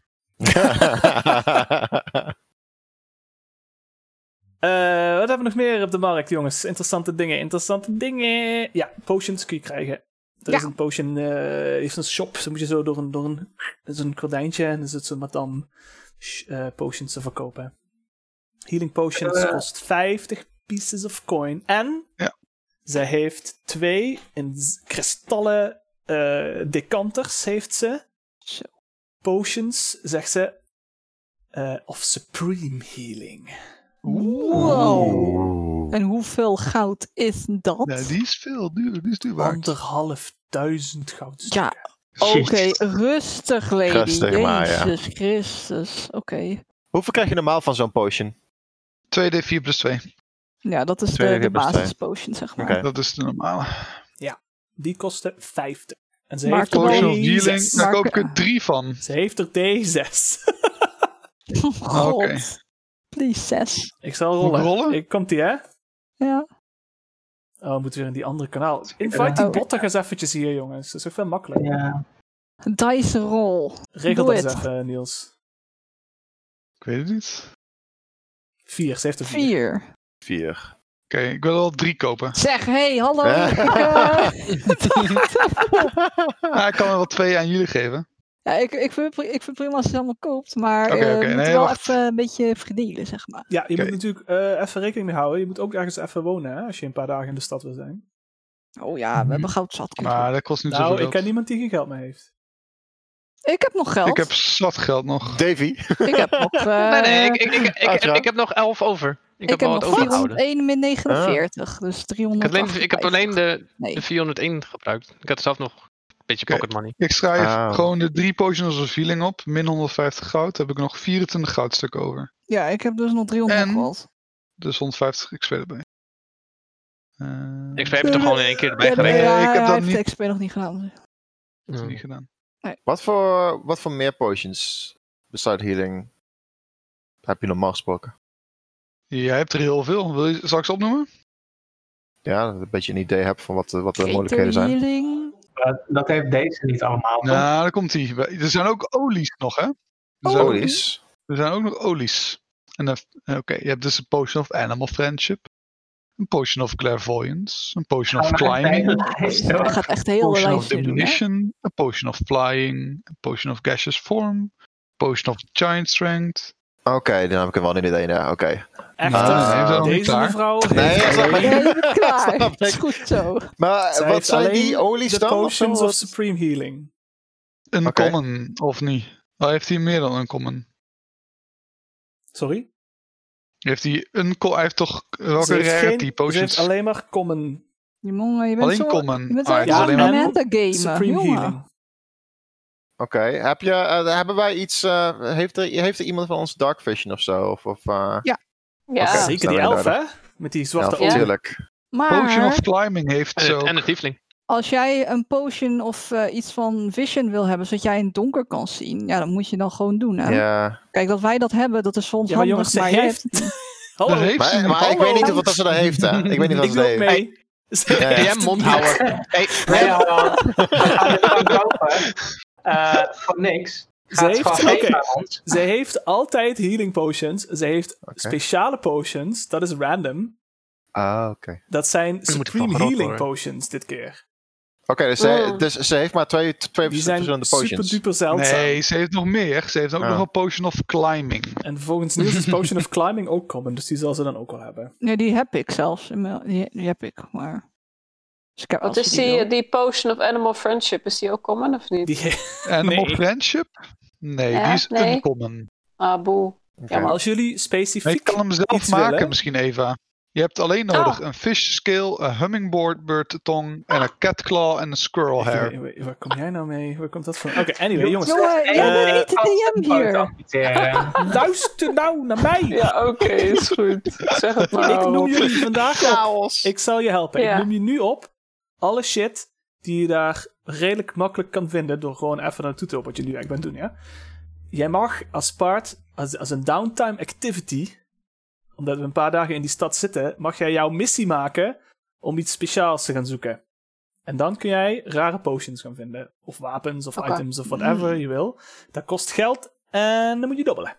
[SPEAKER 1] Eh, wat hebben we nog meer op de markt, jongens? Interessante dingen, interessante dingen. Ja, potions kun je krijgen. Er
[SPEAKER 7] Ja.
[SPEAKER 1] is een potion, eh heeft een shop. Dan moet je zo door een, door een, er is een gordijntje en dan zit zo'n madame sh- eh, potions te verkopen. Healing potions
[SPEAKER 4] Eh.
[SPEAKER 1] kost 50 pieces of coin. En
[SPEAKER 2] Ja.
[SPEAKER 1] zij heeft twee in z- kristallen eh, decanters, heeft ze.
[SPEAKER 7] Zo.
[SPEAKER 1] Potions, zegt ze, eh, of supreme healing.
[SPEAKER 7] Wow. En hoeveel goud is dat?
[SPEAKER 2] Nee, die is veel duurder, die is duur waard.
[SPEAKER 1] Anderhalf duizend goudstukken.
[SPEAKER 7] Ja, oké, rustig lady.
[SPEAKER 6] Rustig maar, ja.
[SPEAKER 7] Jezus Christus. Oké.
[SPEAKER 6] Hoeveel krijg je normaal van zo'n potion?
[SPEAKER 2] 2d4 plus 2.
[SPEAKER 7] Ja, dat is de,
[SPEAKER 6] Tweede
[SPEAKER 7] de
[SPEAKER 6] keer plus twee.
[SPEAKER 7] basispotion, zeg maar.
[SPEAKER 6] Oké.
[SPEAKER 2] Dat is de normale.
[SPEAKER 1] Die kostte 50. En ze
[SPEAKER 7] Maar
[SPEAKER 1] heeft,
[SPEAKER 7] toch-
[SPEAKER 2] Potion
[SPEAKER 1] er
[SPEAKER 2] of healing,
[SPEAKER 1] D6.
[SPEAKER 2] daar koop ik
[SPEAKER 7] Mark-
[SPEAKER 2] er 3 van.
[SPEAKER 1] ze heeft er D6.
[SPEAKER 7] God.
[SPEAKER 2] Oké.
[SPEAKER 7] Please, zes.
[SPEAKER 1] ik zal
[SPEAKER 2] Moet
[SPEAKER 1] rollen.
[SPEAKER 2] ik rollen?
[SPEAKER 1] Ik, komt die, hè?
[SPEAKER 7] Ja.
[SPEAKER 1] Oh, we moeten weer in die andere kanaal. Invite die
[SPEAKER 7] Oh.
[SPEAKER 1] botten eens eventjes hier, jongens. Dat is ook veel makkelijker.
[SPEAKER 4] Ja.
[SPEAKER 7] Dice roll.
[SPEAKER 1] Regel
[SPEAKER 7] Doe
[SPEAKER 1] dat eens
[SPEAKER 7] het.
[SPEAKER 1] even, Niels.
[SPEAKER 2] Ik weet het niet.
[SPEAKER 1] Vier, ze heeft er vier.
[SPEAKER 7] Vier.
[SPEAKER 6] Vier.
[SPEAKER 2] Oké, ik wil er wel 3 kopen.
[SPEAKER 7] Zeg, hey, hallo.
[SPEAKER 6] Ja.
[SPEAKER 7] ik, eh,
[SPEAKER 2] Ah, ik kan er wel 2 aan jullie geven.
[SPEAKER 7] ja, ik, ik, vind, het pri- ik vind het prima als je het allemaal koopt, maar
[SPEAKER 2] Oké,
[SPEAKER 7] eh,
[SPEAKER 2] oké,
[SPEAKER 7] we moeten
[SPEAKER 2] nee,
[SPEAKER 7] wel
[SPEAKER 2] wacht.
[SPEAKER 7] even een beetje verdelen, zeg maar.
[SPEAKER 1] Ja, je
[SPEAKER 2] Oké.
[SPEAKER 1] moet natuurlijk eh, even rekening mee houden. Je moet ook ergens even wonen, hè? Als je een paar dagen in de stad wil zijn.
[SPEAKER 7] Oh ja, we hebben goud zat. komt
[SPEAKER 2] Mhm. Maar
[SPEAKER 7] goed.
[SPEAKER 2] dat kost niet
[SPEAKER 1] nou,
[SPEAKER 2] zoveel
[SPEAKER 1] ik ken
[SPEAKER 2] geld.
[SPEAKER 1] niemand die geen geld meer heeft.
[SPEAKER 7] Ik heb nog geld.
[SPEAKER 2] Ik heb zat geld nog.
[SPEAKER 6] Davy?
[SPEAKER 7] Ik heb nog... eh,
[SPEAKER 3] Nee, nee, ik, ik, ik, ik,
[SPEAKER 6] Atra.
[SPEAKER 3] ik heb nog 11 over. Ik, heb
[SPEAKER 7] heb
[SPEAKER 3] wel wat
[SPEAKER 7] nog
[SPEAKER 3] overgehouden.
[SPEAKER 7] 401 min 49, dus
[SPEAKER 3] Ik
[SPEAKER 7] 300.
[SPEAKER 3] heb alleen, ik heb alleen de,
[SPEAKER 7] Nee.
[SPEAKER 3] de 401 gebruikt. Ik had zelf nog een beetje
[SPEAKER 2] Oké.
[SPEAKER 3] pocket money.
[SPEAKER 2] Ik schrijf
[SPEAKER 6] Ah.
[SPEAKER 2] gewoon de 3 potions of healing op. Min 150 goud. Heb ik nog 24 goudstukken over.
[SPEAKER 7] Ja, ik heb dus nog 300
[SPEAKER 2] En?
[SPEAKER 7] geld.
[SPEAKER 2] Dus 150 XP erbij. Eh,
[SPEAKER 3] Ik heb je toch gewoon in één keer erbij
[SPEAKER 7] Ja,
[SPEAKER 2] nee,
[SPEAKER 3] gerekend.
[SPEAKER 2] ik
[SPEAKER 7] hij-
[SPEAKER 2] heb
[SPEAKER 7] hij
[SPEAKER 2] dat
[SPEAKER 7] heeft
[SPEAKER 2] niet-
[SPEAKER 7] de XP nog niet gedaan.
[SPEAKER 2] dat heb ik
[SPEAKER 3] Ja.
[SPEAKER 2] niet gedaan.
[SPEAKER 6] Wat voor, wat voor meer potions besluit healing heb je normaal gesproken?
[SPEAKER 2] Jij hebt er heel veel. Wil je, zal ik ze opnoemen?
[SPEAKER 6] Ja, dat ik een beetje een idee heb van wat, de- wat de
[SPEAKER 7] Greater
[SPEAKER 6] mogelijkheden zijn.
[SPEAKER 7] healing.
[SPEAKER 4] Maar dat heeft deze niet allemaal. toch?
[SPEAKER 2] Nou, daar komt ie. Er zijn ook olies nog, hè? Er zijn, ook,
[SPEAKER 6] Olies.
[SPEAKER 2] er zijn ook nog olies. En dan- Oké, je hebt dus een potion of animal friendship. Een potion of clairvoyance. Een potion of
[SPEAKER 4] Oh, Maar
[SPEAKER 2] climbing.
[SPEAKER 4] bij
[SPEAKER 2] Een
[SPEAKER 4] de lijst,
[SPEAKER 7] Hij
[SPEAKER 4] hoor.
[SPEAKER 7] gaat echt heel de
[SPEAKER 2] potion of
[SPEAKER 7] lijst nu doen, hè?
[SPEAKER 2] diminution. Een potion of flying. Een potion of gaseous form. potion of giant strength.
[SPEAKER 6] Oké, dan heb ik er wel een idee. Ja, oké.
[SPEAKER 1] Echter,
[SPEAKER 2] Ah, nee, dat is nog niet
[SPEAKER 1] deze
[SPEAKER 2] klaar.
[SPEAKER 1] mevrouw heeft
[SPEAKER 6] Nee, dat snap ik.
[SPEAKER 7] Ja, je bent klaar.
[SPEAKER 6] Snap ik.
[SPEAKER 7] Het is goed zo.
[SPEAKER 6] Maar
[SPEAKER 1] Zij
[SPEAKER 6] wat
[SPEAKER 1] heeft
[SPEAKER 6] zijn die
[SPEAKER 1] alleen
[SPEAKER 6] olies
[SPEAKER 1] de
[SPEAKER 6] dan? of zo?
[SPEAKER 1] Potions of
[SPEAKER 6] Wat-
[SPEAKER 1] Supreme Healing.
[SPEAKER 2] Een
[SPEAKER 6] Oké.
[SPEAKER 2] common, of niet? Oh, heeft hij meer dan een common?
[SPEAKER 1] Sorry?
[SPEAKER 2] Heeft hij een co- Hij heeft toch
[SPEAKER 1] Ze
[SPEAKER 2] welke
[SPEAKER 1] heeft geen-
[SPEAKER 2] rarity
[SPEAKER 1] Ze heeft
[SPEAKER 2] potions?
[SPEAKER 1] alleen maar common
[SPEAKER 7] Jongen, je bent
[SPEAKER 2] Alleen
[SPEAKER 7] zo...
[SPEAKER 2] common.
[SPEAKER 7] Je bent
[SPEAKER 2] Ah,
[SPEAKER 7] zo
[SPEAKER 2] het is
[SPEAKER 1] ja,
[SPEAKER 2] alleen
[SPEAKER 1] en-
[SPEAKER 2] maar
[SPEAKER 1] maar-
[SPEAKER 7] metagamer,
[SPEAKER 1] Supreme
[SPEAKER 7] jongen.
[SPEAKER 1] Healing.
[SPEAKER 6] Oké, heb je, eh, hebben wij iets, eh, heeft, er, heeft er iemand van ons Dark Vision of zo? Of, of, eh,
[SPEAKER 5] Ja.
[SPEAKER 6] Oké.
[SPEAKER 1] Zeker die
[SPEAKER 6] Nou,
[SPEAKER 1] elf,
[SPEAKER 6] ja,
[SPEAKER 1] hè? Met die zwarte
[SPEAKER 6] ja,
[SPEAKER 5] ogen.
[SPEAKER 6] natuurlijk.
[SPEAKER 2] Potion of
[SPEAKER 7] Maar
[SPEAKER 2] climbing heeft
[SPEAKER 3] En
[SPEAKER 2] zo.
[SPEAKER 3] het- En de tiefling.
[SPEAKER 7] als jij een potion of eh, iets van vision wil hebben, zodat jij in het donker kan zien, ja, dat moet je dan gewoon doen, hè?
[SPEAKER 6] Ja.
[SPEAKER 7] Kijk, dat wij dat hebben, dat is soms
[SPEAKER 1] Ja, maar jongens,
[SPEAKER 7] handig,
[SPEAKER 1] ze
[SPEAKER 7] maar jij
[SPEAKER 1] heeft-
[SPEAKER 7] hebt het niet.
[SPEAKER 1] Hallo,
[SPEAKER 2] Dat heeft ze
[SPEAKER 6] Maar, maar ik
[SPEAKER 2] Hallo.
[SPEAKER 6] weet niet of dat ze dat heeft, hè? Ik weet niet of
[SPEAKER 1] ik
[SPEAKER 6] ze dat
[SPEAKER 1] doe ook
[SPEAKER 6] heeft.
[SPEAKER 1] mee.
[SPEAKER 6] Ja,
[SPEAKER 3] Ja,
[SPEAKER 6] ja.
[SPEAKER 3] mondhouwer. Hey,
[SPEAKER 4] Nee, ja, want we gaan dit gewoon kopen. Eh, voor niks.
[SPEAKER 1] Ze
[SPEAKER 4] Gaat het gewoon
[SPEAKER 1] heeft,
[SPEAKER 4] geven
[SPEAKER 1] oké,
[SPEAKER 4] aan ons.
[SPEAKER 1] ze heeft altijd healing potions. Ze heeft speciale potions. Dat is random.
[SPEAKER 6] Ah, oké.
[SPEAKER 1] Dat zijn
[SPEAKER 3] ik
[SPEAKER 1] Supreme
[SPEAKER 3] van groot
[SPEAKER 1] Healing
[SPEAKER 3] worden.
[SPEAKER 1] potions dit keer.
[SPEAKER 6] dus, ze,
[SPEAKER 5] Oh.
[SPEAKER 6] dus ze heeft maar twee, twee
[SPEAKER 1] Die zijn
[SPEAKER 6] verschillende
[SPEAKER 1] super
[SPEAKER 6] potions.
[SPEAKER 1] duper zeldzaam.
[SPEAKER 2] Nee, ze heeft nog meer. Ze heeft ook
[SPEAKER 6] Ah.
[SPEAKER 2] nog een potion of climbing.
[SPEAKER 1] En volgens Niels is Potion of Climbing ook common, dus die zal ze dan ook wel hebben.
[SPEAKER 7] Nee, die heb ik zelfs. in mijn- Die, die heb ik, maar... Dus ik heb,
[SPEAKER 5] Wat
[SPEAKER 7] als
[SPEAKER 5] is
[SPEAKER 7] je die
[SPEAKER 5] die,
[SPEAKER 7] wil-
[SPEAKER 5] die Potion of Animal Friendship? Is die ook common of niet?
[SPEAKER 1] Die,
[SPEAKER 2] Animal
[SPEAKER 1] Nee.
[SPEAKER 2] Eh, friendship? Nee,
[SPEAKER 5] Ja,
[SPEAKER 2] die is
[SPEAKER 5] nee.
[SPEAKER 2] uncommon.
[SPEAKER 5] Ah, boe.
[SPEAKER 6] Oké.
[SPEAKER 5] Ja, maar-
[SPEAKER 1] als jullie
[SPEAKER 2] Maar
[SPEAKER 1] specifiek
[SPEAKER 2] je kan hem zelf
[SPEAKER 1] iets
[SPEAKER 2] maken
[SPEAKER 1] willen?
[SPEAKER 2] misschien, Eva. Je hebt alleen nodig een fish scale, een hummingbird tong en een cat claw en een squirrel hair.
[SPEAKER 1] Waar- waar- Waar kom jij nou mee? Waar komt dat van? Oké, anyway, jongens.
[SPEAKER 7] Jongen, jij
[SPEAKER 1] Eh,
[SPEAKER 7] bent niet de DM hier.
[SPEAKER 4] Amputeren.
[SPEAKER 1] Luister nou naar mij!
[SPEAKER 5] Ja, oké, is goed. Zeg het maar.
[SPEAKER 1] Ik noem jullie vandaag op.
[SPEAKER 6] Chaos!
[SPEAKER 1] Ik zal je helpen.
[SPEAKER 5] Ja.
[SPEAKER 1] Ik noem je nu op alle shit die je daar redelijk makkelijk kan vinden door gewoon even naartoe te lopen wat je nu eigenlijk bent doen, ja? Jij mag als part, als, als een downtime activity, omdat we een paar dagen in die stad zitten, mag jij jouw missie maken om iets speciaals te gaan zoeken. En dan kun jij rare potions gaan vinden. Of wapens, of
[SPEAKER 5] Oké.
[SPEAKER 1] items, of whatever je wil. Dat kost geld en dan moet je dobbelen.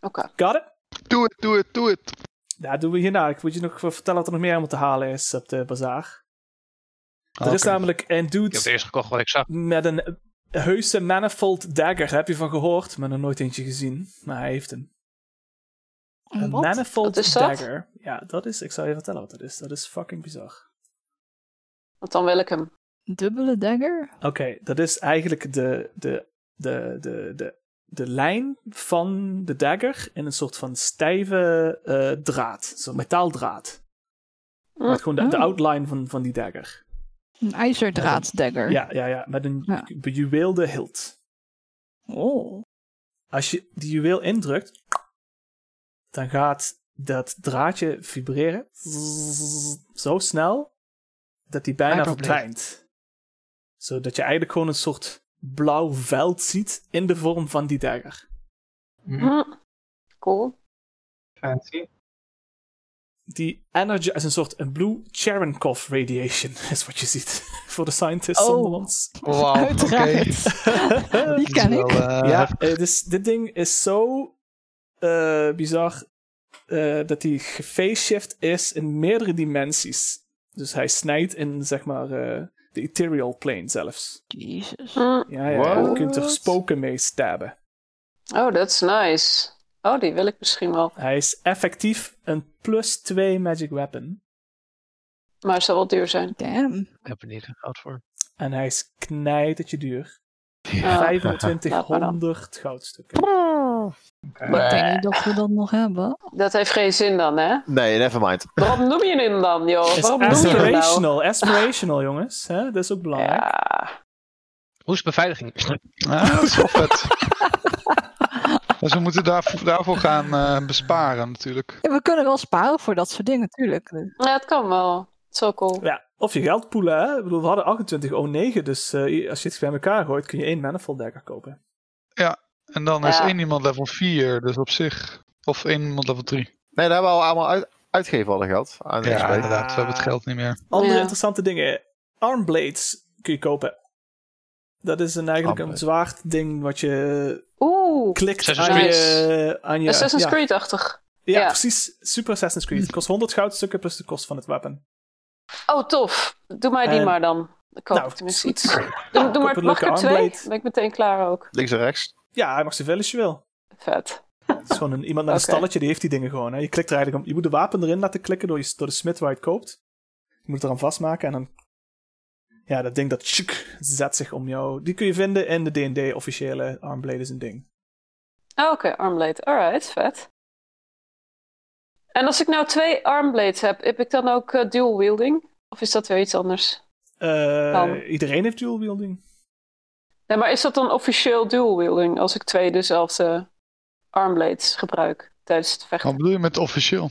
[SPEAKER 5] Oké.
[SPEAKER 1] Got it?
[SPEAKER 2] Doe het, doe het, doe het.
[SPEAKER 1] Daar doen we hierna. Ik moet je nog vertellen wat er nog meer allemaal te halen is op de bazaar. Er is
[SPEAKER 2] Ah, Oké.
[SPEAKER 1] namelijk een
[SPEAKER 3] Ik
[SPEAKER 1] dude
[SPEAKER 3] heb eerst gekocht wat ik zag.
[SPEAKER 1] met een heuse manifold dagger. Daar heb je van gehoord, maar nog nooit eentje gezien. Maar hij heeft hem. Een
[SPEAKER 7] Wat?
[SPEAKER 1] manifold
[SPEAKER 5] Wat is dat?
[SPEAKER 1] dagger. Ja, dat is... Ik zal je vertellen wat dat is. Dat is fucking bizar.
[SPEAKER 5] Want dan wil ik hem.
[SPEAKER 7] Dubbele dagger?
[SPEAKER 1] Oké, dat is eigenlijk de, de, de, de, de, de lijn van de dagger in een soort van stijve eh, draad. Zo'n metaaldraad.
[SPEAKER 5] Mm.
[SPEAKER 1] Maar gewoon de, de
[SPEAKER 7] Oh.
[SPEAKER 1] outline van, van die dagger.
[SPEAKER 7] Een ijzerdraaddagger.
[SPEAKER 1] Ja, ja, ja, met een
[SPEAKER 7] Ja.
[SPEAKER 1] bejuweelde hilt.
[SPEAKER 7] Oh.
[SPEAKER 1] Als je die juweel indrukt, dan gaat dat draadje vibreren zo snel dat die bijna
[SPEAKER 3] Mijn probleem.
[SPEAKER 1] verdwijnt. Zodat je eigenlijk gewoon een soort blauw veld ziet in de vorm van die dagger.
[SPEAKER 4] Hm,
[SPEAKER 5] Hm. Cool.
[SPEAKER 4] Fancy.
[SPEAKER 1] Die energy is een soort een blue Cherenkov radiation, is wat je ziet. Voor de scientists
[SPEAKER 7] Oh.
[SPEAKER 1] onder ons.
[SPEAKER 2] Wauw, oké.
[SPEAKER 7] Uiteraard. Oh, Die
[SPEAKER 2] Dat
[SPEAKER 7] ken
[SPEAKER 2] is
[SPEAKER 7] ik.
[SPEAKER 2] wel, eh,
[SPEAKER 1] ja, eh, dus dit ding is zo eh, bizar eh, dat die shift is in meerdere dimensies. Dus hij snijdt in, zeg maar, eh, de ethereal plane zelfs.
[SPEAKER 7] Jezus.
[SPEAKER 5] Hm.
[SPEAKER 1] Ja, ja, je
[SPEAKER 6] What?
[SPEAKER 1] kunt er spoken mee stabben.
[SPEAKER 5] Oh, that's nice. Oh, die wil ik misschien wel.
[SPEAKER 1] Hij is effectief een plus 2 magic weapon.
[SPEAKER 5] Maar het zal wel duur zijn.
[SPEAKER 7] Damn.
[SPEAKER 3] Ik heb er niet geld voor.
[SPEAKER 1] En hij is knijtertje duur.
[SPEAKER 5] Ah,
[SPEAKER 1] 2500 goudstukken.
[SPEAKER 7] Wat denk je dat we dat nog hebben?
[SPEAKER 5] dat heeft geen zin dan, hè?
[SPEAKER 6] Nee, nevermind.
[SPEAKER 5] Waarom noem je hem dan, joh?
[SPEAKER 1] Is
[SPEAKER 5] Waarom noem je hem nou?
[SPEAKER 1] aspirational, aspirational jongens. Hè? Dat is ook belangrijk.
[SPEAKER 5] Ja.
[SPEAKER 3] Hoe is de beveiliging?
[SPEAKER 2] Ja, dat is wel vet. ah, dus we moeten daarvoor, daarvoor gaan eh, besparen natuurlijk.
[SPEAKER 7] Ja, we kunnen wel sparen voor dat soort dingen, natuurlijk.
[SPEAKER 5] ja, het kan wel. Zo cool.
[SPEAKER 1] Ja, of je geld poelen, hè? Ik bedoel, we hadden 28 O9, dus eh, als je het bij elkaar gooit, kun je één manifold dagger kopen.
[SPEAKER 2] En dan is
[SPEAKER 5] Ja.
[SPEAKER 2] één iemand level 4, dus op zich. Of één iemand level 3.
[SPEAKER 6] Nee, daar hebben we al allemaal uit, uitgeven al dat geld. Aan
[SPEAKER 2] Ja,
[SPEAKER 6] XP.
[SPEAKER 2] inderdaad. We hebben het geld niet meer.
[SPEAKER 1] Andere
[SPEAKER 5] Ja.
[SPEAKER 1] interessante dingen. Armblades kun je kopen. Dat is een, eigenlijk een
[SPEAKER 6] Armblade.
[SPEAKER 1] zwaard ding wat je
[SPEAKER 5] Oeh,
[SPEAKER 1] klikt
[SPEAKER 3] Assassin's
[SPEAKER 1] aan
[SPEAKER 5] Creed.
[SPEAKER 1] je, aan je...
[SPEAKER 5] Assassin's
[SPEAKER 1] ja.
[SPEAKER 5] Creed-achtig.
[SPEAKER 1] Ja,
[SPEAKER 5] ja.
[SPEAKER 1] precies. Super Assassin's Creed. Het kost 100 goudstukken plus de kost van het wapen.
[SPEAKER 5] Oh, tof. Doe mij die
[SPEAKER 1] Eh,
[SPEAKER 5] maar dan. Dan koop
[SPEAKER 1] nou,
[SPEAKER 5] ik tenminste
[SPEAKER 1] goed.
[SPEAKER 5] iets. Doe, doe
[SPEAKER 1] een
[SPEAKER 5] maar, mag ik er
[SPEAKER 1] leuke
[SPEAKER 5] twee?
[SPEAKER 1] armblade.
[SPEAKER 5] Ben ik meteen klaar ook.
[SPEAKER 6] Links en rechts.
[SPEAKER 1] Ja, hij mag zoveel als je wil.
[SPEAKER 5] Vet.
[SPEAKER 1] Het is gewoon een, iemand met een
[SPEAKER 5] Oké.
[SPEAKER 1] stalletje, die heeft die dingen gewoon. Hè. Je, klikt er eigenlijk om, je moet de wapen erin laten klikken door, je, door de smid waar je het koopt. Je moet het eraan vastmaken en dan... Ja, dat ding dat tjoek, zet zich om jou. Die kun je vinden in de D&D officiële Armblade is een ding.
[SPEAKER 5] Oh, oké, armblade. Alright, vet. En als ik nou twee armblades heb, heb ik dan ook eh, dual wielding? Of is dat weer iets anders?
[SPEAKER 1] Eh,
[SPEAKER 5] Kan.
[SPEAKER 1] iedereen heeft dual wielding.
[SPEAKER 5] Nee, maar is dat dan officieel dual wielding als ik twee dezelfde armblades gebruik tijdens het vechten?
[SPEAKER 2] Wat bedoel je met officieel?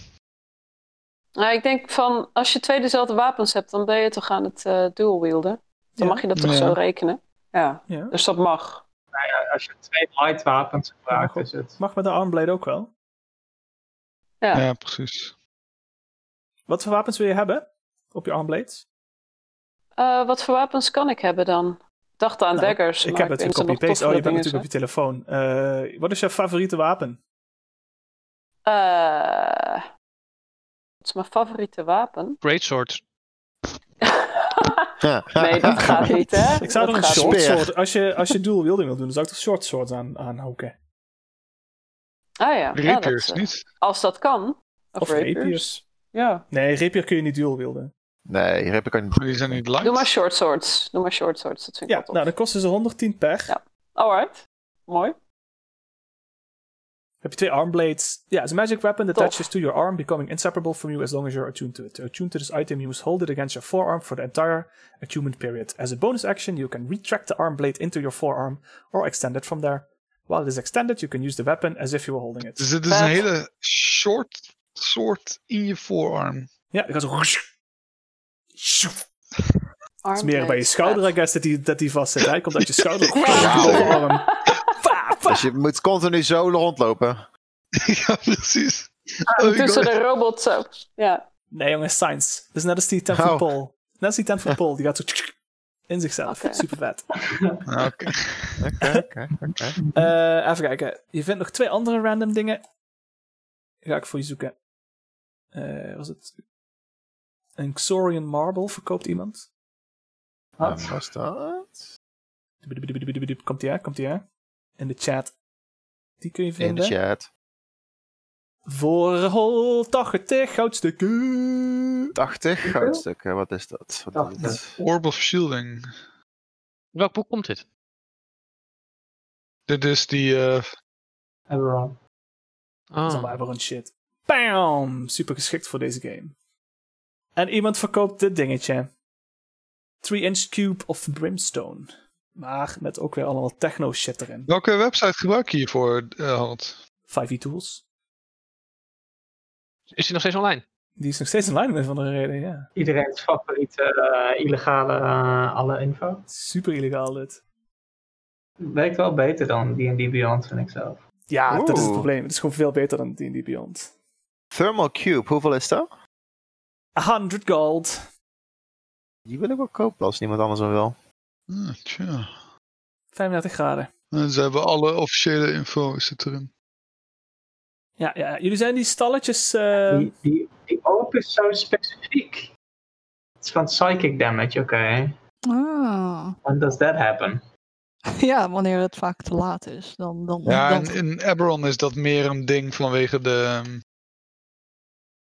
[SPEAKER 5] Nou, ik denk van als je twee dezelfde wapens hebt, dan ben je toch aan het eh, dual wielden. Dan
[SPEAKER 1] Ja.
[SPEAKER 5] mag je dat toch
[SPEAKER 2] Ja.
[SPEAKER 5] zo rekenen? Ja,
[SPEAKER 1] Ja.
[SPEAKER 5] dus dat mag.
[SPEAKER 4] Ja, Als je twee light wapens gebruikt,
[SPEAKER 1] Ja,
[SPEAKER 4] is het.
[SPEAKER 1] Mag met de Armblade ook wel.
[SPEAKER 5] Ja.
[SPEAKER 2] Ja, precies.
[SPEAKER 1] Wat voor wapens wil je hebben op je Armblade?
[SPEAKER 5] Eh, wat voor wapens kan ik hebben dan? Ik dacht aan
[SPEAKER 1] Nou,
[SPEAKER 5] daggers.
[SPEAKER 1] Ik
[SPEAKER 5] maar
[SPEAKER 1] heb het
[SPEAKER 5] weet dat er nog
[SPEAKER 1] gecopy-paste. Oh, je
[SPEAKER 5] toffere
[SPEAKER 1] bent
[SPEAKER 5] dingen
[SPEAKER 1] natuurlijk op je telefoon. Eh, wat is jouw favoriete wapen?
[SPEAKER 5] zijn. Eh, Wat is mijn favoriete wapen?
[SPEAKER 3] Greatsword.
[SPEAKER 6] Ja.
[SPEAKER 5] Nee, dat gaat niet, hè?
[SPEAKER 1] Ik zou er
[SPEAKER 5] Dat
[SPEAKER 1] een
[SPEAKER 5] gaat niet.
[SPEAKER 1] short
[SPEAKER 6] Speer.
[SPEAKER 1] sword... Als je, als je dual wielding wil doen, dan zou ik er short swords aan, aanhokken.
[SPEAKER 5] Ah ja. ja, dat,
[SPEAKER 2] Rapiers,
[SPEAKER 5] eh,
[SPEAKER 2] niet?
[SPEAKER 5] Als dat kan. Of,
[SPEAKER 1] Of
[SPEAKER 5] rapiers.
[SPEAKER 1] rapiers.
[SPEAKER 5] Ja.
[SPEAKER 1] Nee, rapier kun je niet dual wielden.
[SPEAKER 6] Nee, heb ik ook niet.
[SPEAKER 2] Die zijn niet light.
[SPEAKER 5] Doe maar short swords. Doe maar short swords. Dat vind ik
[SPEAKER 1] Ja,
[SPEAKER 5] wel
[SPEAKER 1] nou
[SPEAKER 5] tof.
[SPEAKER 1] dan kosten ze 110 per.
[SPEAKER 5] Ja. Alright. Mooi.
[SPEAKER 1] Heb je twee armblades. Ja, it's a magic weapon that
[SPEAKER 5] Tof.
[SPEAKER 1] attaches to your arm, becoming inseparable from you as long as you're attuned to it. To attune to this item, you must hold it against your forearm for the entire attunement period. As a bonus action, you can retract the arm blade into your forearm or extend it from there. While it is extended, you can use the weapon as if you were holding it.
[SPEAKER 2] Dus dit is
[SPEAKER 5] Vet.
[SPEAKER 2] een hele short soort in je voorarm.
[SPEAKER 1] Ja, ik ga zo... Het
[SPEAKER 5] Arm
[SPEAKER 1] is meer bij je schouder, I guess, dat die, dat die vast zit. Hij komt uit je schouder.
[SPEAKER 5] Ja.
[SPEAKER 1] Voorarm.
[SPEAKER 6] Dus je moet continu zo rondlopen.
[SPEAKER 2] ja, precies.
[SPEAKER 5] Ah,
[SPEAKER 2] Oh, ik
[SPEAKER 5] Tussen
[SPEAKER 2] dacht-
[SPEAKER 5] de robots zo. Ja.
[SPEAKER 1] Nee, jongen, science. Dat is net als die 10 foot
[SPEAKER 6] Oh.
[SPEAKER 1] pole. Net als die 10 foot pole, die gaat zo in zichzelf.
[SPEAKER 5] Oké.
[SPEAKER 1] Super vet.
[SPEAKER 2] Ah, Oké.
[SPEAKER 6] Oké, oké, oké.
[SPEAKER 1] Eh, even kijken. Je vindt nog twee andere random dingen. Die Ga ik voor je zoeken. Eh, was het? Een Xorian Marble verkoopt iemand.
[SPEAKER 6] Wat was dat?
[SPEAKER 1] Komt die aan, komt die aan. In de chat. Die kun je
[SPEAKER 6] In de
[SPEAKER 1] vinden.
[SPEAKER 6] chat.
[SPEAKER 1] Voor 180 goudstukken.
[SPEAKER 6] 80 goudstukken, wat is dat? Wat is dat?
[SPEAKER 2] Orb of Shielding.
[SPEAKER 3] Welk boek komt dit?
[SPEAKER 2] Dit is die... eh,
[SPEAKER 4] Hebben we al.
[SPEAKER 1] Dat is
[SPEAKER 3] Ah,
[SPEAKER 1] allemaal aberrant shit. Bam! Super geschikt voor deze game. En iemand verkoopt dit dingetje. 3-inch cube of brimstone. Maar met ook weer allemaal techno shit erin.
[SPEAKER 2] welke website gebruik je hiervoor, eh, Harold?
[SPEAKER 1] 5e e tools.
[SPEAKER 3] is die nog steeds online?
[SPEAKER 1] Die is nog steeds online om een van de reden, ja.
[SPEAKER 4] Iedereen's favoriete eh, illegale eh, alle info.
[SPEAKER 1] Super illegaal dit.
[SPEAKER 4] Werkt wel beter dan D&D Beyond, vind ik zelf.
[SPEAKER 1] Ja, dat is het
[SPEAKER 6] Oeh.
[SPEAKER 1] probleem. Het is gewoon veel beter dan D&D Beyond.
[SPEAKER 6] Thermal Cube, hoeveel is dat?
[SPEAKER 1] 100 gold.
[SPEAKER 6] Die wil ik wel kopen als niemand anders hem wil.
[SPEAKER 2] Ah, tja.
[SPEAKER 1] 35 graden.
[SPEAKER 2] En ze hebben alle officiële info zit erin.
[SPEAKER 1] Ja, ja. jullie zijn die stalletjes... eh,
[SPEAKER 4] die, die, die open is zo specifiek. Het is van psychic damage, oké.
[SPEAKER 7] Ah.
[SPEAKER 4] When does that happen?
[SPEAKER 7] Ja, wanneer het vaak te laat is, dan. dan,
[SPEAKER 2] Ja,
[SPEAKER 7] dan...
[SPEAKER 2] in, in Eberron is dat meer een ding vanwege de... ehm,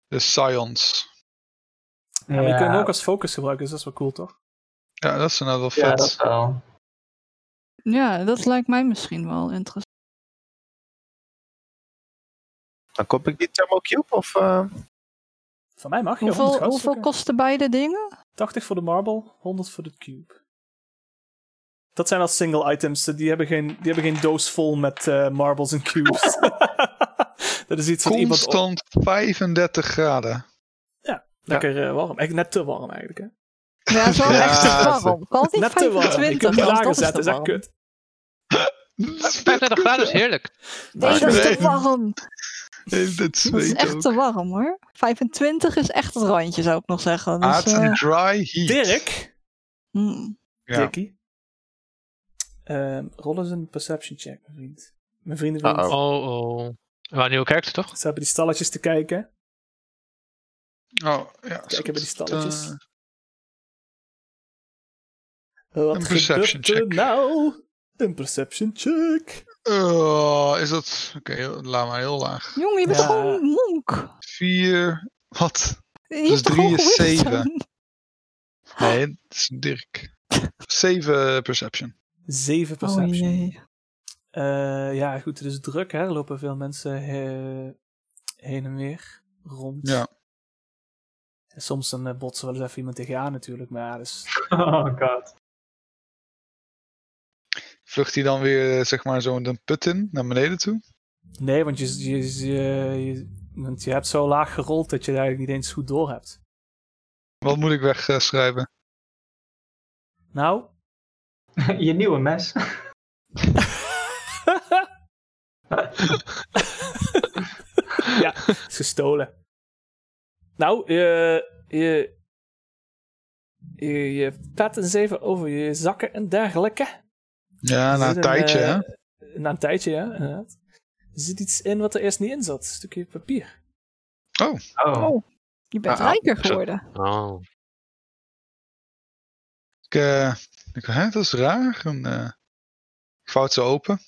[SPEAKER 2] de Scions.
[SPEAKER 1] ja, maar je kunt hem ook als focus gebruiken, dus dat is wel cool, toch?
[SPEAKER 2] Ja, dat is nou wel vet.
[SPEAKER 4] ja, dat wel.
[SPEAKER 7] ja, dat lijkt mij misschien wel interessant.
[SPEAKER 6] Dan koop ik die Thermal Cube of... eh,
[SPEAKER 1] Van mij mag je
[SPEAKER 7] Hoeveel,
[SPEAKER 1] 100
[SPEAKER 7] hoeveel
[SPEAKER 1] goudstukken.
[SPEAKER 7] kosten beide dingen?
[SPEAKER 1] 80 voor de marble, 100 voor de cube. Dat zijn wel single items. Die hebben geen, die hebben geen doos vol met eh, marbles en cubes. dat is iets wat iemand... op-
[SPEAKER 2] Constant 35 graden.
[SPEAKER 1] Lekker eh, warm. Eigenlijk net te warm eigenlijk. Hè?
[SPEAKER 7] Ja, zo
[SPEAKER 2] Ja,
[SPEAKER 7] echt te
[SPEAKER 6] dat-
[SPEAKER 7] warm. Valt niet
[SPEAKER 1] Net te warm.
[SPEAKER 7] 25,
[SPEAKER 1] Je kunt niet
[SPEAKER 7] want
[SPEAKER 1] lager
[SPEAKER 7] dat is te
[SPEAKER 1] zetten. Dat is echt
[SPEAKER 7] warm.
[SPEAKER 1] kut.
[SPEAKER 3] 35 graden is heerlijk.
[SPEAKER 7] Nee, dat is te
[SPEAKER 2] Nee.
[SPEAKER 7] warm.
[SPEAKER 2] Het
[SPEAKER 7] Dat is
[SPEAKER 2] zweet
[SPEAKER 7] echt
[SPEAKER 2] ook.
[SPEAKER 7] te warm hoor. 25 is echt het randje, zou ik nog zeggen. Dus,
[SPEAKER 2] Hard
[SPEAKER 7] eh,
[SPEAKER 2] and dry heat.
[SPEAKER 1] Dirk.
[SPEAKER 7] hmm.
[SPEAKER 2] Ja.
[SPEAKER 1] Dikkie. Ehm, rol eens een perception check, mijn vriend. Mijn vrienden vriend.
[SPEAKER 6] Uh-oh.
[SPEAKER 3] Oh, oh. Waar nieuwe karakter toch?
[SPEAKER 1] Ze hebben die stalletjes te kijken.
[SPEAKER 2] Oh, ja.
[SPEAKER 1] Kijken bij die stalletjes.
[SPEAKER 2] Eh,
[SPEAKER 1] Wat
[SPEAKER 2] een perception
[SPEAKER 1] gebeurt er
[SPEAKER 2] check.
[SPEAKER 1] nou? Een perception check.
[SPEAKER 2] eh, is dat... Oké, laat maar heel laag.
[SPEAKER 7] Jongen, je bent
[SPEAKER 1] Ja.
[SPEAKER 7] gewoon een monk.
[SPEAKER 2] 4... Wat?
[SPEAKER 7] Je
[SPEAKER 2] Dus
[SPEAKER 7] hebt toch
[SPEAKER 2] drie
[SPEAKER 7] gewoon
[SPEAKER 2] is
[SPEAKER 7] wisdom?
[SPEAKER 2] zeven. Nee, het is Dirk. 7 perception.
[SPEAKER 1] 7
[SPEAKER 7] Oh
[SPEAKER 1] perception.
[SPEAKER 7] jee.
[SPEAKER 1] Eh, ja, goed, het is druk, hè. Er lopen veel mensen eh, heen en weer rond.
[SPEAKER 2] Ja.
[SPEAKER 1] En soms dan eh, botsen wel eens even iemand tegen je aan natuurlijk, maar ja, dus...
[SPEAKER 4] Oh god.
[SPEAKER 2] Vlucht hij dan weer, eh, zeg maar, zo'n put in, naar beneden toe?
[SPEAKER 1] Nee, want je, je, je, je- want je hebt zo laag gerold dat je het eigenlijk niet eens goed door hebt.
[SPEAKER 2] Wat moet ik wegschrijven?
[SPEAKER 1] Nou?
[SPEAKER 4] Je nieuwe mes.
[SPEAKER 1] ja, het is gestolen. Nou, je, je, je, je pet een zeven over je zakken en dergelijke.
[SPEAKER 2] Ja, na
[SPEAKER 1] zit
[SPEAKER 2] een tijdje,
[SPEAKER 1] eh,
[SPEAKER 2] hè?
[SPEAKER 1] Na een tijdje, ja, inderdaad. Er zit iets in wat er eerst niet in zat. Een stukje papier.
[SPEAKER 4] Oh.
[SPEAKER 7] Oh, je bent
[SPEAKER 6] Ah, ah.
[SPEAKER 7] rijker
[SPEAKER 2] Zo.
[SPEAKER 7] geworden.
[SPEAKER 3] Oh.
[SPEAKER 2] Ik, eh, ik hè, dat is raar. En, eh, ik vouw ze open.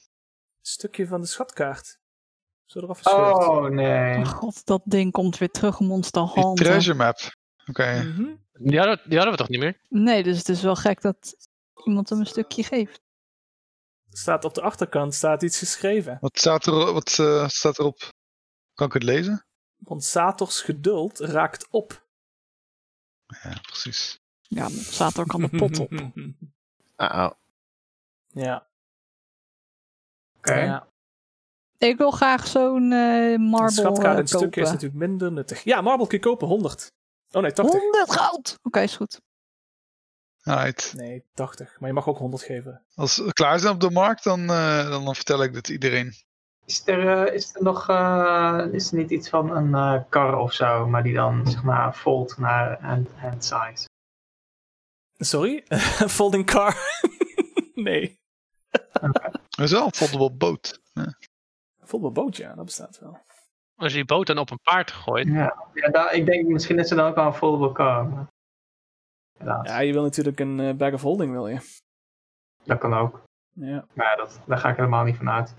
[SPEAKER 1] Stukje van de schatkaart. Zo eraf gescheurd.
[SPEAKER 4] Oh nee.
[SPEAKER 7] Oh god, dat ding komt weer terug om ons te
[SPEAKER 2] Die
[SPEAKER 7] handen.
[SPEAKER 2] treasure map. Oké.
[SPEAKER 1] Mhm.
[SPEAKER 3] Die hadden, die hadden we toch niet meer?
[SPEAKER 7] Nee, dus het is wel gek dat iemand hem een stukje geeft.
[SPEAKER 1] Staat op de achterkant staat iets geschreven.
[SPEAKER 2] Wat staat, er, wat, eh, staat erop? Kan ik het lezen?
[SPEAKER 1] Want Sators geduld raakt op.
[SPEAKER 2] Ja, precies.
[SPEAKER 7] Ja, maar staat ook aan
[SPEAKER 1] Mhm,
[SPEAKER 7] de pot op.
[SPEAKER 6] Uh-oh.
[SPEAKER 1] ja,
[SPEAKER 4] Oké.
[SPEAKER 1] ja.
[SPEAKER 7] Ik wil graag zo'n eh
[SPEAKER 1] Een
[SPEAKER 7] marble eh,
[SPEAKER 1] schatkaart in
[SPEAKER 7] kopen.
[SPEAKER 1] stukken is natuurlijk minder nuttig. Ja, marble kopen 100. Oh nee, 80.
[SPEAKER 7] 100 goud! Oké, is goed.
[SPEAKER 2] Alright.
[SPEAKER 1] Nee, 80. Maar je mag ook 100 geven.
[SPEAKER 2] Als we klaar zijn op de markt, dan, eh, dan, dan vertel ik dit iedereen.
[SPEAKER 4] Is er, eh, is er nog eh, is er niet iets van een eh, kar of zo, maar die dan zeg maar fold naar hand, hand size?
[SPEAKER 1] Sorry? Folding car. nee.
[SPEAKER 2] Er is wel een foldable boot. Ja.
[SPEAKER 1] Foldable boot, ja, dat bestaat wel.
[SPEAKER 3] Als je die boot dan op een paard gooit.
[SPEAKER 4] Ja, ja daar, ik denk misschien is er dan ook wel een foldable kar. maar- Helaas,
[SPEAKER 1] Ja, je wil natuurlijk een eh, bag of holding, wil je?
[SPEAKER 4] dat kan ook.
[SPEAKER 1] Ja.
[SPEAKER 4] Maar ja, dat, daar ga ik helemaal niet van uit.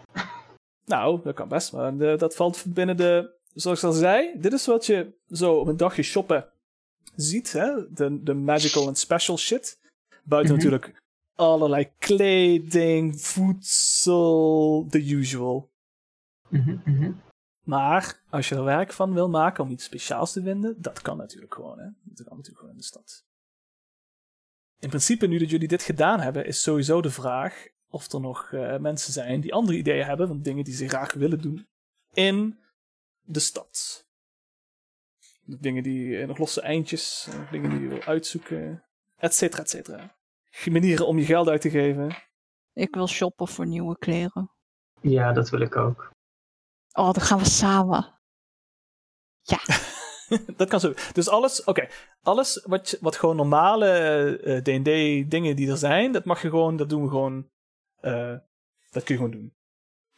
[SPEAKER 1] Nou, dat kan best, maar de- dat valt binnen de... Zoals ik al zei, dit is wat je zo op een dagje shoppen ziet, hè? De, de magical en special shit. Buiten
[SPEAKER 4] Mhm.
[SPEAKER 1] natuurlijk allerlei kleding, voedsel, the usual.
[SPEAKER 4] Mhm, mhm.
[SPEAKER 1] Maar als je er werk van wil maken om iets speciaals te vinden, dat kan natuurlijk gewoon. Hè? Dat kan natuurlijk gewoon in de stad. In principe, nu dat jullie dit gedaan hebben, is sowieso de vraag of er nog eh, mensen zijn die andere ideeën hebben van dingen die ze graag willen doen in de stad. Dingen die eh, nog losse eindjes, eh, dingen die je wil uitzoeken, et cetera, et cetera. Manieren om je geld uit te geven.
[SPEAKER 7] Ik wil shoppen voor nieuwe kleren.
[SPEAKER 4] Ja, dat wil ik ook.
[SPEAKER 7] Oh, dan gaan we samen.
[SPEAKER 1] dat kan zo. Dus alles, oké, alles wat, je- wat gewoon normale eh, D&D dingen die er zijn, dat mag je gewoon, dat doen we gewoon, eh, dat kun je gewoon doen.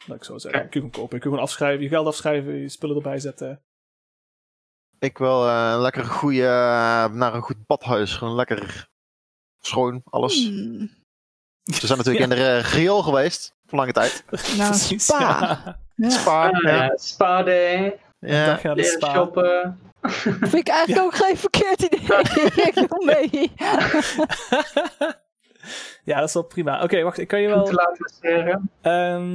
[SPEAKER 1] Laat ik zo zeggen. Dat
[SPEAKER 4] Oké.
[SPEAKER 1] kun je gewoon kopen. Je kunt gewoon afschrijven, je geld afschrijven, je spullen erbij zetten.
[SPEAKER 6] Ik wil eh, een lekker goede, naar een goed badhuis. Gewoon lekker schoon, alles.
[SPEAKER 7] Hmm,
[SPEAKER 6] Ze zijn natuurlijk in de eh, riool geweest, voor lange tijd.
[SPEAKER 7] Nou,
[SPEAKER 1] Precies,
[SPEAKER 7] spa.
[SPEAKER 1] ja.
[SPEAKER 7] ja.
[SPEAKER 6] Spa,
[SPEAKER 4] Ah,
[SPEAKER 6] ja.
[SPEAKER 4] ja, spa day,
[SPEAKER 1] Dag
[SPEAKER 6] ja.
[SPEAKER 1] naar de
[SPEAKER 4] leren
[SPEAKER 1] spa.
[SPEAKER 4] shoppen.
[SPEAKER 7] Vind ik eigenlijk ook geen verkeerd idee. ik doe mee.
[SPEAKER 1] ja, dat is wel prima. Oké, wacht, ik kan je
[SPEAKER 4] Goed
[SPEAKER 1] wel...
[SPEAKER 4] te laten masseren.
[SPEAKER 1] ehm,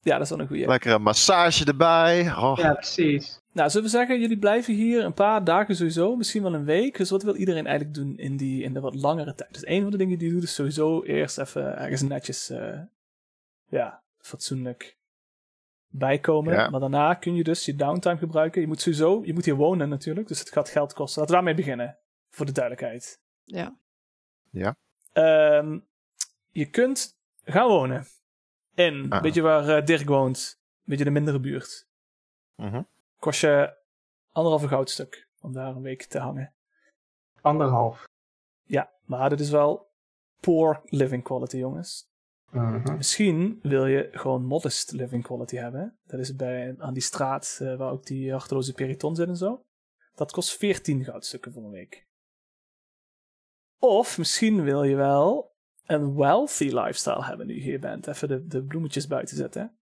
[SPEAKER 1] ja, dat is wel een goede.
[SPEAKER 6] Lekkere massage erbij. Oh,
[SPEAKER 4] Ja, precies.
[SPEAKER 1] Nou, zullen we zeggen, jullie blijven hier een paar dagen sowieso, misschien wel een week. Dus wat wil iedereen eigenlijk doen in, die, in de wat langere tijd? Dus een van de dingen die je doet is sowieso eerst even ergens netjes, eh, ja, fatsoenlijk bijkomen.
[SPEAKER 6] Ja.
[SPEAKER 1] Maar daarna kun je dus je downtime gebruiken. Je moet sowieso, je moet hier wonen natuurlijk, dus het gaat geld kosten. Laten we daarmee beginnen, voor de duidelijkheid.
[SPEAKER 7] Ja.
[SPEAKER 6] Ja.
[SPEAKER 1] Ehm, je kunt gaan wonen in,
[SPEAKER 6] Ah.
[SPEAKER 1] weet je waar eh, Dirk woont? Weet je, de mindere buurt
[SPEAKER 6] mhm.
[SPEAKER 1] kost je anderhalve goudstuk om daar een week te hangen.
[SPEAKER 4] Anderhalf.
[SPEAKER 1] Ja, maar dit is wel poor living quality, jongens.
[SPEAKER 4] Mhm.
[SPEAKER 1] Misschien wil je gewoon modest living quality hebben. Dat is bij, aan die straat eh, waar ook die harteloze periton zit en zo. Dat kost 14 goudstukken voor een week. Of misschien wil je wel een wealthy lifestyle hebben nu je hier bent. Even de, de bloemetjes buiten zetten.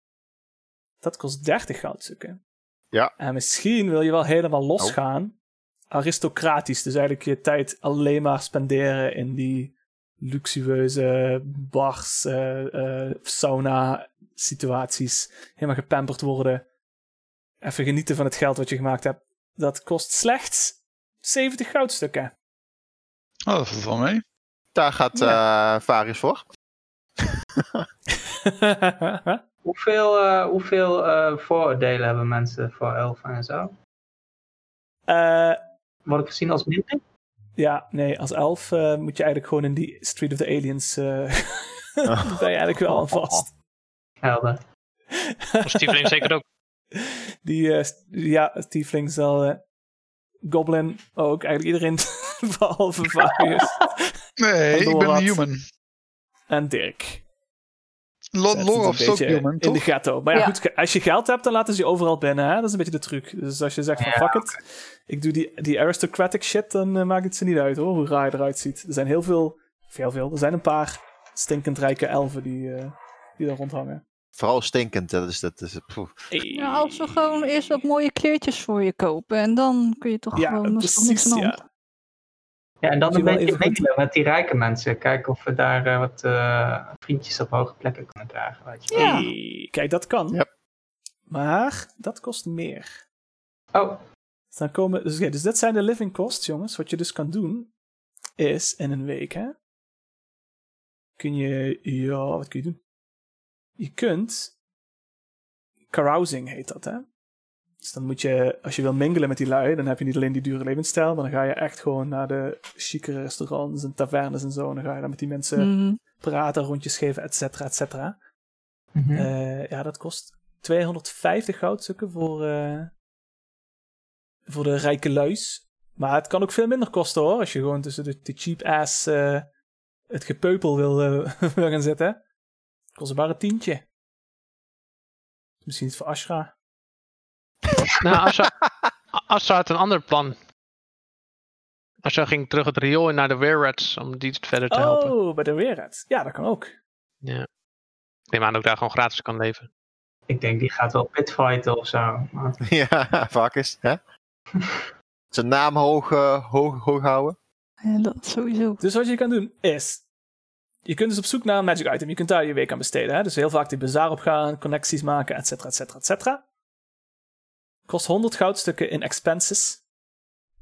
[SPEAKER 1] Dat kost 30 goudstukken.
[SPEAKER 6] Ja.
[SPEAKER 1] En misschien wil je wel helemaal losgaan. Aristocratisch. Dus eigenlijk je tijd alleen maar spenderen in die luxueuze bars, eh, eh, sauna situaties. Helemaal gepamperd worden. Even genieten van het geld wat je gemaakt hebt. Dat kost slechts 70 goudstukken.
[SPEAKER 2] Oh, dat valt wel mee.
[SPEAKER 6] Daar gaat eh Varius voor.
[SPEAKER 4] Hoeveel, eh, hoeveel eh, vooroordelen hebben mensen voor elfen en zo?
[SPEAKER 1] Eh,
[SPEAKER 4] Word ik gezien als minder?
[SPEAKER 1] ja, nee, als elf eh, moet je eigenlijk gewoon in die Street of the Aliens. eh daar ben je eigenlijk wel aan vast.
[SPEAKER 4] Helder.
[SPEAKER 3] Of Stiefeling zeker ook.
[SPEAKER 1] Die, eh, st- ja, Tiefling zal. eh, Goblin ook, eigenlijk iedereen behalve Varius
[SPEAKER 2] Nee,
[SPEAKER 1] Door
[SPEAKER 2] ik ben
[SPEAKER 1] wat?
[SPEAKER 2] een human.
[SPEAKER 1] en Dirk.
[SPEAKER 2] Lo-
[SPEAKER 1] Zet
[SPEAKER 2] Loraf
[SPEAKER 1] het
[SPEAKER 2] is
[SPEAKER 1] een
[SPEAKER 2] ook
[SPEAKER 1] beetje
[SPEAKER 2] human,
[SPEAKER 1] In de
[SPEAKER 2] toch?
[SPEAKER 1] ghetto. Maar ja,
[SPEAKER 5] Ja.
[SPEAKER 1] goed, k- als je geld hebt, dan laten ze je overal binnen. Hè? Dat is een beetje de truc. Dus als je zegt van
[SPEAKER 4] Ja,
[SPEAKER 1] fuck it, ik doe die, die aristocratic shit, dan eh, maakt het ze niet uit hoor, hoe raar je eruit ziet. Er zijn heel veel Veel, veel. Er zijn een paar stinkend rijke elfen die, eh, die daar rondhangen.
[SPEAKER 6] Vooral stinkend, dat is dat. Is, poeh.
[SPEAKER 7] Ja, als we gewoon eerst wat mooie kleertjes voor je kopen. En dan kun je toch
[SPEAKER 1] Ja,
[SPEAKER 7] gewoon... er is toch niks
[SPEAKER 1] precies,
[SPEAKER 7] aan de
[SPEAKER 1] ja.
[SPEAKER 7] hand.
[SPEAKER 4] Ja, en dan
[SPEAKER 1] Moet
[SPEAKER 4] een
[SPEAKER 1] je wel
[SPEAKER 4] beetje
[SPEAKER 1] even goed-
[SPEAKER 4] winkelen met die rijke mensen. Kijken of we daar eh, wat eh, vriendjes op hoge plekken kunnen dragen. Weet je. wel.
[SPEAKER 7] Ja.
[SPEAKER 1] Hey, Kijk, dat kan.
[SPEAKER 6] Ja.
[SPEAKER 1] Maar dat kost meer.
[SPEAKER 4] Oh,
[SPEAKER 1] Dus, dan komen, dus, oké, dus dit zijn de living costs, jongens. Wat je dus kan doen, is in een week, hè. Kun je, ja, wat kun je doen? Je kunt, carousing heet dat, hè. Dus dan moet je, als je wil mingelen met die lui, dan heb je niet alleen die dure levensstijl, maar dan ga je echt gewoon naar de chique restaurants en tavernes en zo. En dan ga je dan met die mensen
[SPEAKER 7] Mhm.
[SPEAKER 1] praten, rondjes geven, et cetera, et cetera.
[SPEAKER 4] mhm.
[SPEAKER 1] Eh, ja, dat kost 250 goudstukken voor, eh, voor de rijke luis. Maar het kan ook veel minder kosten hoor. Als je gewoon tussen de, de cheap ass eh, het gepeupel wil, eh, wil gaan zetten. Kost het maar een tientje. Misschien iets voor Ashra.
[SPEAKER 3] Nou, Assa, A- Assa had een ander plan. Assa ging terug het riool in naar de wererats om die verder te helpen.
[SPEAKER 1] Oh, bij de Weerraad. Ja, dat kan ook.
[SPEAKER 3] Ik neem aan dat ik daar gewoon gratis kan leven.
[SPEAKER 4] ik denk die gaat wel pitfighten of zo. Maar-
[SPEAKER 6] ja, vaak is. Hè? Zijn naam hoog, eh, hoog, hoog houden.
[SPEAKER 7] Ja, dat sowieso.
[SPEAKER 1] Dus wat je kan doen is. Je kunt dus op zoek naar een magic item. Je kunt daar je week aan besteden. Hè? Dus heel vaak die bazaar op gaan, connecties maken, et cetera, et cetera, et cetera. Kost 100 goudstukken in expenses.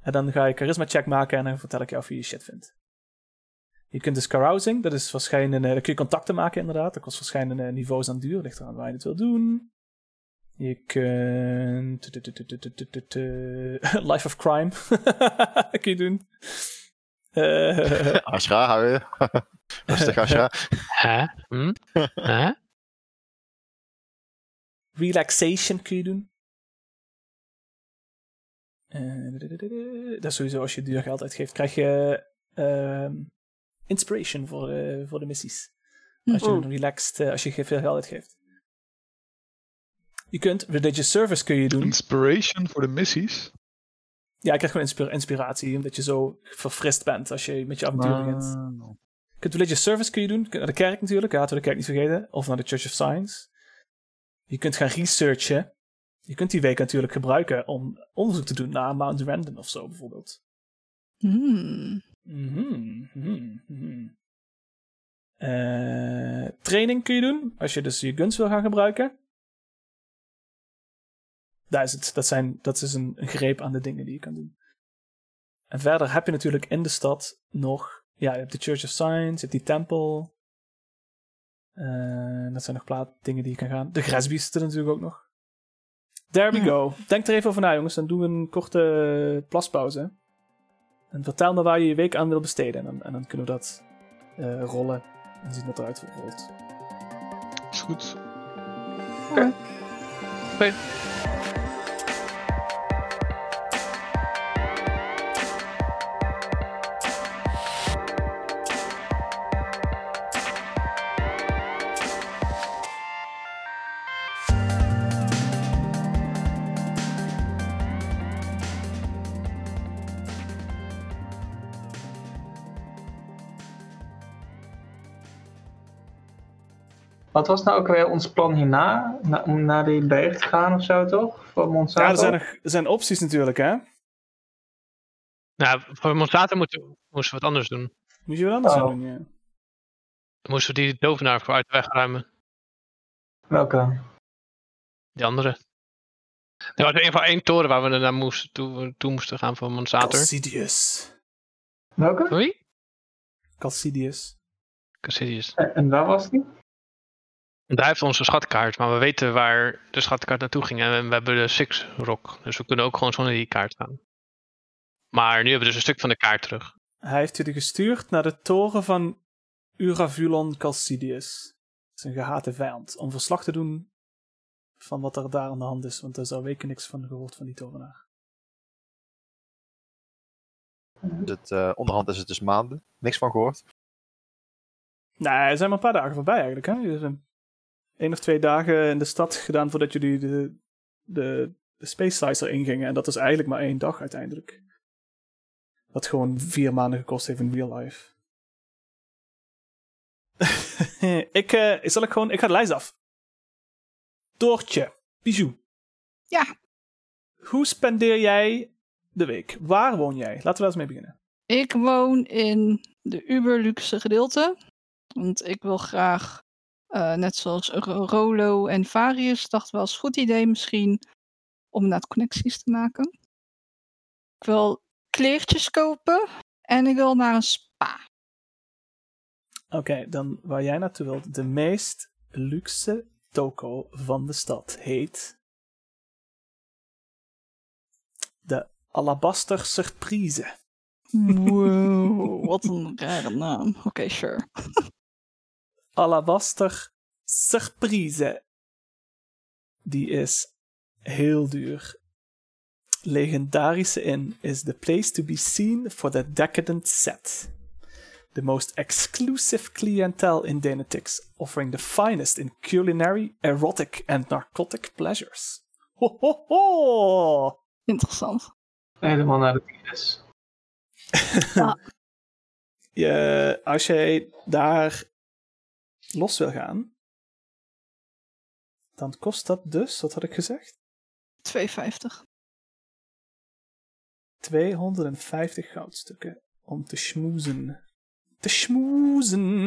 [SPEAKER 1] En dan ga je charisma check maken en dan vertel ik jou of je je shit vindt. Je kunt dus carousing, dat is waarschijnlijk. eh, dan kun je contacten maken inderdaad. Dat kost waarschijnlijk eh, niveaus aan duur. Ligt eraan waar je het wil doen. Je kunt. Life of crime. kun je doen. Eh,
[SPEAKER 6] Ashra, hou je. Rustig, Ashra.
[SPEAKER 3] Hè? Hm? Hè?
[SPEAKER 1] relaxation kun je doen. Eh, dudududu. dat is sowieso als je duur geld uitgeeft, krijg je ehm, inspiration voor, de- voor de missies. Als je
[SPEAKER 5] Mhm.
[SPEAKER 1] een relaxed, eh, als je veel geld uitgeeft. Je kunt religious service kun je doen.
[SPEAKER 2] Inspiration voor de missies.
[SPEAKER 1] Ja, je krijgt gewoon inspira- inspiratie, omdat je zo verfrist bent als je met je avontuur begint. Je kunt religious service kun je doen. Je kunt naar de kerk natuurlijk. Ja, laten we de kerk niet vergeten. Of naar de Church of Science. Je kunt gaan researchen. Je kunt die week natuurlijk gebruiken om onderzoek te doen naar Mount Random of zo bijvoorbeeld.
[SPEAKER 7] Hmm.
[SPEAKER 1] Mhm, mhm, mhm. Eh, training kun je doen. Als je dus je guns wil gaan gebruiken. Daar is het. Dat, zijn, dat is een, een greep aan de dingen die je kan doen. En verder heb je natuurlijk in de stad nog. Ja, je hebt de Church of Science, je hebt die tempel. Eh, dat zijn nog plaat dingen die je kan gaan. De grasbiesten natuurlijk ook nog. There we
[SPEAKER 7] Ja.
[SPEAKER 1] go. Denk er even over na, jongens. Dan doen we een korte eh, plaspauze. En vertel me waar je je week aan wil besteden. En dan, en dan kunnen we dat eh, rollen en zien wat eruit rolt.
[SPEAKER 2] Is goed.
[SPEAKER 4] Wat was nou ook weer ons plan hierna? Na, om naar die berg te gaan of zo, toch? Voor Monsanto?
[SPEAKER 1] Ja, er zijn, nog, er zijn opties natuurlijk, hè?
[SPEAKER 3] Nou, voor Monsanto moeten, moesten we wat anders doen.
[SPEAKER 1] Moet je wel anders gaan
[SPEAKER 4] Oh.
[SPEAKER 1] doen, ja.
[SPEAKER 3] Dan moesten we die dovenaar voor uit de weg ruimen.
[SPEAKER 4] Welke?
[SPEAKER 3] Die andere. Er was in ieder geval één toren waar we naar moesten, toe, toe moesten gaan voor Monsanto.
[SPEAKER 1] Calcidius.
[SPEAKER 4] Welke?
[SPEAKER 3] Sorry?
[SPEAKER 1] Calcidius.
[SPEAKER 3] Cassidius.
[SPEAKER 4] En, en waar was die?
[SPEAKER 3] Daar heeft onze schatkaart, maar we weten waar de schatkaart naartoe ging. En we- we hebben de Six Rock, dus we kunnen ook gewoon zonder die kaart gaan. Maar nu hebben we dus een stuk van de kaart terug.
[SPEAKER 1] Hij heeft jullie gestuurd naar de toren van Uravulon Calcidius. Zijn gehate vijand. Om verslag te doen van wat er daar aan de hand is. Want daar zou weken niks van gehoord van die tovenaar.
[SPEAKER 6] Het, eh, onderhand is het dus maanden. Niks van gehoord.
[SPEAKER 1] Nee, Nou, er zijn maar een paar dagen voorbij eigenlijk, hè? Jullie zijn één of twee dagen in de stad gedaan voordat jullie de, de, de Space Sizer ingingen. En dat is eigenlijk maar één dag uiteindelijk. Wat gewoon vier maanden gekost heeft in real life. ik, eh, zal ik gewoon... Ik ga de lijst af. Doortje. Bijou.
[SPEAKER 7] Ja.
[SPEAKER 1] Hoe spendeer jij de week? Waar woon jij? Laten we daar eens mee beginnen.
[SPEAKER 7] Ik woon in de uberluxe gedeelte. Want ik wil graag, eh, net zoals Ro- Rolo en Varius, dacht wel eens goed idee misschien om inderdaad connecties te maken. Ik wil kleertjes kopen en ik wil naar een spa.
[SPEAKER 1] Oké, dan waar jij naartoe wilt. De meest luxe toko van de stad heet... De Alabaster Surprise.
[SPEAKER 7] Wow, wat een rare naam. Oké, sure.
[SPEAKER 1] Alabaster Surprise. Die is heel duur. Legendarische in is the place to be seen for the decadent set. The most exclusive clientele in Denetics, offering the finest in culinary, erotic and narcotic pleasures. Ho ho ho!
[SPEAKER 7] Interessant.
[SPEAKER 4] Helemaal naar de virus.
[SPEAKER 1] je, als jij daar los wil gaan, dan kost dat dus, wat had ik gezegd?
[SPEAKER 7] 2,50.
[SPEAKER 1] 250 goudstukken om te schmoezen. Te schmoezen!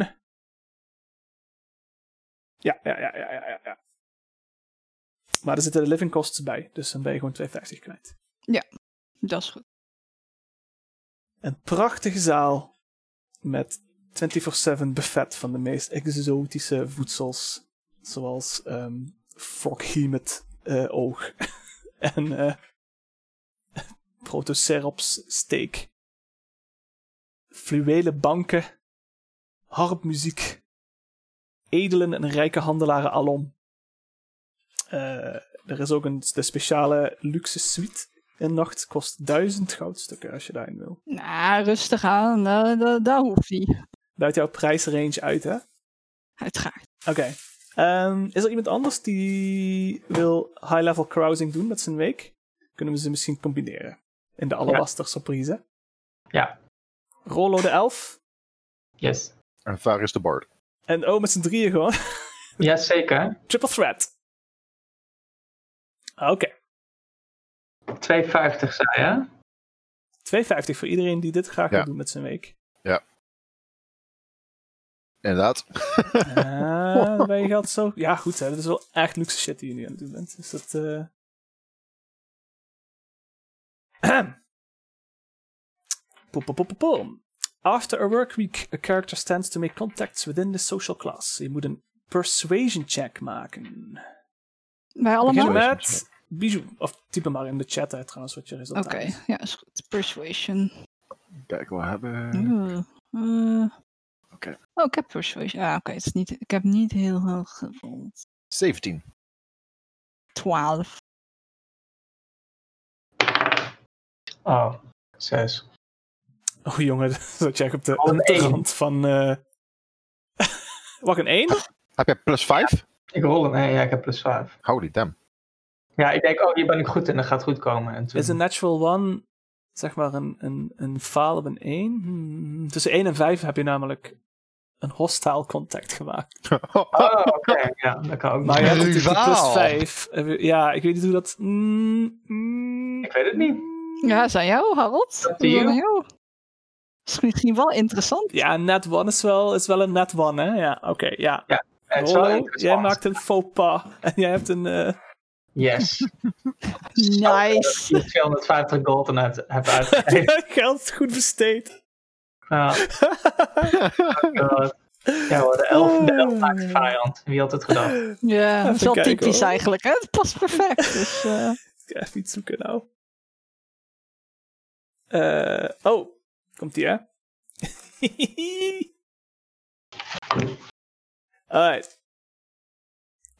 [SPEAKER 1] Ja, ja, ja, ja, ja, ja, ja. Maar er zitten de living costs bij, dus dan ben je gewoon 250 kwijt.
[SPEAKER 7] Dat is goed.
[SPEAKER 1] Een prachtige zaal met 24-7 buffet van de meest exotische voedsels. Zoals ehm froggy met eh, oog en eh protocerops steak. Fluwelen banken, harpmuziek, edelen en rijke handelaren alom. Eh, er is ook een de speciale luxe suite. Een nacht kost 1000 goudstukken als je daarin wil
[SPEAKER 7] Nou, rustig aan. eh, da- daar hoeft niet.
[SPEAKER 1] buiten jouw prijsrange uit, hè? Oké.
[SPEAKER 7] Uiteraard.
[SPEAKER 1] Ehm, is er iemand anders die wil high-level crowsing doen met zijn week? Kunnen we ze misschien combineren? In de alabaster surprise.
[SPEAKER 4] Ja.
[SPEAKER 1] Rollo de elf.
[SPEAKER 4] Yes.
[SPEAKER 6] En Varius de Bard.
[SPEAKER 1] En oh, met z'n drieën gewoon.
[SPEAKER 4] Jazeker.
[SPEAKER 1] Triple threat. Oké.
[SPEAKER 4] 2,50 zei je.
[SPEAKER 1] 2,50 voor iedereen die dit graag
[SPEAKER 6] Ja.
[SPEAKER 1] wil doen met zijn week.
[SPEAKER 6] Inderdaad.
[SPEAKER 1] Ah, dan ben je geld zo... Ja, goed hè. Dat is wel echt luxe shit die je nu aan het doen bent. Dus dat... eh. Ahem. Pop, pop, pop, pop, pop. After a work week, a character stands to make contacts within the social class. Je moet een persuasion check maken.
[SPEAKER 7] Wij allemaal?
[SPEAKER 1] Begin
[SPEAKER 6] Persuasion
[SPEAKER 1] met... Bijou. Of type maar in de chat uit trouwens wat je resultaat
[SPEAKER 7] Oké,
[SPEAKER 1] is.
[SPEAKER 7] ja, is goed. Persuasion.
[SPEAKER 6] Kijk, we hebben...
[SPEAKER 1] Hm?
[SPEAKER 7] Oeh,
[SPEAKER 1] Hmm.
[SPEAKER 7] eh.
[SPEAKER 6] Oké.
[SPEAKER 7] Oh, ik heb persuasion. Ah, oké. het is niet. ik heb niet heel hoog gevoeld.
[SPEAKER 6] 17.
[SPEAKER 7] 12.
[SPEAKER 4] Oh, 6.
[SPEAKER 1] Oh jongen, dat jij op de,
[SPEAKER 4] Oh, een
[SPEAKER 1] op de
[SPEAKER 4] één.
[SPEAKER 1] rand van... eh Wacht, een 1?
[SPEAKER 6] Heb jij plus 5?
[SPEAKER 4] Ik rol een 1, ja, ik heb plus 5.
[SPEAKER 6] Holy damn.
[SPEAKER 4] Ja, ik denk, oh, hier ben ik goed in, dat gaat goed komen. En toen...
[SPEAKER 1] Is een natural one, zeg maar, een, een, een faal op een 1? Tussen 1 en 5 heb je namelijk een hostile contact gemaakt. Ah,
[SPEAKER 4] Oh, oké, ja, dat kan ook.
[SPEAKER 1] Maar je
[SPEAKER 4] niet.
[SPEAKER 1] hebt natuurlijk die plus
[SPEAKER 2] Rivaal.
[SPEAKER 1] 5. Ja, ik weet niet hoe dat... mm, mm.
[SPEAKER 4] Ik weet het niet.
[SPEAKER 7] Ja, is aan jou, Harold.
[SPEAKER 4] Dat
[SPEAKER 7] Is
[SPEAKER 4] zie je.
[SPEAKER 7] aan jou. Is misschien wel interessant.
[SPEAKER 1] Ja, net one is wel, is wel een net one, hè? Ja, oké, ja.
[SPEAKER 4] Het is wel
[SPEAKER 1] Rollo, jij
[SPEAKER 4] interessant.
[SPEAKER 1] maakt een faux pas en jij hebt een... eh,
[SPEAKER 4] Yes.
[SPEAKER 7] Nice.
[SPEAKER 4] Die 250 gold en uit, heb uitgegeven. Nou,
[SPEAKER 1] geld goed besteed.
[SPEAKER 4] ja, god. ja hoor, de elf, de elf maakt de vijand. Wie had het gedacht?
[SPEAKER 7] Ja, dat is wel
[SPEAKER 1] kijken,
[SPEAKER 7] typisch
[SPEAKER 1] hoor.
[SPEAKER 7] eigenlijk. Hè? Het past perfect. Dus, eh,
[SPEAKER 1] Ik ga even iets zoeken nou. Eh, oh, komt die hè? Alright.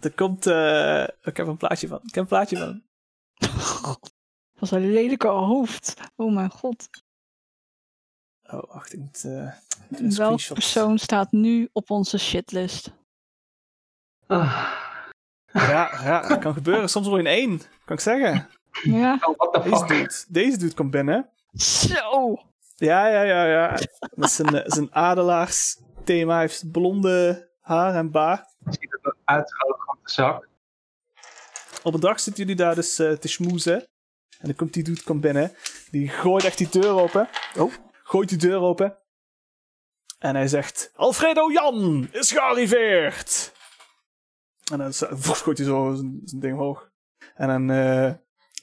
[SPEAKER 1] Er komt. eh, ik heb een plaatje van. Ik heb een plaatje van.
[SPEAKER 7] God, dat was een lelijke hoofd. Oh mijn god.
[SPEAKER 1] Oh, wacht, ik moet. eh, ik moet een
[SPEAKER 7] Welke
[SPEAKER 1] screenshot.
[SPEAKER 7] persoon staat nu op onze shitlist?
[SPEAKER 4] Ah,
[SPEAKER 1] Ja, ja, dat kan gebeuren. Soms word je in één. Kan ik zeggen.
[SPEAKER 7] Ja.
[SPEAKER 4] Oh, what the
[SPEAKER 1] Deze
[SPEAKER 4] fuck?
[SPEAKER 1] dude, deze dude komt binnen.
[SPEAKER 7] Zo.
[SPEAKER 1] Ja, ja, ja, ja. Dat is een, eh, is een adelaarsthema. Hij heeft blonde haar en baard.
[SPEAKER 4] ziet er wel uitgeroken op de zak.
[SPEAKER 1] Op een dag zitten jullie daar dus eh, te schmoezen. En dan komt die dude komt binnen. Die gooit echt die deur open. Oh. Gooit die deur open. En hij zegt: Alfredo Jan is gearriveerd! En dan zo- voef, gooit hij zo zijn zijn ding omhoog. En dan eh,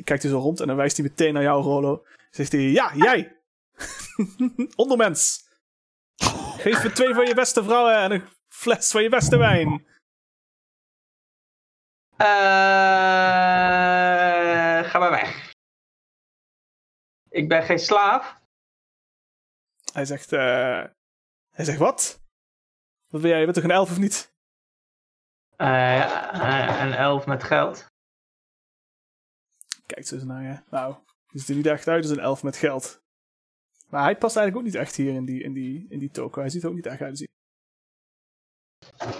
[SPEAKER 1] kijkt hij zo rond en dan wijst hij meteen naar jou, Rolo. Zegt hij: Ja, jij! Ondermens! Geef me twee van je beste vrouwen en een fles van je beste wijn.
[SPEAKER 4] Eh, ga maar weg. Ik ben geen slaaf.
[SPEAKER 1] Hij zegt, eh, hij zegt, wat? Wat ben jij? Je bent toch een elf of niet?
[SPEAKER 4] Eh, eh, een elf met geld.
[SPEAKER 1] Kijkt zo eens naar je. Nou, die ziet er niet echt uit als een elf met geld. Maar hij past eigenlijk ook niet echt hier in die, in die, in die toko. Hij ziet er ook niet echt uit als die-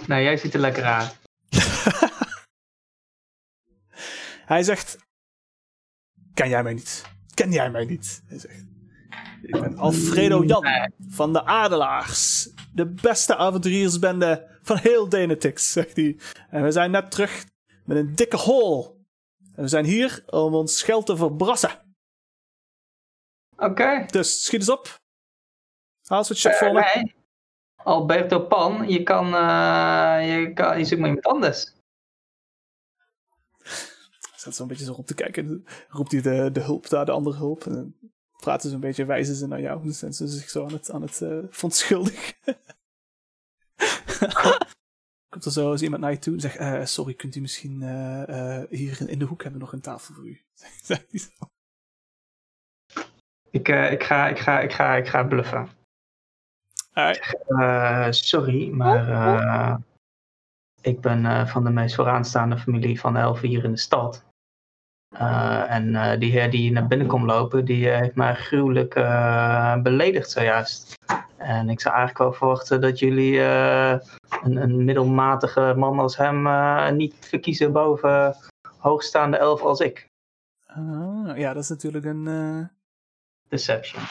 [SPEAKER 4] Nou, jij ziet er lekker uit.
[SPEAKER 1] Hij zegt, ken jij mij niet? Ken jij mij niet? Hij zegt, ik ben Alfredo Jan van de Adelaars. De beste avonturiersbende van heel Denetix, zegt hij. En we zijn net terug met een dikke hol. En we zijn hier om ons geld te verbrassen.
[SPEAKER 4] Oké.
[SPEAKER 1] Dus schiet eens op. Haal eens wat shit voor me.
[SPEAKER 4] Eh, Nee. Alberto Pan, je kan, eh, je kan, je zoekt maar iemand anders.
[SPEAKER 1] Zet zo'n beetje zo op te kijken. Dan roept hij de, de hulp daar, de andere hulp. En dan praten ze een beetje, wijzen ze naar jou. Dan zijn ze zich zo aan het, aan het eh, verontschuldigen. Komt er zo eens iemand naar je toe en zegt... eh, sorry, kunt u misschien eh, eh, hier in, in de hoek hebben we nog een tafel voor u? Zegt hij zo.
[SPEAKER 4] Ik, eh, ik, ga, ik, ga, ik, ga, ik ga bluffen.
[SPEAKER 1] Alright.
[SPEAKER 4] Eh, sorry, maar eh, ik ben eh, van de meest vooraanstaande familie van de elfen hier in de stad. Eh, en eh, die heer die naar binnen komt lopen, die eh, heeft mij gruwelijk eh, beledigd zojuist. En ik zou eigenlijk wel verwachten dat jullie eh, een, een middelmatige man als hem eh, niet verkiezen boven hoogstaande elf als ik.
[SPEAKER 1] Ah, ja, dat is natuurlijk een, eh,
[SPEAKER 4] Deception.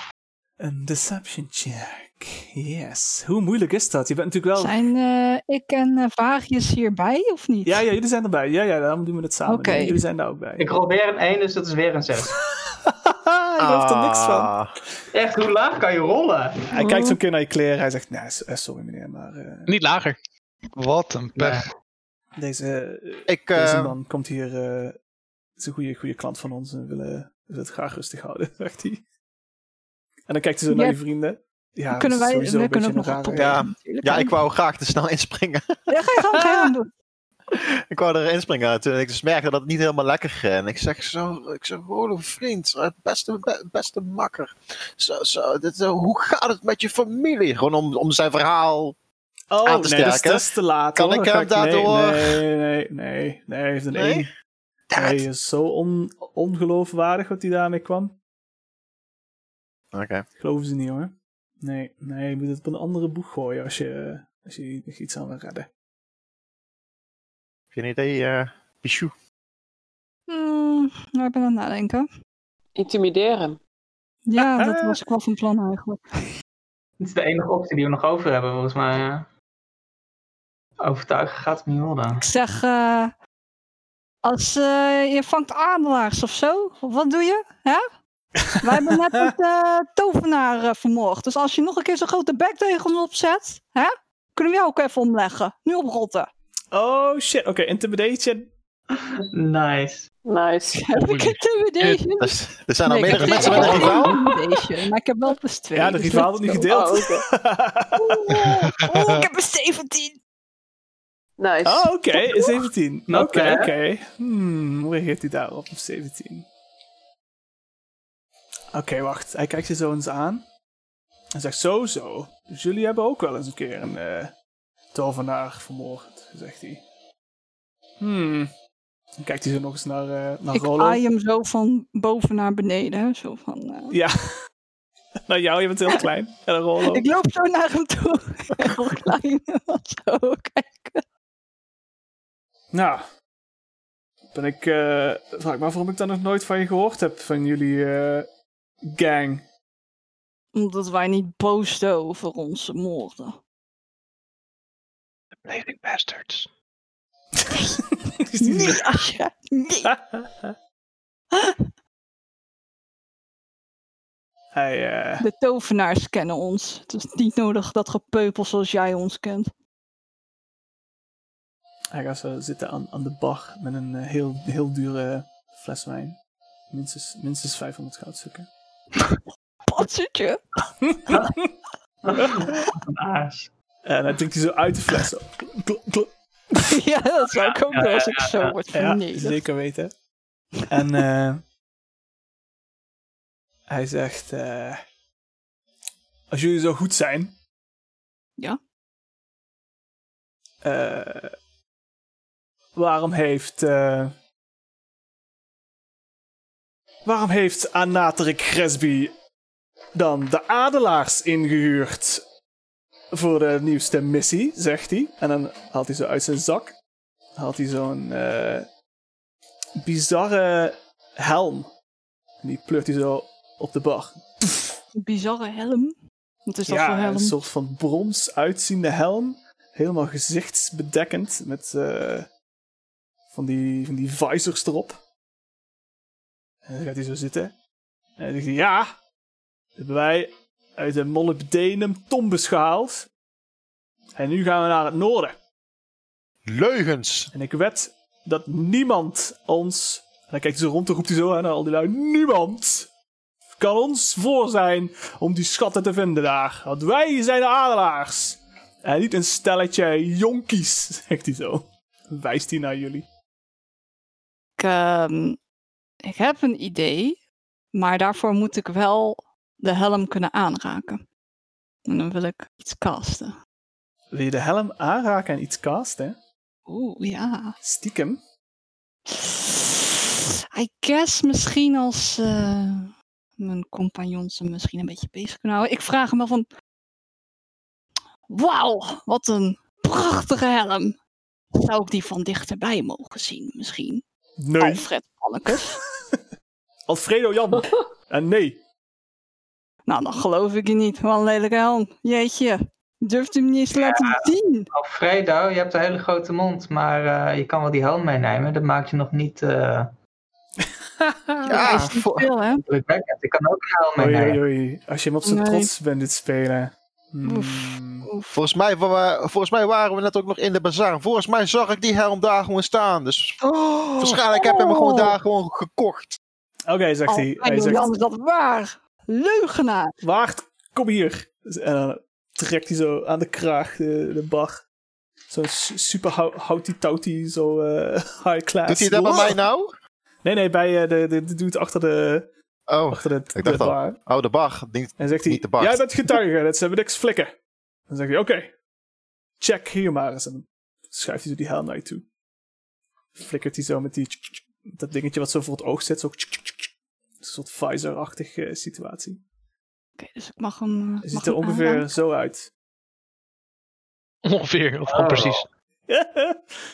[SPEAKER 1] een deception check. Yes. Hoe moeilijk is dat? Je bent natuurlijk wel...
[SPEAKER 7] Zijn eh, ik en eh, Varius hierbij of niet?
[SPEAKER 1] Ja, ja, jullie zijn erbij. Ja, ja, daarom doen we het samen.
[SPEAKER 7] Oké.
[SPEAKER 1] Jullie zijn daar ook bij.
[SPEAKER 4] Ik rol weer een 1, dus dat is weer een 6.
[SPEAKER 1] Haha, Hij gelooft er niks van.
[SPEAKER 6] Ah.
[SPEAKER 4] Echt, hoe laag kan je rollen?
[SPEAKER 1] Hij kijkt
[SPEAKER 7] Oh.
[SPEAKER 1] zo'n keer naar je kleren. Hij zegt, nee, s- eh, sorry meneer, maar eh,
[SPEAKER 3] Niet lager.
[SPEAKER 2] Wat een pech.
[SPEAKER 1] deze, eh,
[SPEAKER 6] Ik,
[SPEAKER 1] deze
[SPEAKER 6] eh,
[SPEAKER 1] man komt hier... eh is een goede, goede klant van ons en we willen we het graag rustig houden, zegt hij. En dan kijkt hij zo naar
[SPEAKER 7] Ja.
[SPEAKER 1] je vrienden. Ja,
[SPEAKER 7] kunnen
[SPEAKER 1] dat is
[SPEAKER 7] wij
[SPEAKER 1] sowieso
[SPEAKER 7] we
[SPEAKER 1] een beetje
[SPEAKER 7] kunnen ook nog
[SPEAKER 1] een
[SPEAKER 7] wat
[SPEAKER 1] rare-
[SPEAKER 6] proberen.
[SPEAKER 7] proberen natuurlijk.
[SPEAKER 6] ja, ik wou graag te snel inspringen.
[SPEAKER 7] Ja, ga je gang, ga je gang doen.
[SPEAKER 6] ik wou er inspringen toen ik dus merkte dat het niet helemaal lekker ging. En ik zeg zo, ik zeg, Rolo vriend, eh, beste, be- beste makker. Zo, zo, dit, eh, hoe gaat het met je familie? Gewoon om, om zijn verhaal.
[SPEAKER 1] Oh,
[SPEAKER 6] aan te
[SPEAKER 1] nee, dat is,
[SPEAKER 6] sterken.
[SPEAKER 1] dat is te laat.
[SPEAKER 6] Kan
[SPEAKER 1] hoor.
[SPEAKER 6] ik
[SPEAKER 1] Dan
[SPEAKER 6] hem
[SPEAKER 1] ga
[SPEAKER 6] daardoor-
[SPEAKER 1] Nee, nee, nee, nee, nee, hij heeft een
[SPEAKER 6] Nee?
[SPEAKER 1] één.
[SPEAKER 6] Damn
[SPEAKER 1] Hij
[SPEAKER 6] it.
[SPEAKER 1] is zo on, ongeloofwaardig wat hij daarmee kwam.
[SPEAKER 6] Oké.
[SPEAKER 1] Geloven ze niet hoor. Nee, nee, je moet het op een andere boeg gooien als je, eh, als je nog iets aan wil redden.
[SPEAKER 6] Heb je een idee, eh Pichou?
[SPEAKER 7] Hmm, nou, ik ben aan het nadenken.
[SPEAKER 5] Intimideren.
[SPEAKER 7] Ja, dat was ik wel van plan eigenlijk.
[SPEAKER 4] Dit is de enige optie die we nog over hebben, volgens mij. ja. Overtuigen gaat het niet worden.
[SPEAKER 7] Ik zeg, eh, als eh, je vangt adelaars of zo, wat doe je? Hè? Wij hebben net een eh, tovenaar eh, vermoord. Dus als je nog een keer zo'n grote bek tegen hem opzet, hè, kunnen we jou ook even omleggen. Nu oprotten.
[SPEAKER 1] Oh shit, oké, intimidation.
[SPEAKER 4] Nice.
[SPEAKER 5] Nice.
[SPEAKER 7] Heb ik intimidation?
[SPEAKER 6] Dus, er zijn al
[SPEAKER 7] Nee, ik
[SPEAKER 6] meerdere
[SPEAKER 7] heb
[SPEAKER 6] mensen met een
[SPEAKER 7] geen
[SPEAKER 6] rivaal.
[SPEAKER 7] intimidation, Maar ik heb wel plus 2.
[SPEAKER 1] Ja, de rivaal had het niet gedeeld.
[SPEAKER 5] Oh, oké.
[SPEAKER 7] Oeh, oeh, ik heb een 17.
[SPEAKER 5] Nice.
[SPEAKER 1] Oh, oké, 17. Oké,
[SPEAKER 4] Not bad.
[SPEAKER 1] oké. Hmm, hoe reageert hij daarop op 17? Oké, wacht. Hij kijkt je zo eens aan. Hij zegt, zo, zo. Dus jullie hebben ook wel eens een keer een eh, tovenaar vermoord, zegt hij. Hmm. Dan kijkt hij zo nog eens naar, eh, naar
[SPEAKER 7] Ik
[SPEAKER 1] Rollo.
[SPEAKER 7] aai hem zo van boven naar beneden. hè, Zo van, eh.
[SPEAKER 1] Ja. nou, jou, je bent heel klein. En dan Rollo.
[SPEAKER 7] Ik loop zo naar hem toe. Heel klein. Zo, kijken.
[SPEAKER 1] Nou. Ben ik, eh, vraag ik me af waarom ik daar nog nooit van je gehoord heb, van jullie eh, gang.
[SPEAKER 7] Omdat wij niet boosden over onze moorden.
[SPEAKER 3] Bleeding bastards.
[SPEAKER 7] Nee, Asja. Nee.
[SPEAKER 1] Hij, eh,
[SPEAKER 7] De tovenaars kennen ons. Het is niet nodig dat gepeupel zoals jij ons kent.
[SPEAKER 1] hij gaat zo zitten aan, aan de bar met een eh, heel, heel dure fles wijn. Minstens, minstens 500 goudstukken.
[SPEAKER 7] Patsertje.
[SPEAKER 4] Een aas.
[SPEAKER 1] En hij drinkt hij zo uit de fles. Zo. Klop, klop.
[SPEAKER 7] ja, dat zou ik ook doen als ik zo word
[SPEAKER 1] Ja,
[SPEAKER 7] vernederd.
[SPEAKER 1] zeker weten. En eh, hij zegt: eh, Als jullie zo goed zijn.
[SPEAKER 7] Ja.
[SPEAKER 1] eh, waarom heeft. eh, waarom heeft Anaterik Gresby dan de adelaars ingehuurd? Voor de nieuwste missie, zegt hij. En dan haalt hij ze uit zijn zak had hij zo'n eh, bizarre helm. En die pleurt hij zo op de bar.
[SPEAKER 7] Bizarre helm. Wat is dat voor helm?
[SPEAKER 1] een soort van brons uitziende helm. Helemaal gezichtsbedekkend met eh, van, die, van die visors erop. En dan gaat hij zo zitten. En dan zegt hij, ja, dat hebben wij uit de molybdenum tombes gehaald. En nu gaan we naar het noorden.
[SPEAKER 6] Leugens.
[SPEAKER 1] En ik wed dat niemand ons. En hij kijkt zo rond en roept hij zo aan naar al die lui. Niemand kan ons voor zijn om die schatten te vinden daar. Want wij zijn de adelaars. En niet een stelletje jonkies, zegt hij zo. Wijst hij naar jullie.
[SPEAKER 7] Ik, ehm, ik heb een idee, maar daarvoor moet ik wel de helm kunnen aanraken. En dan wil ik iets casten.
[SPEAKER 1] Wil je de helm aanraken en iets casten?
[SPEAKER 7] Oeh, ja.
[SPEAKER 1] Stiekem.
[SPEAKER 7] I guess misschien als eh, mijn compagnons hem misschien een beetje bezig kunnen houden. Ik vraag hem wel van... Wauw, wat een prachtige helm. Zou ik die van dichterbij mogen zien misschien?
[SPEAKER 1] Nee.
[SPEAKER 7] Alfred Pannekes.
[SPEAKER 1] Alfredo Jan. en nee.
[SPEAKER 7] Nou, dan geloof ik je niet. Wat een lelijke helm. Jeetje. Durft u hem niet eens te laten zien?
[SPEAKER 4] Alfredo, je hebt een hele grote mond, maar eh, je kan wel die helm meenemen. Dat maakt je nog niet eh
[SPEAKER 7] Ja,
[SPEAKER 6] Ja,
[SPEAKER 7] hij Ah, is niet
[SPEAKER 6] voor-
[SPEAKER 7] veel, hè?
[SPEAKER 4] drukwekkend. Ik kan ook
[SPEAKER 7] Oh,
[SPEAKER 4] een helm
[SPEAKER 1] Oei,
[SPEAKER 4] meenemen.
[SPEAKER 1] oei, oei. Als je hem op zijn
[SPEAKER 7] Nee.
[SPEAKER 1] trots bent dit spelen.
[SPEAKER 7] Oef.
[SPEAKER 1] Hmm.
[SPEAKER 7] Oef.
[SPEAKER 6] Volgens mij, wa- volgens mij waren we net ook nog in de bazaar. Volgens mij zag ik die helm daar gewoon staan. Dus
[SPEAKER 1] Oh.
[SPEAKER 7] Oh.
[SPEAKER 6] waarschijnlijk heb ik hem gewoon daar gewoon gekocht.
[SPEAKER 1] Oké, zegt hij.
[SPEAKER 7] Oh,
[SPEAKER 1] Hij
[SPEAKER 7] Jan,
[SPEAKER 1] zegt,
[SPEAKER 7] is dat waar? Leugenaar.
[SPEAKER 1] Waard, kom hier. En dan trekt hij zo aan de kraag de, de bar. Zo'n su- super hou- houtie-toutie, zo eh, high class.
[SPEAKER 6] Doet hij dat bij
[SPEAKER 1] Wow.
[SPEAKER 6] mij nou?
[SPEAKER 1] Nee, nee, bij eh, de, de, de dude achter de,
[SPEAKER 6] Oh,
[SPEAKER 1] achter de,
[SPEAKER 6] ik
[SPEAKER 1] de
[SPEAKER 6] dacht al.
[SPEAKER 1] bar. En
[SPEAKER 6] oh de bar. Niet-
[SPEAKER 1] dan zegt hij,
[SPEAKER 6] Niet de bar.
[SPEAKER 1] jij bent getuige, dat ze hebben niks flikken. Dan zegt hij, oké, check hier maar eens. En dan schuift hij zo die helm naar je toe. Flikkert hij zo met die, dat dingetje wat zo voor het oog zit. Zo, een soort visor-achtig eh, situatie.
[SPEAKER 7] Oké, dus ik mag hem. eh,
[SPEAKER 1] Hij
[SPEAKER 7] mag
[SPEAKER 1] ziet er
[SPEAKER 7] hem
[SPEAKER 1] ongeveer
[SPEAKER 7] aanraken.
[SPEAKER 1] zo uit.
[SPEAKER 3] Ongeveer, of gewoon
[SPEAKER 4] Oh.
[SPEAKER 3] precies.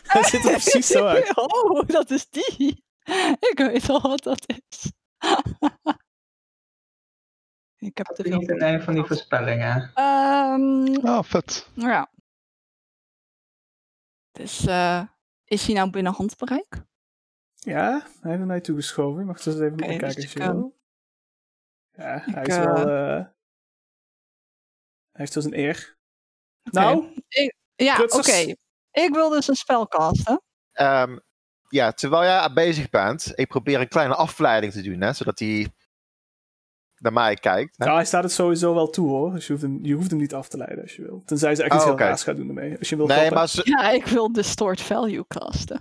[SPEAKER 1] Hij ziet er precies zo uit.
[SPEAKER 7] oh, dat is die. Ik weet al wat dat is. ik heb
[SPEAKER 4] Dat
[SPEAKER 7] te
[SPEAKER 4] is niet
[SPEAKER 7] veel.
[SPEAKER 4] in een van die voorspellingen.
[SPEAKER 7] Ehm,
[SPEAKER 2] Ah, vet.
[SPEAKER 7] Nou Ja. Dus eh, is hij nou binnen handbereik?
[SPEAKER 1] Ja, hij heeft hem naar je toegeschoven. Je mag dus even
[SPEAKER 7] Oké,
[SPEAKER 1] kijken
[SPEAKER 7] dus
[SPEAKER 1] als
[SPEAKER 7] ik,
[SPEAKER 1] je
[SPEAKER 7] eh,
[SPEAKER 1] wil. Ja, hij
[SPEAKER 7] ik,
[SPEAKER 1] is wel... eh, hij heeft wel zijn eer.
[SPEAKER 7] Oké.
[SPEAKER 1] Nou,
[SPEAKER 7] Ja, oké.
[SPEAKER 1] Prutsers.
[SPEAKER 7] Ik wil dus een spel casten.
[SPEAKER 6] Ehm, ja, terwijl jij bezig bent, ik probeer een kleine afleiding te doen, hè, zodat hij naar mij kijkt. hè.
[SPEAKER 1] nou, hij staat het sowieso wel toe hoor. Dus je hoeft hem, je hoeft hem niet af te leiden als je wil. Tenzij ze echt iets
[SPEAKER 6] Oh,
[SPEAKER 1] heel
[SPEAKER 6] oké.
[SPEAKER 1] raars gaat doen ermee. Als je wil
[SPEAKER 6] nee,
[SPEAKER 1] kappen.
[SPEAKER 6] maar ze,
[SPEAKER 7] Ja, ik wil Distort Value casten.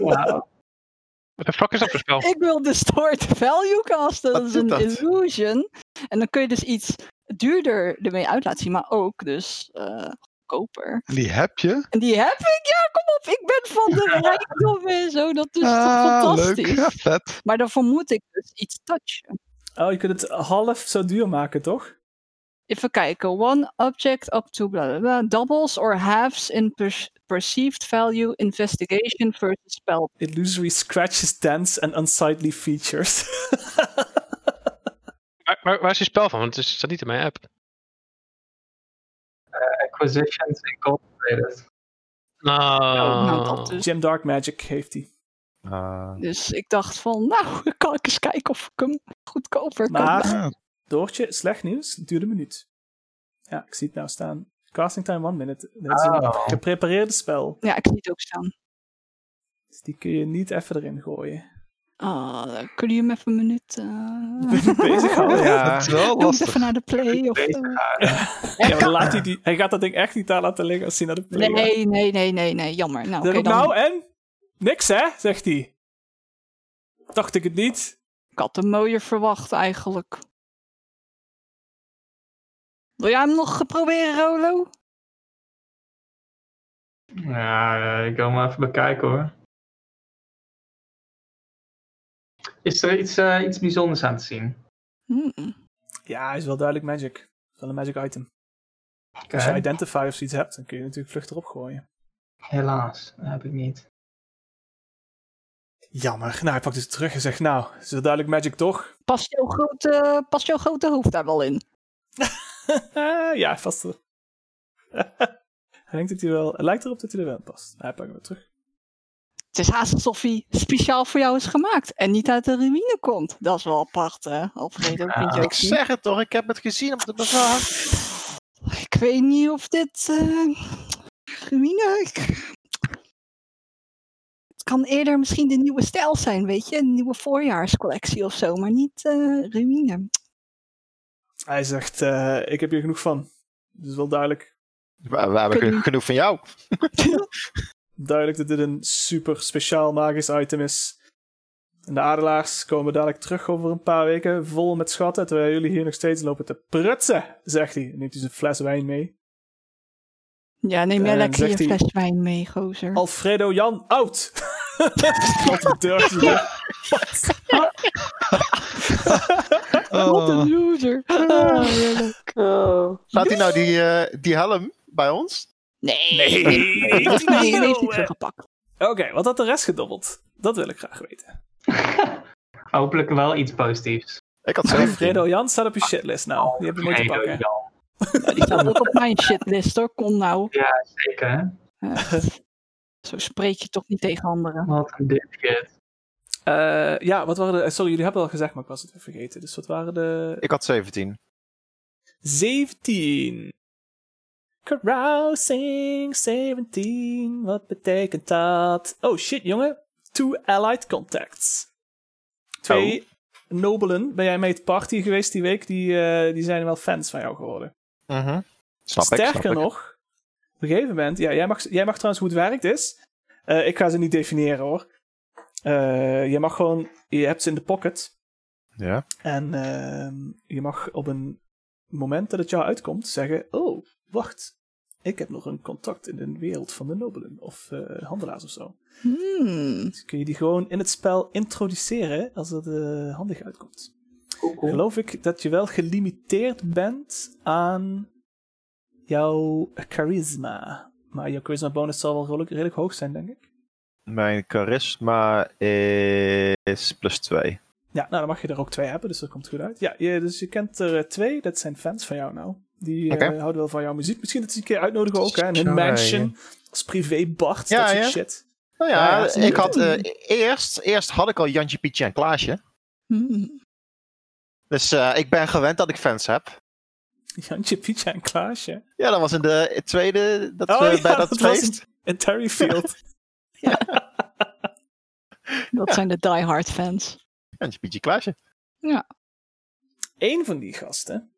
[SPEAKER 4] Wauw.
[SPEAKER 3] Wat de fuck is dat voor spel?
[SPEAKER 7] Ik wil Distort Value casten.
[SPEAKER 6] Wat
[SPEAKER 7] Dat is
[SPEAKER 6] doet
[SPEAKER 7] een
[SPEAKER 6] dat?
[SPEAKER 7] illusion. En dan kun je dus iets duurder ermee uit laten zien, maar ook dus eh goedkoper.
[SPEAKER 2] Die heb je.
[SPEAKER 7] En die heb ik, ja, kom op. Ik ben van de rijkdom en zo. Dat is toch
[SPEAKER 2] ah,
[SPEAKER 7] fantastisch.
[SPEAKER 2] leuk. Ja, vet.
[SPEAKER 7] Maar daarvoor moet ik dus iets touchen.
[SPEAKER 1] Oh, je kunt het half zo duur maken, toch?
[SPEAKER 7] Even kijken. One object up to blah blah blah. Doubles or halves in per- perceived value investigation versus spell.
[SPEAKER 1] Illusory scratches, dents and unsightly features.
[SPEAKER 3] Waar, waar, waar is die spel van? Want het is- staat niet in mijn app.
[SPEAKER 4] Positions Incorporated.
[SPEAKER 7] nou, dat dus.
[SPEAKER 1] Gem Dark Magic heeft hij.
[SPEAKER 6] Eh,
[SPEAKER 7] Dus ik dacht van, nou, kan ik eens kijken of ik hem goedkoper kan
[SPEAKER 1] Maar-
[SPEAKER 7] maken.
[SPEAKER 2] Ja,
[SPEAKER 1] Doortje, slecht nieuws. Het duurde een minuut. Ja, ik zie het nou staan. Casting time one minute. Dat is een
[SPEAKER 4] Oh.
[SPEAKER 1] geprepareerde spel.
[SPEAKER 7] Ja, ik zie het ook staan.
[SPEAKER 1] Dus die kun je niet even erin gooien.
[SPEAKER 7] Ah, dan kun je hem even een minuut... eh,
[SPEAKER 1] Bezighouden,
[SPEAKER 2] dat
[SPEAKER 1] ja.
[SPEAKER 2] is wel
[SPEAKER 7] je moet
[SPEAKER 2] lastig.
[SPEAKER 7] even naar de play of... eh,
[SPEAKER 1] Ah. ja maar laat hij, die, hij gaat dat ding echt niet daar laten liggen als hij naar de play gaat.
[SPEAKER 7] Nee, nee, nee, nee, nee, jammer. Nou,
[SPEAKER 1] Dan heb
[SPEAKER 7] oké,
[SPEAKER 1] ik
[SPEAKER 7] dan
[SPEAKER 1] nou en? Niks hè, zegt hij. Dacht ik het niet.
[SPEAKER 7] ik had hem mooier verwacht eigenlijk. Wil jij hem nog proberen, Rolo?
[SPEAKER 4] Ja, eh, ik wil hem even bekijken hoor. Is er iets, eh, iets bijzonders aan te zien?
[SPEAKER 7] Mm-mm.
[SPEAKER 1] Ja, hij is wel duidelijk magic. Het is wel een magic item.
[SPEAKER 4] Oké,
[SPEAKER 1] Als je identify of zoiets hebt, dan kun je natuurlijk vlucht erop gooien.
[SPEAKER 4] Helaas, dat heb ik niet.
[SPEAKER 1] Jammer. Nou, hij pakt het terug en zegt, nou, het is wel duidelijk magic toch?
[SPEAKER 7] Past jouw grote, past jouw grote hoofd daar wel in?
[SPEAKER 1] ja, vast wel. hij denkt dat hij wel... Het lijkt erop dat hij er wel in past. Nou, Hij pakt hem weer terug.
[SPEAKER 7] Het is haast alsof hij speciaal voor jou is gemaakt en niet uit de ruïne komt. Dat is wel apart, hè? Alfredo, vind je
[SPEAKER 6] Eh, ik
[SPEAKER 7] ook niet?
[SPEAKER 6] zeg het toch, ik heb het gezien op de bazaar.
[SPEAKER 7] Ik weet niet of dit. eh ruïne. ik- Het kan eerder misschien de nieuwe stijl zijn, weet je? Een nieuwe voorjaarscollectie of zo, maar niet eh, ruïne.
[SPEAKER 1] Hij zegt, eh, ik heb hier genoeg van. Het is wel duidelijk,
[SPEAKER 6] We, we hebben
[SPEAKER 7] Kun je-
[SPEAKER 6] genoeg van jou.
[SPEAKER 1] duidelijk dat dit een super speciaal magisch item is. En de adelaars komen dadelijk terug over een paar weken vol met schatten, terwijl jullie hier nog steeds lopen te prutsen, zegt hij. En neemt hij zijn fles wijn mee.
[SPEAKER 7] Ja, neem jij
[SPEAKER 1] Eh,
[SPEAKER 7] lekker je
[SPEAKER 1] zegt hij- Oh.
[SPEAKER 7] fles wijn mee, gozer.
[SPEAKER 1] Alfredo Jan Oud! Wat een deurtje. weg.
[SPEAKER 7] Wat een
[SPEAKER 2] Oh,
[SPEAKER 7] loser.
[SPEAKER 1] Ah,
[SPEAKER 5] Oh.
[SPEAKER 6] Laat hij nou die, eh, die helm bij ons?
[SPEAKER 7] Nee.
[SPEAKER 1] Nee,
[SPEAKER 7] Dat is nee, die heeft
[SPEAKER 1] no, eh.
[SPEAKER 7] niet teruggepakt.
[SPEAKER 1] Oké, wat had de rest gedobbeld? Dat wil ik graag weten.
[SPEAKER 4] Hopelijk wel iets positiefs.
[SPEAKER 6] Ik had zelf
[SPEAKER 1] Alfredo Jan staat op je shitlist nou. Die heb je moeten
[SPEAKER 4] Alfredo
[SPEAKER 1] pakken.
[SPEAKER 4] Jan,
[SPEAKER 7] Die staat ook op mijn shitlist hoor, kom nou.
[SPEAKER 4] zeker. hè?
[SPEAKER 7] Eh, Zo spreek je toch niet tegen anderen.
[SPEAKER 4] Wat een dipshit.
[SPEAKER 1] Eh, ja, wat waren de... eh, Sorry, jullie hebben het al gezegd, maar ik was het weer vergeten. Dus wat waren de...
[SPEAKER 6] Ik had 17.
[SPEAKER 1] 17. Carousing 17. Wat betekent dat? Oh shit, jongen. Two allied contacts. Twee nobelen. Ben jij mee het party geweest die week? Die, eh, die zijn wel fans van jou geworden.
[SPEAKER 6] Mhm. Snap ik,
[SPEAKER 1] Sterker
[SPEAKER 6] snap ik.
[SPEAKER 1] nog, op een gegeven moment, ja, jij, mag, jij mag trouwens hoe het werkt is. Eh, ik ga ze niet definiëren hoor. Eh, je mag gewoon, je hebt ze in de pocket.
[SPEAKER 6] Ja.
[SPEAKER 1] En ehm, je mag op een moment dat het jou uitkomt zeggen: Oh, wacht, ik heb nog een contact in de wereld van de nobelen of eh, handelaars of zo.
[SPEAKER 7] Hmm.
[SPEAKER 1] Dus kun je die gewoon in het spel introduceren als het eh, handig uitkomt
[SPEAKER 4] Cool, cool.
[SPEAKER 1] geloof ik dat je wel gelimiteerd bent aan jouw charisma. Maar jouw charisma bonus zal wel redelijk, redelijk hoog zijn, denk ik.
[SPEAKER 6] Mijn charisma is plus 2.
[SPEAKER 1] Ja, nou dan mag je er ook twee hebben, dus dat komt goed uit. Ja, je, dus je kent er eh, twee, dat zijn fans van jou nou. Die eh,
[SPEAKER 6] Oké.
[SPEAKER 1] houden wel van jouw muziek. Misschien dat ze een keer uitnodigen ook, hè. In hun
[SPEAKER 6] Ja,
[SPEAKER 1] mansion, als privé-bart,
[SPEAKER 6] Ja,
[SPEAKER 1] dat soort
[SPEAKER 6] ja.
[SPEAKER 1] shit.
[SPEAKER 6] Nou
[SPEAKER 1] Ja,
[SPEAKER 6] ja,
[SPEAKER 1] ja,
[SPEAKER 6] ik had eh, eerst, eerst had ik al Jantje, Pietje en Klaasje.
[SPEAKER 7] Hmm.
[SPEAKER 6] Dus eh, ik ben gewend dat ik fans heb.
[SPEAKER 1] Jantje, Pietje en Klaasje.
[SPEAKER 6] Ja, dat was in de tweede, dat,
[SPEAKER 1] Oh
[SPEAKER 6] we
[SPEAKER 1] ja,
[SPEAKER 6] bij dat,
[SPEAKER 1] dat was
[SPEAKER 6] feest.
[SPEAKER 1] En Terryfield.
[SPEAKER 7] Dat zijn de diehard fans.
[SPEAKER 6] Jantje, Pietje, Klaasje.
[SPEAKER 1] Eén van die gasten,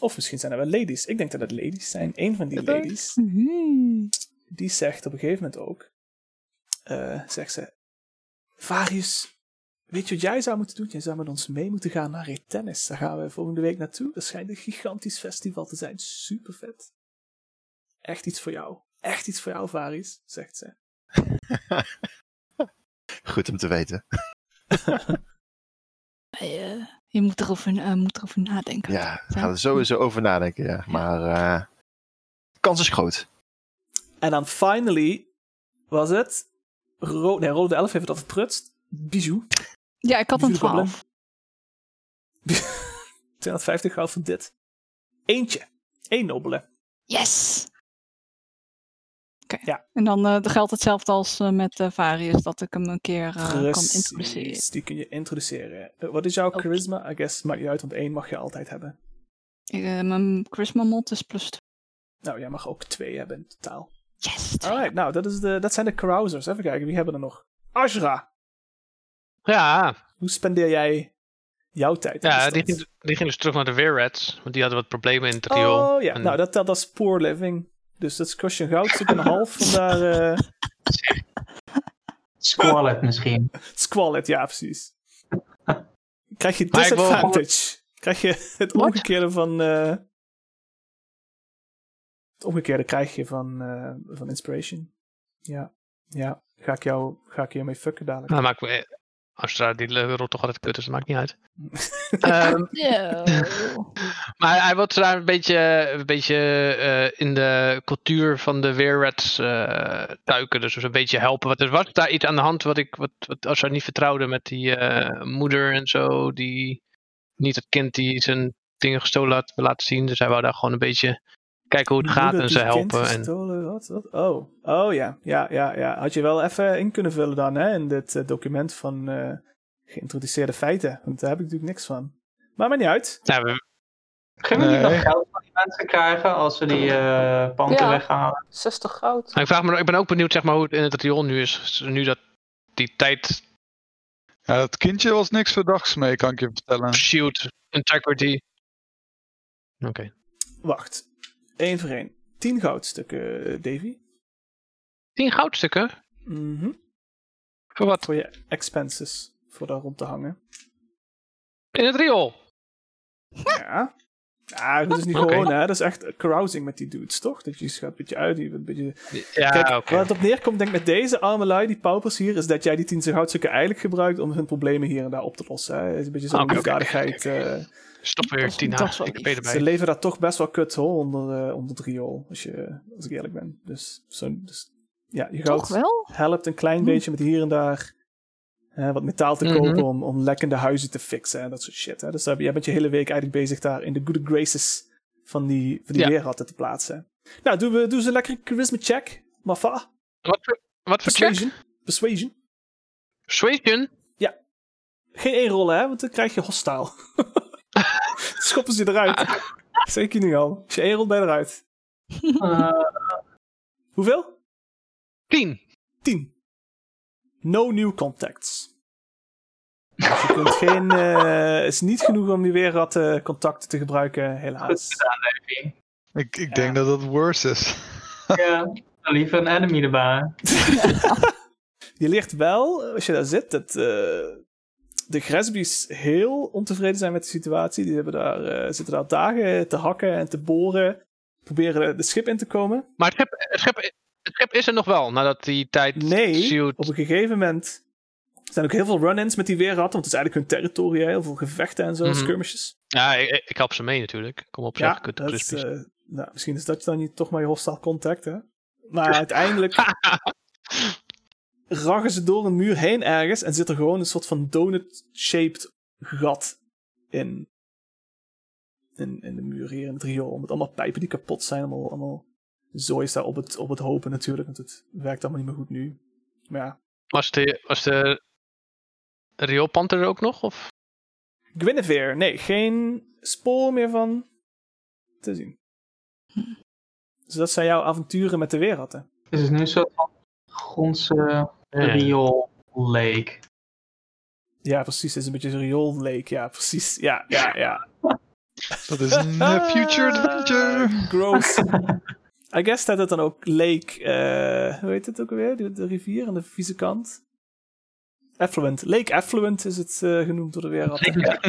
[SPEAKER 1] of misschien zijn er wel ladies. Ik denk dat het ladies zijn. Eén van die
[SPEAKER 6] Ik denk-
[SPEAKER 1] ladies
[SPEAKER 7] Hmm.
[SPEAKER 1] die zegt op een gegeven moment ook, eh, zegt ze, Varius, weet je wat jij zou moeten doen? Jij zou met ons mee moeten gaan naar Retennis. Daar gaan we volgende week naartoe. Dat schijnt een gigantisch festival te zijn. Super vet. Echt iets voor jou. Echt iets voor jou, Varius, zegt ze.
[SPEAKER 6] Goed om te weten.
[SPEAKER 7] Eh, je moet erover, eh, moet erover nadenken.
[SPEAKER 6] Ja, we gaan er sowieso over nadenken. Ja. Maar eh, kans is groot.
[SPEAKER 1] En dan finally was het, Ro nee, Rode Elf heeft het al verprutst, Bijou.
[SPEAKER 7] Ja, ik had een
[SPEAKER 1] Bijou de Goblin.
[SPEAKER 7] twaalf.
[SPEAKER 1] 250 goud voor dit. Eentje. Eén nobele.
[SPEAKER 7] Yes!
[SPEAKER 1] Ja.
[SPEAKER 7] En dan eh, geldt hetzelfde als eh, met eh, Varius, dat ik hem een keer eh, kan
[SPEAKER 1] Precies,
[SPEAKER 7] introduceren.
[SPEAKER 1] Die kun je introduceren. Eh, Wat is jouw
[SPEAKER 7] Oké.
[SPEAKER 1] charisma? I guess, maakt niet uit, want één mag je altijd hebben.
[SPEAKER 7] Ik, eh, mijn charisma mod is plus 2.
[SPEAKER 1] Nou, jij mag ook twee hebben in totaal.
[SPEAKER 7] Yes! twee.
[SPEAKER 1] Alright, nou, dat, is de, dat zijn de carousers. Even kijken, wie hebben er nog? Ashra,
[SPEAKER 3] Ja,
[SPEAKER 1] hoe spendeer jij jouw tijd? in de
[SPEAKER 3] ja
[SPEAKER 1] stad?
[SPEAKER 3] die, ging, die ging dus terug naar de Weirrats. Want die hadden wat problemen in het riool.
[SPEAKER 1] Oh ja,
[SPEAKER 3] En-
[SPEAKER 1] nou, dat telt als poor living. Dus dat kost je een goudstuk en een half. Vandaar eh
[SPEAKER 4] Squalid misschien.
[SPEAKER 1] squalid, ja, precies. Krijg je
[SPEAKER 3] Maar ik wil-
[SPEAKER 1] disadvantage. Krijg je het
[SPEAKER 7] Wat?
[SPEAKER 1] omgekeerde van... eh, het omgekeerde krijg je van, eh, van inspiration. Ja, ja. Ga ik jou, ga ik jou mee fucken dadelijk.
[SPEAKER 3] Nou, maakt me, eh, Astra, die le- rolt toch altijd kut, dus dat maakt niet uit. Ehm,
[SPEAKER 7] Yo.
[SPEAKER 3] maar hij wordt daar een beetje, een beetje eh, in de cultuur van de Weirrats eh tuiken. Dus een beetje helpen. Want er was daar iets aan de hand wat, ik, wat, wat Astra niet vertrouwde met die eh, moeder en zo. Die niet het kind die zijn dingen gestolen had laten zien. Dus hij wou daar gewoon een beetje kijken hoe het gaat
[SPEAKER 1] Moeder
[SPEAKER 3] en ze
[SPEAKER 1] die kind
[SPEAKER 3] helpen. En,
[SPEAKER 1] gestolen, wat, wat? Oh, oh ja. ja, ja, ja. Had je wel even in kunnen vullen dan, hè, in dit eh, document van eh, geïntroduceerde feiten. Want daar heb ik natuurlijk niks van. Maar maakt niet uit.
[SPEAKER 3] nou, we-
[SPEAKER 4] Gingen we niet nog
[SPEAKER 2] Nee.
[SPEAKER 4] geld van die mensen krijgen als we die eh panden
[SPEAKER 5] Ja.
[SPEAKER 4] weghalen?
[SPEAKER 5] 60 goud.
[SPEAKER 3] Maar ik, vraag me, ik ben ook benieuwd zeg maar, hoe het in het riool nu is. Nu dat die tijd
[SPEAKER 2] Ja, dat kindje was niks verdachts mee, kan ik je vertellen.
[SPEAKER 3] pursuit integrity. Oké.
[SPEAKER 1] Wacht. Eén voor één. Tien goudstukken, eh, Davy.
[SPEAKER 3] 10 goudstukken?
[SPEAKER 1] Mhm.
[SPEAKER 3] Voor wat?
[SPEAKER 1] Voor je expenses. Voor daar rond te hangen.
[SPEAKER 3] In het riool.
[SPEAKER 1] Ja. Ja, dat is niet
[SPEAKER 3] Oké.
[SPEAKER 1] gewoon, hè. Dat is echt carousing met die dudes, toch? Dat je eens gaat een beetje uit, je bent een beetje
[SPEAKER 3] Ja,
[SPEAKER 1] Kijk,
[SPEAKER 3] oké.
[SPEAKER 1] waar het op neerkomt, denk ik, met deze arme lui, die paupers hier, is dat jij die 10 goudstukken eigenlijk gebruikt om hun problemen hier en daar op te lossen. Hè? Het is een beetje zo'n
[SPEAKER 3] Ah, Oké, oké,
[SPEAKER 1] liefdadigheid. eh.
[SPEAKER 3] Stop weer
[SPEAKER 7] Dat is-
[SPEAKER 3] 10
[SPEAKER 7] dat is wel
[SPEAKER 3] HCP
[SPEAKER 7] lief.
[SPEAKER 1] ze
[SPEAKER 3] erbij.
[SPEAKER 1] leven daar toch best wel kut hoor, onder, eh, onder het riool, als, je, als ik eerlijk ben. Dus, zo, dus ja, je
[SPEAKER 7] Toch
[SPEAKER 1] goud
[SPEAKER 7] wel?
[SPEAKER 1] helpt een klein
[SPEAKER 7] Hm.
[SPEAKER 1] beetje met hier en daar eh, wat metaal te
[SPEAKER 3] Hmm. Mhm.
[SPEAKER 1] kopen om, om lekkende huizen te fixen en dat soort shit. Hè? Dus daar, jij bent je hele week eigenlijk bezig daar in de good graces van die, van die
[SPEAKER 3] Ja.
[SPEAKER 1] weerratten te plaatsen. Nou, doen we, doen ze een lekkere charisma check. Mafa,
[SPEAKER 3] Wat voor, wat voor check?
[SPEAKER 1] persuasion. Persuasion.
[SPEAKER 3] Persuasion?
[SPEAKER 1] Geen één rollen, hè? Want dan krijg je hostaal. Schoppen ze
[SPEAKER 3] Ah.
[SPEAKER 1] eruit. Zeker nu al. Als je één rolt, ben je eruit.
[SPEAKER 4] Eh,
[SPEAKER 1] Hoeveel?
[SPEAKER 3] 10.
[SPEAKER 1] Tien. No new contacts. Dus je kunt geen... eh is niet genoeg om die weerratten contacten te gebruiken,
[SPEAKER 4] goed
[SPEAKER 1] helaas.
[SPEAKER 4] gedaan, Davy.
[SPEAKER 2] Ik, ik denk dat dat worse is.
[SPEAKER 4] Ja, dan liever een enemy erbij.
[SPEAKER 1] Je leert wel, als je daar zit, dat eh, de Gresby's heel ontevreden zijn met de situatie. Die hebben daar, eh, zitten daar dagen te hakken en te boren. Proberen de schip in te komen.
[SPEAKER 3] Maar het schip, het, schip, het schip is er nog wel, nadat die tijd
[SPEAKER 1] Nee,
[SPEAKER 3] pursuit-
[SPEAKER 1] op een gegeven moment zijn ook heel veel run-ins met die weerratten, want het is eigenlijk hun territoria, heel veel gevechten en zo,
[SPEAKER 3] Mhm.
[SPEAKER 1] skirmishes.
[SPEAKER 3] Ja, ik, ik help ze mee natuurlijk. Kom op, zeg.
[SPEAKER 1] Ja,
[SPEAKER 3] kut,
[SPEAKER 1] dat is,
[SPEAKER 3] crispies.
[SPEAKER 1] eh, nou, misschien is dat dan niet toch maar je hostile contact, hè? Maar uiteindelijk raggen ze door een muur heen ergens en zit er gewoon een soort van donut-shaped gat in, in, in de muur hier in het riool. Met allemaal pijpen die kapot zijn, allemaal, allemaal zooi is daar op het, op het hopen natuurlijk, want het werkt allemaal niet meer goed nu. Maar ja,
[SPEAKER 3] was de, was de rioolpanter er ook nog? Of?
[SPEAKER 1] Guinevere, nee, geen spoor meer van te zien. Dus dat zijn jouw avonturen met de weerratten.
[SPEAKER 4] Dus het is nu een soort van grondse riool lake.
[SPEAKER 1] Ja, precies. Het is een beetje een riool lake. Ja, precies. Ja, ja, ja. Ah,
[SPEAKER 2] Dat is een eh, future adventure.
[SPEAKER 1] Gross. I guess dat het dan ook lake... eh, hoe heet het ook alweer? De, de rivier aan de vieze kant. Affluent. Lake Affluent is het eh, genoemd door de weerratten. Ja,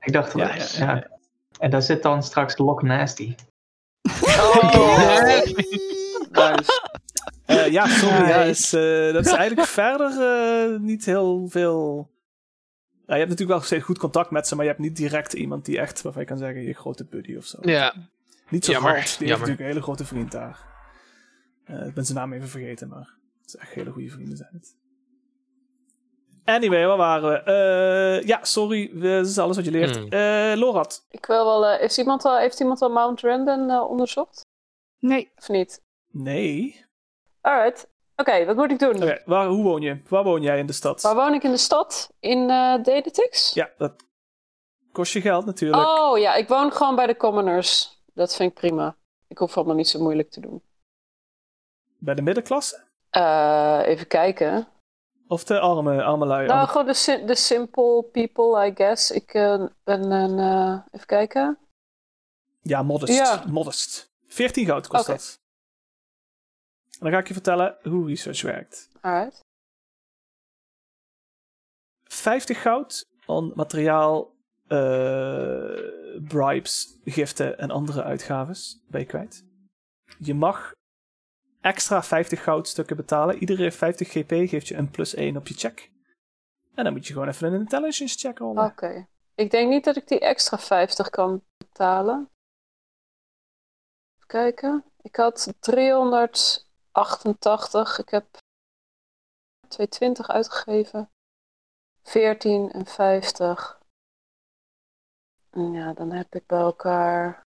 [SPEAKER 4] Ik dacht wel
[SPEAKER 1] ja,
[SPEAKER 4] eens,
[SPEAKER 1] ja,
[SPEAKER 4] ja. En daar zit dan straks Loch Nasty.
[SPEAKER 6] Nice.
[SPEAKER 1] Eh, ja, sorry. Ja,
[SPEAKER 7] Nice.
[SPEAKER 1] is, eh, dat is eigenlijk verder eh, niet heel veel. Ja, je hebt natuurlijk wel steeds goed contact met ze, maar je hebt niet direct iemand die echt, waarvan je kan zeggen, je grote buddy of zo.
[SPEAKER 3] Ja,
[SPEAKER 1] Niet zo
[SPEAKER 3] jammer,
[SPEAKER 1] Halt, die heeft
[SPEAKER 3] jammer.
[SPEAKER 1] natuurlijk een hele grote vriend daar. Eh, ik ben zijn naam even vergeten, maar het is echt hele goede vrienden zijn het. Anyway, waar waren we? Eh, ja, sorry, we- dat is alles wat je leert.
[SPEAKER 3] Hmm.
[SPEAKER 1] Eh, Lorat,
[SPEAKER 5] Ik wil wel, eh, heeft, iemand al, heeft iemand al Mount Randon eh, onderzocht?
[SPEAKER 7] Nee,
[SPEAKER 5] Of niet?
[SPEAKER 1] nee.
[SPEAKER 5] Alright. Oké, wat moet ik doen?
[SPEAKER 1] Oké, waar, hoe woon je? Waar woon jij in de stad?
[SPEAKER 5] Waar woon ik in de stad? In eh Dedetix?
[SPEAKER 1] Ja, dat kost je geld natuurlijk.
[SPEAKER 5] Oh ja, ik woon gewoon bij de commoners. Dat vind ik prima. Ik hoef allemaal niet zo moeilijk te doen.
[SPEAKER 1] Bij de middenklasse?
[SPEAKER 5] Eh, even kijken.
[SPEAKER 1] Of de arme, arme lui?
[SPEAKER 5] Nou,
[SPEAKER 1] Arme-
[SPEAKER 5] gewoon de, si- de simple people, I guess. Ik eh, ben een. eh, even kijken.
[SPEAKER 1] Ja, modest.
[SPEAKER 5] Ja.
[SPEAKER 1] Modest. 14 goud kost
[SPEAKER 5] Oké.
[SPEAKER 1] dat. En dan ga ik je vertellen hoe research werkt.
[SPEAKER 5] Alright.
[SPEAKER 1] 50 goud aan materiaal, eh, bribes, giften en andere uitgaves ben je kwijt. Je mag extra 50 goudstukken betalen. Iedere 50 GP geeft je een plus 1 op je check. En dan moet je gewoon even een intelligence check rollen.
[SPEAKER 5] Oké. Ik denk niet dat ik die extra 50 kan betalen. Even kijken. Ik had 388. Ik heb 220 uitgegeven. 14 en 50. Ja, dan heb ik bij elkaar.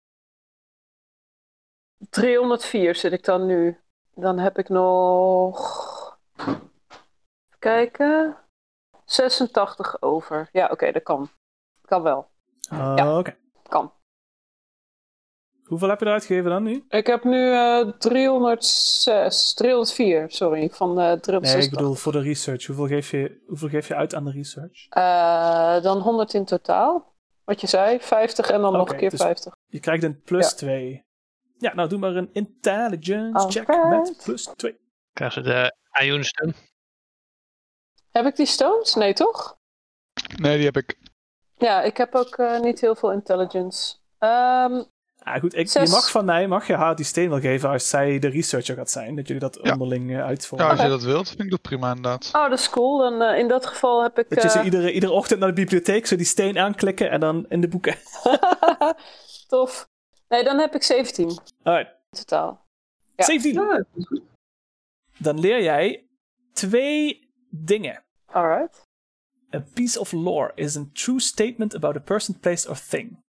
[SPEAKER 5] 304 zit ik dan nu. Dan heb ik nog. Even kijken. 86 over. Ja, oké, dat kan. Kan wel.
[SPEAKER 1] Ah,
[SPEAKER 5] Ja.
[SPEAKER 1] Oké.
[SPEAKER 5] Kan.
[SPEAKER 1] Hoeveel heb je eruit gegeven dan nu?
[SPEAKER 5] Ik heb nu eh 306, 304, sorry, van eh 360.
[SPEAKER 1] Nee, ik bedoel voor de research. Hoeveel geef je, hoeveel geef je uit aan de research?
[SPEAKER 5] Eh, dan 100 in totaal. Wat je zei, 50 en dan nog
[SPEAKER 1] Oké,
[SPEAKER 5] een keer
[SPEAKER 1] dus-
[SPEAKER 5] 50.
[SPEAKER 1] Je krijgt een plus
[SPEAKER 5] Ja.
[SPEAKER 1] 2. Ja, nou doe maar een intelligence check
[SPEAKER 5] Alright.
[SPEAKER 1] met plus 2.
[SPEAKER 3] Krijgen ze de Iounstone.
[SPEAKER 5] Heb ik die stones? Nee, toch?
[SPEAKER 2] Nee, die heb ik.
[SPEAKER 5] Ja, ik heb ook eh, niet heel veel intelligence. Ehm,
[SPEAKER 1] Ah, goed, ik, je
[SPEAKER 5] Zes.
[SPEAKER 1] mag van mij mag je haar die steen wel geven als zij de researcher gaat zijn. Dat jullie dat
[SPEAKER 2] Ja.
[SPEAKER 1] onderling eh, uitvoeren.
[SPEAKER 2] Ja, als je
[SPEAKER 5] Oké.
[SPEAKER 2] dat wilt, vind ik dat prima inderdaad.
[SPEAKER 5] oh, dat is cool. Dan, eh, in dat geval heb ik...
[SPEAKER 1] Dat je ze
[SPEAKER 5] eh,
[SPEAKER 1] iedere, iedere ochtend naar de bibliotheek zo die steen aanklikken en dan in de boeken.
[SPEAKER 5] Tof. Nee, dan heb ik 17 in
[SPEAKER 1] Alright,
[SPEAKER 5] totaal. Ja.
[SPEAKER 1] 17.
[SPEAKER 4] Ja,
[SPEAKER 1] Dan leer jij twee dingen.
[SPEAKER 5] Alright.
[SPEAKER 1] A piece of lore is a true statement about a person, place or thing.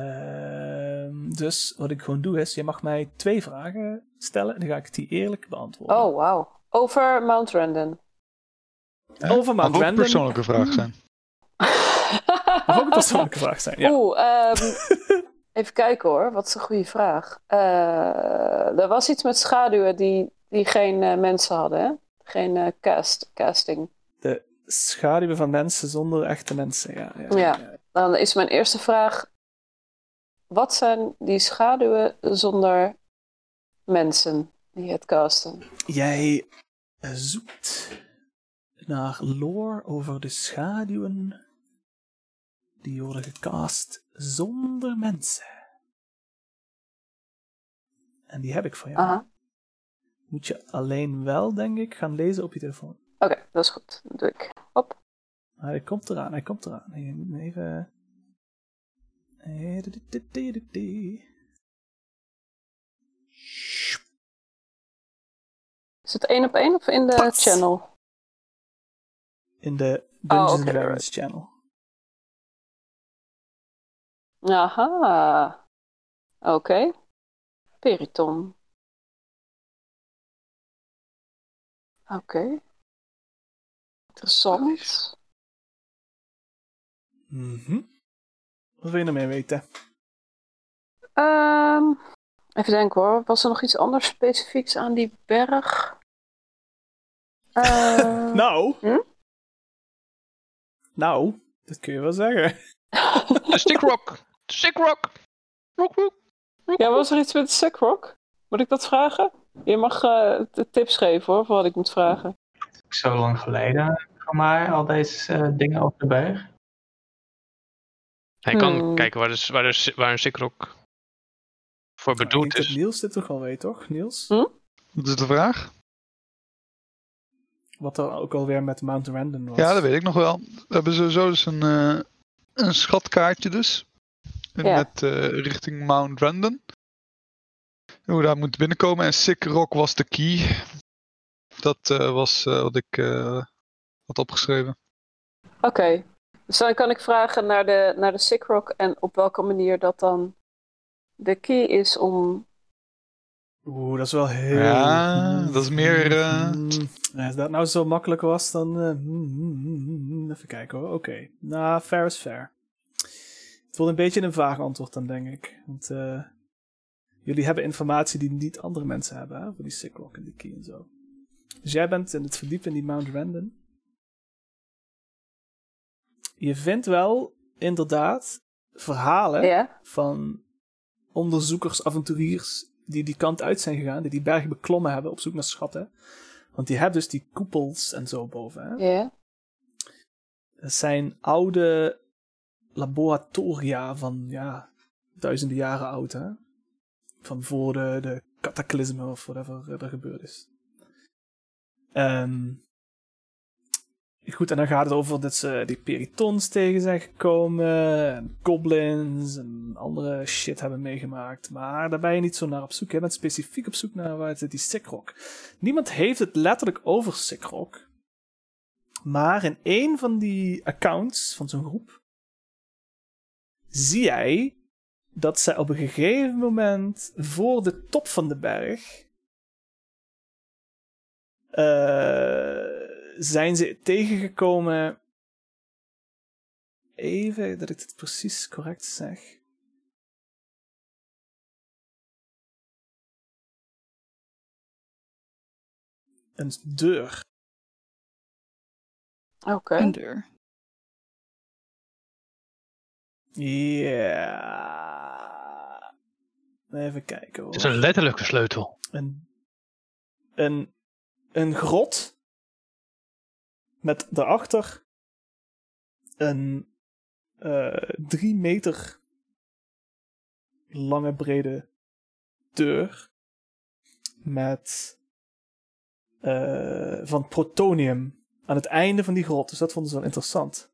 [SPEAKER 1] Ehm, dus wat ik gewoon doe is, je mag mij twee vragen stellen en dan ga ik die eerlijk beantwoorden.
[SPEAKER 5] Oh, wauw. Over Mount Randon.
[SPEAKER 1] Over
[SPEAKER 2] Mag
[SPEAKER 1] Mount
[SPEAKER 2] ook een
[SPEAKER 1] Random.
[SPEAKER 2] persoonlijke vraag zijn.
[SPEAKER 1] Mag ook een persoonlijke vraag zijn. Ja.
[SPEAKER 5] Oeh, ehm, even kijken hoor. Wat is een goede vraag. Eh, er was iets met schaduwen die, die geen eh, mensen hadden, hè? Geen eh, cast, casting.
[SPEAKER 1] De schaduwen van mensen zonder echte mensen. Ja, ja,
[SPEAKER 5] Ja. Dan is mijn eerste vraag... Wat zijn die schaduwen zonder mensen die het casten?
[SPEAKER 1] Jij eh, zoekt naar lore over de schaduwen die worden gecast zonder mensen. En die heb ik voor jou.
[SPEAKER 5] Aha.
[SPEAKER 1] Moet je alleen wel, denk ik, gaan lezen op je telefoon.
[SPEAKER 5] Oké, dat is goed. Dat doe ik. Hop.
[SPEAKER 1] Maar hij komt eraan, hij komt eraan. Je moet me even... Eh, du- du- du- du- du- du.
[SPEAKER 5] Is het één op één of in de
[SPEAKER 1] Pats.
[SPEAKER 5] channel?
[SPEAKER 1] In de Dungeons
[SPEAKER 5] oké,
[SPEAKER 1] and Dragons channel.
[SPEAKER 5] Aha. Oké. Periton. Oké. Interessant.
[SPEAKER 1] Mhm. Wat wil je nog meer weten?
[SPEAKER 5] Ehm, even denken hoor. Was er nog iets anders specifieks aan die berg? Eh,
[SPEAKER 1] Nou.
[SPEAKER 5] Hm?
[SPEAKER 1] Nou, dat kun je wel zeggen.
[SPEAKER 3] De Stick Rock. De Stick Rock. Rock, rock.
[SPEAKER 5] ja, was er iets met Sackrock? Moet ik dat vragen? Je mag eh, t- tips geven hoor, voor wat ik moet vragen.
[SPEAKER 4] Zo lang geleden van mij, al deze eh, dingen op de berg.
[SPEAKER 3] Hij kan
[SPEAKER 5] Hmm.
[SPEAKER 3] kijken waar, de, s- waar, de, s- waar een Stick Rock voor
[SPEAKER 1] ik
[SPEAKER 3] bedoeld
[SPEAKER 1] denk dat
[SPEAKER 3] is.
[SPEAKER 1] Niels dit toch al weet, toch? Niels?
[SPEAKER 5] Hm?
[SPEAKER 2] Dat is de vraag?
[SPEAKER 1] Wat er ook alweer met Mount Random was.
[SPEAKER 2] Ja, dat weet ik nog wel. We hebben sowieso dus een, eh, een schatkaartje dus. En
[SPEAKER 5] Ja.
[SPEAKER 2] Met eh, richting Mount Randon. Hoe we daar moet binnenkomen. En Sick Rock was de key. Dat eh, was eh, wat ik eh, had opgeschreven.
[SPEAKER 5] Oké. Dus dan kan ik vragen naar de, naar de Sickrock en op welke manier dat dan de key is om
[SPEAKER 1] Oeh, dat is wel heel...
[SPEAKER 2] Ja, dat is meer, eh,
[SPEAKER 1] Mm, Als dat nou zo makkelijk was, dan... eh, mm, mm, mm, mm. even kijken hoor, oké. Nou, fair is fair. Het wordt een beetje een vaag antwoord dan, denk ik. Want eh, jullie hebben informatie die niet andere mensen hebben, hè? Voor die sick lock en die key en zo. Dus jij bent in het verdiep in die Mount Random. Je vindt wel, inderdaad, verhalen
[SPEAKER 5] Ja?
[SPEAKER 1] van onderzoekers, avonturiers die die kant uit zijn gegaan, die die berg beklommen hebben op zoek naar schatten. Want die hebben dus die koepels en zo boven. Hè?
[SPEAKER 5] Ja?
[SPEAKER 1] Dat zijn oude laboratoria van ja, duizenden jaren oud. Hè? Van voor de, de cataclysme of whatever er gebeurd is. Ehm, goed, en dan gaat het over dat ze die peritons tegen zijn gekomen. En goblins en andere shit hebben meegemaakt. Maar daar ben je niet zo naar op zoek. Je bent specifiek op zoek naar waar zit die Sikrock. Niemand heeft het letterlijk over Sikrock. Maar in één van die accounts van zo'n groep zie jij dat zij op een gegeven moment voor de top van de berg eh, zijn ze tegengekomen. Even dat ik dit precies correct zeg. Een deur.
[SPEAKER 5] Oké.
[SPEAKER 7] Een deur.
[SPEAKER 1] Ja. Even kijken hoor.
[SPEAKER 3] Het is een letterlijke sleutel.
[SPEAKER 1] Een, een, een grot. Met daarachter een eh, drie meter lange brede deur. Met eh, van protonium aan het einde van die grot. Dus dat vonden ze wel interessant.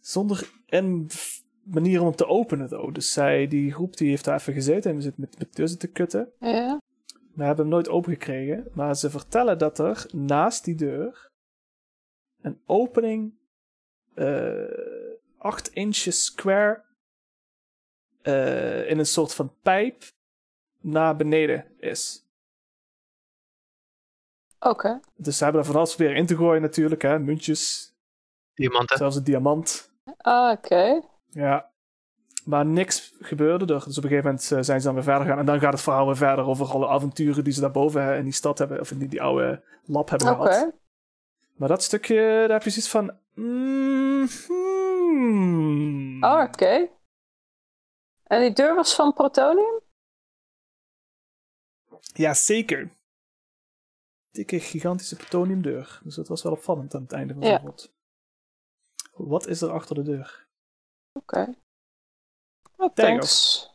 [SPEAKER 1] Zonder een f- manier om hem te openen, though. Dus zij, die groep die heeft daar even gezeten en we zitten met, met tussen te kutten.
[SPEAKER 5] Ja?
[SPEAKER 1] We hebben hem nooit opengekregen, maar ze vertellen dat er naast die deur een opening eh 8 inches square eh, in een soort van pijp naar beneden is.
[SPEAKER 5] Oké.
[SPEAKER 1] Dus ze hebben er van alles proberen in te gooien natuurlijk, hè, muntjes,
[SPEAKER 3] Diamanten.
[SPEAKER 1] zelfs een diamant.
[SPEAKER 5] Ah, Oké.
[SPEAKER 1] Ja. Maar niks gebeurde er. Dus op een gegeven moment eh, zijn ze dan weer verder gaan. En dan gaat het verhaal weer verder over alle avonturen die ze daarboven eh, in die stad hebben, of in die, die oude lab hebben
[SPEAKER 5] Oké.
[SPEAKER 1] gehad. Maar dat stukje, daar heb je zoiets van. mm, hmm.
[SPEAKER 5] Ah, Oké. En die deur was van protonium?
[SPEAKER 1] Ja, zeker. Dikke, gigantische plutoniumdeur. Dus dat was wel opvallend aan het einde van de
[SPEAKER 5] Ja.
[SPEAKER 1] rot. Wat is er achter de deur?
[SPEAKER 5] Oké. Oh,
[SPEAKER 1] There you
[SPEAKER 5] thanks.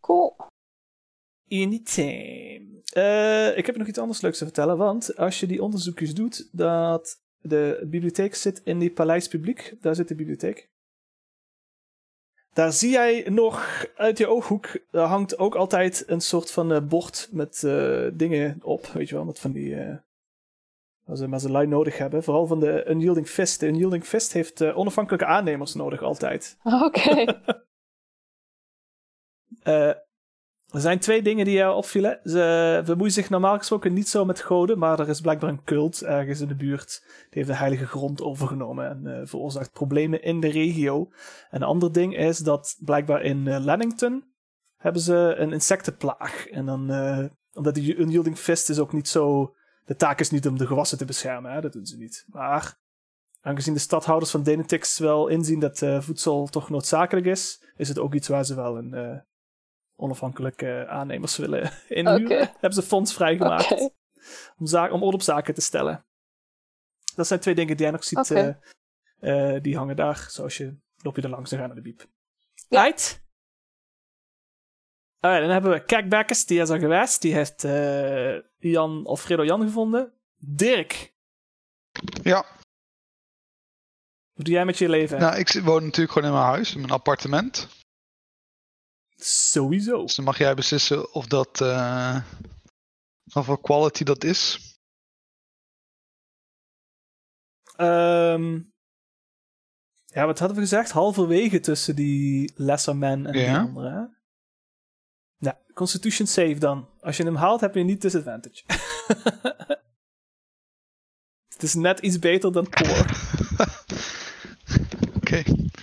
[SPEAKER 5] Cool.
[SPEAKER 1] Anytime. Eh ik heb nog iets anders leuks te vertellen, want als je die onderzoekjes doet, dat de bibliotheek zit in die Paleis Publiek. Daar zit de bibliotheek. Daar zie jij nog uit je ooghoek, daar hangt ook altijd een soort van eh, bord met eh, dingen op, weet je wel, met van die... eh als ze maar ze lui nodig hebben. Vooral van de Unyielding Fist. De Unyielding Fist heeft eh, onafhankelijke aannemers nodig altijd.
[SPEAKER 5] Oké.
[SPEAKER 1] Eh, er zijn twee dingen die jou opvielen. Ze bemoeien zich normaal gesproken niet zo met goden, maar er is blijkbaar een cult ergens in de buurt. Die heeft de heilige grond overgenomen en eh, veroorzaakt problemen in de regio. En een ander ding is dat blijkbaar in eh, Lennington hebben ze een insectenplaag. En dan, eh, omdat die unyielding fist is ook niet zo... De taak is niet om de gewassen te beschermen, hè? dat doen ze niet. Maar aangezien de stadhouders van Denetix wel inzien dat eh, voedsel toch noodzakelijk is, is het ook iets waar ze wel een... eh, onafhankelijke aannemers willen inhuren.
[SPEAKER 5] Oké.
[SPEAKER 1] Hebben ze fonds vrijgemaakt
[SPEAKER 5] Oké.
[SPEAKER 1] om, za- om orde op zaken te stellen. Dat zijn twee dingen die jij nog ziet.
[SPEAKER 5] Oké.
[SPEAKER 1] eh, eh, die hangen daar. Zoals je loop je er langs en ga naar de biep.
[SPEAKER 5] Ja.
[SPEAKER 1] Right? Alright, dan hebben we Kijkbekkers, die is er geweest. Die heeft eh, Jan, Alfredo Jan gevonden. Dirk,
[SPEAKER 2] Ja,
[SPEAKER 1] wat doe jij met je leven?
[SPEAKER 2] nou, ik zit- woon natuurlijk gewoon in mijn huis, in mijn appartement.
[SPEAKER 1] Sowieso.
[SPEAKER 2] Dus dan mag jij beslissen of dat. eh of wat quality dat is.
[SPEAKER 1] Ehm, ja, wat hadden we gezegd? Halverwege tussen die Lesser Man en die
[SPEAKER 2] Ja.
[SPEAKER 1] andere. hè? Ja, Constitution save dan. Als je hem haalt, heb je niet disadvantage. Het is net iets beter dan poor.
[SPEAKER 2] Oké.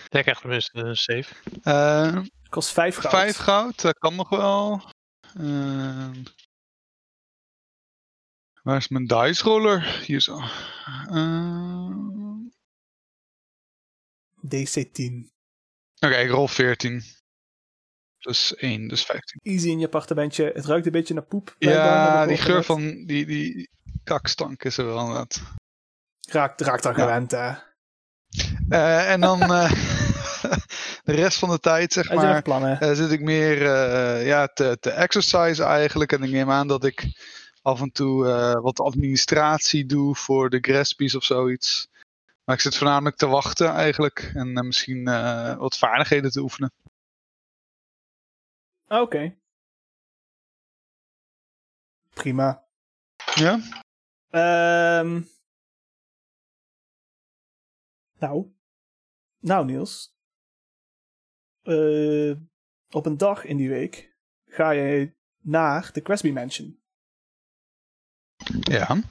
[SPEAKER 3] Lekker tenminste een safe.
[SPEAKER 2] Eh,
[SPEAKER 1] Kost 5 goud.
[SPEAKER 2] Vijf goud, dat kan nog wel. Ehm, waar is mijn dice roller? Hier zo. Ehm,
[SPEAKER 1] DC10.
[SPEAKER 2] Oké, ik rol 14. Plus 1, dus 15.
[SPEAKER 1] Easy in je appartementje. Het ruikt een beetje naar poep. blijkbaar, heb
[SPEAKER 2] Ja,
[SPEAKER 1] ik
[SPEAKER 2] die
[SPEAKER 1] al
[SPEAKER 2] geur
[SPEAKER 1] gehoord.
[SPEAKER 2] van die, die kakstank is er wel inderdaad.
[SPEAKER 1] Raakt raakt aan
[SPEAKER 2] Ja.
[SPEAKER 1] gewend, hè.
[SPEAKER 2] Eh, en dan eh, de rest van de tijd, zeg
[SPEAKER 1] Had je
[SPEAKER 2] maar.
[SPEAKER 1] nog plannen?
[SPEAKER 2] Eh, zit ik meer eh, ja, te, te exercise eigenlijk. En ik neem aan dat ik af en toe eh, wat administratie doe voor de Graspies of zoiets. Maar ik zit voornamelijk te wachten eigenlijk. En eh, misschien eh, wat vaardigheden te oefenen.
[SPEAKER 1] Ah, Oké. Prima.
[SPEAKER 2] Ja?
[SPEAKER 1] Ehm. Nou. Nou, Niels. Eh, op een dag in die week ga je naar de Cresby Mansion.
[SPEAKER 2] Ja.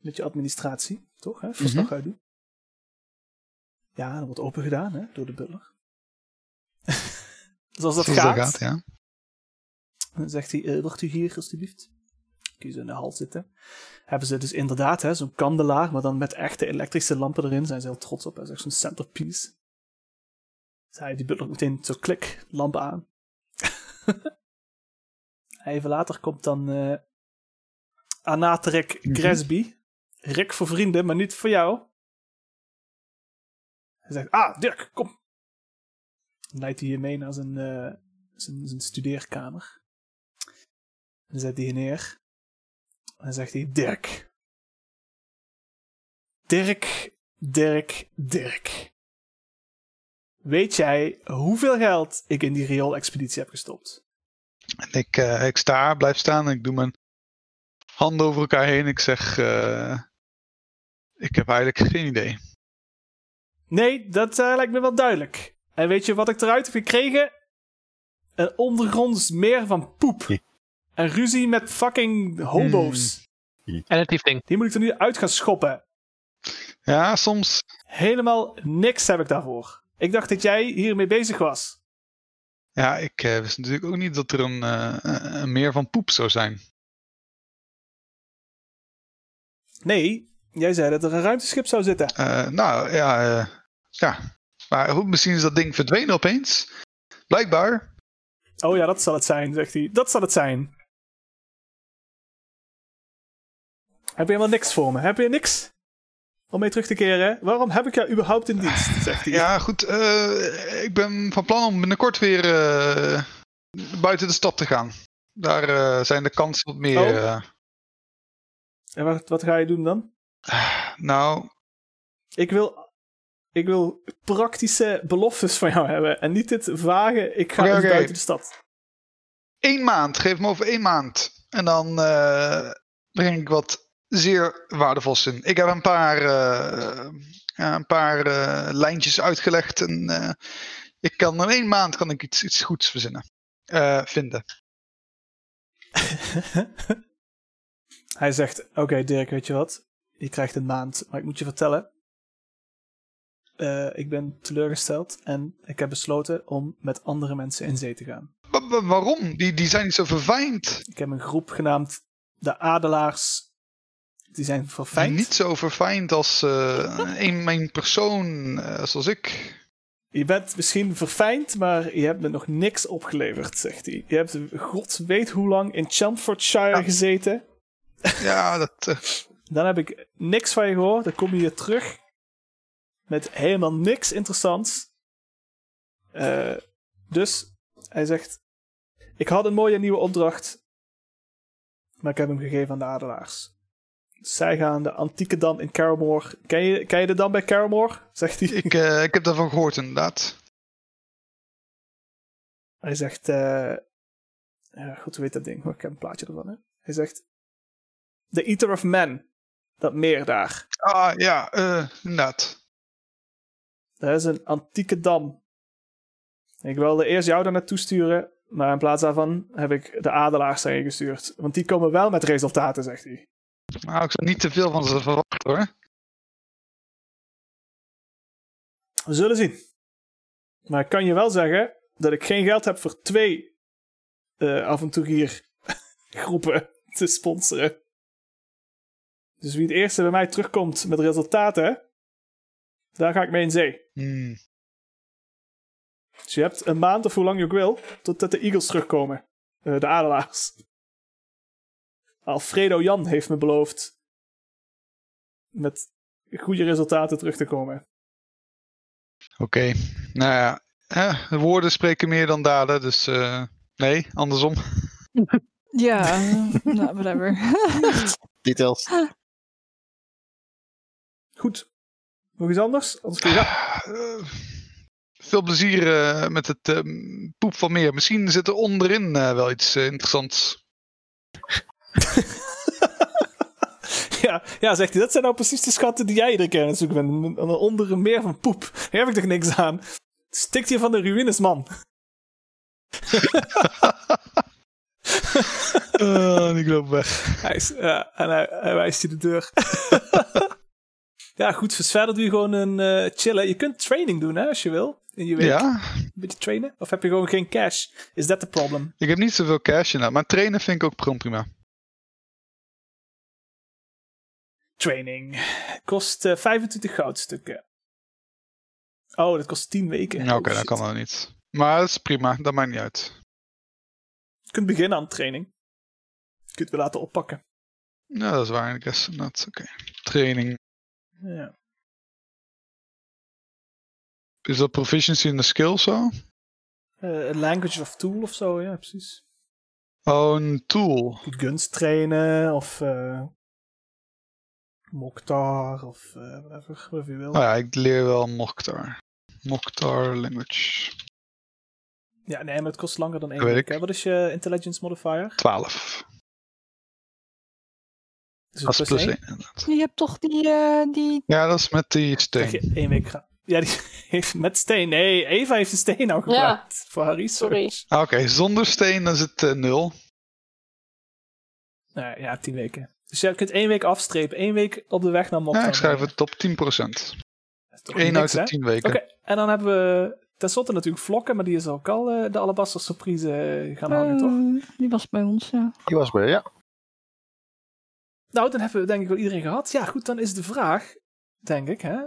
[SPEAKER 1] Met je administratie, toch? Hè? Verslag
[SPEAKER 2] Mhm.
[SPEAKER 1] uitdoen. Ja, dat wordt open gedaan hè, door de butler. Zoals dat
[SPEAKER 2] Zoals
[SPEAKER 1] gaat.
[SPEAKER 2] ja.
[SPEAKER 1] Dan zegt hij, eh, wordt u hier alstublieft? Kun je zo in de hal zitten. Hebben ze dus inderdaad hè, zo'n kandelaar, maar dan met echte elektrische lampen erin. Zijn ze heel trots op. Dat is echt zo'n centerpiece. Dus hij die butler meteen zo klik, lamp aan. Even later komt dan eh Anatrek
[SPEAKER 2] Mhm.
[SPEAKER 1] Gresby. Rick voor vrienden, maar niet voor jou. Hij zegt, ah, Dirk, kom. Dan leidt hij je mee naar zijn, eh, zijn, zijn studeerkamer. Dan zet hij je neer. En dan zegt hij: Dirk. Dirk, Dirk, Dirk. Weet jij hoeveel geld ik in die rioolexpeditie heb gestopt?
[SPEAKER 2] En ik, eh, ik sta, blijf staan en ik doe mijn handen over elkaar heen. Ik zeg, eh, ik heb eigenlijk geen idee.
[SPEAKER 1] Nee, dat eh, lijkt me wel duidelijk. En weet je wat ik eruit heb gekregen? Een ondergronds meer van poep. En ruzie met fucking hobo's.
[SPEAKER 3] En het ding.
[SPEAKER 1] Die moet ik er nu uit gaan schoppen.
[SPEAKER 2] Ja, soms
[SPEAKER 1] Helemaal niks heb ik daarvoor. Ik dacht dat jij hiermee bezig was.
[SPEAKER 2] Ja, ik eh, wist natuurlijk ook niet dat er een, eh, eh, een meer van poep zou zijn.
[SPEAKER 1] Nee, jij zei dat er een ruimteschip zou zitten.
[SPEAKER 2] Eh, nou, ja, eh, ja. Maar hoe, misschien is dat ding verdwenen opeens. Blijkbaar.
[SPEAKER 1] Oh ja, dat zal het zijn, zegt hij. Dat zal het zijn. Heb je helemaal niks voor me? Heb je niks om mee terug te keren? Waarom heb ik jou überhaupt in dienst? Zegt hij.
[SPEAKER 2] Ja, goed. eh, ik ben van plan om binnenkort weer eh, buiten de stad te gaan. Daar eh, zijn de kansen wat meer.
[SPEAKER 1] Oh.
[SPEAKER 2] eh,
[SPEAKER 1] En wat, wat ga je doen dan?
[SPEAKER 2] nou,
[SPEAKER 1] Ik wil, ik wil praktische beloftes van jou hebben. En niet dit vage, ik ga
[SPEAKER 2] Oké,
[SPEAKER 1] eens
[SPEAKER 2] oké.
[SPEAKER 1] buiten de stad.
[SPEAKER 2] één maand. Geef me over één maand. En dan eh, breng ik wat zeer waardevols in. Ik heb een paar, eh, ja, een paar eh, lijntjes uitgelegd. En eh, ik kan in één maand kan ik iets, iets goeds verzinnen. Eh, vinden.
[SPEAKER 1] Hij zegt: Oké, Dirk, weet je wat? Je krijgt een maand, maar ik moet je vertellen. eh, ik ben teleurgesteld en ik heb besloten om met andere mensen in zee te gaan.
[SPEAKER 2] Wa- wa- waarom? Die, die zijn niet zo verfijnd.
[SPEAKER 1] Ik heb een groep genaamd de Adelaars. Die zijn verfijnd.
[SPEAKER 2] Niet zo verfijnd als eh een, mijn persoon eh, zoals ik.
[SPEAKER 1] Je bent misschien verfijnd, maar je hebt me nog niks opgeleverd, zegt hij. Je hebt god weet hoe lang in Chelmsfordshire
[SPEAKER 2] Ja.
[SPEAKER 1] gezeten.
[SPEAKER 2] Ja, dat, eh,
[SPEAKER 1] Dan heb ik niks van je gehoord. Dan kom je hier terug met helemaal niks interessants. Eh, dus hij zegt: Ik had een mooie nieuwe opdracht, maar ik heb hem gegeven aan de adelaars. Zij gaan de antieke dam in Caramore. Ken je, ken je de dam bij Caramore? Zegt hij.
[SPEAKER 2] ik, eh, ik heb daarvan gehoord inderdaad.
[SPEAKER 1] Hij zegt. eh, ja, goed, hoe heet dat ding? Oh, Ik heb een plaatje ervan. Hè? Hij zegt. The Eater of Men. Dat meer daar.
[SPEAKER 2] Ah ja, eh, inderdaad.
[SPEAKER 1] Dat is een antieke dam. Ik wilde eerst jou daar naartoe sturen, Maar in plaats daarvan heb ik de adelaars daarheen gestuurd. Want die komen wel met resultaten, zegt hij.
[SPEAKER 2] Nou, ik zou niet te veel van ze verwachten hoor.
[SPEAKER 1] We zullen zien. Maar ik kan je wel zeggen dat ik geen geld heb voor twee eh avonturiergroepen te sponsoren. Dus wie het eerste bij mij terugkomt met resultaten, daar ga ik mee in zee.
[SPEAKER 2] Hmm.
[SPEAKER 1] Dus je hebt een maand of hoe lang je ook wil, totdat de Eagles terugkomen. Eh, de Adelaars. Alfredo Jan heeft me beloofd met goede resultaten terug te komen.
[SPEAKER 2] Oké. Nou ja, eh, de woorden spreken meer dan daden, dus eh, nee, andersom.
[SPEAKER 7] Ja, eh, nou, whatever.
[SPEAKER 6] Details.
[SPEAKER 1] Goed. Nog iets anders? Anders kun je gaan.
[SPEAKER 2] Eh, veel plezier eh, met het eh, poep van meer. Misschien zit er onderin eh, wel iets eh, interessants.
[SPEAKER 1] Ja, ja, zegt hij. Dat zijn nou precies de schatten die jij iedere keer aan het zoeken bent. Een- een- Onder een meer van poep. Daar heb ik toch niks aan? Stikt je van de ruïnes, man.
[SPEAKER 2] Eh, ik loop weg.
[SPEAKER 1] Hij is, ja, en hij, hij wijst je de deur. ja, goed. Dus verder doe je gewoon een eh, chillen. Je kunt training doen, hè, als je wil. In je week.
[SPEAKER 2] Ja,
[SPEAKER 1] Een beetje trainen. Of heb je gewoon geen cash? Is dat de problem?
[SPEAKER 2] ik heb niet zoveel cash in, maar trainen vind ik ook gewoon prima.
[SPEAKER 1] Training. Kost eh, 25 goudstukken. Oh, dat kost 10 weken.
[SPEAKER 2] Ja, Oké,
[SPEAKER 1] Oh,
[SPEAKER 2] dat
[SPEAKER 1] shit.
[SPEAKER 2] kan dat niet. Maar dat is prima, dat maakt niet uit.
[SPEAKER 1] Je kunt beginnen aan training. Je kunt het weer laten oppakken.
[SPEAKER 2] Ja, dat is waar, ik guess. Oké. Training.
[SPEAKER 1] Ja.
[SPEAKER 2] Is dat proficiency in de skill zo?
[SPEAKER 1] Eh, language of tool of zo, ja, precies.
[SPEAKER 2] Oh, een tool.
[SPEAKER 1] Je kunt guns trainen of eh Mokhtar of eh whatever, whatever je wil.
[SPEAKER 2] Nou ja, ik leer wel Mokhtar. Mokhtar language.
[SPEAKER 1] Ja, nee, maar het kost langer dan één
[SPEAKER 2] Weet
[SPEAKER 1] week.
[SPEAKER 2] ik.
[SPEAKER 1] hè. Wat is je intelligence modifier?
[SPEAKER 2] 12.
[SPEAKER 1] Is
[SPEAKER 2] Dat
[SPEAKER 1] het
[SPEAKER 2] is
[SPEAKER 1] plus
[SPEAKER 2] plus
[SPEAKER 1] één?
[SPEAKER 2] 1 inderdaad.
[SPEAKER 7] Je hebt toch die, eh, die...
[SPEAKER 2] Ja, dat is met die
[SPEAKER 1] Krijg
[SPEAKER 2] steen.
[SPEAKER 1] je één week gra- Ja, die heeft met steen. Nee, Eva heeft de steen nou
[SPEAKER 5] Ja.
[SPEAKER 1] gebruikt voor haar research.
[SPEAKER 5] Sorry.
[SPEAKER 2] Ah, Oké, zonder steen dan is het eh, 0.
[SPEAKER 1] Nou ja, tien weken. Dus je kunt één week afstrepen. één week op de weg naar Mokhtar.
[SPEAKER 2] Ja, ik schrijf
[SPEAKER 1] brengen.
[SPEAKER 2] het op 10%.
[SPEAKER 1] Dat is toch
[SPEAKER 2] 1
[SPEAKER 1] eh? niks,
[SPEAKER 2] uit de
[SPEAKER 1] hè?
[SPEAKER 2] 10 weken.
[SPEAKER 1] Oké, en dan hebben we tenslotte natuurlijk Vlokken, maar die is ook al eh, de Alabaster Surprise eh, gaan
[SPEAKER 5] Ehm.
[SPEAKER 1] hangen, toch?
[SPEAKER 7] eh, die was bij ons, ja.
[SPEAKER 6] Die was bij, ja.
[SPEAKER 1] Nou, dan hebben we denk ik wel iedereen gehad. Ja, goed, dan is de vraag, denk ik, hè.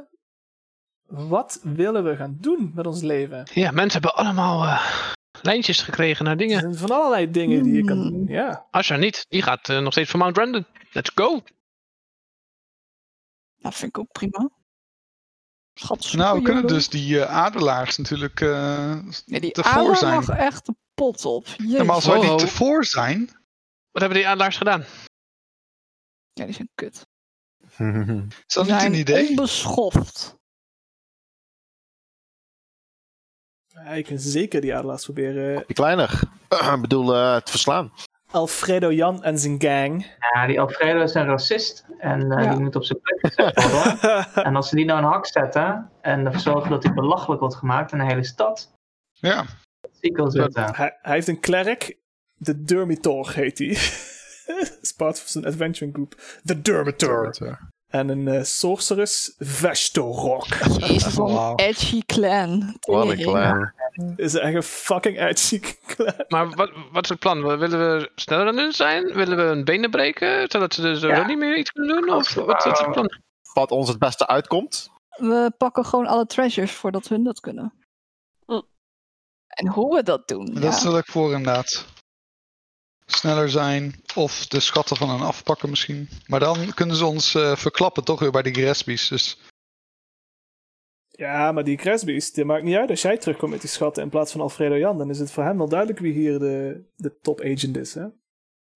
[SPEAKER 1] Wat willen we gaan doen met ons leven?
[SPEAKER 3] Ja, mensen hebben allemaal eh, lijntjes gekregen naar
[SPEAKER 1] Er
[SPEAKER 3] dingen.
[SPEAKER 1] zijn van allerlei dingen die je kan doen,
[SPEAKER 7] Hmm.
[SPEAKER 1] ja.
[SPEAKER 3] Asha niet, die gaat eh, nog steeds voor Mount Random. Let's go!
[SPEAKER 7] Dat Nou, vind ik ook prima. Schat,
[SPEAKER 2] Nou, we
[SPEAKER 7] super
[SPEAKER 2] kunnen
[SPEAKER 7] YOLO.
[SPEAKER 2] dus die eh, adelaars natuurlijk eh,
[SPEAKER 7] Ja, die
[SPEAKER 2] tevoor
[SPEAKER 7] adelaar
[SPEAKER 2] zijn.
[SPEAKER 7] lag echt de pot op.
[SPEAKER 2] Ja,
[SPEAKER 7] Jezus.
[SPEAKER 2] maar als wij
[SPEAKER 3] Ho,
[SPEAKER 2] niet
[SPEAKER 3] ho.
[SPEAKER 2] tevoor zijn,
[SPEAKER 3] Wat hebben die adelaars gedaan?
[SPEAKER 7] Ja, die zijn kut.
[SPEAKER 2] is dat
[SPEAKER 7] Die
[SPEAKER 2] niet
[SPEAKER 7] zijn
[SPEAKER 2] een idee?
[SPEAKER 7] onbeschoft.
[SPEAKER 1] Ja, je kunt zeker die adelaars proberen.
[SPEAKER 6] Die kleiner. Ik bedoel, eh, het verslaan.
[SPEAKER 1] Alfredo Jan en zijn gang.
[SPEAKER 4] Ja, die Alfredo is een racist en eh,
[SPEAKER 7] Ja.
[SPEAKER 4] die moet op zijn plek gezet worden. en als ze die nou in een hak zetten en ervoor zorgen dat hij belachelijk wordt gemaakt in de hele stad,
[SPEAKER 2] Ja,
[SPEAKER 4] zie ik wel zitten.
[SPEAKER 1] hij, hij heeft een klerk. De Dermitor heet hij. Dat is part van zijn adventuring group. De Dermitor. En een eh, sorceress, Vestorok.
[SPEAKER 7] Jezus, wat
[SPEAKER 2] Wauw.
[SPEAKER 7] een edgy clan.
[SPEAKER 6] Wat een
[SPEAKER 7] Tering.
[SPEAKER 6] klein.
[SPEAKER 1] Is echt een fucking uitziek klerk.
[SPEAKER 3] Maar wat, wat is het plan? Willen we sneller aan hun zijn? Willen we hun benen breken? Zodat ze dus
[SPEAKER 4] Ja.
[SPEAKER 3] ook niet meer iets kunnen doen? Of
[SPEAKER 4] Als-
[SPEAKER 3] wat, wat is het plan?
[SPEAKER 6] Wat ons het beste uitkomt.
[SPEAKER 7] We pakken gewoon alle treasures voordat hun dat kunnen. Hm.
[SPEAKER 5] Mm.
[SPEAKER 7] En hoe we dat doen.
[SPEAKER 2] dat
[SPEAKER 7] ja.
[SPEAKER 2] stel ik voor inderdaad. Sneller zijn of de schatten van hen afpakken misschien. Maar dan kunnen ze ons eh, verklappen toch weer bij die Gresby's. Dus
[SPEAKER 1] Ja, maar die Cresby's, dit maakt niet uit. Als jij terugkomt met die schatten in plaats van Alfredo Jan, dan is het voor hem wel duidelijk wie hier de, de top agent is. Hè?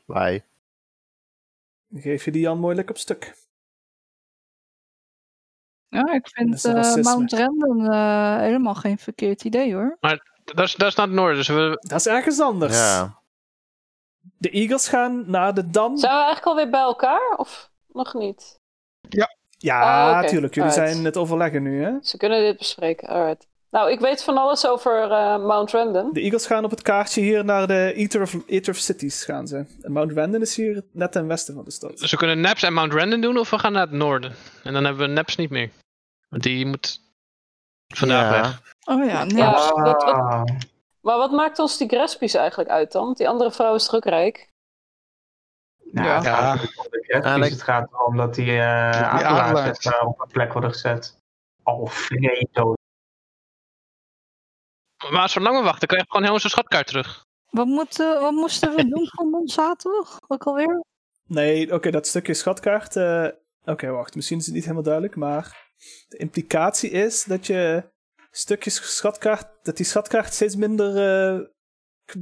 [SPEAKER 6] Wij.
[SPEAKER 1] Dan geef je die Jan mooi lekker op stuk.
[SPEAKER 7] Ja,
[SPEAKER 1] Dat
[SPEAKER 7] ik
[SPEAKER 1] is
[SPEAKER 7] vind
[SPEAKER 1] een
[SPEAKER 7] eh,
[SPEAKER 1] racisme.
[SPEAKER 7] Mount Random eh, helemaal geen verkeerd idee hoor.
[SPEAKER 3] Dat is- dat is naar het noorden. Dus we,
[SPEAKER 1] Dat is ergens anders.
[SPEAKER 6] Ja.
[SPEAKER 1] De Eagles gaan naar de dam.
[SPEAKER 5] Zijn we eigenlijk alweer bij elkaar? Of nog niet?
[SPEAKER 1] Ja,
[SPEAKER 5] Ah, oké.
[SPEAKER 1] tuurlijk. Jullie
[SPEAKER 5] Alright.
[SPEAKER 1] zijn het overleggen nu, hè?
[SPEAKER 5] Ze kunnen dit bespreken. Alright. Nou, ik weet van alles over eh, Mount Random.
[SPEAKER 1] De Eagles gaan op het kaartje hier naar de Eater of, Eater of Cities gaan ze. En Mount Wenden is hier net ten westen van de stad.
[SPEAKER 3] Dus we kunnen Naps en Mount Random doen of we gaan naar het noorden. En dan hebben we Naps niet meer. Want die moet vandaag
[SPEAKER 6] Ja.
[SPEAKER 3] weg.
[SPEAKER 7] Oh ja, nee.
[SPEAKER 5] Ja. dat- dat-
[SPEAKER 4] Ah,
[SPEAKER 5] Maar wat maakt ons die Grespies eigenlijk uit dan? Want Die andere vrouw is toch ook rijk?
[SPEAKER 4] nou,
[SPEAKER 7] Ja.
[SPEAKER 4] het gaat
[SPEAKER 2] Ja.
[SPEAKER 4] natuurlijk om de Redfish.
[SPEAKER 6] Alex-
[SPEAKER 4] Dus Het gaat erom dat die eh
[SPEAKER 2] adelaars.
[SPEAKER 4] adelaars eh, op een plek worden gezet. Alfredo.
[SPEAKER 3] Maar zolang we wachten, krijgen we gewoon heel onze schatkaart terug.
[SPEAKER 7] Wat, moet, eh, wat moesten we doen voor Monsanto? Ook alweer?
[SPEAKER 1] Nee, oké, dat stukje schatkaart. eh, oké, wacht. Misschien is het niet helemaal duidelijk, maar de implicatie is dat je stukjes schatkaart, dat die schatkaart steeds minder eh,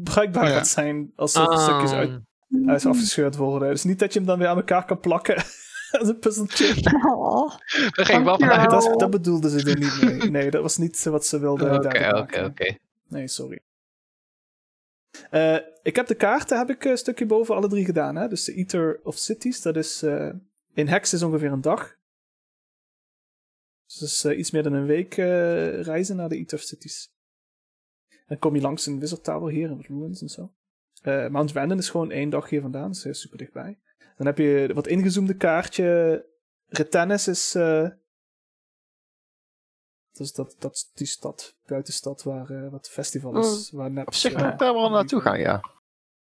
[SPEAKER 1] bruikbaar
[SPEAKER 2] Oh ja. Ah.
[SPEAKER 1] gaat zijn als er stukjes
[SPEAKER 3] Ah.
[SPEAKER 1] uit uit afgescheurd worden. Dus niet dat je hem dan weer aan elkaar kan plakken. Als een puzzeltje.
[SPEAKER 7] Oh.
[SPEAKER 3] Daar ging ik wel vanuit.
[SPEAKER 1] Dat, is- dat bedoelde ze er niet mee. Nee, dat was niet wat ze wilde
[SPEAKER 3] Oh. Oké,
[SPEAKER 1] duidelijk
[SPEAKER 3] oké,
[SPEAKER 1] maken.
[SPEAKER 3] oké.
[SPEAKER 1] Nee, sorry. Eh, ik heb de kaarten, heb ik een stukje boven alle drie gedaan. Hè? Dus de Eater of Cities, dat is eh, in Hex is ongeveer een dag. Dus dat is eh, iets meer dan een week eh, reizen naar de Eater of Cities. Dan kom je langs een Wizard Tower hier in Ruins en zo. Eh, Mount Vanden is gewoon één dag hier vandaan, dus eh, super dichtbij. Dan heb je wat ingezoomde kaartje. Retennis is. eh, dus dat, dat is die stad, buitenstad, waar eh, wat festival is. Waar net,
[SPEAKER 6] Op zich
[SPEAKER 1] eh,
[SPEAKER 6] moet ik daar wel naartoe gaan, ja.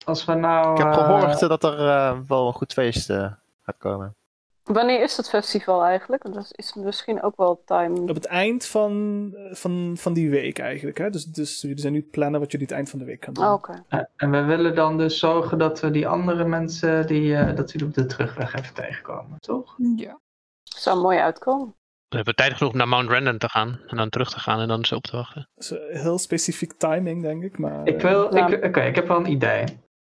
[SPEAKER 4] Als we nou...
[SPEAKER 6] Ik heb
[SPEAKER 1] Ah.
[SPEAKER 4] eh,
[SPEAKER 6] gehoord eh, dat er eh, wel een goed feest eh, gaat komen.
[SPEAKER 5] Wanneer is dat festival eigenlijk? Want dat is misschien ook wel time.
[SPEAKER 1] Op het eind van, eh, van, van die week eigenlijk. Hè? Dus, dus jullie zijn nu plannen wat jullie het eind van de week gaan doen.
[SPEAKER 5] Oh, Oké.
[SPEAKER 4] eh, en we willen dan dus zorgen dat we die andere mensen, die, eh, dat we die op de terugweg even tegenkomen, toch?
[SPEAKER 7] Ja.
[SPEAKER 5] Zou mooi uitkomen.
[SPEAKER 3] We hebben tijd genoeg om naar Mount Random te gaan. En dan terug te gaan en dan ze op te wachten.
[SPEAKER 1] Dus, eh, heel specifiek timing, denk ik. Maar,
[SPEAKER 4] Ik wil,
[SPEAKER 5] Ja.
[SPEAKER 4] ik, oké, ik heb wel een idee.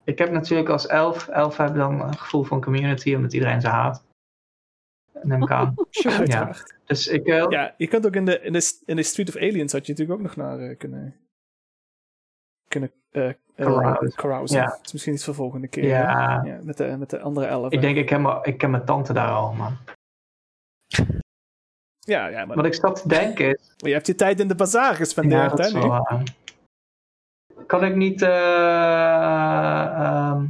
[SPEAKER 4] Ik heb natuurlijk als elf, elf hebben dan een gevoel van community, omdat iedereen ze haat. Neem ik aan.
[SPEAKER 1] eh, uiteraard.
[SPEAKER 4] Dus ik wil,
[SPEAKER 1] Ja. je kunt ook in de, in, de, in de Street of Aliens had je natuurlijk ook nog naar eh, kunnen. kunnen eh, eh,
[SPEAKER 4] Carousen.
[SPEAKER 1] carousen.
[SPEAKER 4] Ja.
[SPEAKER 1] Dat is misschien iets voor volgende keer. hè?
[SPEAKER 4] ja,
[SPEAKER 1] Ja, met, de, met de andere elf.
[SPEAKER 4] ik denk ik ken, mijn- ik ken mijn tante daar al, man.
[SPEAKER 1] Ja, ja maar,
[SPEAKER 4] Wat ik zat te denken is,
[SPEAKER 1] maar je hebt je tijd in de bazaar
[SPEAKER 4] ja,
[SPEAKER 1] gespendeerd,
[SPEAKER 4] dat
[SPEAKER 1] hè?
[SPEAKER 4] is wel
[SPEAKER 1] nu?
[SPEAKER 4] waar. kan ik niet eh ehm,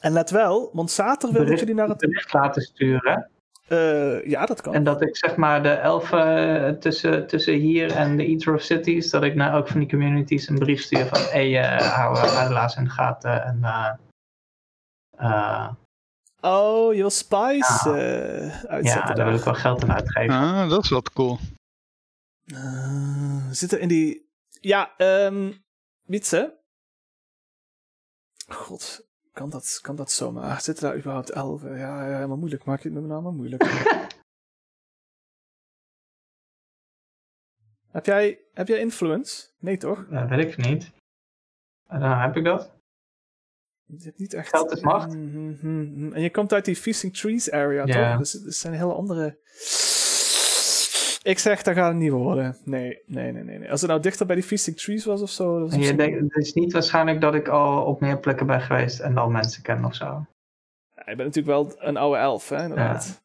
[SPEAKER 1] En let wel, Monsater wil dat
[SPEAKER 4] bericht,
[SPEAKER 1] jullie naar het.
[SPEAKER 4] bericht laten sturen?
[SPEAKER 1] eh, ja, dat kan.
[SPEAKER 4] En dat ik zeg maar de elfen eh, tussen, tussen hier en de Eater of Cities, dat ik naar elk van die communities een brief stuur van hé, hey, eh, hou eh, Adelaars in de gaten. En, eh, eh,
[SPEAKER 1] Oh, je wil Spice
[SPEAKER 4] Ja.
[SPEAKER 1] eh, uitzetten.
[SPEAKER 4] ja, daar
[SPEAKER 1] daar.
[SPEAKER 4] wil ik wel geld aan uitgeven.
[SPEAKER 2] Ah, dat is wat cool.
[SPEAKER 1] Eh, zit er in die. Ja, ehm. Wietse. God, kan dat, kan dat zomaar? Zitten daar überhaupt elfen? Ja, ja, helemaal moeilijk. Maak je het met mijn naam maar moeilijk. heb, jij, heb jij influence? Nee, toch?
[SPEAKER 4] Dat Eh, weet ik niet. En dan heb ik dat.
[SPEAKER 1] Je hebt niet echt.
[SPEAKER 4] Geld is macht.
[SPEAKER 1] Mhm, mhm, mhm. En je komt uit die Feasting Trees area,
[SPEAKER 4] Ja.
[SPEAKER 1] toch? Dus het zijn hele andere. Ik zeg, dat gaat het niet worden. Nee, nee, nee, nee. nee. Als het nou dichter bij die Feasting Trees was of zo. Dat was
[SPEAKER 4] En je
[SPEAKER 1] misschien-
[SPEAKER 4] denkt, het is niet waarschijnlijk dat ik al op meer plekken ben geweest en dan mensen ken of zo.
[SPEAKER 1] Ja, je bent natuurlijk wel een oude elf, hè? Inderdaad.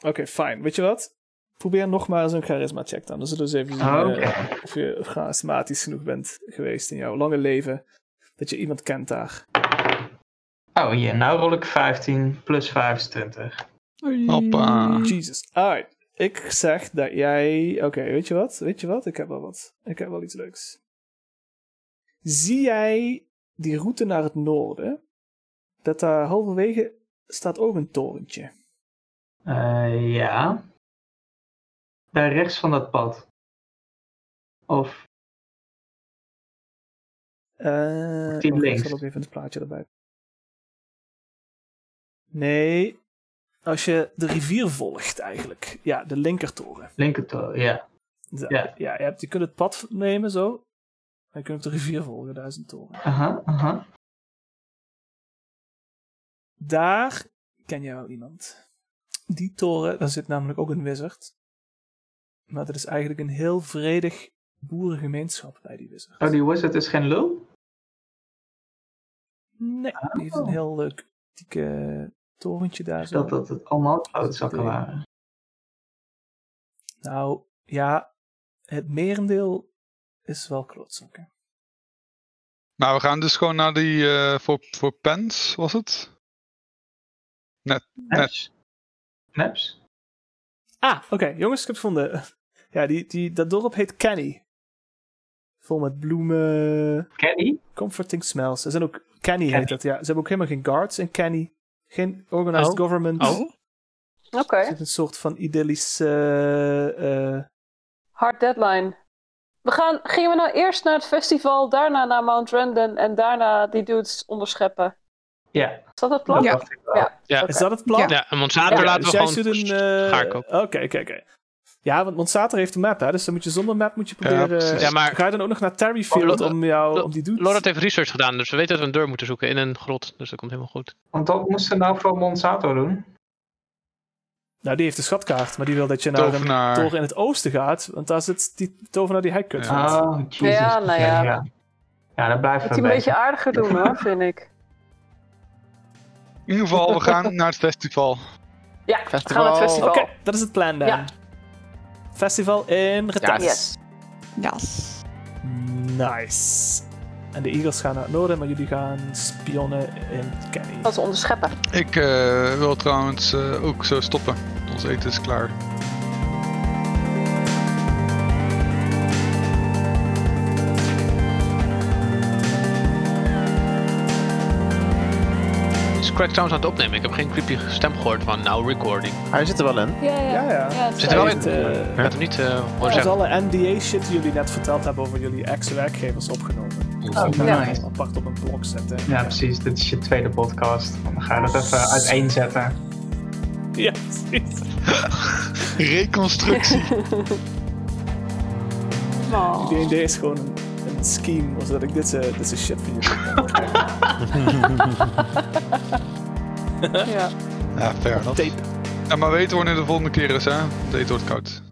[SPEAKER 1] Oké, fijn. Weet je wat? Probeer nog maar eens een charisma check dan. Dan zullen we eens even zien
[SPEAKER 4] Ah, Oké.
[SPEAKER 1] eh, of je charismatisch genoeg bent geweest in jouw lange leven. Dat je iemand kent daar.
[SPEAKER 4] Oh hier, nou rol ik 15 plus 5 is 20. Mm.
[SPEAKER 2] Hoppa.
[SPEAKER 1] Jesus. Alright. Ik zeg dat jij. Oké, weet je wat? Weet je wat? Ik heb wel wat. Ik heb wel iets leuks. Zie jij die route naar het noorden? Dat daar halverwege staat ook een torentje.
[SPEAKER 4] Eh, ja. Daar rechts van dat pad. Of
[SPEAKER 1] Eh,
[SPEAKER 4] die
[SPEAKER 1] wacht,
[SPEAKER 4] links?
[SPEAKER 1] Ik zal ook even het plaatje erbij. Nee. Als je de rivier volgt, eigenlijk. Ja, de linkertoren.
[SPEAKER 4] Linkertoren, ja.
[SPEAKER 1] Da-
[SPEAKER 4] Ja.
[SPEAKER 1] ja je, hebt, je kunt het pad nemen zo. Maar je kunt ook de rivier volgen, daar is een toren.
[SPEAKER 4] Aha, aha.
[SPEAKER 1] Daar ken jij wel iemand. Die toren, daar zit namelijk ook een wizard. Maar dat is eigenlijk een heel vredig boerengemeenschap bij die wizard.
[SPEAKER 4] Oh, die wizard is geen lul?
[SPEAKER 1] Nee, die heeft een
[SPEAKER 4] Oh.
[SPEAKER 1] heel leuk dikke torentje daar zo.
[SPEAKER 4] Dat, dat het allemaal klootzakken
[SPEAKER 1] Idee.
[SPEAKER 4] waren.
[SPEAKER 1] Nou, ja. het merendeel is wel klootzakken.
[SPEAKER 2] Maar we gaan dus gewoon naar die eh, voor, voor pens, was het?
[SPEAKER 4] Naps? Naps?
[SPEAKER 1] Ah, oké, jongens, ik heb het gevonden. Ja, die, die, dat dorp heet Canny. Vol met bloemen,
[SPEAKER 4] Kenny?
[SPEAKER 1] comforting smells. Er zijn ook, Canny
[SPEAKER 4] Canny.
[SPEAKER 1] heet dat, ja. Ze hebben ook helemaal geen guards in Canny. Geen organized
[SPEAKER 3] Oh.
[SPEAKER 1] government.
[SPEAKER 3] Oh,
[SPEAKER 5] Oké.
[SPEAKER 1] Het is een soort van idyllisch... eh, eh,
[SPEAKER 5] Hard deadline. We gaan, gingen we nou eerst naar het festival, daarna naar Mount Randon en daarna die dudes onderscheppen?
[SPEAKER 4] Ja.
[SPEAKER 5] Is dat het plan?
[SPEAKER 4] dat
[SPEAKER 7] Ja.
[SPEAKER 4] dacht ik wel.
[SPEAKER 5] Ja.
[SPEAKER 1] is dat het plan?
[SPEAKER 3] ja, en Monsanto
[SPEAKER 1] Ja,
[SPEAKER 3] laten
[SPEAKER 1] dus
[SPEAKER 3] we
[SPEAKER 1] jij
[SPEAKER 3] gewoon...
[SPEAKER 1] stuurt een, eh,
[SPEAKER 3] ga ik ook.
[SPEAKER 1] Oké, oké, oké. Ja, want Monsanto heeft een map, hè, dus dan moet je zonder map moet je proberen... eh,
[SPEAKER 2] precies.
[SPEAKER 3] Ja, maar-
[SPEAKER 1] Ga je dan ook nog naar Terryfield
[SPEAKER 3] Oh, Lo-
[SPEAKER 1] om, jou,
[SPEAKER 3] Lo-
[SPEAKER 1] om die dudes...
[SPEAKER 3] Lorat heeft research gedaan, dus we weten dat we een deur moeten zoeken in een grot. Dus dat komt helemaal goed.
[SPEAKER 4] Want dat moesten ze nou voor Monsanto doen.
[SPEAKER 1] Nou, die heeft een schatkaart, maar die wil dat je naar een
[SPEAKER 2] Tovenaar.
[SPEAKER 1] toren in het oosten gaat, want daar zit die tovenaar die hij kut
[SPEAKER 2] Ja.
[SPEAKER 3] Ah.
[SPEAKER 1] vindt.
[SPEAKER 4] Oh, Jesus.
[SPEAKER 5] Ja, nou ja.
[SPEAKER 4] Ja, ja dat blijft
[SPEAKER 5] Moet
[SPEAKER 4] wel
[SPEAKER 5] hij een beetje aardiger doen hoor, vind ik.
[SPEAKER 2] In ieder geval, we gaan naar het festival.
[SPEAKER 5] Ja, we gaan naar het festival.
[SPEAKER 6] Festival.
[SPEAKER 1] Oké, dat is het plan dan.
[SPEAKER 5] Ja.
[SPEAKER 1] Festival in Retas.
[SPEAKER 5] Yes.
[SPEAKER 7] Yes.
[SPEAKER 1] Nice. En de Eagles gaan naar het noorden, maar jullie gaan spionnen in Kenny.
[SPEAKER 5] Dat is onderscheppen.
[SPEAKER 2] Ik eh, wil trouwens eh, ook zo stoppen. Ons eten is klaar.
[SPEAKER 3] Is Craig trouwens aan het opnemen? Ik heb geen creepy stem gehoord van now recording. Ik
[SPEAKER 6] Hij zit er wel in.
[SPEAKER 5] Ja, ja.
[SPEAKER 1] Ja, ja.
[SPEAKER 5] is
[SPEAKER 3] Zit er wel
[SPEAKER 5] leuk.
[SPEAKER 3] in?
[SPEAKER 1] eh,
[SPEAKER 3] had hem niet eh, horen
[SPEAKER 1] Dat is
[SPEAKER 3] zeggen.
[SPEAKER 1] alle NDA-shit die jullie net verteld hebben over jullie ex-werkgevers
[SPEAKER 3] Oh,
[SPEAKER 1] opgenomen. Dus dat
[SPEAKER 4] ja.
[SPEAKER 1] gaan we apart op een blok zetten.
[SPEAKER 4] Ja, precies. Dit is je tweede podcast. Dan ga je dat even uiteenzetten.
[SPEAKER 1] Ja, precies.
[SPEAKER 2] Reconstructie.
[SPEAKER 7] Oh.
[SPEAKER 1] Die idee is gewoon een, een scheme, zodat ik dit, eh, dit soort shit van jullie kan krijgen.
[SPEAKER 5] Ja.
[SPEAKER 2] ja, fair enough.
[SPEAKER 1] Tape.
[SPEAKER 5] eh,
[SPEAKER 2] Ja, maar weten wanneer de volgende keer is, hè? Het eten wordt koud.